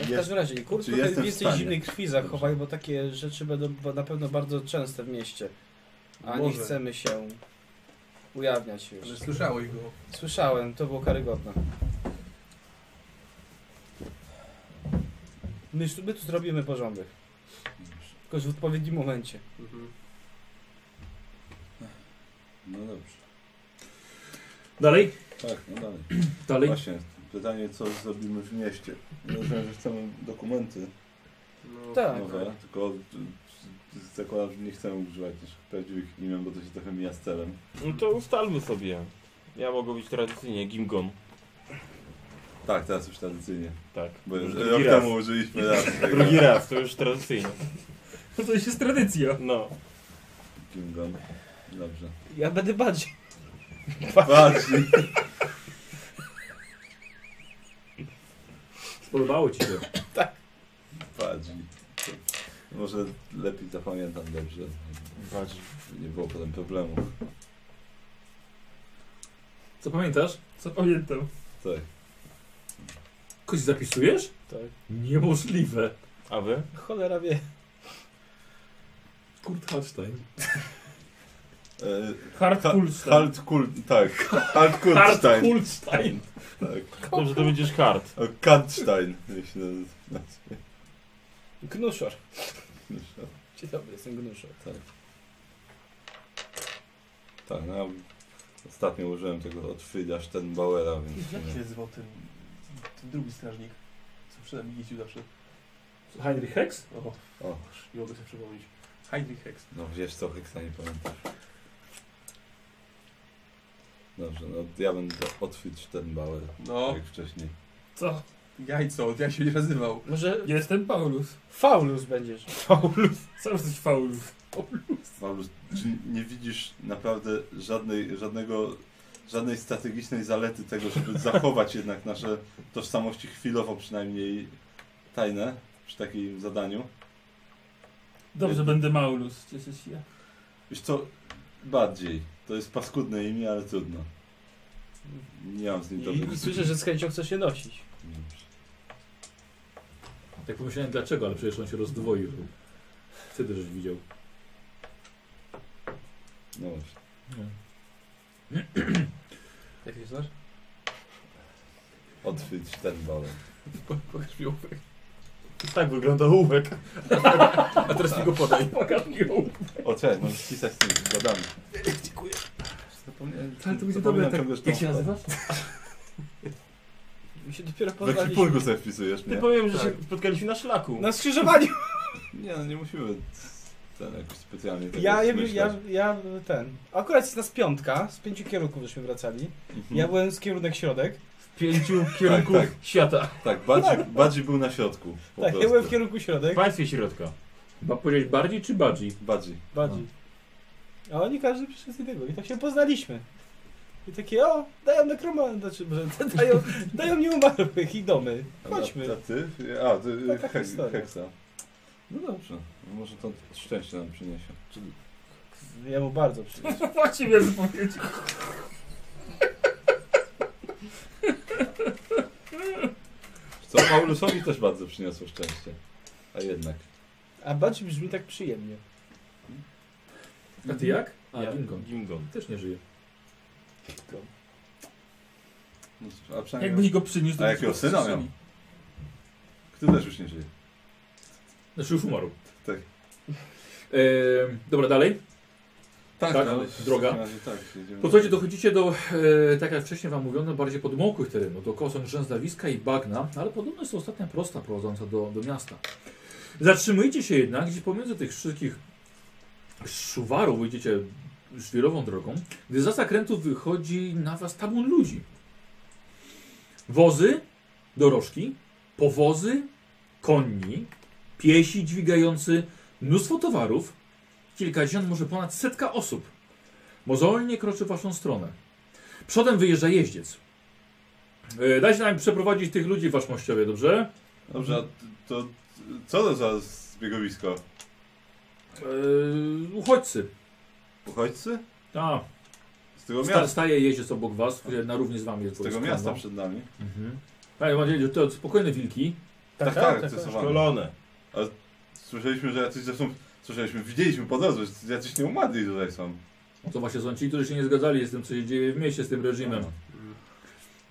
S2: W każdym razie, i
S3: czy
S2: kurczę,
S3: jestem w
S2: więcej
S3: stanie?
S2: zimnej krwi zachowaj, bo takie rzeczy będą ba- na pewno bardzo częste w mieście. A nie
S7: Może.
S2: chcemy się ujawniać już.
S7: Ale słyszałeś go.
S2: Słyszałem, to było karygodne. My, tu- my tu zrobimy porządek. Tylko w odpowiednim momencie.
S7: Mhm.
S3: No dobrze.
S1: Dalej?
S3: Tak, no dalej.
S1: Dalej?
S3: Właśnie, pytanie co zrobimy w mieście. Rozumiem, że chcemy dokumenty
S7: No,
S2: Tak.
S3: nowe, tylko y, y, zakładam, że nie chcemy używać naszych prawdziwych imion, bo to się trochę mija z celem.
S10: No to ustalmy sobie. Ja mogę być tradycyjnie Gimgon.
S3: Tak, teraz już tradycyjnie.
S10: Tak.
S3: Bo
S10: Już
S3: już
S10: drugi
S3: rok
S10: raz.
S3: temu użyliśmy raz tego.
S10: Drugi raz, to już tradycyjnie.
S5: To już jest tradycja.
S10: No.
S3: Gingon. Dobrze.
S2: Ja będę bardziej.
S3: Patrz,
S1: Spodobało ci się.
S3: patrz. Może lepiej zapamiętam dobrze. żeby Nie było potem problemu.
S1: Co pamiętasz?
S5: Co pamiętam.
S3: Tak.
S1: Kogoś zapisujesz?
S2: Tak.
S1: Niemożliwe.
S10: A wy?
S2: Cholera wie.
S1: Kurt Hallstein.
S3: E,
S5: Hard
S3: Ha-
S5: Pulse.
S3: Hard Kult, tak. Hard
S1: Hart
S3: Kultstein.
S1: Hulstein.
S3: Tak.
S10: Dobrze, to będziesz kart.
S3: O, Kantstein, jak się nazywa.
S2: Gnuszor. Dzień dobry, jestem Gnuszor.
S3: Tak, no ja ostatnio użyłem tego od Frida Steinbauera, więc...
S7: Jak się
S3: nie.
S7: nazywał ten, ten drugi strażnik? Co przynajmniej jeździł zawsze.
S1: Heinrich Hex?
S7: O,
S3: O,
S7: nie mogę sobie przypomnieć. Heinrich Hex.
S3: no wiesz co, Heksa nie pamiętasz. Dobrze, no ja będę od Frida Steinbauer,
S7: No,
S3: jak wcześniej.
S5: Co?
S7: jajco, jak się nie nazywał.
S2: Może
S5: Jestem Paulus.
S2: Faulus będziesz.
S5: Co jesteś Paulus?
S3: Paulus, czy nie widzisz naprawdę żadnej, żadnego, żadnej strategicznej zalety tego, żeby zachować jednak nasze tożsamości chwilowo przynajmniej tajne przy takim zadaniu?
S5: Dobrze,
S3: Nie.
S5: będę Maulus. Cieszę się.
S3: Wiesz co, bardziej. To jest paskudne imię, ale trudno. Nie mam z nim
S2: I,
S3: dobrych
S2: I słyszę, że z chęcią chce się nosić.
S1: Tak pomyślałem dlaczego, ale przecież on się rozdwoił. Wtedy żeś widział.
S3: No właśnie.
S7: Jak się znasz?
S3: Odchwyć ten balon.
S7: Pokaż mi ołówek.
S10: Tak wygląda ołówek.
S7: A teraz mi go podaj.
S1: Pokaż mi
S3: O, cześć, możesz pisać z tymi gadami.
S7: Dziękuję.
S3: Zapomniałem.
S1: Ale to będzie dobre. Tak,
S3: Zapominam ciągle, że to-
S1: jak się nazywasz?
S2: Mi się dopiero
S3: W
S2: poznaliśmy.
S3: ekwipunku sobie wpisujesz,
S10: Ty
S3: nie?
S5: Tak.
S10: powiem, że się spotkaliśmy na szlaku.
S2: Na skrzyżowaniu!
S3: Nie, no nie musimy ten jakoś specjalnie tego
S6: Ja, ja,
S3: myśleć.
S6: ja, ja ten. Akurat jest nas piątka, z pięciu kierunków żeśmy wracali.
S3: Mhm.
S6: Ja byłem z kierunek środek.
S10: W pięciu
S3: kierunków Tak, tak.
S10: świata.
S3: Tak, Badzi, Badzi był na środku. po
S6: Tak, ja
S3: prostu.
S6: byłem w kierunku środek.
S10: W państwie środka.
S1: Chyba powiedzieć bardziej czy bardziej?
S3: Badzi.
S6: Badzi. A oni każdy przez jednego i tak się poznaliśmy. I takie, o, dają nekromantę, znaczy, że dają, dają nieumarłych i domy. Chodźmy.
S3: A, a ty? A, ty
S6: Taka
S3: hek,
S6: historia.
S3: Heksa. No dobrze, może to szczęście nam przyniesie.
S6: Ja mu bardzo przyniosłem.
S5: No Właściwie wypowiedź.
S3: Co, Paulusowi też bardzo przyniosło szczęście. A jednak.
S6: A Badzi brzmi tak przyjemnie.
S1: A ty jak? A,
S10: Mhm. Ja-
S1: Gingon.
S10: Gimgon.
S1: Też nie żyje.
S3: No cóż, A przynajmniej...
S5: Jakbyś Tak, go przyniósł, to
S3: A
S5: byś
S3: jakiego
S5: go
S3: syna miał?
S5: wstrzymali.
S3: Kto też już nie żyje.
S1: Znaczy już umarł.
S3: Tak.
S1: Ehm, dobra, dalej.
S3: Tak, dalej. W
S1: no, droga.
S3: takim razie tak, jedziemy
S1: To słuchajcie,
S3: dalej.
S1: dochodzicie do, e, tak jak wcześniej wam mówiono, bardziej podmokłych terenów, do koson grzęzdawiska i bagna, ale podobno jest to ostatnia prosta prowadząca do, do miasta. Zatrzymujecie się jednak, gdzie pomiędzy tych wszystkich szuwarów wyjdziecie szwirową drogą, gdy za zakrętu wychodzi na was tabun ludzi. Wozy, dorożki, powozy, konni, piesi dźwigający, mnóstwo towarów, kilkadziesiąt, może ponad setka osób. Mozolnie kroczy w waszą stronę. Przodem wyjeżdża jeździec. Yy, Dajcie nam przeprowadzić tych ludzi w waszmościowie, dobrze?
S3: Dobrze, a t- to co to za zbiegowisko?
S1: Yy, uchodźcy.
S3: Uchodźcy?
S1: A,
S3: Z tego
S1: sta,
S3: miasta.
S1: staje jeździec obok was, który na równi z wami jest
S3: Z tego
S1: wojskowy.
S3: miasta przed nami.
S1: Mhm. Panie, mam nadzieję, że to spokojne wilki.
S3: Tak,
S6: tak,
S3: tak,
S6: tak, tak.
S3: stosowane. A słyszeliśmy, że jacyś zresztą... Słyszeliśmy, widzieliśmy po drodze, że jacyś nieumarli tutaj są.
S1: To właśnie są ci, którzy się nie zgadzali z tym, co się dzieje w mieście, z tym reżimem.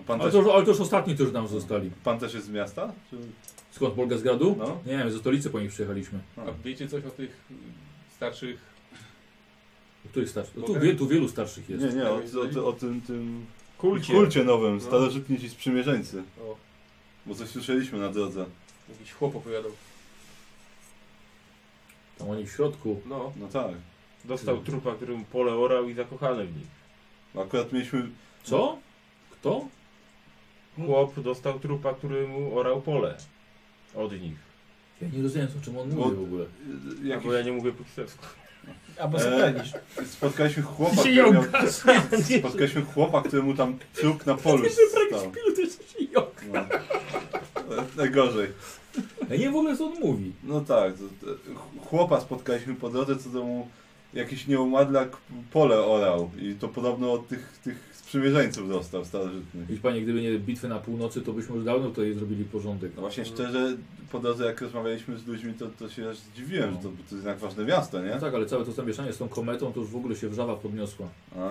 S3: A pan
S1: Ale
S3: też,
S1: to, już- ale to już ostatni, którzy nam zostali.
S3: pan też jest z miasta? Czy...
S1: Skąd Bolga z gradu?
S3: No.
S1: Nie wiem, ze stolicy po nich przyjechaliśmy.
S7: A wiecie coś o tych mm, starszych...
S1: Których starszych? Tu,
S7: Mogę?
S1: wie, tu wielu starszych jest.
S3: Nie, nie, o, o, o tym, tym
S10: Kulcie.
S3: kulcie nowym,
S7: No.
S3: starożytni ci sprzymierzeńcy.
S7: O,
S3: Bo coś słyszeliśmy na drodze.
S7: jakiś chłop opowiadał.
S1: Tam oni w środku.
S7: No,
S3: No tak.
S10: Dostał trupa, którym pole orał i zakochany w nim.
S3: Akurat mieliśmy...
S1: Co? Kto?
S10: Chłop dostał trupa, któremu orał pole. Od nich.
S1: Ja nie rozumiem, o czym on mówi w ogóle.
S3: y,
S10: Jakiś...
S3: Jakiś...
S10: Bo ja nie mówię po kiselewsku.
S6: Albo
S3: E,
S6: zakręcisz.
S3: Spotkaliśmy chłopa,
S5: Się
S3: który miał...
S5: jąkasz.
S3: Spotkaliśmy chłopa, któremu tam trup na polu stał. No. E, Najgorzej.
S1: Ja nie wiem w ogóle, co on mówi.
S3: No tak, to, to, ch- chłopa spotkaliśmy po drodze, co do mu jakiś nieumadlak pole orał i to podobno od tych, tych sprzymierzeńców dostał starożytnych.
S1: Wiesz panie, gdyby nie bitwy na północy, to byśmy już dawno tutaj zrobili porządek.
S3: No właśnie szczerze, po drodze jak rozmawialiśmy z ludźmi, to, to się aż zdziwiłem, że to, to jest jednak ważne miasto, nie?
S1: No tak, ale całe to zamieszanie z tą kometą, to już w ogóle się wrzawa podniosła.
S3: A,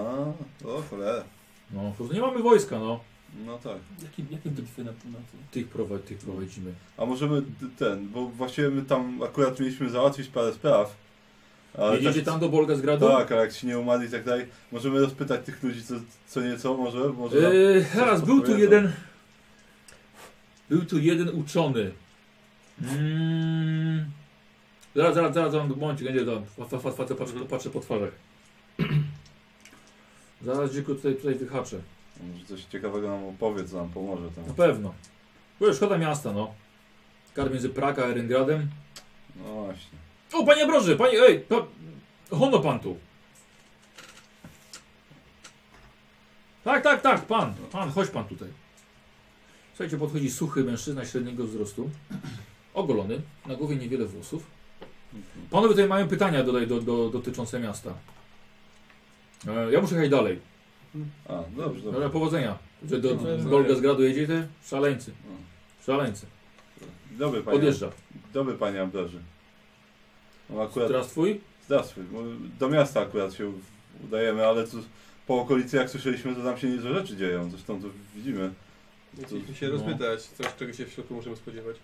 S3: o cholera.
S1: No, po prostu nie mamy wojska, no.
S3: No tak.
S5: Jakie, jakie bitwy na północy?
S1: Tych, prowa- tych prowadzimy.
S3: A możemy d- ten, bo właściwie my tam akurat mieliśmy załatwić parę spraw. Ale
S1: Jedziecie
S3: tak-
S1: tam do Bolgazgradu?
S3: Tak, ale jak ci nie umarli i tak dalej, możemy rozpytać tych ludzi co, co nieco, może? może nam-
S1: Yy, teraz
S3: Coś
S1: był tu
S3: podpowiedzą.
S1: jeden... Był tu jeden uczony. Mm. Zaraz, zaraz, zaraz, zaraz, momencik, będzie tam. Fa- fa- fa- Patrzę, patrzę,
S3: Mhm.
S1: patrzę po twarzach. Zaraz, dziku, tutaj, tutaj wyhaczę.
S3: Może coś ciekawego nam opowie, co nam pomoże tam.
S1: Na pewno. Bo już szkoda miasta, no. Kar między Praga a Eryngradem.
S3: No właśnie.
S1: O, panie Broży, panie, ej, pa, hono pan tu. Tak, tak, tak, pan, pan, chodź pan tutaj. Słuchajcie, podchodzi suchy mężczyzna średniego wzrostu, ogolony, na głowie niewiele włosów. Panowie tutaj mają pytania dodaj, do, do, dotyczące miasta. E, ja muszę jechać dalej.
S3: A, dobrze,
S1: Dobra,
S3: dobrze.
S1: powodzenia. Do, do,
S3: No,
S1: z Golga z gradu jedziecie? Szaleńcy, szaleńcy.
S3: Dobry panie,
S1: Odjeżdża.
S3: dobry panie Ambroży. No akurat,
S1: Teraz twój?
S3: Zdawstwo. Do miasta akurat się udajemy, ale tu po okolicy jak słyszeliśmy, to tam się niezłe rzeczy dzieją. Zresztą to widzimy.
S7: chcieliśmy się
S1: no.
S7: rozpytać, coś czego się w środku możemy spodziewać.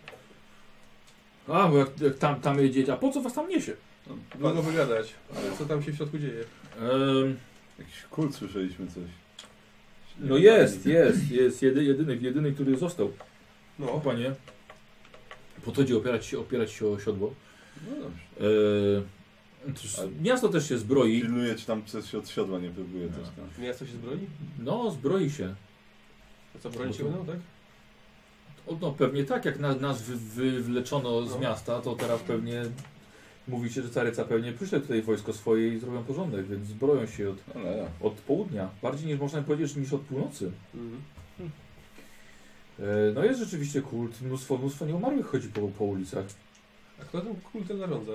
S1: A, bo jak, jak tam, tam jedziecie, a po co was tam niesie?
S7: Długo wygadać, ale co tam się w środku dzieje?
S1: Ehm,
S3: Jakiś kult słyszeliśmy coś.
S1: No jest, jest, jest jedy, jedyny, jedyny, który został.
S7: No,
S1: Panie, podchodzi opierać się, opierać się o siodło. E, cóż, miasto też się zbroi.
S3: Pilnuje czy tam przez się od siodła nie próbuje też tam.
S7: Miasto się zbroi?
S1: No, zbroi się.
S7: To co, broni
S1: Bo
S7: się
S1: to-
S7: będą, tak?
S1: O, no pewnie tak, jak na, nas wy, wywleczono z miasta, to teraz pewnie mówicie, że caryca pewnie przyszedł tutaj wojsko swoje i zrobią porządek, więc zbroją się od, od południa. Bardziej niż można powiedzieć niż od północy.
S7: Mhm.
S1: E, no jest rzeczywiście kult, mnóstwo, mnóstwo nieumarłych chodzi po, po ulicach.
S7: A kto tym kultem zarządza?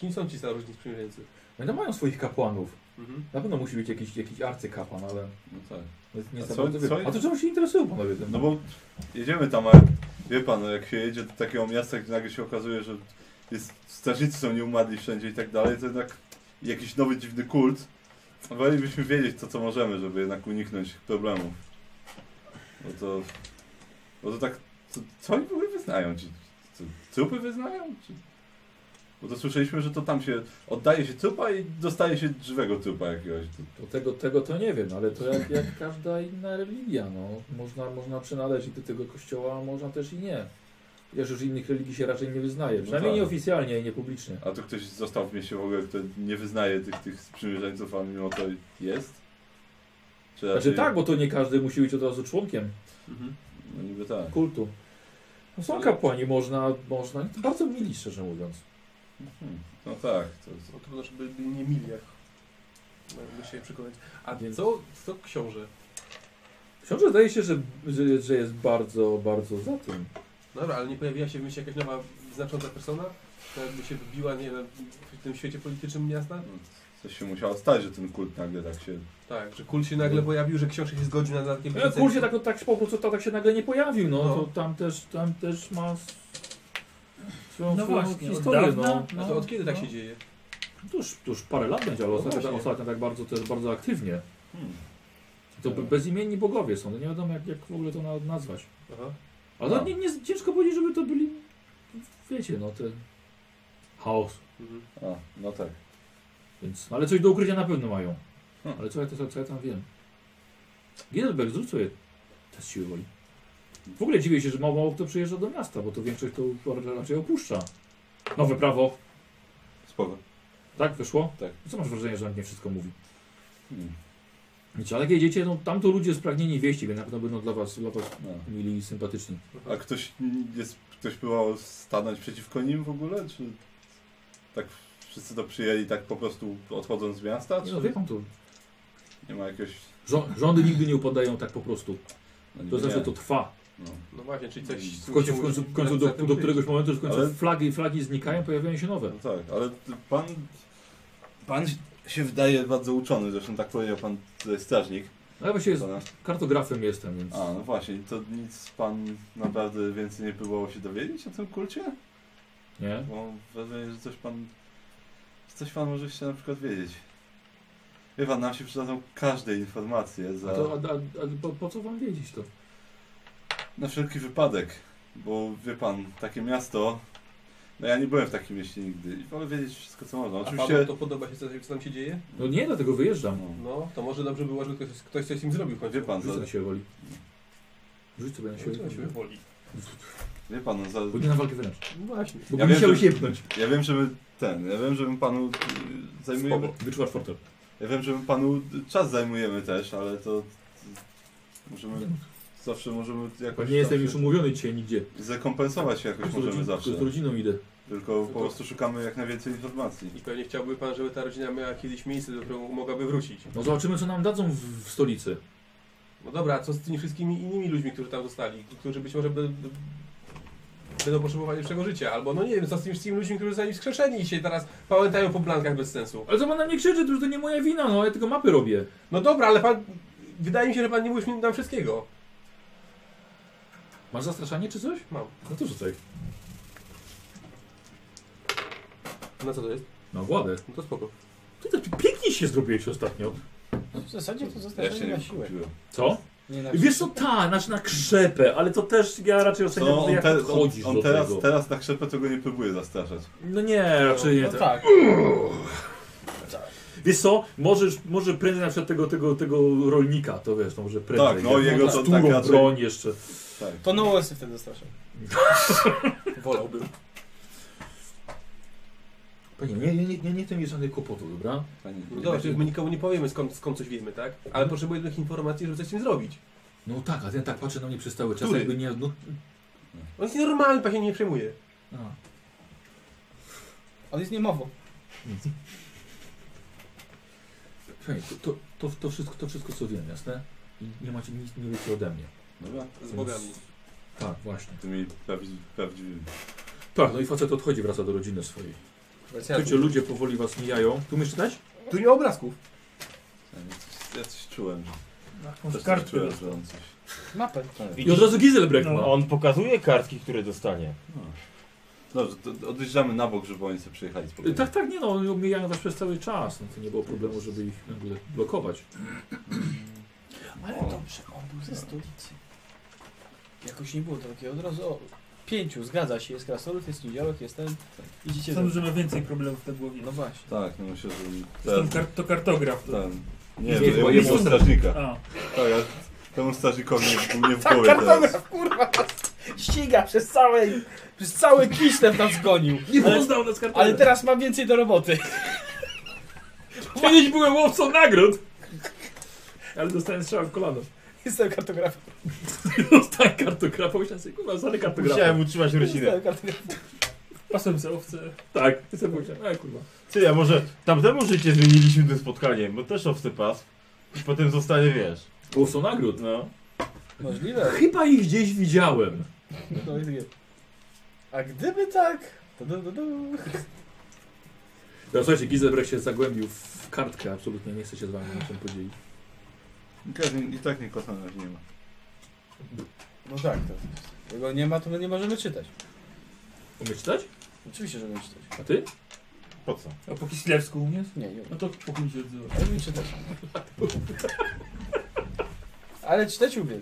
S7: Kim są ci starożytni sprzymierzeńcy?
S1: No mają swoich kapłanów.
S7: Mhm.
S1: Na pewno musi być jakiś, jakiś arcykapłan, ale...
S3: No tak.
S1: Jest nie
S3: A
S1: za
S3: co-
S1: bardzo
S3: co
S1: wiem.
S3: jest-
S1: A to czemu się interesują panowie tym?
S3: No bo jedziemy tam, ale wie pan, no, jak się jedzie do takiego miasta, gdzie nagle się okazuje, że jest strażnicy są nieumarli wszędzie i tak dalej, to jednak jakiś nowy dziwny kult. Wolibyśmy wiedzieć to, co możemy, żeby jednak uniknąć problemów. No to... No to tak... Co, co oni w ogóle wyznają? Czy, czy, trupy wyznają? Czy, bo to słyszeliśmy, że to tam się oddaje się trupa i dostaje się żywego trupa jakiegoś.
S1: To tego, tego to nie wiem, ale to jak, jak każda inna religia, no. Można, można przynależeć do tego kościoła, a można też i nie. Chociaż już innych religii się raczej nie wyznaje, przynajmniej
S3: tak.
S1: nieoficjalnie i niepublicznie.
S3: A tu ktoś został w mieście w ogóle, kto nie wyznaje tych, tych sprzymierzeńców, a mimo to jest? Czy
S1: Znaczy
S3: raczej-
S1: tak, bo to nie każdy musi być od razu członkiem
S7: Mhm.
S3: No niby tak.
S1: kultu. No są kapłani, można, można, to bardzo mili szczerze mówiąc.
S3: Mhm. No tak. To,
S7: No trudno, żeby byli nie mili, jak jakby się przekonać. A co, co książę?
S1: Książę zdaje się, że, że, że jest bardzo, bardzo za tym.
S7: No Dobra, ale nie pojawiła się w mieście jakaś nowa, znacząca persona? która jakby się wybiła, nie wiem, w tym świecie politycznym miasta?
S3: no, coś się musiało stać, że ten kult nagle tak się...
S7: Tak, że kul się nagle
S1: Mm.
S7: pojawił, że książę się zgodził na dodatkiem
S1: No, kurs się tak, no, tak po prostu tak się nagle nie pojawił, no,
S7: No.
S1: to tam też, tam też ma s- swoją,
S5: No
S1: swoją
S5: właśnie, od
S1: historię,
S5: dawna,
S1: no.
S5: no. A to od
S7: kiedy tak się dzieje?
S1: Tuż, tuż parę lat będzie, ale
S7: No
S1: ostatnio,
S7: właśnie.
S1: ostatnio tak bardzo, też bardzo aktywnie.
S3: Hmm.
S1: To be- bezimienni bogowie są, no nie wiadomo jak, jak w ogóle to na, nazwać. Ale no.
S3: No.
S1: nie, nie, ciężko powiedzieć, żeby to byli, wiecie, no te chaos.
S7: Mhm.
S3: A, no tak.
S1: Więc, no, ale coś do ukrycia na pewno mają.
S3: Hm.
S1: Ale co ja, to, co ja tam wiem? Gidelberg, zrób sobie test siły woli. W ogóle dziwię się, że mało, mało kto przyjeżdża do miasta, bo to większość to raczej opuszcza. Nowe prawo.
S3: Spoko.
S1: Tak, wyszło?
S3: Tak.
S1: Co masz wrażenie, że nam nie wszystko mówi?
S3: Hmm.
S1: Wiecie, ale jak jedziecie, no tam to ludzie spragnieni wieści, więc na pewno będą dla was, dla was mili i sympatyczni.
S3: no. A ktoś jest, ktoś próbował stanąć przeciwko nim w ogóle? Czy tak wszyscy to przyjęli tak po prostu odchodząc z miasta?
S1: Nie
S3: Czy
S1: no, wie pan to.
S3: nie ma jakiegoś...
S1: Żo rządy nigdy nie upadają tak po prostu.
S3: No niby
S1: to znaczy,
S3: nie.
S1: to trwa.
S3: No.
S7: No właśnie, czyli coś...
S1: Mm. W końcu, w końcu, w końcu do, do któregoś momentu, że w końcu
S3: Ale-
S1: flagi, flagi znikają, pojawiają się nowe.
S3: No tak, ale ty- pan, pan się wydaje bardzo uczony, zresztą tak powiedział pan tutaj strażnik.
S1: No ja właśnie jest,
S3: Pana-
S1: kartografem jestem, więc...
S3: A, no właśnie, to nic pan naprawdę więcej nie próbował się dowiedzieć o tym kulcie?
S1: Nie?
S3: Bo mam wrażenie, że coś pan, że coś pan może jeszcze na przykład wiedzieć. Wie pan, nam się przydadzą każde informacje
S1: A
S3: za...
S7: No
S1: to, a, a, a po, po co wam wiedzieć to?
S3: Na wszelki wypadek, bo wie pan, takie miasto... No ja nie byłem w takim mieście nigdy i wolę wiedzieć wszystko co można.
S7: A
S3: Oczywiście...
S7: Oczywiście... to podoba się, co, co tam się dzieje?
S1: No nie, dlatego wyjeżdżam.
S7: No, to może dobrze było, żeby ktoś, ktoś coś im zrobił w końcu.
S3: no, Wie pan,
S1: Rzuć
S3: za...
S1: na siłę woli. Rzuć sobie na siłę
S7: Rzuć na siłę woli.
S3: Wie pan, no za...
S1: Pójdę na walkę wręcz.
S7: No właśnie.
S1: Bo bym chciał
S3: że-
S1: siępnąć.
S3: Ja wiem, że my ten, ja wiem, że my panu y, zajmujemy. Tak,
S1: Spoko. Wyczuwasz fortel.
S3: Ja wiem, że my panu czas zajmujemy też, ale to. y, Możemy. Zawsze możemy jakoś.
S1: Nie jestem już
S3: zawsze
S1: umówiony dzisiaj nigdzie.
S3: Zakompensować jakoś
S1: Z
S3: tak, możemy
S1: rodziną-
S3: zawsze.
S1: Z rodziną idę.
S3: Tylko po prostu szukamy jak najwięcej informacji.
S7: I pewnie chciałby pan, żeby ta rodzina miała kiedyś miejsce, do którego mogłaby wrócić.
S1: No zobaczymy, co nam dadzą w, w stolicy.
S7: No dobra, a co z tymi wszystkimi innymi ludźmi, którzy tam zostali? Którzy być może by, by, będą potrzebowali lepszego życia. Albo no nie wiem, co z tymi wszystkimi ludźmi, którzy zostali skrzeszeni i się teraz pamiętają po blankach bez sensu.
S1: Ale co pan na mnie krzyczy, to już to nie moja wina, no ja tylko mapy robię.
S7: No dobra, ale pan... Wydaje mi się, że pan nie mówisz mi nam wszystkiego.
S1: Masz zastraszanie czy coś?
S7: Mam.
S1: No to rzucaj.
S7: Na co to jest?
S1: Na władę.
S7: No to spoko.
S1: Ty to pięknie się zrobiłeś ostatnio.
S2: W zasadzie to
S3: Ja się
S2: zostawiamy
S3: nie
S2: na siłę.
S3: wykupiłem.
S1: Co?
S2: Nie na
S1: Wiesz co, ta, znaczy na krzepę, ale to też ja raczej
S3: Co,
S1: oceniam,
S3: on,
S1: jak
S3: te, on,
S1: podchodzisz
S3: on
S1: do
S3: teraz,
S1: tego.
S3: teraz na krzepę to go nie próbuje zastraszać.
S1: No nie, raczej nie.
S2: No tak.
S6: tak.
S1: Wiesz co, możesz, może prędzej na przykład tego, tego, tego rolnika, to wiesz, to może prędzej.
S3: Tak, no
S1: Ja-
S3: jego
S1: z
S3: to
S1: turą
S3: tak raczej-
S1: broń jeszcze.
S3: Tak.
S2: To no wtedy straszam.
S7: Wolałbym.
S1: Panie, nie, nie, nie, nie, nie chcę mieć żadnych kłopotów, dobra? Panie,
S7: No dobra, czyli my nikomu nie powiemy skąd, skąd coś wiemy, tak? Ale potrzebujemy tych informacji, żeby coś z tym zrobić.
S1: No tak, a ten tak patrzy na mnie przez cały czas,
S7: Który?
S1: jakby nie... No,
S7: On jest nienormalny, pan się nie przejmuje.
S2: On jest niemową.
S1: Słuchaj, to, to, to, to, wszystko, to wszystko co wiem, jasne? I nie macie nic, nie wiecie ode mnie.
S3: Dobra.
S7: Z bogami.
S1: Tak, właśnie.
S3: Tymi prawdzi- prawdziwymi.
S1: Tak, no i facet odchodzi, wraca do rodziny swojej.
S7: Wracają.
S1: Słuchajcie, ludzie powoli was mijają. Tu umiesz czytać?
S7: Tu nie ma obrazków.
S3: Ja coś czułem, że...
S5: Jakąś
S3: Też coś
S5: kartkę
S3: czułem,
S5: dostał.
S3: że on coś...
S2: Mapę.
S1: I od razu Gizelbrecht ma.
S10: No, on pokazuje kartki, które dostanie.
S3: Dobrze, to odjeżdżamy na bok, żeby oni sobie przyjechali z
S1: Y, Tak, tak, nie no, oni omijają was przez cały czas. No, to nie było problemu, żeby ich w ogóle blokować.
S2: Ale dobrze, on był ze stolicy. Jakoś nie było to takiego od razu. O, pięciu, zgadza się, jest krasnolud, jest niedziałek, jest ten. Idziecie
S5: Sądzę, że ma więcej problemów na głowie.
S2: No właśnie.
S3: Tak, no myślę, że...
S2: Tak.
S5: Zresztą kar- to kartograf, to-
S3: Ten.
S5: Nie,
S3: Nie,
S5: to
S3: to
S5: jest-
S3: jemu strażnika.
S5: A.
S3: Tak, ja temu strażnikowi nie, nie w
S2: Tak,
S3: głowie teraz.
S2: kartograf, kurwa, nas ściga przez całe, przez cały kislew nas gonił.
S1: Nie
S2: Ale-
S1: poznał nas kartograf.
S2: Ale teraz mam więcej do roboty.
S1: Kiedyś byłem łowcą nagród! Ale dostałem strzał w kolano.
S2: Jestem kartografem.
S1: Dostałem kartografa, myślałem sobie, kurwa, zostanę kartografem.
S10: Musiałem utrzymać rodzinę.
S2: Jestem kartografem.
S5: Pasem za owce.
S1: Tak, jestem powiedziałem, e kurwa.
S10: Ty, a może tamtemu życie zmieniliśmy tym spotkaniem, bo też owcy pas. I potem zostanie, wiesz.
S1: Głosą nagród.
S10: No.
S2: Możliwe.
S1: Chyba ich gdzieś widziałem.
S2: No i takie. A gdyby tak. To du, du, du.
S1: No, słuchajcie, Gizelbrecht się zagłębił w kartkę, absolutnie nie chce się z wami niczym podzielić.
S3: I tak nie kota na razie nie ma.
S2: No tak, to. Tego nie ma, to my nie możemy czytać.
S1: Umiesz czytać?
S2: Oczywiście, że nie czytać.
S1: A ty?
S10: Po co?
S5: A po kislewsku umiesz?
S2: Nie, nie.
S5: No to pokój się odzywa.
S2: Ale nie czytać. Ale czytać umiem.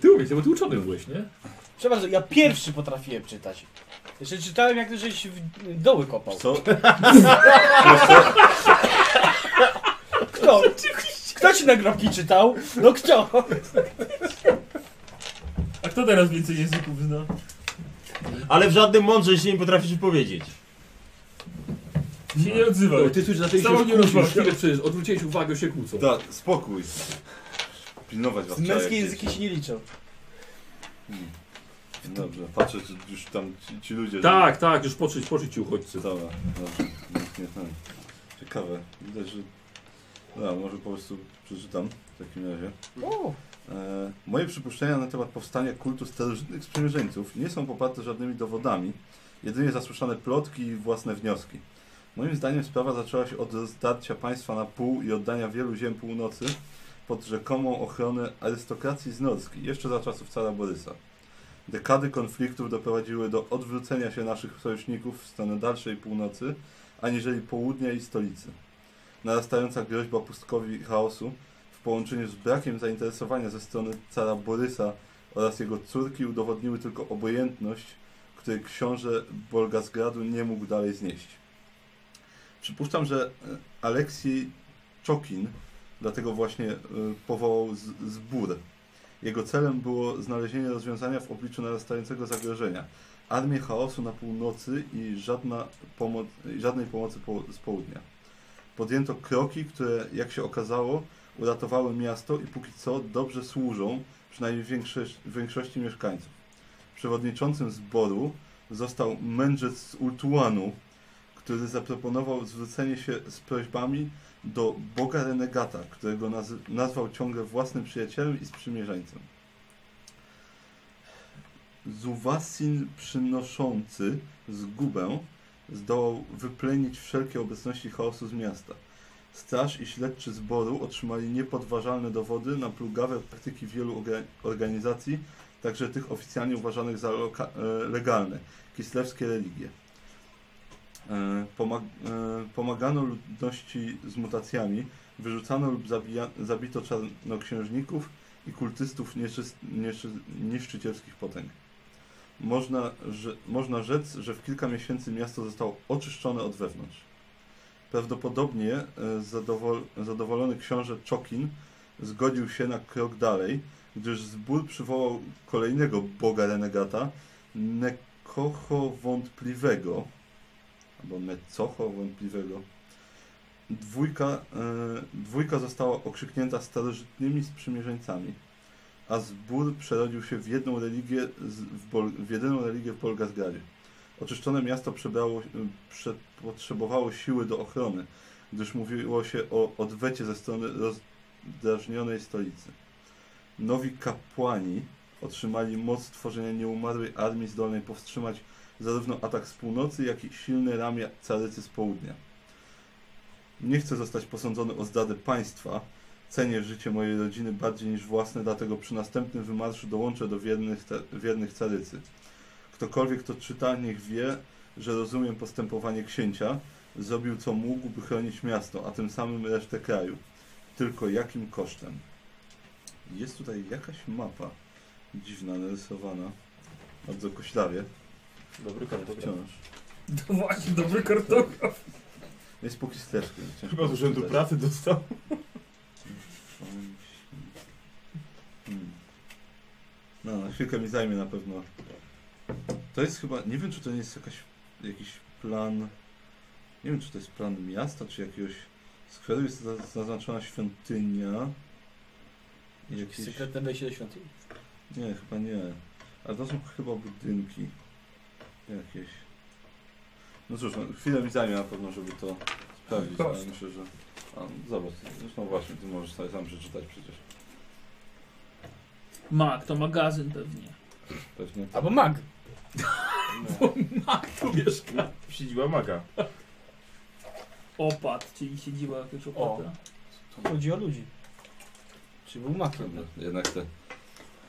S1: Ty umiesz, bo ty uczony byłeś, nie?
S2: Przepraszam, ja pierwszy potrafiłem czytać. Jeszcze czytałem jak ty żeś w doły kopał.
S3: Co?
S2: Kto? Kto ci nagrobki czytał? No kto?
S5: A kto teraz więcej języków zna?
S10: Ale w żadnym mądrze się nie potrafisz wypowiedzieć.
S5: Się nie odzywał.
S1: No, ty słyszysz, zaczęli się
S5: Samo nie
S1: kłócić, już
S5: rozmawiał.
S1: chwilę przecież odwróciłeś uwagę, się kłócą.
S3: Da, spokój. Pilnować was trzeba
S2: Męskie
S3: jak
S2: języki się nie liczą.
S3: Hmm. Dobrze, patrzę, czy już tam ci, ci ludzie...
S1: Tak, tak, już poczuć, poczuć ci uchodźcy.
S3: Dobra, dobrze. Niech nie ten. Ciekawe. Widać, że... Dobra, może po prostu przeczytam w takim razie.
S2: O,
S3: E, moje przypuszczenia na temat powstania kultu starożytnych sprzymierzeńców nie są poparte żadnymi dowodami, jedynie zasłyszane plotki i własne wnioski. Moim zdaniem sprawa zaczęła się od rozdarcia państwa na pół i oddania wielu ziem północy pod rzekomą ochronę arystokracji z Norski, jeszcze za czasów cara Borysa. Dekady konfliktów doprowadziły do odwrócenia się naszych sojuszników w stronę dalszej północy, aniżeli południa i stolicy. Narastająca groźba pustkowi i chaosu w połączeniu z brakiem zainteresowania ze strony cara Borysa oraz jego córki udowodniły tylko obojętność, której książę Bolgasgradu nie mógł dalej znieść. Przypuszczam, że e, Aleksiej Czokin dlatego właśnie e, powołał z- zbór. Jego celem było znalezienie rozwiązania w obliczu narastającego zagrożenia. Armię chaosu na północy i żadna pomo- i żadnej pomocy po- z południa. Podjęto kroki, które, jak się okazało, uratowały miasto i póki co dobrze służą, przynajmniej większość, większości mieszkańców. Przewodniczącym zboru został mędrzec z Ultuanu, który zaproponował zwrócenie się z prośbami do boga renegata, którego naz- nazwał ciągle własnym przyjacielem i sprzymierzeńcem. Zuwasin przynoszący zgubę zdołał wyplenić wszelkie obecności chaosu z miasta. Straż i śledczy zboru otrzymali niepodważalne dowody na plugawe praktyki wielu orga- organizacji, także tych oficjalnie uważanych za loka- e, legalne, kislewskie religie. E, Pomag e, pomagano ludności z mutacjami, wyrzucano lub zabija zabito czarnoksiężników i kultystów nieczyst nieczy niszczycielskich potęg. Można, że, można rzec, że w kilka miesięcy miasto zostało oczyszczone od wewnątrz. Prawdopodobnie e, zadowol, zadowolony książę Czokin zgodził się na krok dalej, gdyż zbór przywołał kolejnego boga renegata, Nekocho Wątpliwego, albo Necocho wątpliwego. Dwójka, e, dwójka została okrzyknięta starożytnymi sprzymierzeńcami, a zbór przerodził się w jedną religię z, w, Bol, w jedyną religię w Bolgazgradzie. Oczyszczone miasto przebrało, prze, potrzebowało siły do ochrony, gdyż mówiło się o odwecie ze strony rozdrażnionej stolicy. Nowi kapłani otrzymali moc tworzenia nieumarłej armii zdolnej powstrzymać zarówno atak z północy, jak i silne ramię carycy z południa. Nie chcę zostać posądzony o zdradę państwa. Cenię życie mojej rodziny bardziej niż własne, dlatego przy następnym wymarszu dołączę do wiernych, te, wiernych carycy. Ktokolwiek to czyta, niech wie, że rozumiem postępowanie księcia. Zrobił co mógł, by chronić miasto, a tym samym resztę kraju. Tylko jakim kosztem? Jest tutaj jakaś mapa dziwna, narysowana. Bardzo koślawie.
S7: Dobry kartograf.
S3: Wciąż.
S5: To właśnie, dobry kartograf.
S3: Jest póki streczkę.
S4: Chyba z urzędu pracy dostał.
S3: Hmm. No, na chwilkę mi zajmie na pewno. To jest chyba, nie wiem czy to nie jest jakaś, jakiś plan, nie wiem czy to jest plan miasta, czy jakiegoś skweru, jest za- zaznaczona świątynia. I
S2: Jakieś sekretne wejście do świątyni?
S3: Nie, chyba nie. Ale to są chyba budynki jakieś. No cóż, no, chwilę mi zajmie na pewno, żeby to sprawdzić, ale
S5: Proste.
S3: myślę, że... A, no, zobacz, zresztą właśnie, ty możesz sobie sam przeczytać przecież.
S5: Mag, to magazyn pewnie.
S3: Pewnie tak.
S2: Albo mag.
S5: Bo mag tu mieszka.
S4: Siedziba maga.
S5: Opad, czyli siedziba jakiegoś opata.
S2: Tu chodzi o ludzi. Czy był makiem?
S3: Dobra, jednak te...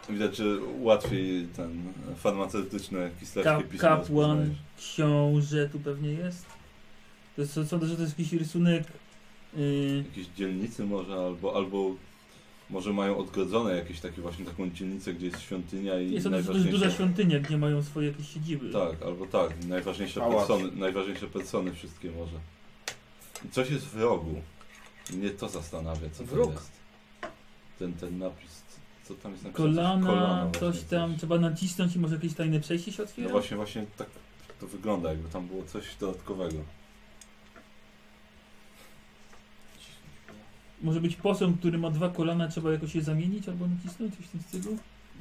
S3: Widać, że łatwiej ten e, farmaceutyczne
S5: Ka
S3: kisteczki pisma
S5: kapłan,
S3: rozpoznajesz.
S5: książę tu pewnie jest. To jest, sądzę, że to jest jakiś rysunek. Yy,
S3: Jakieś dzielnicy może, albo, albo może mają odgrodzone jakieś takie właśnie taką dzielnicę, gdzie jest świątynia i
S5: nie sądzę, że to jest
S3: najważniejsza-
S5: duża świątynia, gdzie mają swoje jakieś siedziby.
S3: Tak, albo tak. Najważniejsze
S5: Pałac.
S3: persony, najważniejsze persony wszystkie może. I coś jest w rogu. Mnie to zastanawia, co
S2: Wróg.
S3: to jest. Ten, ten napis, co tam jest napisane?
S5: Kolana,
S3: Kolana właśnie.
S5: coś tam, trzeba nacisnąć i może jakieś tajne przejście się otwiera?
S3: No właśnie, właśnie tak to wygląda, jakby tam było coś dodatkowego.
S5: Może być posąg, który ma dwa kolana, trzeba jakoś je zamienić albo nacisnąć, coś w tym stylu?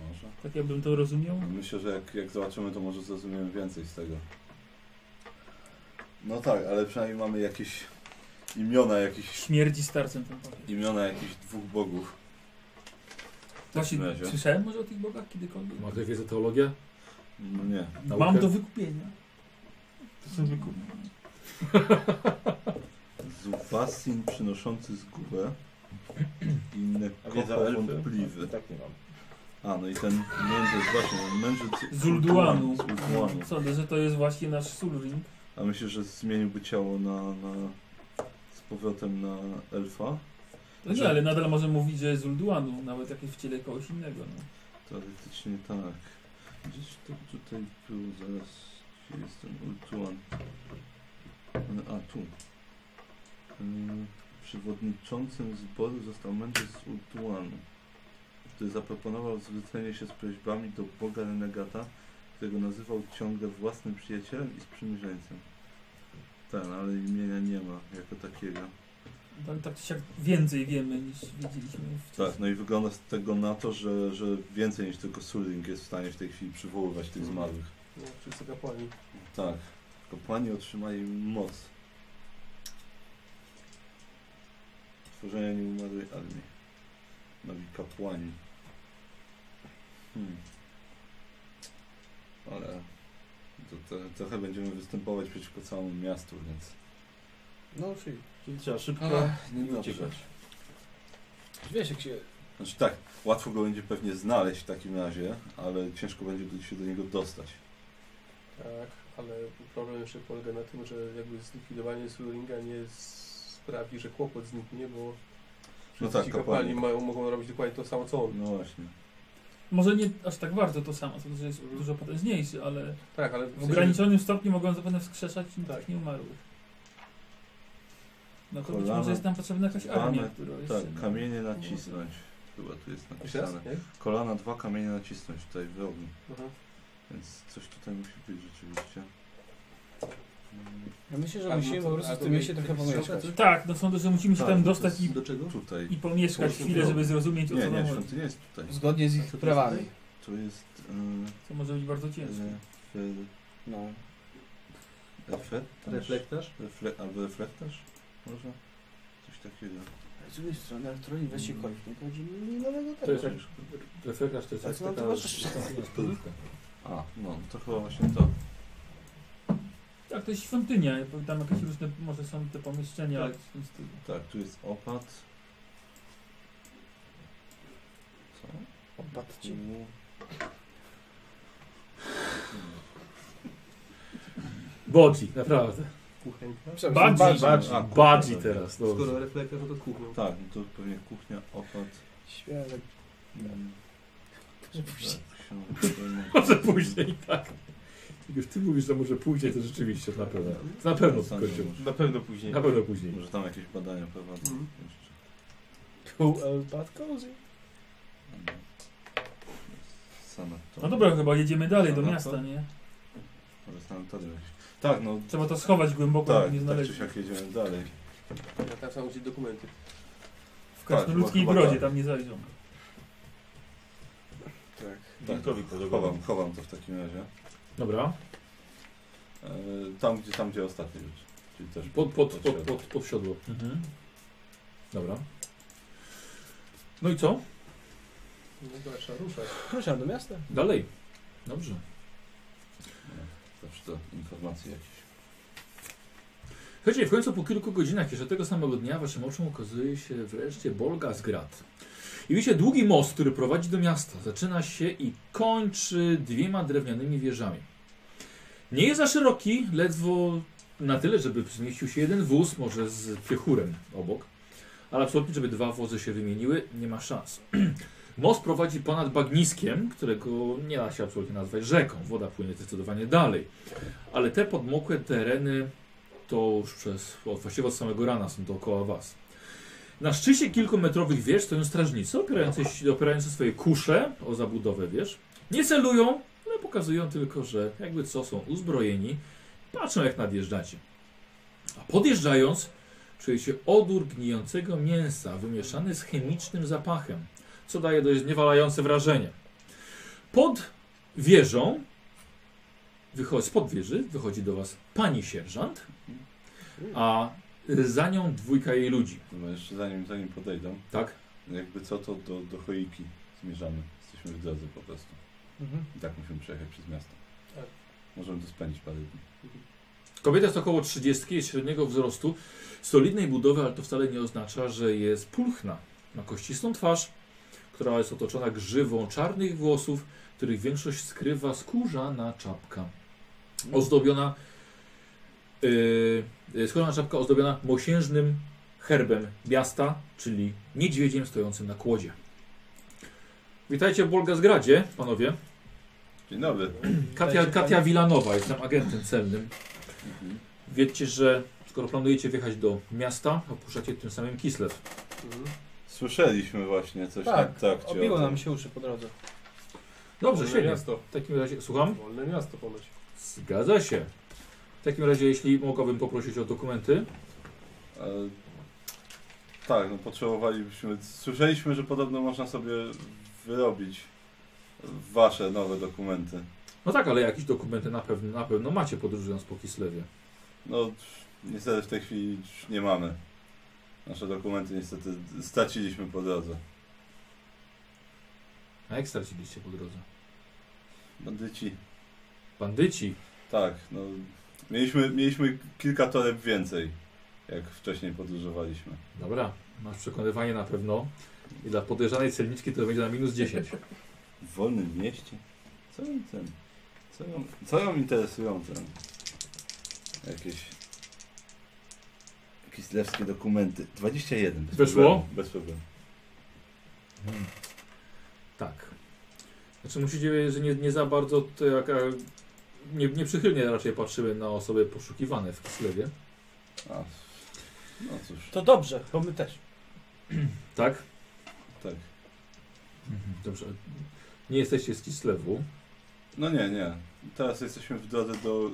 S3: Może.
S5: Tak ja bym to rozumiał.
S3: Myślę, że jak, jak zobaczymy, to może zrozumiemy więcej z tego. No tak, ale przynajmniej mamy jakieś imiona jakichś,
S5: Śmierdzi starcem ten papier.
S3: imiona jakichś dwóch bogów.
S5: Właśnie,
S3: razie.
S5: Tak słyszałem może o tych bogach kiedykolwiek?
S1: Ma ktoś wiedzę teologię?
S3: No nie.
S5: Mam do wykupienia. To sobie kupię.
S3: Zuwasin przynoszący zgubę i inne
S4: A wiedza
S3: kopa
S4: elfy?
S3: wątpliwy.
S4: Tak nie mam.
S3: A, no i ten mędrzec właśnie, mędrzec
S5: Zulduanu.
S3: Z Ulduanu.
S5: Sądzę, No, że to jest właśnie nasz Sulrin.
S3: A myślę, że zmieniłby ciało na, na z powrotem na elfa.
S5: No nie,
S3: Że-
S5: ale nadal może mówić, że jest Zulduanu, nawet jak jest w ciele kogoś innego. No.
S3: Teoretycznie tak. Gdzieś to tutaj było zaraz. Gdzie jest ten Ultuan? E, A tu. Ym, Przewodniczącym zboru został mędrzec z Ultuanu, który zaproponował zwrócenie się z prośbami do boga renegata, którego nazywał ciągle własnym przyjacielem i sprzymierzeńcem. Ten, ale imienia nie ma jako takiego.
S5: Tam tak czy siak więcej wiemy niż wiedzieliśmy wcześniej.
S3: Tak, no i wygląda z tego na to, że, że więcej niż tylko Suling jest w stanie w tej chwili przywoływać tych zmarłych.
S7: No, wszyscy kapłani.
S3: Tak. Kapłani otrzymali moc. Tworzenia nieumarłej armii. Nowi kapłani. Hmm. Ale to, to, trochę będziemy występować przeciwko całemu miastu, więc...
S2: No, czyli.
S10: Czyli trzeba szybko
S3: Ale
S10: i
S3: niedobrze.
S10: uciekać.
S2: Wiesz, jak się.
S3: Znaczy tak, łatwo go będzie pewnie znaleźć w takim razie, ale ciężko będzie do- się do niego dostać.
S7: Tak, ale problem jeszcze polega na tym, że jakby zlikwidowanie Suringa nie s- sprawi, że kłopot zniknie, bo wszyscy
S3: tak,
S7: ci
S3: kapłani.
S7: kapłani mają, mogą robić dokładnie to samo co on.
S3: No właśnie.
S5: Może nie aż tak bardzo to samo, to że jest dużo potężniejszy, ale
S7: Tak, ale
S5: w ograniczonym stopniu mogą zapewne wskrzeszać tak. nieumarłych. No to być
S3: Kolana-
S5: może jest nam potrzebna jakaś armia,
S3: Dane-
S5: która jest...
S3: Tak, kamienie nacisnąć. Chyba tu jest
S7: Jeszcze raz?
S3: napisane.
S7: Jak?
S3: Kolana dwa kamienie
S7: Mhm.
S3: nacisnąć tutaj w rogu.
S7: Aha.
S3: Więc coś tutaj musi być rzeczywiście.
S2: Ja myślę, że
S7: A, no
S2: musimy
S7: to-
S2: po prostu
S7: a
S2: w
S7: to
S2: tym mieście
S7: jak-
S2: trochę
S7: jak
S2: pomieszkać.
S7: strzałka,
S5: Tak, no sądzę, że musimy się
S7: Tak,
S5: tam
S7: to
S5: dostać
S7: jest
S5: i,
S7: czego?
S3: Tutaj.
S5: i pomieszkać
S3: Są
S5: chwilę,
S3: tu-
S5: żeby zrozumieć o
S3: Nie,
S5: co
S3: nie,
S5: nam chodzi.
S3: świątynia jest tutaj.
S2: Zgodnie z
S3: Co
S2: ich
S3: to jest
S2: prawami.
S3: tutaj? To jest...
S5: Co może być bardzo ciężko.
S2: No.
S3: Reflektarz?
S7: Reflektarz?
S3: Refle albo reflektarz? Może? Coś takiego.
S2: Z drugiej strony, elektroni weź się kolik, nie będzie nowego tego.
S1: To jest jak... Reflektarz to jest
S2: Tak,
S1: jak
S2: no to
S1: taka...
S2: możesz-
S1: stolówka.
S3: A, no to chyba właśnie to.
S5: Tak, to jest świątynia, jakby tam jakieś różne, może są te pomieszczenia
S3: Tak.
S5: w tym stylu.
S3: Tak, tu jest opat. Co?
S2: Popatrzcie.
S3: Tu.
S1: Bodzi, naprawdę.
S7: Kuchenka?
S1: Badzi.
S2: Badzi.
S1: Badzi.
S3: A,
S1: Badzi
S3: kuchnia,
S1: teraz, dobrze.
S7: Skoro reflektor, no to kuchnią.
S3: Tak, no to pewnie kuchnia, opat.
S2: Świadek.
S3: mm, tak, książka,
S1: Może później, tak. Jak już ty mówisz, że może później, to rzeczywiście, to na pewno. To na pewno
S3: Sądzę,
S1: skończył.
S3: może-
S4: Na pewno później.
S1: Na pewno później.
S3: Może tam jakieś badania prowadzą
S7: Mhm.
S3: jeszcze.
S2: Bad cozy.
S3: No. Sanatorium.
S5: No dobra, chyba jedziemy dalej do
S3: Aha,
S5: miasta,
S3: to-
S5: nie?
S3: Może sanatorium jakieś. Tak, no.
S5: Trzeba to schować głęboko,
S3: Tak,
S5: żeby nie
S3: tak
S5: znaleźć.
S3: czy siak jedziemy dalej.
S7: Ja Tak, tam są gdzieś dokumenty.
S5: w
S3: tak,
S5: krasnoludzkiej
S3: chyba- chyba
S5: brodzie
S3: tak.
S5: tam nie zajdą.
S3: Tak.
S4: Wilkowi podobno.
S3: Chowam, chowam to w takim razie.
S1: Dobra.
S3: E, tam, gdzie, tam, gdzie ostatnie rzeczy. Czyli też
S1: Pod, pod, pod,
S3: siodło.
S1: pod, pod, siodło. Mhm. Dobra. No i co?
S7: No dobra, trzeba ruszać.
S2: Ruszam do miasta.
S1: Dalej. Dobrze.
S3: Zawsze to informacje jakieś.
S1: Słuchajcie, w końcu po kilku godzinach jeszcze tego samego dnia waszym oczom okazuje się wreszcie Bolgasgrad. I widzicie długi most, który prowadzi do miasta. Zaczyna się i kończy dwiema drewnianymi wieżami. Nie jest za szeroki, ledwo na tyle, żeby zmieścił się jeden wóz, może z piechurem obok. Ale absolutnie, żeby dwa wozy się wymieniły, nie ma szans. Most prowadzi ponad bagniskiem, którego nie da się absolutnie nazwać rzeką. Woda płynie zdecydowanie dalej. Ale te podmokłe tereny to już przez, od, właściwie od samego rana są dookoła was. Na szczycie kilkumetrowych wież stoją strażnicy opierający, się- opierający swoje kusze o zabudowę wież. Nie celują, ale pokazują tylko, że jakby co są uzbrojeni, patrzą jak nadjeżdżacie. A podjeżdżając czujecie odór gnijącego mięsa wymieszany z chemicznym zapachem, co daje dość zniewalające wrażenie. Pod wieżą, wychodzi, spod wieży wychodzi do was pani sierżant, a za nią dwójka jej ludzi,
S3: No jeszcze zanim, zanim podejdą,
S1: tak?
S3: jakby co to do, do choiki zmierzamy. Jesteśmy w drodze po prostu.
S2: Mhm.
S3: I tak musimy przejechać przez miasto.
S7: Tak.
S3: Możemy to spędzić parę dni.
S1: Kobieta jest około 30, jest średniego wzrostu, solidnej budowy, ale to wcale nie oznacza, że jest pulchna. Ma kościstą twarz, która jest otoczona grzywą czarnych włosów, których większość skrywa skórzana czapka. Ozdobiona, yy, yy, skórzana czapka ozdobiona mosiężnym herbem miasta, czyli niedźwiedziem stojącym na kłodzie. Witajcie w Bolgazgradzie, panowie.
S3: Dzień dobry.
S1: Katia, Katia Wilanowa, jestem agentem celnym.
S3: Mhm.
S1: Wiecie, że skoro planujecie wjechać do miasta, opuszczacie tym samym Kislew.
S7: Mhm.
S3: Słyszeliśmy właśnie coś
S2: Tak,
S3: na trakcie.
S2: Obiło
S3: o tym.
S2: nam się uszy po drodze.
S1: Dobrze,
S7: Wolne
S1: świetnie.
S7: miasto.
S1: W takim razie, słucham?
S7: Wolne miasto ponoć.
S1: Zgadza się. W takim razie, jeśli mogłabym poprosić o dokumenty.
S3: E, tak, no potrzebowalibyśmy. Słyszeliśmy, że podobno można sobie wyrobić wasze nowe dokumenty.
S1: No tak, ale jakieś dokumenty na pewno, na pewno macie podróżując po Kislewie.
S3: No, niestety w tej chwili już nie mamy. Nasze dokumenty niestety straciliśmy po drodze.
S1: A jak straciliście po drodze?
S3: Bandyci.
S1: Bandyci.
S3: Tak, no. Mieliśmy, mieliśmy kilka toreb więcej, jak wcześniej podróżowaliśmy.
S1: Dobra, masz przekonywanie na pewno. I dla podejrzanej celniczki to będzie na minus 10.
S3: W wolnym mieście? Co ją ten? Co ją, co ją interesują ten? Jakieś... Kislewskie dokumenty. 21. Bez
S1: Weszło?
S3: Problemu, bez problemu.
S1: Tak. Znaczy musicie, że nie, nie za bardzo to jak, e, nie, nieprzychylnie raczej patrzymy na osoby poszukiwane w Kislewie.
S3: A, no cóż,
S2: To dobrze, bo my też.
S1: Tak?
S3: tak.
S1: Dobrze. Nie jesteście z Kislewu.
S3: No nie, nie. Teraz jesteśmy w drodze do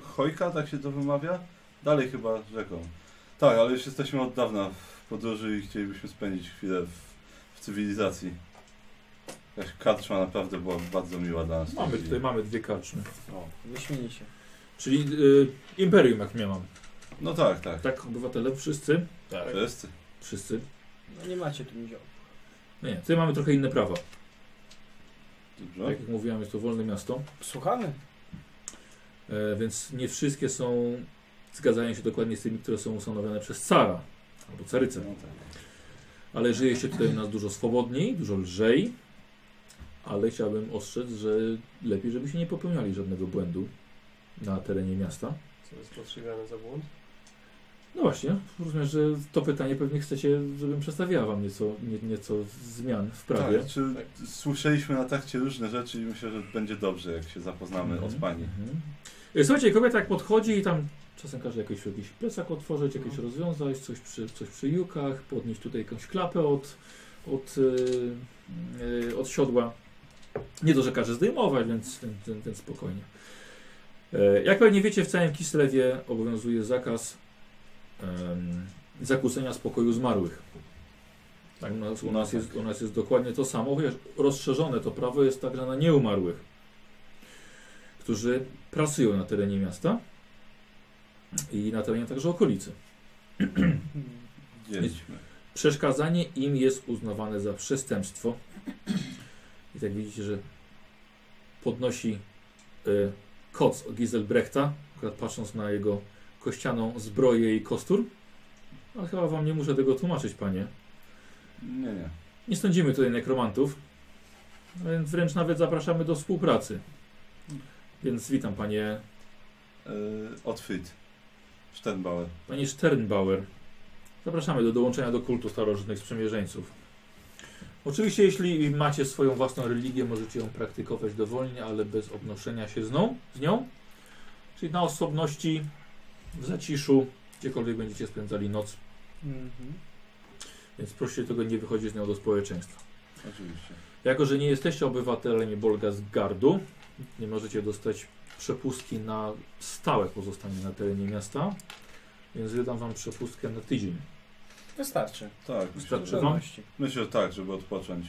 S3: y, Chojka, tak się to wymawia? Dalej chyba rzeką. Tak, ale już jesteśmy od dawna w podróży i chcielibyśmy spędzić chwilę w, w cywilizacji. Jakaś karczma naprawdę była bardzo miła dla nas.
S1: Mamy tutaj mamy dwie karczmy.
S2: Wyśmienicie.
S1: Czyli y, Imperium, jak nie mam.
S3: No tak, tak.
S1: Tak, obywatele wszyscy?
S3: Tak. Wszyscy.
S1: Wszyscy? No
S2: No nie macie tu nizioł.
S1: Nie, tutaj mamy trochę inne prawa.
S3: Dobrze.
S1: Tak jak mówiłem, jest to wolne miasto.
S2: Słuchamy.
S1: E, więc nie wszystkie są, zgadzają się dokładnie z tymi, które są ustanowione przez cara albo carycę. Ale żyje się tutaj u nas dużo swobodniej, dużo lżej. Ale chciałbym ostrzec, że lepiej, żebyście nie popełniali żadnego błędu na terenie miasta.
S7: Co jest postrzegane za błąd?
S1: No właśnie, rozumiem, że to pytanie pewnie chcecie, żebym przedstawiła wam nieco, nie, nieco zmian w prawie.
S3: Tak, czy słyszeliśmy na takcie różne rzeczy i myślę, że będzie dobrze, jak się zapoznamy
S1: Mhm,
S3: od pani.
S1: mhm. E, Słuchajcie, kobieta jak podchodzi i tam czasem każe jakiś, jakiś plecak otworzyć, jakieś rozwiązać, coś przy, coś przy jukach, podnieść tutaj jakąś klapę od, od, e, e, od siodła. Nie to, że każe zdejmować, więc ten, ten, ten spokojnie. E, Jak pewnie wiecie, w całym Kislewie obowiązuje zakaz em, zakłócenia spokoju zmarłych. Tak, u nas, u, nas jest, u nas jest dokładnie to samo, chociaż rozszerzone to prawo jest także na nieumarłych którzy pracują na terenie miasta i na terenie także okolicy.
S3: Dzieliśmy.
S1: Przeszkadzanie im jest uznawane za przestępstwo. I tak widzicie, że podnosi y, koc od Giselbrechta, akurat patrząc na jego kościaną zbroję i kostur. Ale chyba wam nie muszę tego tłumaczyć, panie.
S3: Nie, nie.
S1: Nie sądzimy tutaj nekromantów, więc wręcz nawet zapraszamy do współpracy. Więc witam panie,
S3: Yy, Otwyt. Sternbauer.
S1: panie Sternbauer. Zapraszamy do dołączenia do kultu starożytnych sprzymierzeńców. Oczywiście, jeśli macie swoją własną religię, możecie ją praktykować dowolnie, ale bez obnoszenia się z nią, z nią. Czyli na osobności, w zaciszu, gdziekolwiek będziecie spędzali noc.
S2: Mhm.
S1: Więc proszę tego nie wychodzić z nią do społeczeństwa.
S3: Oczywiście.
S1: Jako, że nie jesteście obywatelami Bolgasgardu, nie możecie dostać przepustki na stałe pozostanie na terenie miasta, więc wydam wam przepustkę na tydzień.
S2: Wystarczy.
S3: Tak,
S1: Wystarczy
S3: myślę,
S1: wam?
S3: że- Myślę, że tak, żeby odpocząć.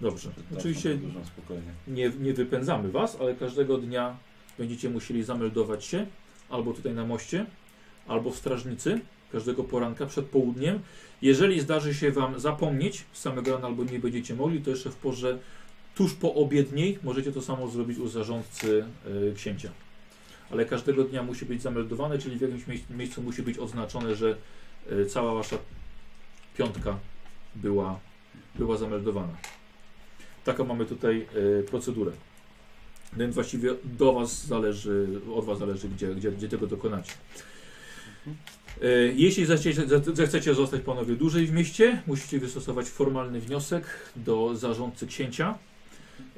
S1: Dobrze.
S3: Przed naszą
S1: Oczywiście
S3: podróżą spokojnie.
S1: nie, nie wypędzamy was, ale każdego dnia będziecie musieli zameldować się albo tutaj na moście, albo w strażnicy każdego poranka przed południem. Jeżeli zdarzy się wam zapomnieć z samego rana albo nie będziecie mogli, to jeszcze w porze tuż po obiedniej możecie to samo zrobić u zarządcy y, księcia. Ale każdego dnia musi być zameldowane, czyli w jakimś mie- miejscu musi być oznaczone, że y, cała wasza piątka była, była zameldowana. Taką mamy tutaj y, procedurę. Więc właściwie do was zależy, od was zależy, gdzie, gdzie, gdzie tego dokonacie. Y, Jeśli zechciecie, ze- zechcecie zostać panowie dłużej w mieście, musicie wystosować formalny wniosek do zarządcy księcia.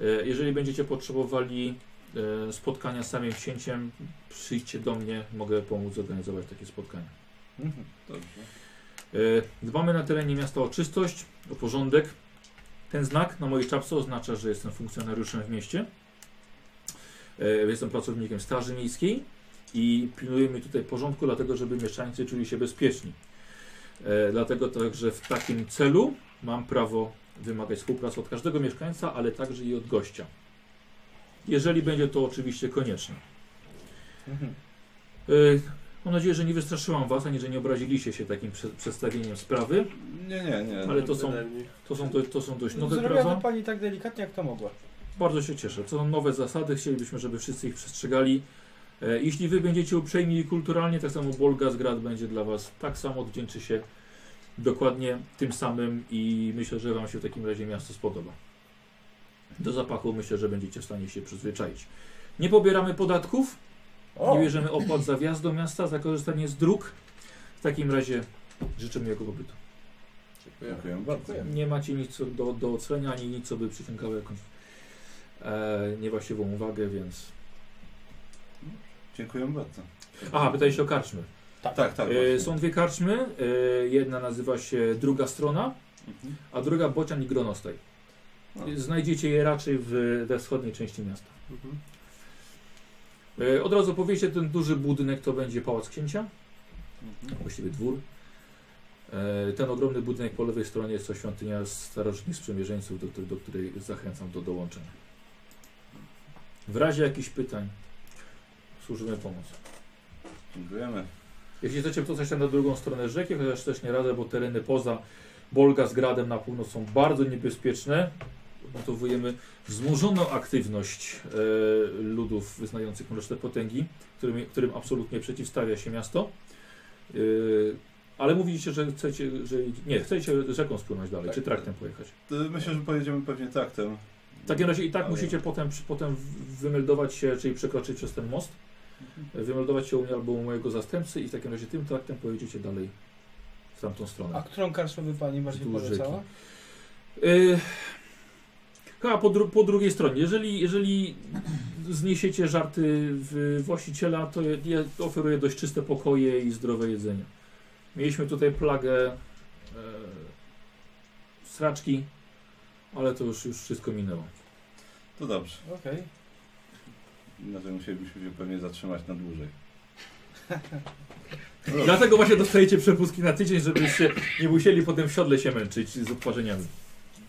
S1: Y, Jeżeli będziecie potrzebowali y, spotkania z samym księciem, przyjdźcie do mnie, mogę pomóc zorganizować takie spotkanie.
S2: Mhm.
S3: Dobrze.
S1: E, Dbamy na terenie miasta o czystość, o porządek. Ten znak na mojej czapce oznacza, że jestem funkcjonariuszem w mieście. E, Jestem pracownikiem Straży Miejskiej i pilnujemy tutaj porządku, dlatego żeby mieszkańcy czuli się bezpieczni. E, Dlatego także w takim celu mam prawo wymagać współpracy od każdego mieszkańca, ale także i od gościa. Jeżeli będzie to oczywiście konieczne.
S2: Mhm.
S1: E, Mam nadzieję, że nie wystraszyłam Was, ani że nie obraziliście się takim prze- przedstawieniem sprawy.
S3: Nie, nie, nie.
S1: Ale to są, to są, do, to są dość nowe
S2: Zrobiła
S1: prawa.
S2: to pani tak delikatnie, jak to mogła.
S1: Bardzo się cieszę. To są nowe zasady, chcielibyśmy, żeby wszyscy ich przestrzegali. E, jeśli Wy będziecie uprzejmi i kulturalni, tak samo Bolgazgrad będzie dla Was tak samo, odwdzięczy się dokładnie tym samym i myślę, że Wam się w takim razie miasto spodoba. Do zapachu myślę, że będziecie w stanie się przyzwyczaić. Nie pobieramy podatków,
S2: O!
S1: nie bierzemy opłat za wjazd do miasta, za korzystanie z dróg. W takim razie życzę miłego pobytu.
S3: Dziękuję bardzo.
S1: Nie macie nic co do, do ocenia, ani nic, co by przyciągało jakąś e, niewłaściwą uwagę, więc...
S3: Dziękuję bardzo.
S1: Aha, pytaj się o karczmy.
S3: Tak, tak. tak
S1: E,
S3: właśnie.
S1: są dwie karczmy. E, jedna nazywa się Druga Strona,
S3: Mhm.
S1: a druga Bocian i Gronostaj. Znajdziecie je raczej w, we wschodniej części miasta. E, Od razu powiecie, ten duży budynek to będzie Pałac Księcia, właściwie dwór. E, Ten ogromny budynek po lewej stronie jest to świątynia starożytnych sprzymierzeńców, do, której- do której zachęcam do dołączenia. W razie jakichś pytań służymy pomoc.
S3: Dziękujemy.
S1: Jeśli chcecie to coś tam na drugą stronę rzeki, chociaż też nie radzę, bo tereny poza Bolgazgradem na północ są bardzo niebezpieczne. Notowujemy wzmożoną aktywność e, ludów wyznających mroczne potęgi, którym, którym absolutnie przeciwstawia się miasto. E, ale mówiliście, że chcecie, że nie, chcecie rzeką spłynąć dalej, czy traktem pojechać.
S3: To E, Myślę, że pojedziemy pewnie traktem.
S1: W takim razie i tak
S3: Ale-
S1: musicie potem, przy- potem w- wymeldować się, czyli przekroczyć przez ten most, wymeldować się u mnie albo u mojego zastępcy i w takim razie tym traktem pojedziecie dalej w tamtą stronę.
S2: A którą karczmę by pani bardziej
S1: Wzdłuż
S2: polecała?
S1: Y, Chyba po, dru po drugiej stronie. Jeżeli, jeżeli zniesiecie żarty w właściciela, to je- ja oferuję dość czyste pokoje i zdrowe jedzenie. Mieliśmy tutaj plagę e, sraczki, ale to już, już wszystko minęło.
S3: To dobrze.
S2: Okej.
S3: Inaczej musielibyśmy się pewnie zatrzymać na dłużej.
S1: Dlatego właśnie dostajecie przepustki na tydzień, żebyście nie musieli potem w siodle się męczyć z odparzeniami.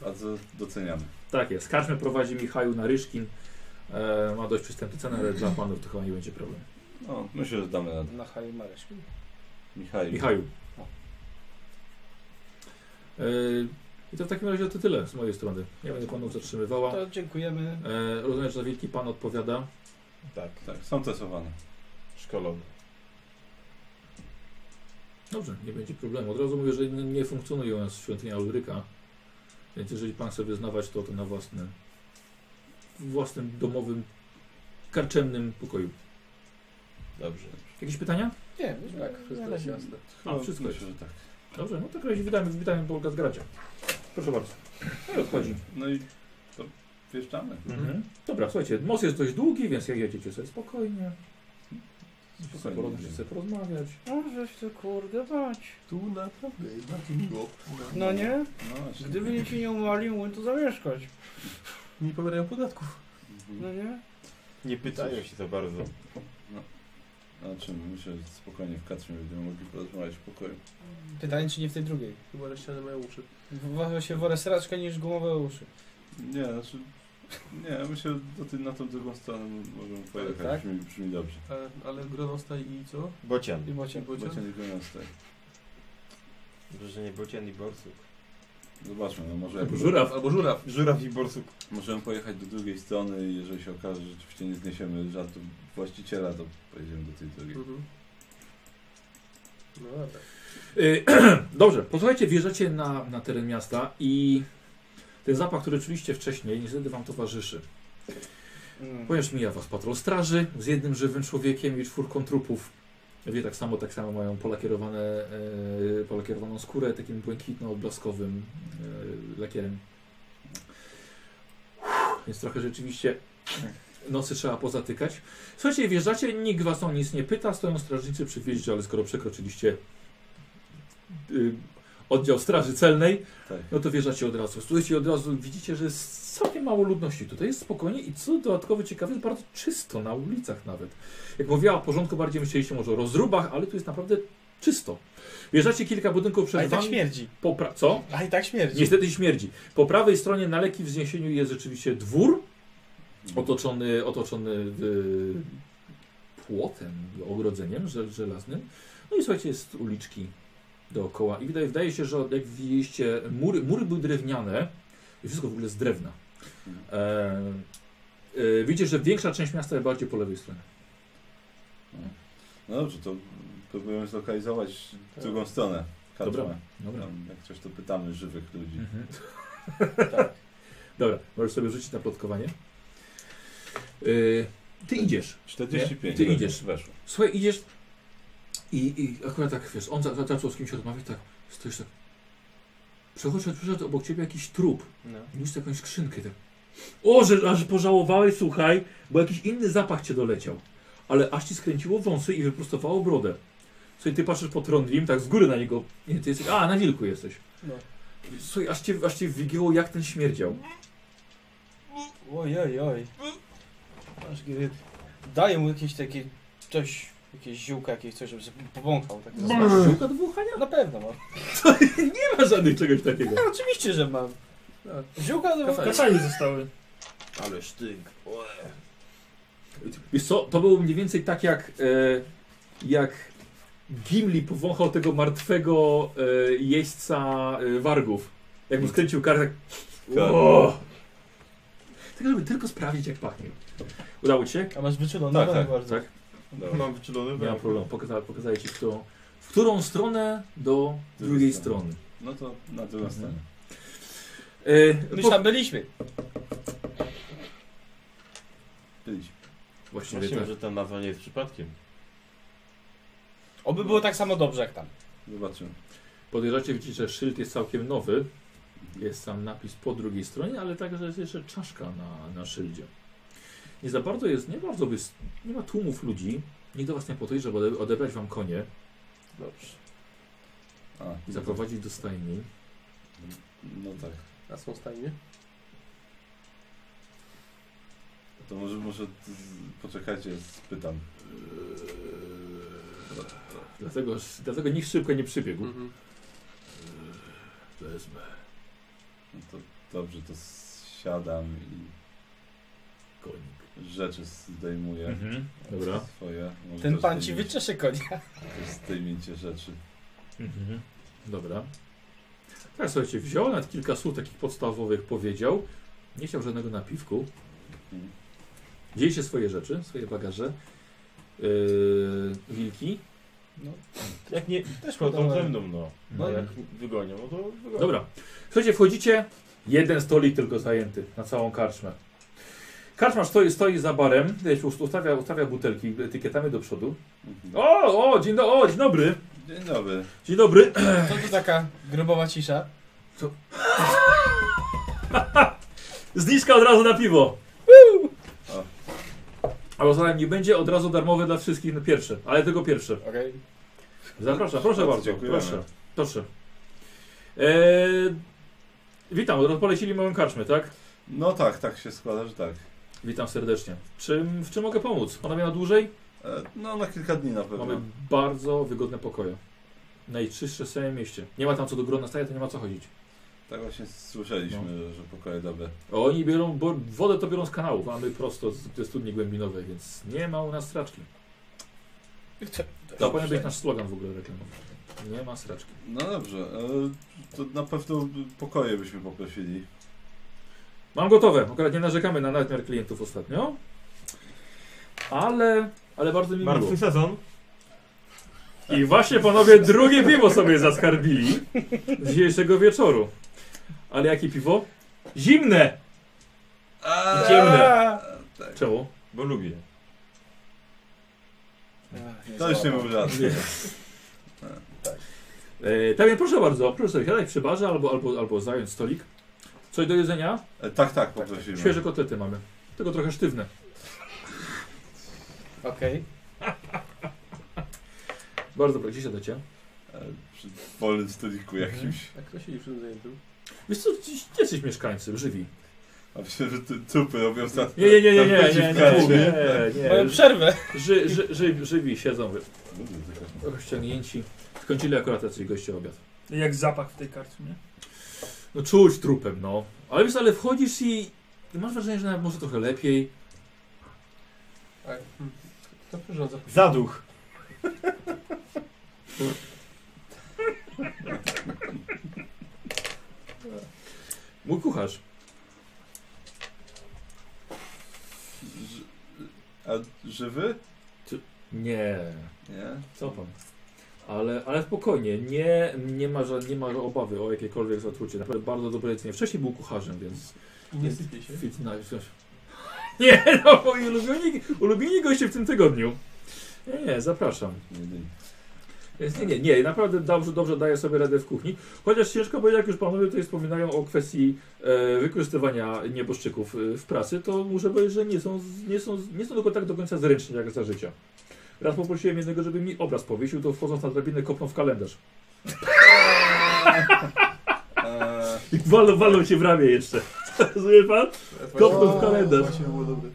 S3: Bardzo doceniamy.
S1: Tak jest. Karczmy prowadzi Michał Naryszkin. E, ma dość przystępne ceny, ale dla panów to chyba nie będzie problem.
S3: No, myślę, że damy radę.
S2: Na Haju Mareszki.
S3: Michał.
S1: Michaju. E, I to w takim razie to tyle z mojej strony. Nie będę panów zatrzymywała.
S2: To dziękujemy.
S1: E, rozumiem, że wielki pan odpowiada.
S3: Tak, tak. Są testowane.
S4: Szkolony.
S1: Dobrze, nie będzie problemu. Od razu mówię, że nie, nie funkcjonuje u nas świątynia Ulryka. Więc jeżeli pan chce wyznawać to, to na własnym, w własnym domowym, karczemnym pokoju.
S4: Dobrze.
S1: Jakieś pytania?
S2: Nie, myślę, tak.
S7: Wszystko jest jasne.
S1: A, wszystko jest.
S3: Myślę, że tak.
S1: Dobrze, no tak razie witamy, witamy Polka z Gracia. Proszę bardzo. No i odchodzi.
S3: No i to wjeżdżamy.
S1: Mhm. Dobra, słuchajcie, most jest dość długi, więc jak jedziecie sobie spokojnie.
S3: Spokojnie.
S1: Możecie sobie porozmawiać.
S2: Możesz ty No, kurde bać.
S7: Tu naprawdę jest bardzo miło.
S2: No nie?
S3: No właśnie.
S2: Gdyby nie ci nie umali, mógłbym tu zamieszkać.
S7: Nie pobierają podatków.
S2: No nie?
S4: Nie pytają
S3: Cóż.
S4: się za bardzo.
S3: Znaczy, myślę, że spokojnie w katrze będziemy mogli porozmawiać w pokoju.
S2: Pytanie, czy nie w tej drugiej.
S7: Chyba że ściany mają uszy.
S2: Wywawia się worę sraczka niż gumowe uszy.
S3: Nie, znaczy... Nie, myślę, że do tej, na tą drugą stronę możemy pojechać.
S2: Tak?
S3: Brzmi, brzmi dobrze.
S7: E, ale gronosta i co?
S2: I
S4: Bocian.
S7: I
S2: bocie.
S7: bocian?
S3: Będzie tylko nas tak.
S4: Dobrze, że nie bocian i borsuk.
S3: Zobaczmy, no może...
S1: Albo żuraw.
S7: Albo żuraw.
S4: Żuraw i borsuk.
S3: Możemy pojechać do drugiej strony i jeżeli się okaże, że rzeczywiście nie zniesiemy żartu właściciela, to pojedziemy do tej drugiej.
S7: Mhm. No dobra.
S1: Y, Dobrze, posłuchajcie, wjeżdżacie na, na teren miasta i ten zapach, który czuliście wcześniej, niestety wam towarzyszy.
S2: Mm.
S1: Ponieważ mija was patrol straży z jednym żywym człowiekiem i czwórką trupów. Wie tak samo, tak samo mają polakierowane, e, polakierowaną skórę takim błękitno-blaskowym e, lakierem. Więc trochę rzeczywiście nosy trzeba pozatykać. Słuchajcie, wjeżdżacie, nikt was o nic nie pyta, stoją strażnicy przy wjeździe, ale skoro przekroczyliście y, oddział straży celnej,
S3: Tak.
S1: no to wjeżdżacie od razu. Słuchajcie, od razu widzicie, że jest całkiem mało ludności tutaj. Jest spokojnie i co dodatkowo ciekawe, jest bardzo czysto na ulicach nawet. Jak mówiła o porządku, bardziej myśleliście może o rozrubach, ale tu jest naprawdę czysto. Wjeżdżacie kilka budynków
S2: A
S1: przed
S2: i tak
S1: wami.
S2: śmierdzi.
S1: po pra- co?
S2: A i tak śmierdzi.
S1: Niestety śmierdzi. Po prawej stronie na leki wzniesieniu jest rzeczywiście dwór otoczony, otoczony y, płotem, ogrodzeniem żel- żelaznym. No i słuchajcie, jest uliczki dookoła i wydaje, wydaje się, że od- jak widzieliście, mury, mury były drewniane i wszystko w ogóle z drewna. E, e, widzicie, że większa część miasta jest bardziej po lewej stronie.
S3: No dobrze, to próbujemy zlokalizować drugą stronę. Katrę.
S1: Dobra, dobra.
S3: Tam, jak coś to pytamy żywych ludzi.
S1: Mhm.
S2: Tak.
S1: Dobra, możesz sobie rzucić na plotkowanie. Y, ty idziesz.
S3: 45.
S1: Ty idziesz.
S3: Weszło.
S1: Słuchaj, idziesz i, i akurat tak, wiesz, on za- za- zaczął z kimś rozmawiać, tak, stoisz tak, przechodzi, przyszedł obok ciebie jakiś trup,
S10: No.
S1: niósł jakąś skrzynkę, tak, o, że aż pożałowałeś, słuchaj, bo jakiś inny zapach cię doleciał, ale aż ci skręciło wąsy i wyprostowało brodę. Słuchaj, ty patrzysz po Trondrim, tak z góry na niego, nie, ty jesteś, a, na wilku jesteś.
S2: No.
S1: Słuchaj, aż cię, aż cię wygięło jak ten śmierdział.
S2: Oj, oj, oj. Aż gryp. daję mu jakieś takie coś, jakieś ziółka, jakieś coś, żeby sobie powąchał. Tak
S1: Masz ziółka
S2: do wąchania? Na pewno mam.
S1: Nie ma żadnych czegoś takiego.
S2: No, oczywiście, że mam. No. Ziółka do wąchania.
S5: Kacali zostały.
S1: Ale sztyk. Wiesz co, to było mniej więcej tak jak, e, jak Gimli powąchał tego martwego e, jeźdźca e, wargów. Jak mu skręcił kartę. Tak, o! tak żeby tylko sprawdzić jak pachnie. Udało ci się?
S2: A masz wyczulone Tak, węch tak, bardzo.
S1: tak?
S4: Dobra. Mam wyczulony
S1: Nie ma
S4: węch.
S1: problemu, pokazałem, pokazałem ci w którą, w którą stronę do drugiej strony.
S3: No to na drugą
S1: Mhm.
S3: stronę.
S1: E,
S2: My
S1: po-
S2: już tam byliśmy.
S3: Byliśmy.
S1: Właściwie
S10: Właśnie,
S1: tak.
S10: że ta nazwa nie jest przypadkiem.
S2: Oby było tak samo dobrze jak tam.
S3: Zobaczymy.
S1: Podejrzacie, widzicie, że szyld jest całkiem nowy. Jest tam napis po drugiej stronie, ale także jest jeszcze czaszka na, na szyldzie. Nie za bardzo jest, nie bardzo by, nie ma tłumów ludzi. Nikt do was nie podejrza, bo ode- odebrać wam konie
S2: Dobrze.
S1: i zaprowadzić do stajni.
S3: No tak.
S7: A są stajnie?
S3: To może, może t- z- poczekajcie, spytam.
S1: Dlatego, dlatego nikt szybko nie przybiegł.
S7: Mhm.
S1: To jest me.
S3: No to dobrze, to siadam i
S1: konik.
S3: Rzeczy zdejmuję.
S1: Mhm, dobra.
S3: Swoje. Może
S2: Ten
S3: też
S2: pan ci
S3: zdejmie-
S2: wyczesze konia.
S3: też Zdejmijcie rzeczy.
S1: Mhm. Dobra. Tak, słuchajcie, wziął nawet kilka słów takich podstawowych, powiedział. Nie chciał żadnego napiwku.
S3: Mhm.
S1: Dzieje się swoje rzeczy, swoje bagaże. Yy, wilki.
S10: Jak nie, też chodzą
S4: podałem.
S10: ze mną, no.
S1: No.
S10: no jak wygonią, no to wygonią.
S1: Dobra. Słuchajcie, wchodzicie. Jeden stolik tylko zajęty na całą karczmę. Karczmarz stoi, stoi za barem, wiesz, ustawia, ustawia butelki etykietami do przodu. O, o, dzień, do, o, dzień dobry.
S3: Dzień dobry.
S1: Dzień dobry.
S2: To tu taka grobowa cisza.
S1: Zniżka od razu na piwo.
S3: O.
S1: Albo zatem nie będzie od razu darmowe dla wszystkich na pierwsze, ale tylko pierwsze.
S2: Okej.
S1: Zapraszam, proszę
S3: Bardzo
S1: bardzo.
S3: dziękujemy.
S1: Proszę. proszę. Eee, witam, rozpolecili moją karczmę, tak?
S3: No tak, tak się składa, że tak.
S1: Witam serdecznie. Czym, w czym mogę pomóc? Panowie na dłużej?
S3: E, No na kilka dni na pewno.
S1: Mamy bardzo wygodne pokoje. Najczystsze w całym mieście. Nie ma tam co do grona staje, to nie ma co chodzić.
S3: Tak właśnie słyszeliśmy,
S1: No.
S3: że, że pokoje dobre.
S1: Oni biorą, bo wodę to biorą z kanałów, a my prosto z- ze studni głębinowej, więc nie ma u nas straczki. To powinien być nasz slogan w ogóle reklamowy. Nie ma straczki.
S3: No dobrze, e, to na pewno pokoje byśmy poprosili.
S1: Mam gotowe. Akurat nie narzekamy na nadmiar klientów ostatnio. Ale, ale bardzo mi miło.
S10: Martwy sezon.
S1: I właśnie panowie drugie piwo sobie zaskarbili z dzisiejszego wieczoru. Ale jakie piwo? Zimne!
S3: E,
S1: Ciemne. Czemu?
S10: Bo lubię.
S3: To już nie
S1: No.
S3: był żart.
S1: Tak. E, tak więc proszę bardzo, proszę sobie siadać przy barze albo, albo, albo zająć stolik. Coś do jedzenia?
S3: E, tak, tak, poprosimy.
S1: Świeże kotlety mamy. Tylko trochę sztywne.
S2: Okej.
S1: Bardzo proszę, gdzie siadacie?
S3: E, przy wolnym stoliku jakimś.
S7: A kto siedzi przy tym zajętym?
S1: Wiesz co, gdzieś- gdzieś jesteś mieszkańcy, żywi.
S3: A myślę, że tu- trupy robią za...
S1: Nie, nie, nie, nie, nie, nie,
S3: naprzeciw
S1: nie,
S3: karczmie.
S1: nie, nie,
S2: Mamy
S1: nie.
S2: przerwę.
S1: Ży, ży, ży, żywi siedzą, wy-
S3: Ludzie, tylko-
S1: rozciągnięci. Skończyli akurat jacyś goście obiad.
S5: Jak zapach w tej karczmie.
S1: No czuć trupem, no. Ale wiesz, ale wchodzisz i, i masz wrażenie, że nawet może trochę lepiej.
S7: A, hmm. Kto przyrządza?
S10: Zaduch.
S1: Mój kucharz.
S3: Ży- A żywy?
S1: Nie,
S3: Nie.
S1: co pan? Ale, ale spokojnie, nie, nie, ma, ża- nie ma obawy o jakiekolwiek zatrucie. Naprawdę bardzo dobre jedzenie. Wcześniej był kucharzem, więc...
S7: I nie sypie się.
S1: Fit na, no, nie, no moi ulubieni, ulubieni goście w tym tygodniu. Nie, nie, zapraszam.
S3: Jedynie.
S1: Więc nie, nie, nie, naprawdę dobrze, dobrze daje sobie radę w kuchni. Chociaż ciężko, bo jak już panowie tutaj wspominają o kwestii e, wykorzystywania nieboszczyków e, w pracy, to muszę powiedzieć, że nie są, z- nie są, z- nie są tylko tak do końca zręczni jak za życia. Raz poprosiłem jednego, żeby mi obraz powiesił, to wchodząc na drabinę kopnął w kalendarz.
S3: Eee,
S1: I walnął, walnął się w ramię jeszcze. Rozumie pan? Kopnął w kalendarz.
S7: Właśnie było dobre.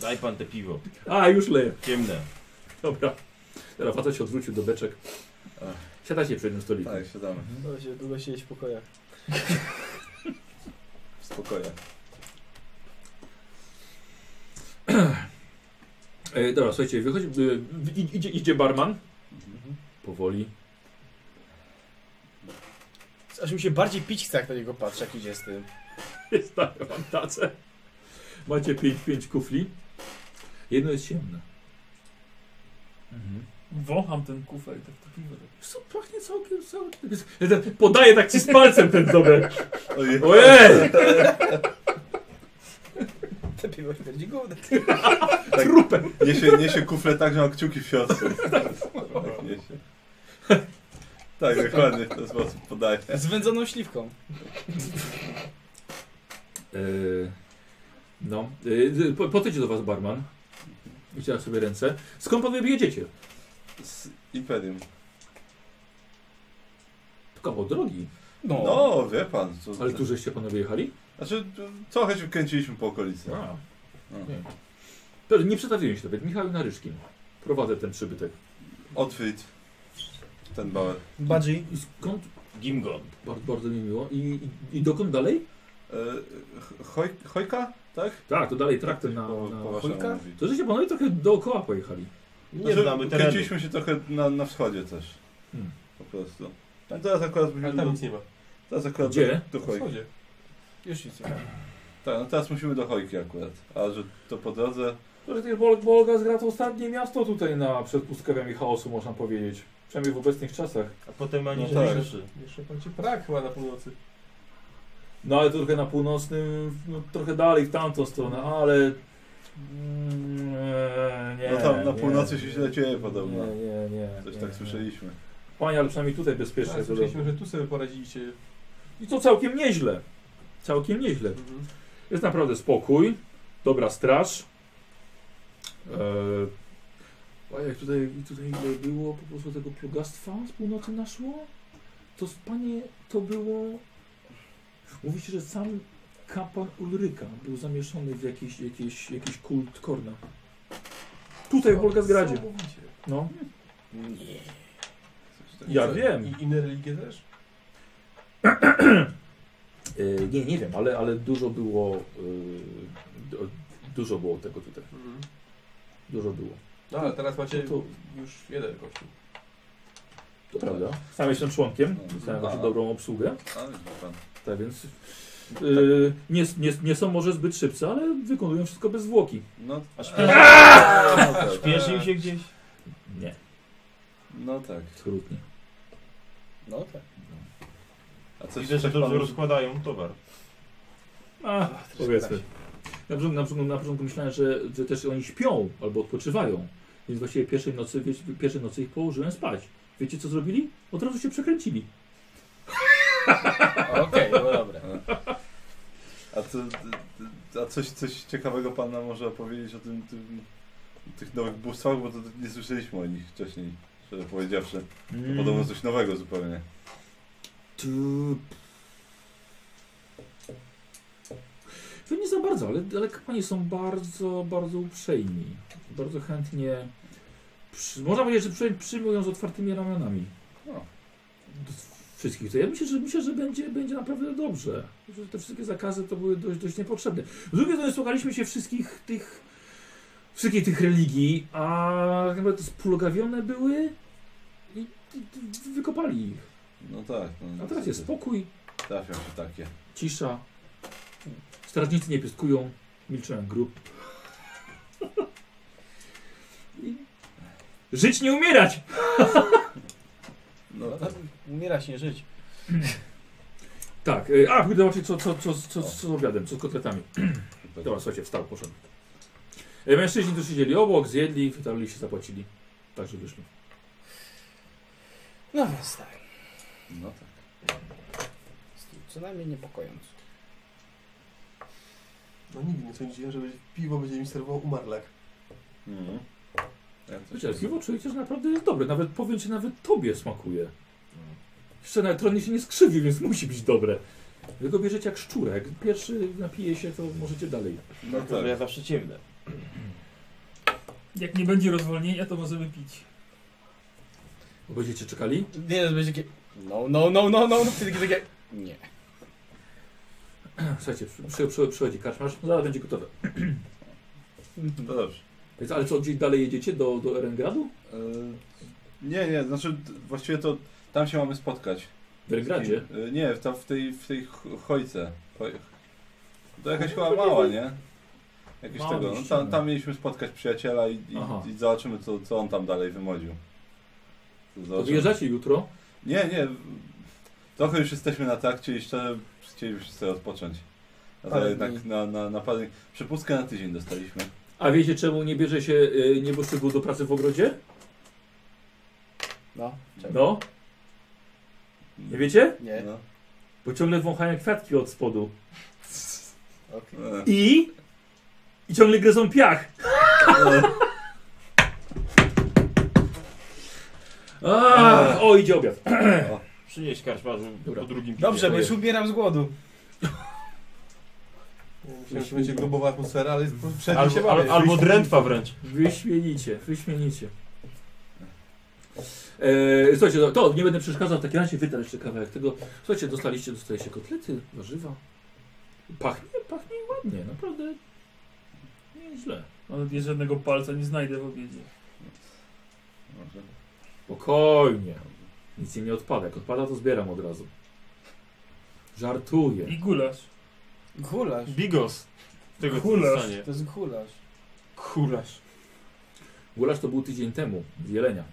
S10: Daj pan te piwo.
S1: A, już leję.
S10: Ciemne.
S1: Dobra. Teraz facet się odwrócił do beczek. Siadacie przy jednym stoliku.
S3: Tak, siadamy.
S2: Długo się, długo siedzieć w pokojach.
S3: W spokoju.
S1: E, dobra, słuchajcie, wychodzi, y, i- idzie, idzie barman. Powoli.
S2: Aż mi się bardziej pić chce, jak na niego patrzę, jak idzie z tym.
S1: Stawiam wam tacę. Macie 5 pięć kufli. Jedno jest ciemne.
S5: Wącham ten kufel i tak to piwo.
S1: Co, pachnie całkiem, całkiem. Podaję tak ci z palcem ten dobę.
S3: tak,
S1: Ojej!
S2: Te piwo śmierdzi główne.
S3: Tak,
S1: Trupem.
S3: Niesie, niesie kufle tak, że ma kciuki w środku. Tak, niesie. Tak, dokładnie w ten sposób podaje.
S2: Z wędzoną śliwką.
S1: Yy, no, yy, po- podejdź do was barman. Wyciera sobie ręce. Skąd panowie jedziecie?
S3: Z Imperium.
S1: To kawał drogi.
S3: No, wie pan. Co,
S1: Ale tu żeście panowie jechali?
S3: Znaczy, trochę się kręciliśmy po okolicy.
S1: A.
S3: No.
S1: Nie. To nie przedstawiłem się nawet. Michał Naryszkin. Prowadzę ten przybytek.
S3: Otwit. Ten bauer.
S2: Badzi.
S1: I skąd?
S10: Gimgon.
S1: Bardzo, bardzo mi miło. I, i, i dokąd dalej?
S3: E, Hoj, hojka? Tak?
S1: Tak, to dalej traktem na, na
S3: po waszemu
S1: Chojka.
S3: mówi.
S1: To żeście panowie trochę dookoła pojechali.
S3: Znaczy, Kręciliśmy się trochę na, na wschodzie też.
S1: Hmm.
S3: Po prostu. A teraz akurat musimy...
S7: tam
S3: do-
S7: nic nie ma.
S3: Teraz akurat
S1: Gdzie?
S3: Do, do hojki.
S2: Już nic nie
S3: Tak, no teraz musimy do hojki akurat. A że to po drodze...
S1: To jest Bol Bolga zgra to ostatnie miasto tutaj na przed pustkawiami chaosu, można powiedzieć. Przynajmniej w obecnych czasach.
S10: A potem ani
S3: No
S10: no
S3: tak.
S7: Jeszcze bardziej Prag chyba na północy.
S1: No ale to trochę na północnym, no, trochę dalej w tamtą stronę, ale... Mm, e, nie,
S3: no tam na
S1: nie,
S3: północy
S1: nie,
S3: się źle dzieje podobno.
S1: Nie, nie, nie.
S3: Coś
S1: nie,
S3: tak
S1: nie.
S3: słyszeliśmy.
S1: Panie, ale przynajmniej tutaj bezpiecznie.
S7: Tak,
S1: to
S7: słyszeliśmy, że tu sobie poradziliście.
S1: I to całkiem nieźle. Całkiem nieźle.
S7: Mhm. Tak,
S1: Jest naprawdę spokój, dobra straż. Eee, a jak tutaj, tutaj ile było po prostu tego plugastwa z północy naszło? To z- panie, to było... Mówi się, że sam kapłan Ulryka był zamieszany w jakiś, jakiś, jakiś kult Korna. Tutaj w Wolgazgradzie. No. Ja wiem.
S7: I inne religie też?
S1: E, nie, nie wiem, ale, ale dużo było... e, du- dużo było tego tutaj.
S7: Mhm.
S1: Dużo było.
S7: No ale teraz macie
S1: No to-
S7: już jeden kościół.
S1: To prawda. Sam jestem członkiem,
S3: No.
S1: dostałem
S3: No.
S1: no. dobrą obsługę,
S3: A, widzi pan.
S1: tak więc yy, nie, nie, nie są może zbyt szybcy, ale wykonują wszystko bez zwłoki.
S3: No,
S10: A
S3: no tak.
S10: Śpieszył się gdzieś?
S1: Nie,
S3: No tak.
S1: trudnie.
S2: No tak.
S3: A coś,
S10: Widzę, że
S3: coś
S10: dobrze
S3: panu-
S10: rozkładają towar.
S1: A, powiedzmy. Na początku, na, początku, na początku myślałem, że, że też oni śpią albo odpoczywają, więc właściwie pierwszej nocy, wiecie, pierwszej nocy ich położyłem spać. Wiecie co zrobili? Od razu się przekręcili.
S2: Okej, no dobra.
S3: A, co, a coś, coś ciekawego pan nam może opowiedzieć o tym, tym tych nowych bóstwach, bo to nie słyszeliśmy o nich wcześniej, szczerze powiedziawszy. To
S1: Mm.
S3: podobno coś nowego zupełnie.
S1: Tu... To nie za bardzo, ale, ale kapłani są bardzo, bardzo uprzejmi. Bardzo chętnie. Przy, można powiedzieć, że przy, przyjmują z otwartymi ramionami.
S3: No.
S1: Wszystkich. To ja myślę, że myślę, że będzie, będzie naprawdę dobrze. Myślę, że te wszystkie zakazy to były dość, dość niepotrzebne. Z drugiej strony słuchaliśmy się wszystkich tych. Wszystkich tych religii, a tak naprawdę splugawione były i, i, i wykopali ich.
S3: No tak. No,
S1: A teraz jest spokój,
S3: Trafią się takie.
S1: cisza. Strażnicy nie pieskują, milczałem grup. I Żyć nie umierać!
S3: No,
S2: tak. Umierać, nie żyć.
S1: Tak, y, a pójdę zobaczyć co, co, co, co, co z obiadem, co z kotletami. Dobra, słuchajcie, wstał, poszedł. Y, Mężczyźni tu siedzieli obok, zjedli, wytarli się, zapłacili. Także wyszli.
S2: No więc tak.
S3: No tak.
S2: Co najmniej niepokojące.
S7: No nigdy nie sądziłem, że będzie- piwo będzie mi serwował umarlak.
S3: Mhm. Ja coś-
S1: Mm. Wiecie, ale piwo czujecie, że naprawdę jest dobre. Nawet powiem ci, nawet tobie smakuje. Jeszcze nawet Ronnie się nie skrzywił, więc musi być dobre. Wy go bierzecie jak szczurek. Pierwszy napije się, to możecie dalej.
S3: No
S10: Tylko, że Ja
S3: tak.
S10: zawsze ciemne.
S5: Jak nie będzie rozwolnienia, to możemy pić.
S1: Będziecie czekali?
S2: Nie, będzie takie... No, no, no, no, no, no, wtedy takie... Nie.
S1: Słuchajcie, przy, przy, przy, przychodzi karczmarz, zaraz będzie gotowe.
S3: To dobrze.
S1: Więc, ale co, gdzieś dalej jedziecie? Do, do Erengradu?
S3: E, nie, nie, znaczy d- właściwie to tam się mamy spotkać.
S1: W Belgradzie?
S3: Z kim? E, nie, tam w tej, w tej ch- chojce. Choj... To jakaś chyba mała, nie? Jakieś
S1: Mała
S3: tego. No, tam,
S1: mieścina.
S3: tam mieliśmy spotkać przyjaciela i,
S1: Aha.
S3: i, i zobaczymy, co, co on tam dalej wymodził.
S1: To
S3: Zobaczymy.
S1: wyjeżdżacie jutro?
S3: Nie, nie. Trochę już jesteśmy na trakcie i szczerze chcielibyśmy sobie odpocząć. A to
S1: Parę
S3: jednak na, na, na parę... Przepustkę na tydzień dostaliśmy.
S1: A wiecie czemu nie bierze się y, nieboszczyku do pracy w ogrodzie?
S2: No,
S1: No? Nie wiecie?
S2: Nie.
S3: No.
S1: Bo ciągle wąchają kwiatki od spodu.
S3: Okej.
S1: I? I ciągle gryzą piach. A, o, idzie obiad.
S3: E,
S10: Przynieś karczmarzu po drugim piwie.
S2: Dobrze, bo już umieram z głodu.
S7: Myślałem, że będzie grubowa atmosfera, ale przed nim
S10: Albo-
S7: się
S10: al-
S7: bawię.
S10: albo drętwa wręcz.
S1: Wyśmienicie, wyśmienicie. E, słuchajcie, no, to nie będę przeszkadzał, w takim razie wydam jeszcze kawałek tego. Słuchajcie, dostaliście, dostaliście kotlety, warzywa. Pachnie, pachnie ładnie, naprawdę nieźle.
S5: Nawet nie żadnego palca nie znajdę w obiedzie.
S1: Spokojnie. Nic im nie odpada. Jak odpada, to zbieram od razu. Żartuję.
S5: I gulasz.
S2: Gulasz.
S10: Bigos. Tego
S5: Gulasz.
S10: stanie.
S2: To jest gulasz.
S10: Kulasz.
S1: Gulasz to był tydzień temu w Jelenia.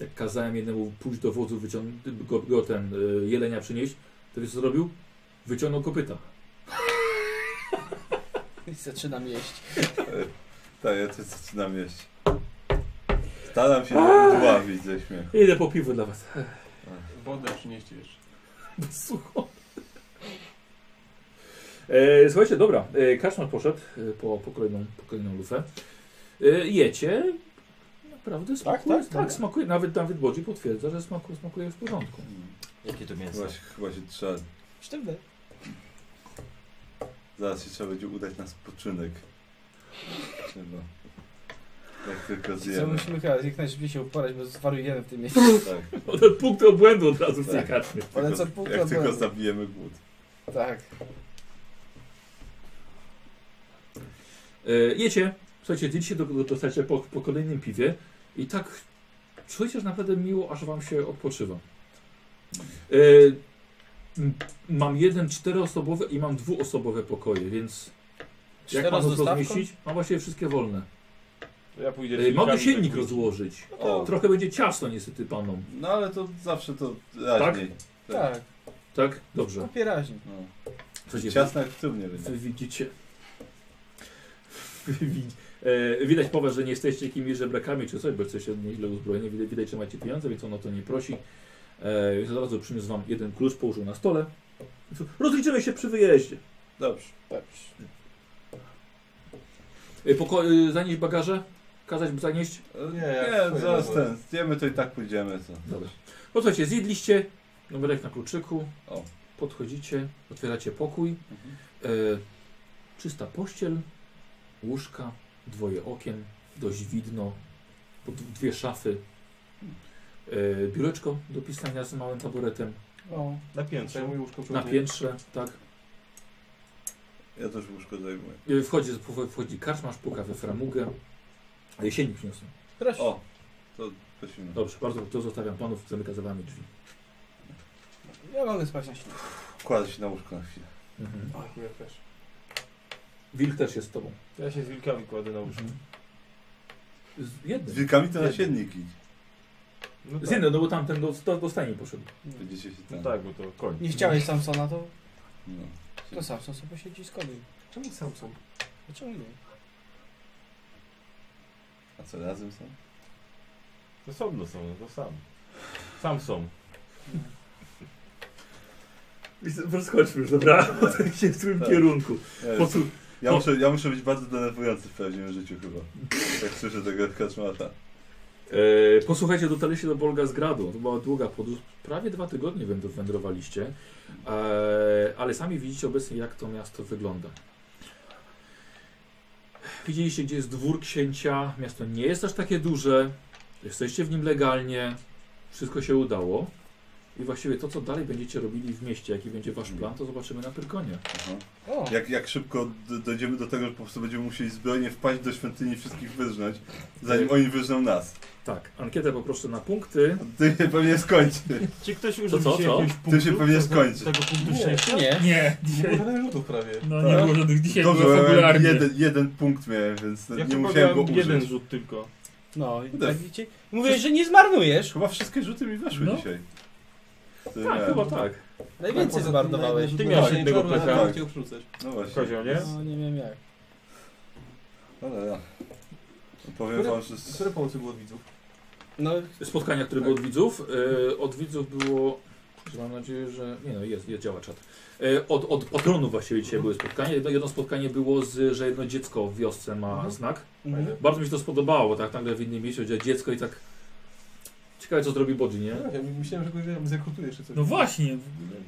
S1: Jak kazałem jednemu pójść do wodzu, wyciągnąć go, go ten y, Jelenia przynieść, to wiesz co zrobił? Wyciągnął kopyta.
S2: I zaczynam jeść.
S3: Tak, ja też zaczynam jeść. Staram się żeby dławić ze śmiechu.
S1: Idę po piwo dla was.
S7: Wodę przynieście jeszcze.
S1: Sucho. E, słuchajcie, dobra. E, Kaczmar poszedł e, po, po, kolejną, po kolejną lufę. E, jecie. Naprawdę smakuje. Tak,
S2: tak, dobra.
S1: smakuje. Nawet Dawid Bodzi potwierdza, że smakuje, smakuje w porządku.
S10: Jakie to mięso?
S3: Chyba się, chyba się trzeba...
S2: Sztywne.
S3: Zaraz się trzeba będzie udać na spoczynek. Chyba. Jak tylko
S2: Co
S3: zjemy.
S2: musimy chyba jak najszybciej się uporać, bo zwariujemy w tym miejscu.
S3: Tak.
S1: One punkty obłędu od razu w tej
S3: Tak.
S1: karczmie.
S2: Ale
S3: Tylko-
S2: co pół
S3: Jak tylko
S2: problemu.
S3: zabijemy głód.
S2: Tak.
S1: E, jecie. Słuchajcie, dzielicie do, do, dostajecie po, po kolejnym piwie i tak czujecie, że naprawdę miło, aż wam się odpoczywa. E, m- mam jeden czteroosobowy i mam dwuosobowe pokoje, więc jak
S2: Cztero
S1: mam
S2: z
S1: to
S2: dostawką?
S1: rozmieścić? Mam właściwie wszystkie wolne.
S10: Ja pójdę
S1: E, mogę
S10: kilkami
S1: silnik
S10: tak wrócić.
S1: rozłożyć.
S3: O,
S1: Trochę będzie ciasno niestety panom.
S3: no ale to zawsze to raźniej.
S2: Tak.
S1: Tak? Dobrze.
S2: Popieraźni.
S3: No.
S1: Słuchajcie,
S3: Ciasno jak w trumnie
S1: wy,
S3: będzie.
S1: wy widzicie... Wy wi- E, widać po was, że nie jesteście jakimiś żebrakami czy coś, bo jesteście nieźle uzbrojeni. Widać, widać, że macie pieniądze, więc on o to nie prosi. E, więc od razu przyniósł wam jeden klucz, położył na stole. Rozliczymy się przy wyjeździe.
S3: Dobrze.
S2: Dobrze.
S1: E, poko- e, zanieść bagaże? Kazać zanieść?
S3: E,
S7: Nie,
S3: Nie,
S7: jak
S3: zaraz
S7: swoje
S3: ten. Zjemy to i tak pójdziemy. Co?
S1: Dobra. No słuchajcie, zjedliście, numerek na kluczyku,
S3: O.
S1: podchodzicie, otwieracie pokój,
S3: Mhm.
S1: e, czysta pościel, łóżka, dwoje okien, dość widno, po d- dwie szafy, e, biureczko do pisania z małym taburetem,
S2: O.
S4: Na piętrze.
S7: Zajmuj łóżko przy
S1: na
S7: oknie.
S1: piętrze, tak.
S3: Ja też łóżko zajmuję.
S1: E, wchodzi, wchodzi karczmarz, puka we framugę, E, jesieni przyniosłem.
S2: Proszę.
S3: O, to prosimy.
S1: Dobrze, bardzo to zostawiam panów, zamyka za wami drzwi.
S2: Ja mogę spać na śnieg.
S3: Kładę się na łóżko na chwilę.
S1: Mhm.
S7: Ach, ja też.
S1: Wilk też jest z tobą.
S10: Ja się z wilkami kładę na łóżko.
S1: Mhm. Z
S3: Z
S1: jednym.
S3: wilkami to na siennik idź.
S10: No
S1: Z
S10: tak.
S1: jednym, no bo tamten do, do, do stajni poszedł.
S3: Będziecie się
S10: No
S3: tam.
S10: tak, bo to koń.
S2: Nie chciałeś Samsona, to,
S3: No.
S2: to Samson sobie siedzi z koniem.
S7: Czemu Samsung?
S2: Dlaczego nie?
S3: A co, razem są?
S10: To Osobno są, no to sam. Sam są.
S1: Rozchodźmy już, dobra? się w którym
S3: Tak.
S1: kierunku.
S3: Nie,
S1: Po co?
S3: ja,
S1: po-
S3: muszę, ja muszę być bardzo denerwujący w prawdziwym życiu chyba. Jak słyszę tego kaczmata.
S1: E, posłuchajcie, dotarliście do Bolgazgradu. To była długa podróż. Prawie dwa tygodnie wędr- wędrowaliście. E, ale sami widzicie obecnie, jak to miasto wygląda. Widzieliście, gdzie jest dwór księcia. Miasto nie jest aż takie duże. Jesteście w nim legalnie. Wszystko się udało. I właściwie to, co dalej będziecie robili w mieście, jaki będzie wasz plan, to zobaczymy na Pyrkonie.
S3: Aha. Jak, jak szybko d- dojdziemy do tego, że po prostu będziemy musieli zbrojnie wpaść do świątyni i wszystkich wyznać, zanim oni wyżną nas.
S1: Tak, ankietę poproszę na punkty.
S3: Ty się pewnie skończy.
S10: Czy ktoś
S1: użył co, dzisiaj co? jakiegoś
S3: Ty się
S1: punktu?
S3: pewnie
S1: Tego-
S3: skończy.
S1: tego punktu Nie, szczęścia?
S2: nie.
S5: Nie, dzisiaj-
S7: Było rzutów prawie.
S5: No nie było żadnych dzisiaj,
S3: Dobrze,
S5: było
S3: ja miałem
S5: fabularnie.
S3: jeden, jeden punkt miałem, więc
S10: Ja
S3: nie
S10: chyba
S3: musiałem go
S10: miałem
S3: użyć.
S10: jeden rzut tylko.
S2: No, i
S3: Kurde.
S2: tak widzicie? Mówię, że nie zmarnujesz.
S3: Chyba wszystkie rzuty mi weszły
S2: No.
S3: dzisiaj. Ty,
S1: Tak,
S3: nie.
S1: chyba tak.
S2: Najwięcej
S7: Poza tym
S2: zmarnowałeś.
S7: naj-
S10: Ty miałeś
S7: Tak,
S10: jednego
S7: czarno,
S10: pecha.
S7: tak, chciał wrzucać.
S3: No właśnie.
S10: Kozioł, nie?
S2: No, nie wiem jak.
S3: Ale ja. Powiem
S7: Które,
S3: wam, że... z-
S7: które pomocy było od widzów?
S2: No,
S1: Spotkania, które było od
S7: Tak.
S1: widzów. E, od widzów było. że Mam nadzieję, że. Nie no, jest, jest działa czat. E, od, od patronów właściwie dzisiaj były spotkania. Jedno, jedno spotkanie było, z, że jedno dziecko w wiosce ma
S7: Mhm.
S1: znak.
S2: Mhm.
S1: Bardzo mi się to spodobało, bo tak nagle w innym mieście gdzie dziecko i tak. Ciekawe co zrobi Bodzi, nie?
S7: Tak, ja myślałem, że go nie wiem, zrekrutujesz czy coś.
S5: No właśnie.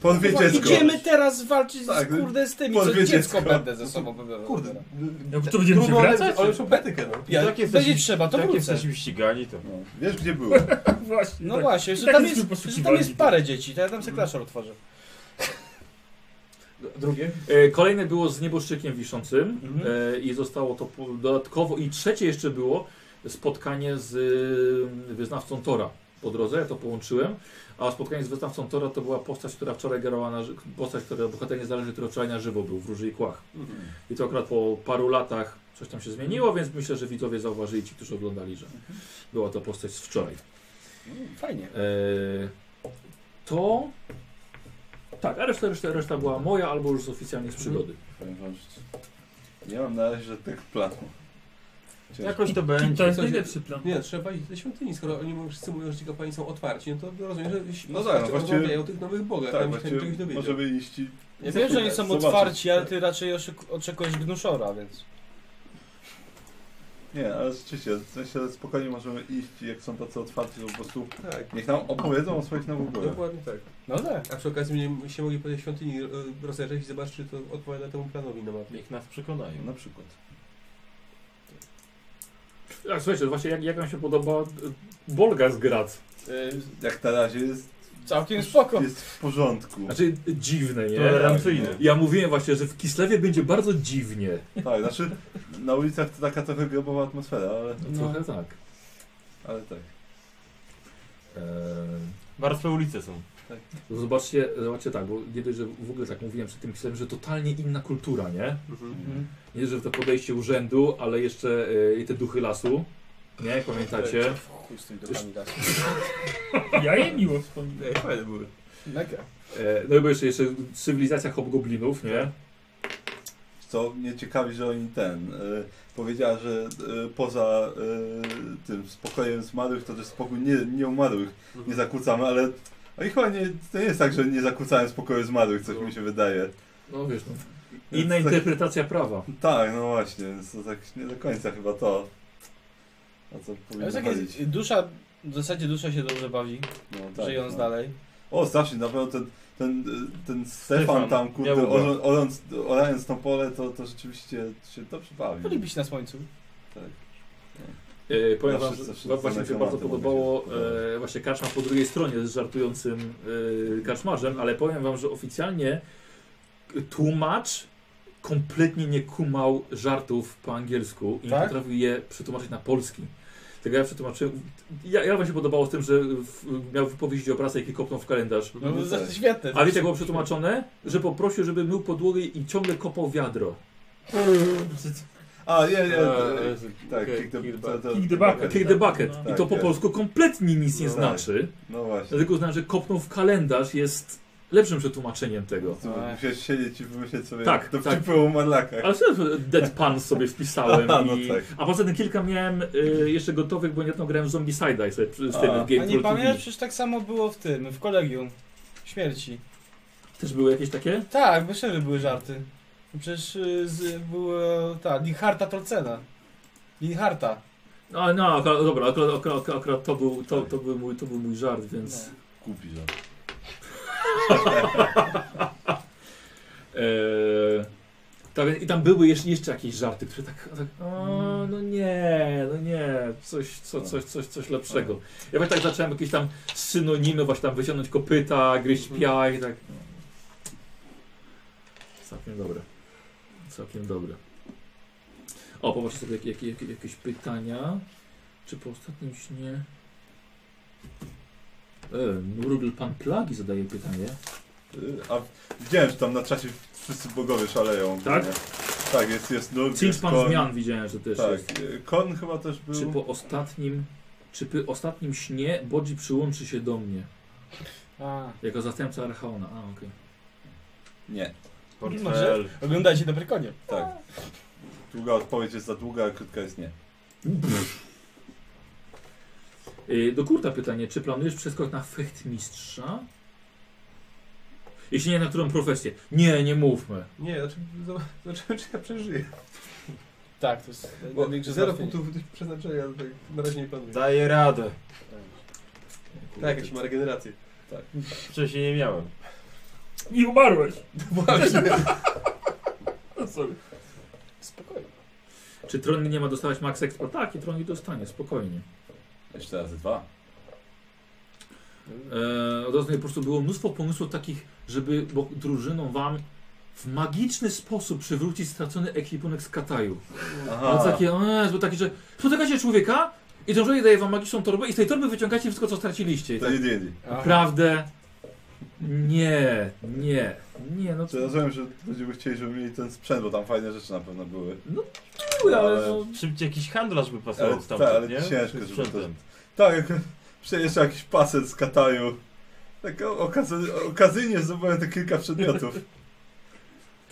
S3: Podwie
S2: Chyba
S3: dziecko.
S2: No, Idziemy teraz walczyć
S3: Tak,
S2: z, kurde z tymi,
S3: podwie
S2: co dziecko
S3: dziecko.
S2: będę ze sobą wybrał.
S7: Kurde.
S5: No, to będziemy się
S7: Trudno, ale-
S5: wracać?
S7: Ale już etykę, no.
S2: Ja,
S10: tak jesteśmy-
S2: będzie
S1: No
S2: trzeba, to
S10: tak
S2: wrócę.
S10: jesteśmy ścigani, to.
S3: No, wiesz gdzie byłem.
S5: Właśnie,
S2: No
S5: tak.
S2: właśnie, że
S5: Tak
S2: tam,
S5: jesteśmy
S2: jest, że tam
S5: poszukiwani.
S2: jest parę dzieci, to ja tam sobie klaszor otworzę.
S7: Drugie?
S1: E, Kolejne było z nieboszczykiem wiszącym e, i zostało to po- dodatkowo. I trzecie jeszcze było spotkanie z y, wyznawcą Tora po drodze, ja to połączyłem. A spotkanie z wyznawcą Tora to była postać, która wczoraj grała na ży- postać, która bohater nie zależy, która wczoraj na żywo był w Róży i Kłach. I to akurat po paru latach coś tam się zmieniło, więc myślę, że widzowie zauważyli ci, którzy oglądali, że była to postać z wczoraj.
S2: Fajnie.
S1: E, to. Tak, a reszta, reszta, reszta była moja albo już z oficjalnie z przygody.
S3: Powiem wam, że... Nie mam na razie tak planu. Ciężko.
S10: Jakoś to
S5: I
S10: będzie.
S5: to jest
S7: Coś-
S5: najlepszy plan.
S7: Nie, trzeba iść do świątyni, skoro oni mówią, wszyscy mówią, że ci kapłani są otwarci, no to rozumiem, że się
S3: No tak, no
S7: otwarcie
S3: właściwie-
S7: rozmawiają o tych nowych bogach,
S3: Tak,
S7: tam się
S3: właściwie
S7: czegoś dowiedział.
S3: możemy iść i...
S2: Ja wiem, że oni są
S3: Zobaczyć.
S2: otwarci, ale ty raczej oszyk- oczekujesz gnuszora, więc...
S3: Nie, ale rzeczywiście, w sensie spokojnie możemy iść i jak są tacy otwarci, to po prostu
S7: Tak,
S3: niech nam opowiedzą o swoich nowych bojach.
S7: dokładnie tak.
S2: No tak.
S7: A przy okazji będziemy się mogli po tej świątyni e, rozejrzeć i zobaczyć, czy to odpowiada temu planowi na mapie.
S10: Niech nas przekonają.
S3: Na przykład.
S1: Tak, słuchajcie, właśnie jak, jak wam się podoba y, Bolga z Grac?
S3: Jak na razie jest,
S2: Y, Całkiem spoko.
S3: jest w porządku.
S1: Znaczy y, dziwne, nie?
S10: Tolerancyjny.
S1: Ja mówiłem właśnie, że w Kislewie będzie bardzo dziwnie.
S3: Tak, znaczy na ulicach to taka trochę grobowa atmosfera, ale,
S1: No, Trochę tak.
S3: ale tak.
S1: Eee,
S10: Warstwe ulice są.
S1: No zobaczcie, zobaczcie tak, bo nie dość, że w ogóle tak mówiłem przed tym Kislewem, że totalnie inna kultura, nie?
S2: Mhm.
S1: Nie dość, że to podejście urzędu, ale jeszcze y, i te duchy lasu. Nie, pamiętacie?
S2: Chuj z tymi duchami lasu.
S5: Ja je miło wspominam.
S7: Ej, fajne były.
S2: Mega.
S1: E, no i bo jeszcze, jeszcze cywilizacja hobgoblinów, nie?
S3: Co mnie ciekawi, że oni ten. Y, powiedziała, że y, poza y, tym spokojem zmarłych, to też spokój nie, nie umarłych nie zakłócamy, ale. No i chyba nie, to nie jest tak, że nie zakłócałem spokoju zmarłych, coś mi się wydaje.
S1: No wiesz, no.
S3: Więc
S1: Inna
S3: tak-
S1: interpretacja prawa.
S3: Tak, no właśnie, więc to tak nie do końca chyba to. A co powinno
S2: Ale tak
S3: chodzić.
S2: jest, dusza, w zasadzie dusza się dobrze bawi,
S3: No,
S2: żyjąc
S3: no.
S2: dalej.
S3: O, strasznie, na pewno ten, ten, y, ten Stefan,
S10: Stefan,
S3: tam,
S10: miał
S3: kurde,
S10: uba.
S3: orą- orąc, orając to pole, to, to rzeczywiście się dobrze bawi.
S2: Bylibyście na słońcu.
S1: E, powiem
S3: Zawsze-
S1: wam, że
S3: zawsze
S1: wa- właśnie mi się
S3: są
S1: bardzo
S3: tematy,
S1: podobało
S3: mogę się podobać.
S2: no.
S1: e, właśnie karczma po drugiej stronie z żartującym e, karczmarzem, ale powiem wam, że oficjalnie tłumacz kompletnie nie kumał żartów po angielsku i nie
S2: Tak?
S1: potrafił je przetłumaczyć na polski. Tego ja przetłumaczyłem. Ja, ja wam się podobało z tym, że w, miał wypowiedzieć obrazek i kopnął w kalendarz.
S2: No,
S3: No
S2: no
S3: tak.
S2: to świetne.
S1: A wiecie, jak było przetłumaczone? Że poprosił, żeby mył podłogę i ciągle kopał wiadro.
S3: A, nie, nie,
S10: A,
S3: e,
S10: Jezu,
S3: tak,
S10: okej,
S3: kick the,
S10: kick the
S3: to- to-
S5: Kick the bucket.
S1: Kick the bucket. I to
S3: Tak,
S1: po
S3: tak.
S1: polsku kompletnie nic nie
S3: No.
S1: znaczy.
S3: No właśnie.
S1: Dlatego uznałem, że kopnął w kalendarz jest lepszym przetłumaczeniem tego.
S3: Tu Musiałeś siedzieć i wymyśleć sobie
S1: Tak,
S3: tak,
S1: tak.
S3: to tak. o marlakach.
S1: Ale sobie Deadpan sobie wpisałem.
S3: A, no
S1: i...
S3: tak.
S1: A poza tym kilka miałem y, jeszcze gotowych, bo niedawno grałem w Zombicide'a i sobie przy- z tym
S3: A.
S1: w Game
S2: A nie
S1: Pro TV.
S2: pamiętasz, przecież tak samo było w tym, w kolegium. Śmierci.
S1: Też były jakieś takie?
S2: Tak, wesele były żarty. Przecież y, z, była ta, Linharta Tolcena. Linharta.
S1: No, no akurat, dobra, akurat, akurat, akurat to, był, to, to, był mój, to był mój żart, więc...
S2: No.
S3: Kupi żart.
S1: Eee, Tak, I tam były jeszcze, jeszcze jakieś żarty, które tak, tak o, no nie, no nie, coś, co, coś, coś, coś lepszego. Ja właśnie tak zacząłem jakieś tam synonimy, właśnie tam wyciągnąć kopyta, gryźć piach i tak. No. Całkiem dobre. Całkiem dobre. O, popatrzcie sobie jakie, jakie, jakie, jakieś pytania. Czy po ostatnim śnie... E, Rubel Pan Plagi zadaje pytanie.
S3: Y, A widziałem, że tam na czasie wszyscy bogowie szaleją.
S1: Tak?
S3: Nie? Tak, jest, jest Nurk,
S1: Cinch
S3: jest
S1: Pan
S3: Korn.
S1: Zmian widziałem, że też
S3: tak.
S1: jest.
S3: Kon chyba też był.
S1: Czy po ostatnim, czy po ostatnim śnie Bodzi przyłączy się do mnie?
S2: A.
S1: Jako zastępca Archaona. A, okej.
S3: Nie.
S1: Portfel.
S2: Może oglądajcie na balkonie.
S3: Tak. Długa odpowiedź jest za długa, a krótka jest nie.
S1: Y, Do Kurta pytanie, czy planujesz przeskok na fechtmistrza? Jeśli nie, na którą profesję? Nie, nie mówmy.
S7: Nie, znaczy, zob- zobaczymy, czy ja przeżyję.
S2: Tak, to jest
S7: Bo
S2: największe
S7: zero
S2: zmartwienie.
S7: punktów przeznaczenia tak na razie nie planuję.
S10: Daję radę.
S7: Tak, jakieś ma regenerację.
S3: Tak.
S10: Wcześniej nie miałem.
S5: I umarłeś.
S7: Właśnie.
S5: Sorry.
S2: Spokojnie.
S1: Czy Tron nie ma dostawać max expa? Tak, i Tron nie dostanie, spokojnie.
S3: Jeszcze razy dwa.
S1: E, od razu po prostu było mnóstwo pomysłów takich, żeby bo, drużyną wam w magiczny sposób przywrócić stracony ekwipunek z Kataju.
S3: Aha.
S1: Ale takie, e, bo takie, że spotykacie człowieka i ten człowiek daje wam magiczną torbę i z tej torby wyciągacie wszystko, co straciliście. I
S3: To
S1: tak,
S3: D&D.
S1: Naprawdę? Nie, nie, nie, no
S3: Czy Znaczy, rozumiem, że będziemy chcieli, żeby mieli ten sprzęt, bo tam fajne rzeczy na pewno były.
S1: No
S10: były, ale no- Szybciej jakiś handlarz by pasował
S3: ale,
S10: stamtąd,
S3: tak, ale
S10: nie?
S3: ciężko,
S10: Z
S3: żeby to...
S10: sprzętem.
S3: Tak, jak przejeżdża jakiś paset z Kataju. Tak o- okazy... okazyjnie zdobyłem te kilka przedmiotów.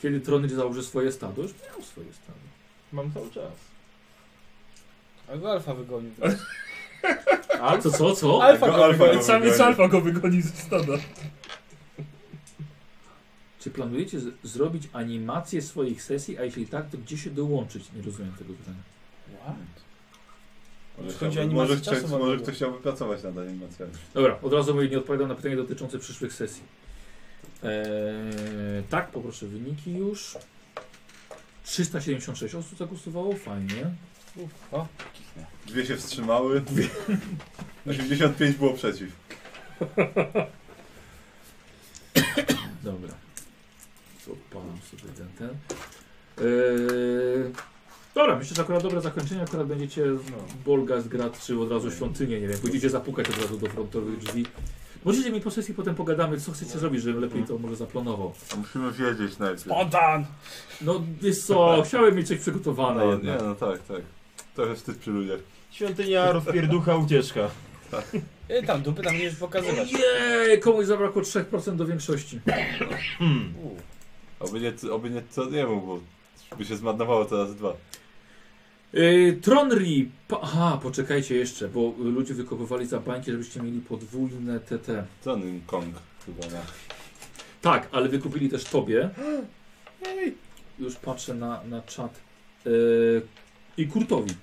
S1: Kiedy Tronyr założy swoje stado, już miał swoje stado.
S10: Mam cały czas.
S2: Albo alfa wygonił.
S1: A co, co, co?
S2: Alfa go, alfa
S5: Ale samiec alfa go wygoni ze stada.
S1: Czy planujecie z- zrobić animację swoich sesji, a jeśli tak, to gdzie się dołączyć? Nie rozumiem tego pytania.
S3: Może,
S2: Chodzi o
S3: chciałby,
S2: animację
S3: może, ktoś,
S2: czasu wam
S3: może
S2: było.
S3: ktoś chciałby pracować nad animacjami.
S1: Dobra, od razu mówię, nie odpowiadam na pytanie dotyczące przyszłych sesji. Eee, tak, poproszę wyniki już. 376 osób zagłosowało, fajnie.
S2: O,
S3: Dwie się wstrzymały. 85 było przeciw.
S1: Dobra. To Odpalam sobie ten, ten. Eee, dobra, myślę, że akurat dobre zakończenie. Akurat będziecie no, Bolga zgrad, czy od razu świątynię, nie wiem. Pójdziecie zapukać od razu do frontowych drzwi. Możecie mi po sesji potem pogadamy, co chcecie zrobić, żebym lepiej to może zaplanował.
S3: Musimy wiedzieć najpierw.
S2: Spontan!
S1: No wiesz co, chciałem mieć coś przygotowane
S3: No, nie,
S1: jednak.
S3: no tak, tak. Trochę wstyd przy ludziach.
S10: Świątynia rozpierducha ucieczka.
S2: I tam dupy tam będziesz pokazywać.
S1: Jej, komuś zabrakło 3% do większości.
S2: U.
S3: Oby nie, oby nie co nie bo by się zmarnowało teraz dwa.
S1: Yy, Tronri. Pa- Aha, poczekajcie jeszcze, bo y, ludzie wykopywali za bańki, żebyście mieli podwójne TT.
S3: Tronym Kong chyba na.
S1: Tak, ale wykupili też tobie.
S2: Ej.
S1: Już patrzę na, na czat. Yy, I Kurtowi.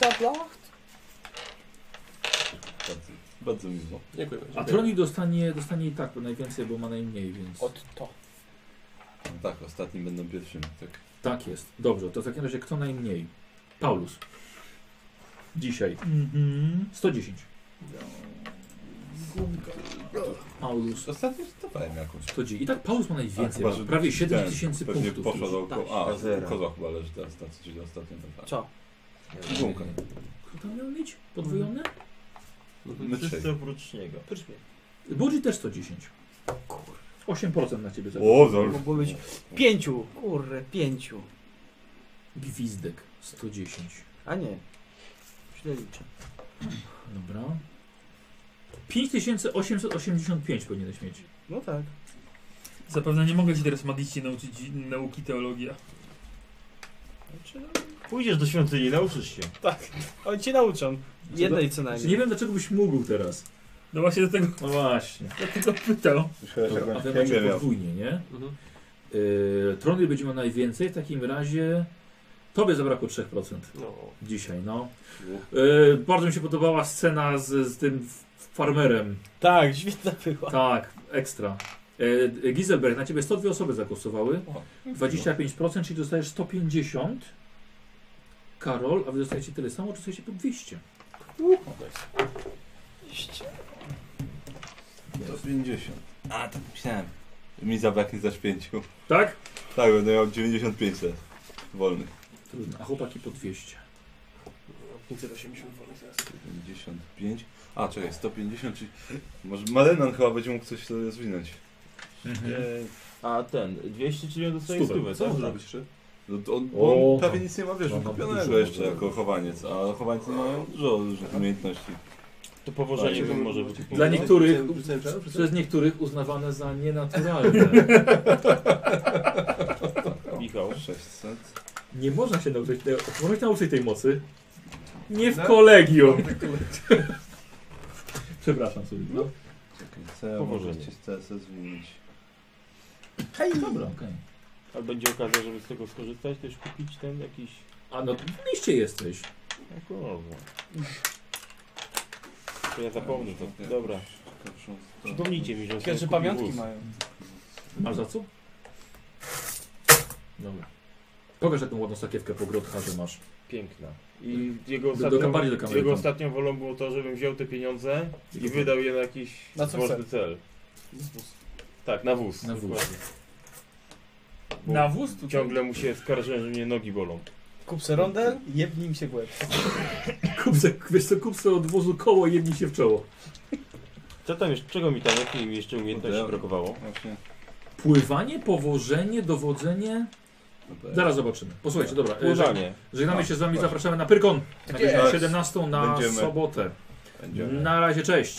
S2: Zablacht?
S3: Bardzo, bardzo miło.
S7: Dziękuję.
S1: A Troni dostanie, dostanie i tak, bo najwięcej, bo ma najmniej, więc.
S2: Od to.
S3: No tak, ostatnim będą pierwszym. Tak.
S1: Tak jest. Dobrze, to w takim razie kto najmniej? Paulus. Dzisiaj.
S5: Mhm.
S1: 110. Paulus.
S3: Ostatnio zdawałem jakąś.
S1: 110. I tak Paulus ma
S3: A,
S1: najwięcej.
S3: chyba, że
S1: ma prawie 7
S3: ten
S1: tysięcy
S3: pewnie
S1: punktów.
S3: Poszła do
S10: Tak,
S3: ko- A,
S10: zero.
S3: kozła chyba leży teraz, ta, czyli ostatnio. Tak.
S2: Co?
S3: Gumka.
S1: Kto tam miał mieć? Podwojone?
S3: My
S10: Wszyscy
S3: trzej.
S10: oprócz niego.
S2: Pryszmie.
S1: Budzi też 110. 8% na ciebie zabiera.
S3: O, zol.
S2: Mogło być pięciu. Kurre, pięciu.
S1: Gwizdek 110.
S2: A nie. Źle liczę.
S1: Dobra. 5885 powinieneś mieć.
S2: No tak.
S5: Zapewne nie mogę ci teraz magicznie nauczyć dzi- nauki teologia.
S2: Znaczy, no,
S10: Pójdziesz do świątyni, nauczysz się.
S2: tak. Oni cię nauczą. Znaczy, Jednej co
S1: Czy nie
S2: najmniej.
S1: wiem dlaczego byś mógł teraz.
S5: No właśnie do tego,
S1: No właśnie.
S5: do tego pytał.
S1: Dobra, a wy macie podwójnie, nie?
S7: Mhm.
S1: Yy, Trony będzie miał najwięcej, w takim razie tobie zabrakło 3%.
S7: No.
S1: Dzisiaj, no. Yy, bardzo mi się podobała scena z, z tym f- farmerem.
S2: Tak, świetna była.
S1: Tak, ekstra. E, Giselberg, na ciebie 102 osoby zagłosowały. 25%, czyli dostajesz 150. Karol, a wy dostajecie tyle samo, dostajecie po 200.
S3: To 50. A, tak myślałem. Mi zabraknie za pięciu.
S1: Tak?
S3: Tak, będę miał 95 lat wolnych.
S1: Trudno. A chłopaki po 200.
S7: 580 wolnych teraz.
S3: 55. A, czekaj, 150, czyli... Może Malenan chyba będzie mógł coś sobie rozwinąć.
S10: E, A ten, 200 czyli on dostaje stówę,
S3: Co
S10: tak?
S3: on zrobić
S7: jeszcze?
S3: No to on,
S10: O,
S3: bo on prawie
S10: tak.
S3: nic nie ma, wiesz,
S10: No, no,
S3: wykupionego
S10: dużo
S3: jeszcze
S10: może.
S3: jako chowaniec, a chowańcy mają dużo różnych umiejętności.
S10: To powożenie
S3: Tak.
S10: bym może być.
S1: Dla niektórych,
S7: Rzucałem czarno,
S1: przez niektórych uznawane za nienaturalne.
S10: Michał.
S3: 600.
S1: Nie można się nauczyć, tego- można się nauczyć tej mocy. Nie w
S7: Na-
S1: kolegium.
S7: na kolegium.
S1: Przepraszam sobie. No.
S3: Czekaj, co ja
S10: Powożenie.
S3: mogę ci z CS zmienić?
S1: Hej. Dobra, okej.
S10: Ale będzie okazja, żeby z tego skorzystać, też kupić ten jakiś...
S1: A no, w liście jesteś.
S10: No kurwa. To ja zapomnę to.
S3: Tak,
S10: Dobra. Przypomnijcie mi, że...
S2: Ciekawe, czy
S10: kupił
S2: pamiątki
S10: wóz.
S2: mają.
S1: Masz za co? Dobra. Pokaż jaką ładną sakiewkę po grodharze masz.
S10: Piękna. I jego
S1: Do- do
S10: ostatnią,
S1: kamery, do kamery,
S10: jego
S1: tam.
S10: ostatnią wolą było to, żebym wziął te pieniądze i
S1: Tylko-
S10: wydał je na jakiś
S2: Na co
S10: ważny
S2: chce.
S10: cel. Tak, na wóz.
S1: Na wóz.
S10: dokładnie. Bo
S2: Na wóz tutaj?
S10: Ciągle mu się skarżę, że mnie nogi bolą.
S2: Kup se rondel, jeb nim się w łeb.
S1: Kup se, wiesz co, kup se od wozu koło i jedni się w czoło.
S10: Co tam jeszcze, czego mi tam, jakiej mi jeszcze umiejętności brakowało?
S3: Właśnie.
S1: Pływanie, powożenie, dowodzenie. Zaraz zobaczymy. Posłuchajcie, dobra. e,
S10: Pływanie.
S1: Żegnamy się z wami,
S10: Właśnie.
S1: zapraszamy na Pyrkon. Na
S10: Jest.
S1: godzinę 17 na
S10: Będziemy.
S1: sobotę.
S10: Będziemy.
S1: Na razie, cześć.